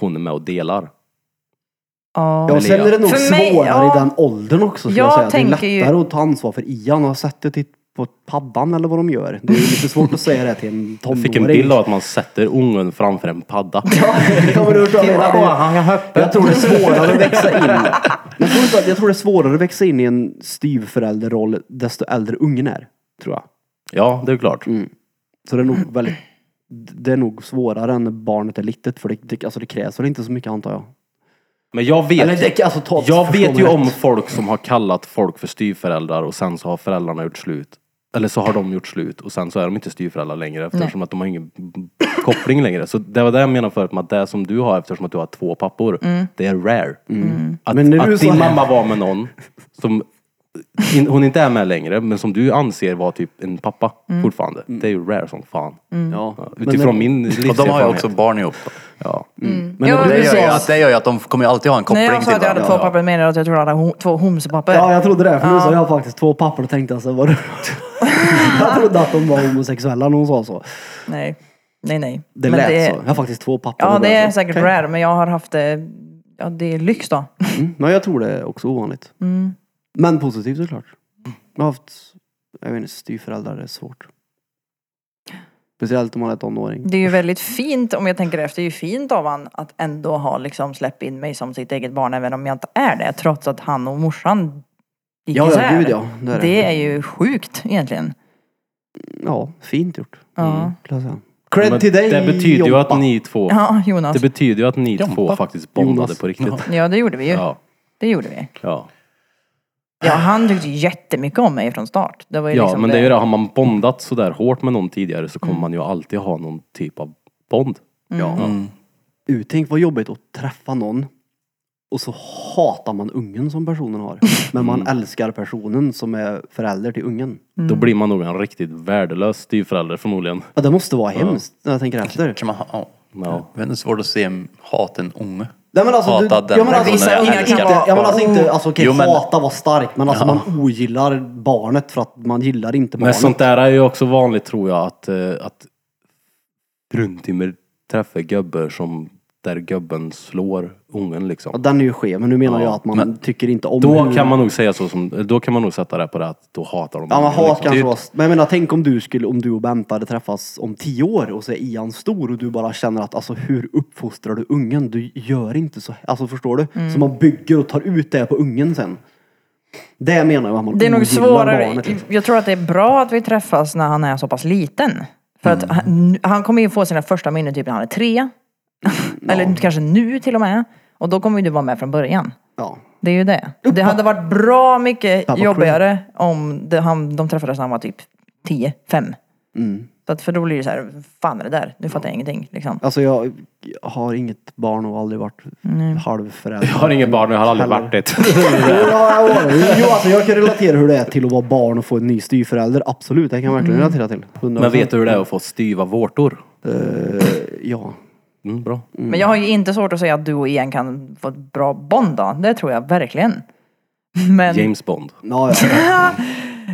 Speaker 5: hon är med och delar.
Speaker 2: Ja.
Speaker 4: Ja, sen är det nog
Speaker 2: För mig-
Speaker 4: svårare
Speaker 2: ja.
Speaker 4: i den åldern också. skulle
Speaker 2: Jag
Speaker 4: jag säga. Det
Speaker 2: tänker ju-
Speaker 4: är lättare att ta ansvar för Ian och sätta till typ på paddan eller vad de gör. Det är ju lite svårt att säga det till en
Speaker 5: Jag
Speaker 4: tonåring.
Speaker 5: fick en bild av att man sätter ungen framför en padda.
Speaker 4: Ja, men du förstår vad jag menar. Jag tror det är svårare att växa in. Jag tror, inte att, jag tror det är svårare att växa in i en styvförälderroll desto äldre ungen är. Tror jag.
Speaker 5: Ja, det är klart.
Speaker 4: Mm. Så det är nog väldigt, det är nog svårare än när barnet är litet. För det, det, alltså det krävs väl inte så mycket antar jag.
Speaker 5: Men jag vet...
Speaker 4: Eller det, alltså, ta,
Speaker 5: Jag
Speaker 4: förstå
Speaker 5: vet
Speaker 4: mig
Speaker 5: ju
Speaker 4: rätt.
Speaker 5: om folk som har kallat folk för styvföräldrar och sen så har föräldrarna gjort slut. Eller så har de gjort slut och sen så är de inte styvföräldrar längre eftersom att de har ingen koppling längre. Så det var det jag menade förut med att det som du har eftersom att du har två pappor, det är rare. Mm. Att,
Speaker 4: Mm. Men nu är det
Speaker 5: att
Speaker 4: så
Speaker 5: din
Speaker 4: här.
Speaker 5: mamma var med någon som in, hon inte är med längre men som du anser var typ en pappa
Speaker 4: Mm.
Speaker 5: fortfarande.
Speaker 6: Mm.
Speaker 5: Det är ju rare som fan.
Speaker 4: Ja.
Speaker 5: Utifrån min
Speaker 6: Och de har ju också
Speaker 5: livserfarenhet.
Speaker 6: barn ihop. då.
Speaker 5: Ja.
Speaker 4: Men
Speaker 2: Ja,
Speaker 4: om
Speaker 6: Det
Speaker 4: du
Speaker 6: gör, ju
Speaker 4: sa-
Speaker 6: att, det gör ju att de kommer ju alltid ha en
Speaker 2: När
Speaker 6: koppling
Speaker 2: jag sa att jag hade
Speaker 6: varandra.
Speaker 2: två papper menade jag att jag trodde att jag hade ho- två homsepapper.
Speaker 4: Ja, jag trodde det. För nu sa jag faktiskt två pappor och tänkte alltså, var det... Jag trodde att de var homosexuella när hon sa så.
Speaker 2: Nej. Nej, nej.
Speaker 4: Det
Speaker 2: Men
Speaker 4: lät så. Jag har faktiskt två alltså. pappor.
Speaker 2: Ja,
Speaker 4: och
Speaker 2: det
Speaker 4: bara
Speaker 2: är
Speaker 4: så,
Speaker 2: säkert
Speaker 4: okej.
Speaker 2: rare, men jag har haft det... Ja, det är lyx då. Mm.
Speaker 4: Mm, men jag tror det är också ovanligt. Men positivt såklart. Jag har haft, jag vet inte, styvföräldrar är svårt. Speciellt om man är tonåring.
Speaker 2: Det är ju väldigt fint, om jag tänker efter, det är ju fint av han att ändå ha liksom släppt in mig som sitt eget barn även om jag inte är det. Trots att han och morsan gick
Speaker 4: Ja, ja,
Speaker 2: isär.
Speaker 4: gud ja. Det är,
Speaker 2: Det är ju sjukt egentligen.
Speaker 4: Ja, fint gjort.
Speaker 2: Ja,
Speaker 5: Mm.
Speaker 4: skulle jag säga. Cred
Speaker 5: Men
Speaker 4: till dig
Speaker 5: Det betyder ju
Speaker 4: Jompa.
Speaker 5: att ni två,
Speaker 2: ja Jonas.
Speaker 5: det betyder ju att ni två faktiskt bondade
Speaker 4: Jonas.
Speaker 5: på riktigt.
Speaker 2: Alltså, Ja, det gjorde vi ju.
Speaker 5: Ja.
Speaker 2: Det gjorde vi.
Speaker 5: Ja,
Speaker 2: Ja, han tyckte jättemycket om mig från start. Det var ju
Speaker 5: ja
Speaker 2: liksom
Speaker 5: men det är ju det. Har man bondat sådär hårt med någon tidigare så kommer man ju alltid ha någon typ av bond.
Speaker 4: Ja. Mm. Uttänk vad jobbigt att träffa någon Och så hatar man ungen som personen har. Men man
Speaker 6: Mm.
Speaker 4: älskar personen som är förälder till ungen.
Speaker 5: Då blir man nog en riktigt värdelös styvförälder förmodligen.
Speaker 4: Ja, det måste vara hemskt när jag tänker efter.
Speaker 6: Kanske man ha- ja.
Speaker 5: Ja.
Speaker 6: Men det är svårt att se en hata en unge.
Speaker 4: Nej, men alltså, du,
Speaker 6: Hata den
Speaker 4: ja, men alltså,
Speaker 6: personen
Speaker 4: vissa
Speaker 6: jag
Speaker 4: ungar
Speaker 6: älskar.
Speaker 4: kan vara... Ja, men alltså inte, alltså okej,
Speaker 6: Jo, men-
Speaker 4: hata var starkt, men alltså man ogillar barnet för att man gillar inte
Speaker 5: Men
Speaker 4: barnet.
Speaker 5: sånt där är ju också vanligt tror jag att, eh, att fruntimmer träffar gubbar som där gubben slår ungen
Speaker 4: Ja,
Speaker 5: liksom.
Speaker 4: den är ju skev, men nu menar jag att man tycker inte om
Speaker 5: Då
Speaker 4: hur-
Speaker 5: kan man nog säga så som, då kan man nog sätta det på det att då hatar de
Speaker 4: Ja, man
Speaker 5: ungen,
Speaker 4: har
Speaker 5: liksom.
Speaker 4: kanske
Speaker 5: Det är ju-
Speaker 4: var... Men jag menar, tänk om du skulle, om du och Bente hade träffats om tio år och så är Ian stor och du bara känner att alltså hur uppfostrar du ungen? Du gör inte så, alltså förstår du?
Speaker 2: Mm.
Speaker 4: Så man bygger och tar ut det på ungen sen. Det menar jag att man
Speaker 2: Det är nog
Speaker 4: ogillar
Speaker 2: svårare.
Speaker 4: barnet, liksom.
Speaker 2: Jag tror att det är bra att vi träffas när han är så pass liten. För att
Speaker 5: Mm.
Speaker 2: han, han kommer ju få sina första minnen typ när han är tre.
Speaker 5: Mm.
Speaker 2: Eller kanske nu till och med. Och då kommer ju du vara med från början.
Speaker 4: Ja.
Speaker 2: Det är ju det. Det hade varit bra mycket
Speaker 4: Pappa
Speaker 2: jobbigare om det, han, de träffades när han var typ 10, 5.
Speaker 4: Mm.
Speaker 2: Så att, för då blir det så här, fan är det där? Nu fattar jag ingenting. Liksom.
Speaker 4: Alltså jag har inget barn och aldrig varit halvförälder.
Speaker 5: Jag har inget barn, jag har aldrig varit det.
Speaker 4: Ja, ja, ja. Jo, alltså jag kan relatera hur det är till att vara barn och få en ny styvförälder. Absolut, det kan jag verkligen
Speaker 2: Mm.
Speaker 4: relatera till. 100%.
Speaker 5: Men vet du hur det är att få styva vårtor?
Speaker 4: Eh, ja.
Speaker 5: Mm, bra.
Speaker 2: Men jag har ju inte svårt att säga att du och Ian kan få ett bra bond då. Det tror jag verkligen. Men,
Speaker 5: James Bond.
Speaker 4: Ja, ja.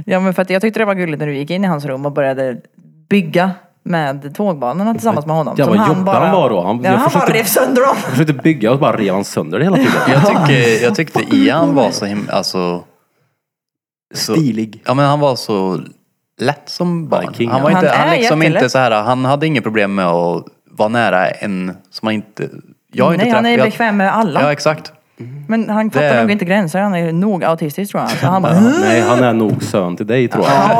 Speaker 2: ja, men för att jag tyckte det var gulligt när du gick in i hans rum och började bygga med tågbanorna tillsammans med honom.
Speaker 5: Ja, vad jobbig han var då. Han-
Speaker 2: ja,
Speaker 5: jag
Speaker 2: han bara
Speaker 5: försökte-
Speaker 2: rev sönder dem.
Speaker 5: Jag försökte bygga och bara rev han sönder det hela tiden.
Speaker 6: Jag, tycker, jag tyckte Ian var så himla, alltså... Så,
Speaker 4: Stilig.
Speaker 6: ja men han var så lätt som barn.
Speaker 5: king,
Speaker 6: han
Speaker 5: ja.
Speaker 6: var inte,
Speaker 2: Han
Speaker 6: han
Speaker 2: är
Speaker 6: liksom
Speaker 2: jättelätt.
Speaker 6: inte så här, han hade inga problem med att vara nära en som han inte... Jag har inte
Speaker 2: Nej, han är
Speaker 6: träffat- jag-
Speaker 2: bekväm med alla.
Speaker 6: Ja exakt.
Speaker 2: Men han fattar
Speaker 6: Det-
Speaker 2: nog inte gränser. Han är nog autistisk tror jag. Så han bara, "Huh?"
Speaker 5: Nej, han är nog sön till dig tror jag.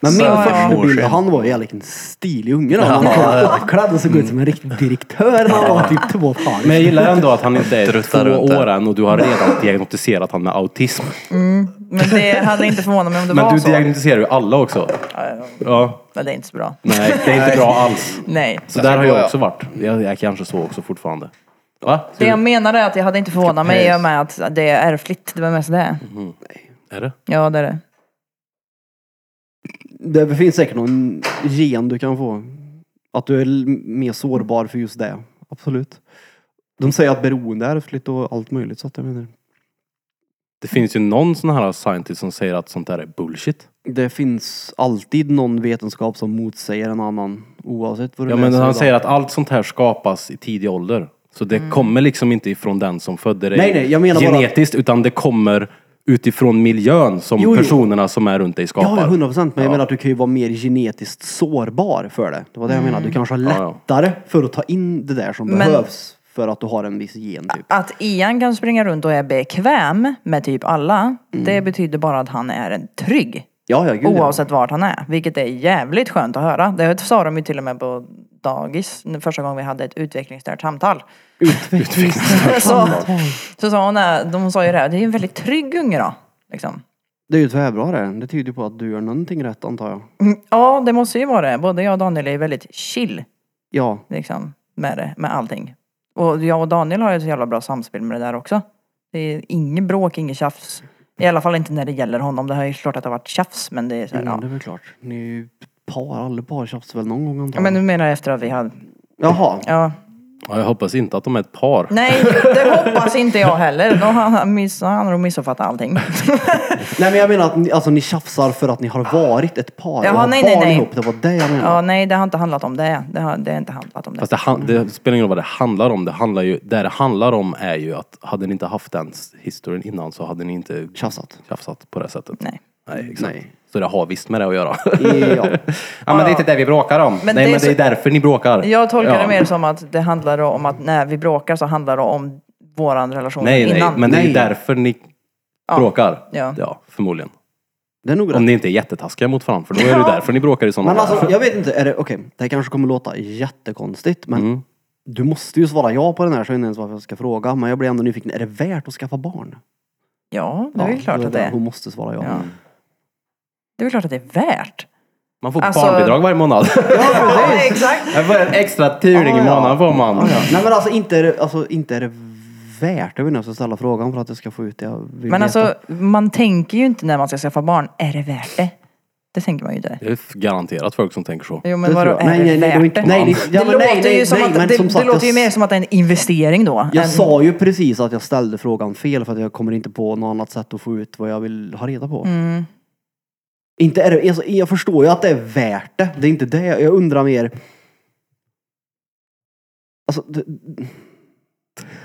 Speaker 4: Men min
Speaker 6: Så-
Speaker 4: första bild,
Speaker 6: Morsen.
Speaker 4: han var ju jävligt en stilig unge då. Han var uppklädd och såg ut som en riktig direktör när han var typ två och ett halvt.
Speaker 5: Men jag gillar ändå att han inte är
Speaker 6: Struttar
Speaker 5: två
Speaker 6: runt där.
Speaker 5: år än och du har redan diagnostiserat han med autism.
Speaker 2: Men det hade inte förvånat mig om det
Speaker 5: Men
Speaker 2: var
Speaker 5: du
Speaker 2: så.
Speaker 5: diagnostiserar ju alla också. Ja.
Speaker 2: Men det är inte så bra.
Speaker 5: Nej, det är inte bra alls.
Speaker 2: Nej.
Speaker 5: Så där har jag också varit. Jag, jag kanske så också fortfarande. Va?
Speaker 2: Det jag menar är att jag hade inte förvånat mig i och med att det är ärftligt. Det var mest det.
Speaker 5: Är det?
Speaker 2: Ja, det är det.
Speaker 4: Det finns säkert någon gen du kan få. Att du är l- mer sårbar för just det. Absolut. De säger att beroende är ärftligt och allt möjligt. Så att jag menar.
Speaker 5: Det finns ju någon sån här scientist som säger att sånt där är bullshit.
Speaker 4: Det finns alltid någon vetenskap som motsäger en annan. Oavsett vad du
Speaker 5: Ja men
Speaker 4: läser
Speaker 5: han
Speaker 4: idag. Mm.
Speaker 5: säger att allt sånt här skapas i tidig ålder. Så det kommer liksom inte ifrån den som födde dig
Speaker 4: Nej, nej, jag menar bara-
Speaker 5: genetiskt utan det kommer utifrån miljön som
Speaker 4: Jo, jo.
Speaker 5: personerna som är runt dig skapar.
Speaker 4: Ja, ja, 100 procent. Men jag
Speaker 5: Ja.
Speaker 4: menar att du kan ju vara mer genetiskt sårbar för det. Det var det jag menade. Du kanske har
Speaker 5: Ja, ja.
Speaker 4: lättare för att ta in det där som
Speaker 2: Men-
Speaker 4: behövs. För att du har en viss gen typ.
Speaker 2: Att Ian kan springa runt och är bekväm med typ alla. Det betyder bara att han är en trygg.
Speaker 4: Ja, ja, gud
Speaker 2: Oavsett vart han är. Vilket är jävligt skönt att höra. Det sa de ju till och med på dagis. Första gången vi hade ett utvecklingsstört samtal. så, så sa hon, det- de sa ju det, här, det är ju en väldigt trygg unge då. Liksom.
Speaker 4: Det är ju tvärbra det. Det tyder ju på att du gör någonting rätt antar jag.
Speaker 2: Mm, Ja, det måste ju vara det. Både jag och Daniel är väldigt chill
Speaker 4: Ja.
Speaker 2: liksom, med, det, med allting. Och jag och Daniel har ju ett jävla bra samspel med det där också. Det är inget bråk, inget tjafs. I alla fall inte när det gäller honom. Det har ju klart att det har varit tjafs men det är så här,
Speaker 4: ja,
Speaker 2: ja.
Speaker 4: det är väl klart. Ni är ju par. Alla par tjafsar väl någon gång antar
Speaker 2: ja.
Speaker 4: jag.
Speaker 2: Men du menar efter att vi hade,
Speaker 4: Jaha.
Speaker 2: ja.
Speaker 5: Ja, jag hoppas inte att de är ett par.
Speaker 2: Nej, det hoppas inte jag heller. Då har han, miss, han har nog missuppfattat allting.
Speaker 4: Nej men jag menar att ni, alltså, ni tjafsar för att ni har varit ett par.
Speaker 2: Jaha,
Speaker 4: och har
Speaker 2: nej, nej,
Speaker 4: barn
Speaker 2: nej.
Speaker 4: ihop. Det var det jag menade.
Speaker 2: Ja, nej det har inte handlat om det. Det har, det har inte handlat om det.
Speaker 5: Fast det, han, det spelar ingen roll vad det handlar om. Det, handlar ju, det det handlar om är ju att hade ni inte haft den historien innan så hade ni inte
Speaker 4: Tjafsat.
Speaker 5: tjafsat på det sättet.
Speaker 2: Nej.
Speaker 5: Nej, exakt.
Speaker 4: Nej.
Speaker 5: Så det har visst med det att göra.
Speaker 4: Ja.
Speaker 5: ja men det är inte det vi bråkar om.
Speaker 2: Men
Speaker 5: Nej
Speaker 2: det är
Speaker 5: men det är
Speaker 2: så-
Speaker 5: därför ni bråkar.
Speaker 2: Jag tolkar
Speaker 5: Ja.
Speaker 2: det mer som att det handlar om att när vi bråkar så handlar det om våran relation
Speaker 5: Nej nej,
Speaker 2: innan.
Speaker 5: men det är ju
Speaker 4: Nej.
Speaker 5: därför ni bråkar.
Speaker 2: Ja.
Speaker 5: förmodligen.
Speaker 4: Det är nog
Speaker 5: Om
Speaker 4: rätt.
Speaker 5: ni inte är jättetaskiga mot varandra för då är det ju därför ni bråkar i sådana
Speaker 4: Men alltså jag vet inte. Är det, okej, det här kanske kommer låta jättekonstigt. Men
Speaker 5: Mm.
Speaker 4: du måste ju svara ja på den här så jag vet inte ens varför jag ska fråga. Men jag blir ändå nyfiken. Är det värt att skaffa barn?
Speaker 2: Ja, det är väl klart
Speaker 4: då
Speaker 2: att det är.
Speaker 4: Hon måste svara ja.
Speaker 2: Ja. Det är väl klart att det är värt.
Speaker 5: Man får
Speaker 2: Alltså-
Speaker 5: barnbidrag varje månad.
Speaker 2: Ja, exakt.
Speaker 5: Det var en extra turing i månaden får man.
Speaker 4: Nej men alltså inte är det, alltså, inte är det värt? Jag vet inte om jag ska ställa frågan för att jag ska få ut det jag vill
Speaker 2: Men
Speaker 4: veta.
Speaker 2: alltså, man tänker ju inte när man ska skaffa barn, är det värt det? Det tänker man ju inte.
Speaker 5: Det är garanterat folk som tänker så.
Speaker 2: Jo men
Speaker 4: Det
Speaker 2: vadå,
Speaker 4: tror jag.
Speaker 2: är
Speaker 4: Nej,
Speaker 2: det
Speaker 4: nej, nej, det var
Speaker 2: värt
Speaker 4: inte-
Speaker 2: det?
Speaker 4: nej, det- ja,
Speaker 2: Det
Speaker 4: men nej,
Speaker 2: låter ju
Speaker 4: nej,
Speaker 2: som
Speaker 4: nej,
Speaker 2: att-
Speaker 4: men som
Speaker 2: det- det
Speaker 4: sagt,
Speaker 2: låter ju
Speaker 4: jag-
Speaker 2: mer som att det är en investering då.
Speaker 4: Jag
Speaker 2: än-
Speaker 4: sa ju precis att jag ställde frågan fel för att jag kommer inte på något annat sätt att få ut vad jag vill ha reda på.
Speaker 2: Mm.
Speaker 4: Inte är det, alltså, jag förstår ju att det är värt det. Det är inte det. Jag undrar mer. Alltså, det,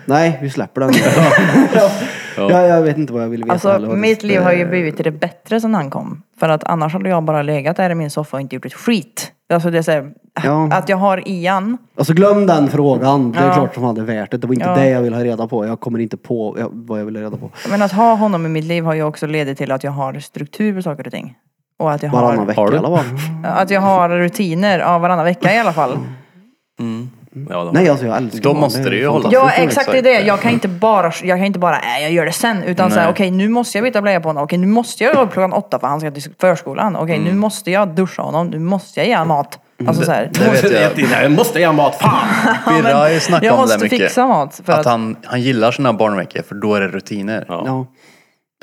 Speaker 4: nej, vi släpper den. ja. jag, jag vet inte vad jag vill veta.
Speaker 2: Alltså
Speaker 4: heller.
Speaker 2: mitt liv har ju
Speaker 4: Eh,
Speaker 2: blivit till det bättre sedan han kom. För att annars hade jag bara legat där i min soffa och inte gjort ett skit. Alltså det är så här,
Speaker 4: Ja.
Speaker 2: att jag har Ian.
Speaker 4: Alltså glöm den frågan. Det är
Speaker 2: Ja.
Speaker 4: klart som hade värt det. Det var inte
Speaker 2: Ja.
Speaker 4: det jag ville ha reda på. Jag kommer inte på ja, vad jag ville ha reda på.
Speaker 2: Men att ha honom i mitt liv har ju också ledit till att jag har struktur på saker och ting. Och att jag
Speaker 4: Varannan
Speaker 2: har,
Speaker 4: vecka
Speaker 5: har du?
Speaker 4: eller vad?
Speaker 2: att jag har rutiner, ja varannan vecka i alla fall.
Speaker 5: Ja, då.
Speaker 4: Nej, alltså jag älskar
Speaker 6: Då
Speaker 4: honom.
Speaker 6: måste
Speaker 4: är
Speaker 6: det ju hålla.
Speaker 2: Ja
Speaker 6: Precis,
Speaker 2: exakt, det är
Speaker 6: exakt.
Speaker 2: det. Jag kan inte bara, jag kan inte bara, äh, jag gör det sen. Utan såhär, okej nu måste jag byta blöja på honom. Okej nu måste jag gå klockan åtta för han ska till förskolan. Okej nu måste jag duscha honom. Nu måste jag ge honom mat. Alltså såhär.
Speaker 6: Det vet jag.
Speaker 5: Jag måste ge honom mat, fan!
Speaker 6: Birra har ju snackat
Speaker 2: Jag
Speaker 6: om det
Speaker 2: måste
Speaker 6: mycket.
Speaker 2: fixa mat. För
Speaker 6: Att
Speaker 2: att,
Speaker 6: han, han gillar sina barnveckor för då är det rutiner.
Speaker 4: Ja.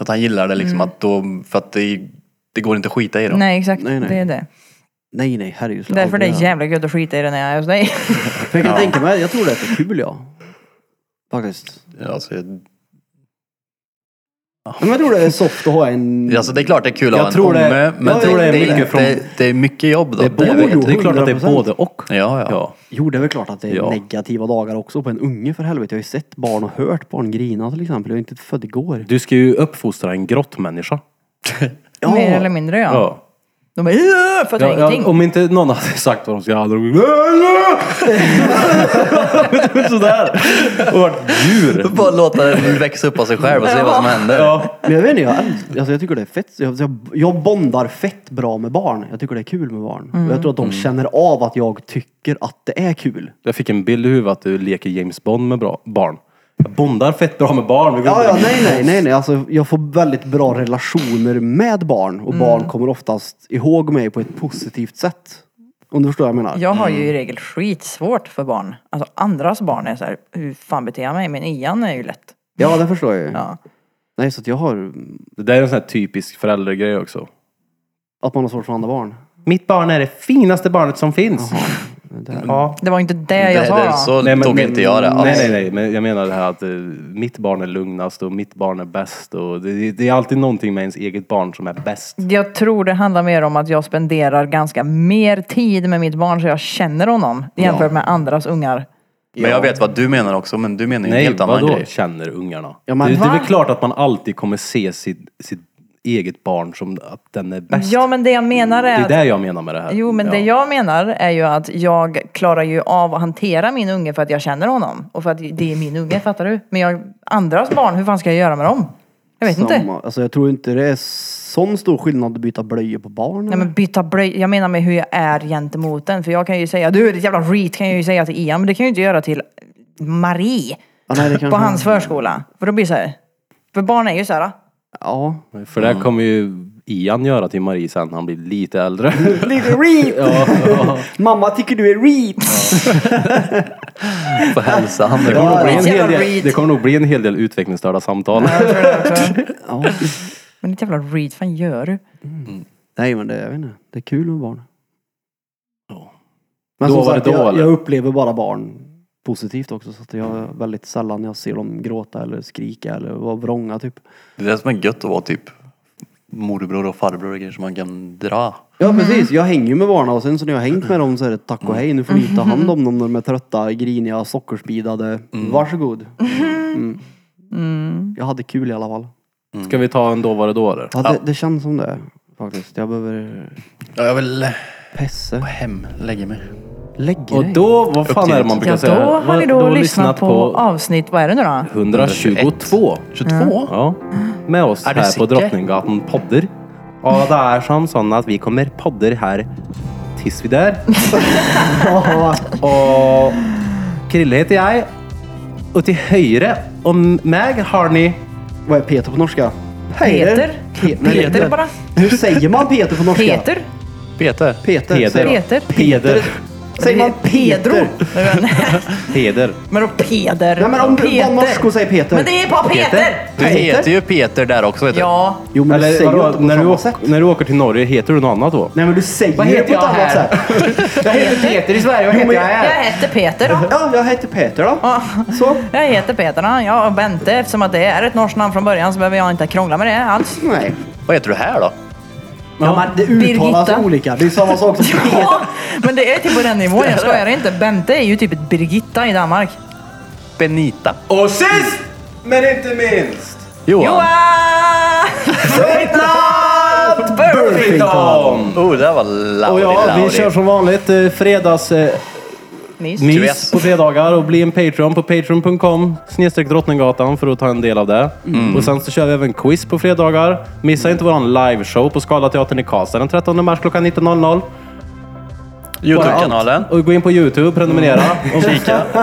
Speaker 6: Att han gillar det liksom att då, för att det, det går inte att skita i dem.
Speaker 2: nej exakt,
Speaker 4: Nej, nej.
Speaker 2: det är det.
Speaker 4: Nej, nej, herregud. slå
Speaker 2: Därför det
Speaker 4: aldrig
Speaker 2: är
Speaker 4: det här.
Speaker 2: jävla gött att skita i det när jag är hos dig.
Speaker 4: För jag kan tänka mig, jag tror det är för kul ja. Faktiskt.
Speaker 6: Alltså,
Speaker 4: Men jag tror det är soft att ha en...
Speaker 6: alltså det är klart det är kul att
Speaker 5: Jag
Speaker 6: ha en
Speaker 5: tror det-
Speaker 6: unge, men
Speaker 5: jag tror det är mycket
Speaker 6: inte-
Speaker 5: från-
Speaker 6: det, det är mycket jobb då.
Speaker 5: Det är både,
Speaker 6: vet
Speaker 5: och. det
Speaker 6: jag.
Speaker 5: är klart att det är
Speaker 4: 100%.
Speaker 5: både och.
Speaker 6: Ja, ja.
Speaker 5: Ja.
Speaker 4: Jo, det är väl klart att det är
Speaker 5: Ja.
Speaker 4: negativa dagar också på en unge för helvete. Jag har ju sett barn och hört barn grina till exempel. Jag är inte född igår.
Speaker 5: Du ska ju uppfostra en grottmänniska.
Speaker 2: Mer eller mindre ja.
Speaker 5: Ja.
Speaker 2: De bara "Äh, "Åh", fattar
Speaker 5: Ja,
Speaker 2: ingenting.
Speaker 5: ja, om inte någon hade sagt vad de "Äh, ska göra hade de äh." Sådär. Och varit djur.
Speaker 6: Bara låta den växa upp av sig själv och se vad som händer.
Speaker 4: Men jag vet inte, jag, älskar, alltså, jag tycker det är fett. Jag, jag, jag bondar fett bra med barn. Jag tycker det är kul med barn.
Speaker 2: Mm.
Speaker 4: Och jag tror att de känner av att jag tycker att det är kul.
Speaker 5: Jag fick en bild i huvudet att du leker James Bond med bra barn. Jag bondar fett bra med barn. Vi går
Speaker 4: Ja, ja,
Speaker 5: in.
Speaker 4: nej, nej, nej, nej. Alltså, jag får väldigt bra relationer med barn
Speaker 2: Mm.
Speaker 4: och barn kommer oftast ihåg mig på ett positivt sätt. Om du förstår vad jag menar?
Speaker 2: Jag har ju i regel skitsvårt för barn. Alltså andras barn är så här, hur fan beter jag mig? Men Ian är ju lätt.
Speaker 4: Ja, det förstår jag ju.
Speaker 2: Ja.
Speaker 4: Nej, så att jag har...
Speaker 5: Det där är en sån här typisk föräldragrej också.
Speaker 4: Att man har svårt för andra barn.
Speaker 5: Mitt barn är det finaste barnet som finns. Ja.
Speaker 2: Det var inte det jag
Speaker 6: Det-
Speaker 2: sa.
Speaker 6: det- så tog inte jag det alls.
Speaker 5: Nej, nej, nej. Men jag menar det här att eh, mitt barn är lugnast och mitt barn är bäst. Och det, det är alltid någonting med ens eget barn som är bäst.
Speaker 2: Jag tror det handlar mer om att jag spenderar ganska mer tid med mitt barn så jag känner honom jämfört med andras ungar.
Speaker 6: Men jag vet vad du menar också, men du menar ju en
Speaker 5: Nej,
Speaker 6: helt annan
Speaker 5: vadå
Speaker 6: grej.
Speaker 5: känner ungarna?
Speaker 4: Ja, men
Speaker 5: det, det är
Speaker 4: va?
Speaker 5: väl klart att man alltid kommer se sitt, sitt eget barn som att den är bäst.
Speaker 2: Ja men det jag menar
Speaker 5: det
Speaker 2: är
Speaker 5: är
Speaker 2: att
Speaker 5: det jag menar med det här.
Speaker 2: Jo, men
Speaker 5: ja.
Speaker 2: det jag menar är ju att jag klarar ju av att hantera min unge för att jag känner honom. Och för att det är min unge, fattar du? Men jag, andras barn, hur fan ska jag göra med dem? Jag vet inte.
Speaker 4: Samma. Alltså, jag tror inte det är sån stor skillnad att byta blöjor på barn.
Speaker 2: Nej men byta blöj. Jag menar med hur jag är gentemot den. För jag kan ju säga, du ditt jävla reet kan jag ju säga till Ian. Men det kan jag ju inte göra till Marie.
Speaker 4: Ja, nej, det kanske-
Speaker 2: På hans förskola. För då blir det så här. För barn är ju så här.
Speaker 4: Ja.
Speaker 5: För det här kommer ju Ian göra till Marie sen när han blir lite äldre.
Speaker 4: Lite reet! Mamma tycker du är reet!
Speaker 6: På hälsan.
Speaker 5: Det kommer, nog bli en
Speaker 2: Jävla
Speaker 5: hel del,
Speaker 2: reet.
Speaker 5: det kommer nog bli en hel del utvecklingsstörda samtal.
Speaker 2: Jag tror det också. Men ditt jävla reet, fan gör du?
Speaker 4: Nej, men det, jag vet inte. Det är kul med barn.
Speaker 5: Ja.
Speaker 4: Men
Speaker 5: Då
Speaker 4: som
Speaker 5: var
Speaker 4: sagt,
Speaker 5: det då,
Speaker 4: jag,
Speaker 5: eller?
Speaker 4: jag upplever bara barn positivt också. Så att jag väldigt sällan jag ser dem gråta eller skrika eller vara vrånga typ.
Speaker 6: Det är det som är gött att vara typ morbror och farbror och grejer som man kan dra.
Speaker 4: Ja
Speaker 2: Mm.
Speaker 4: precis, jag hänger ju med barnen och sen så när jag har hängt med dem så är det tack och hej, nu får ni ta hand
Speaker 2: Mm.
Speaker 4: om dem när de är trötta, griniga, sockerspidade. Varsågod. Mm.
Speaker 2: Mm.
Speaker 4: Jag hade kul i alla fall.
Speaker 5: Ska vi ta en då var det då eller?
Speaker 4: Ja, det, det känns som det faktiskt. Jag behöver
Speaker 6: Ja, jag vill
Speaker 4: pesse.
Speaker 6: hem, lägga mig.
Speaker 4: Lägg
Speaker 5: Och
Speaker 4: dig.
Speaker 5: då, vad fan
Speaker 6: till
Speaker 5: är det man brukar
Speaker 2: Ja,
Speaker 5: säga?
Speaker 2: då har ni då,
Speaker 5: Vad-
Speaker 2: lyssnat på, avsnitt, vad är det nu då?
Speaker 5: 122.
Speaker 6: 22?
Speaker 5: Ja. Med oss
Speaker 6: Är du
Speaker 5: här på
Speaker 6: säker?
Speaker 5: Drottninggatan podder. Ja, det är som sånn att vi kommer podder här tills vi dör. Och Krille heter jag. Och till höjre om mig har ni...
Speaker 4: Vad är Peter på norska?
Speaker 2: Peter?
Speaker 4: Pe- nej,
Speaker 2: Peter bara?
Speaker 4: Hur säger man Peter på norska?
Speaker 2: Peter?
Speaker 6: Peter.
Speaker 4: Peter.
Speaker 5: Peder.
Speaker 2: Peter?
Speaker 5: Peder.
Speaker 4: Säger man
Speaker 2: Pedro?
Speaker 6: Heder.
Speaker 2: men då Peder?
Speaker 4: Nej, men om du var
Speaker 2: Peter.
Speaker 4: norsk och säger Peter.
Speaker 2: Men det är bara Peter!
Speaker 6: Du heter ju Peter där också. Vet du.
Speaker 2: Ja,
Speaker 4: Jo, men du
Speaker 5: Eller
Speaker 4: säger ju inte
Speaker 5: vadå,
Speaker 4: på
Speaker 5: när, du
Speaker 4: samma
Speaker 5: åker,
Speaker 4: sätt.
Speaker 5: när du åker till Norge, heter du något annat då?
Speaker 4: Nej, men du säger
Speaker 10: Vad
Speaker 4: ju
Speaker 10: heter
Speaker 4: på ett
Speaker 10: jag
Speaker 4: annat
Speaker 10: här?
Speaker 4: sätt.
Speaker 10: Jag heter Peter i Sverige, vad heter jag
Speaker 2: jag
Speaker 10: här?
Speaker 2: heter Peter då.
Speaker 4: Ja, jag heter Peter då. Så.
Speaker 2: Jag heter Peter då. Ja, och Bente, eftersom att det är ett norskt namn från början så behöver jag inte krångla med det alls.
Speaker 4: Nej.
Speaker 6: Vad heter du här då?
Speaker 4: Ja, men det uttalas
Speaker 2: Birgitta.
Speaker 4: olika. Det är samma sak som Peter.
Speaker 2: Ja, men det är typ på den nivån, jag skojar inte. Bente är ju typ ett Birgitta i Danmark.
Speaker 6: Benita.
Speaker 5: Och sist men inte minst!
Speaker 6: Johan.
Speaker 2: Johan! Fritnat
Speaker 5: Burfington!
Speaker 6: Oh, det där var
Speaker 5: Och
Speaker 6: Lauri,
Speaker 5: ja, vi
Speaker 6: Lauri.
Speaker 5: kör som vanligt eh, fredags eh,
Speaker 2: Mys.
Speaker 5: mys på fredagar och bli en Patreon på patreon.com snedstreck drottninggatan för att ta en del av det. Och sen så kör vi även quiz på fredagar. Missa inte våran liveshow på Scalateatern i Karlstad den 13 mars klockan 19.00.
Speaker 6: Youtube-kanalen.
Speaker 5: Och gå in på Youtube, prenumerera. Om,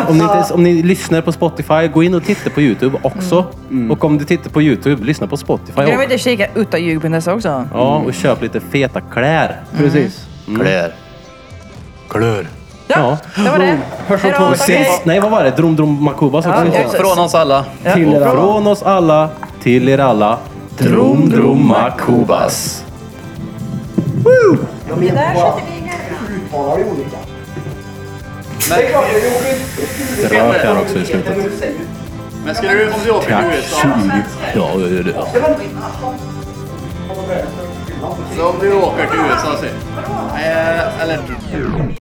Speaker 5: om, ni inte, om ni lyssnar på Spotify, gå in och titta på Youtube också. Och om du tittar på Youtube, lyssna på Spotify
Speaker 2: Glöm
Speaker 5: också.
Speaker 2: inte att kika utta julbindelse också.
Speaker 5: Ja, och köp lite feta kläder.
Speaker 4: Precis.
Speaker 6: Klör. Klör.
Speaker 2: Ja, det var det.
Speaker 4: Hörs och
Speaker 2: Hej då,
Speaker 4: tås.
Speaker 2: tack,
Speaker 5: Sist-
Speaker 2: hej.
Speaker 5: Nej, vad var det? Drom Drom Makubas också.
Speaker 2: Ja, just det.
Speaker 6: Från oss alla.
Speaker 4: Till er
Speaker 5: Och
Speaker 4: alla.
Speaker 5: från oss alla, till er alla. Drom Drom Makubas. Rökar också i slutet.
Speaker 6: Men skulle du, om du åker
Speaker 5: Tack. Ja, det är det.
Speaker 6: så om du åker till USA, säg. eller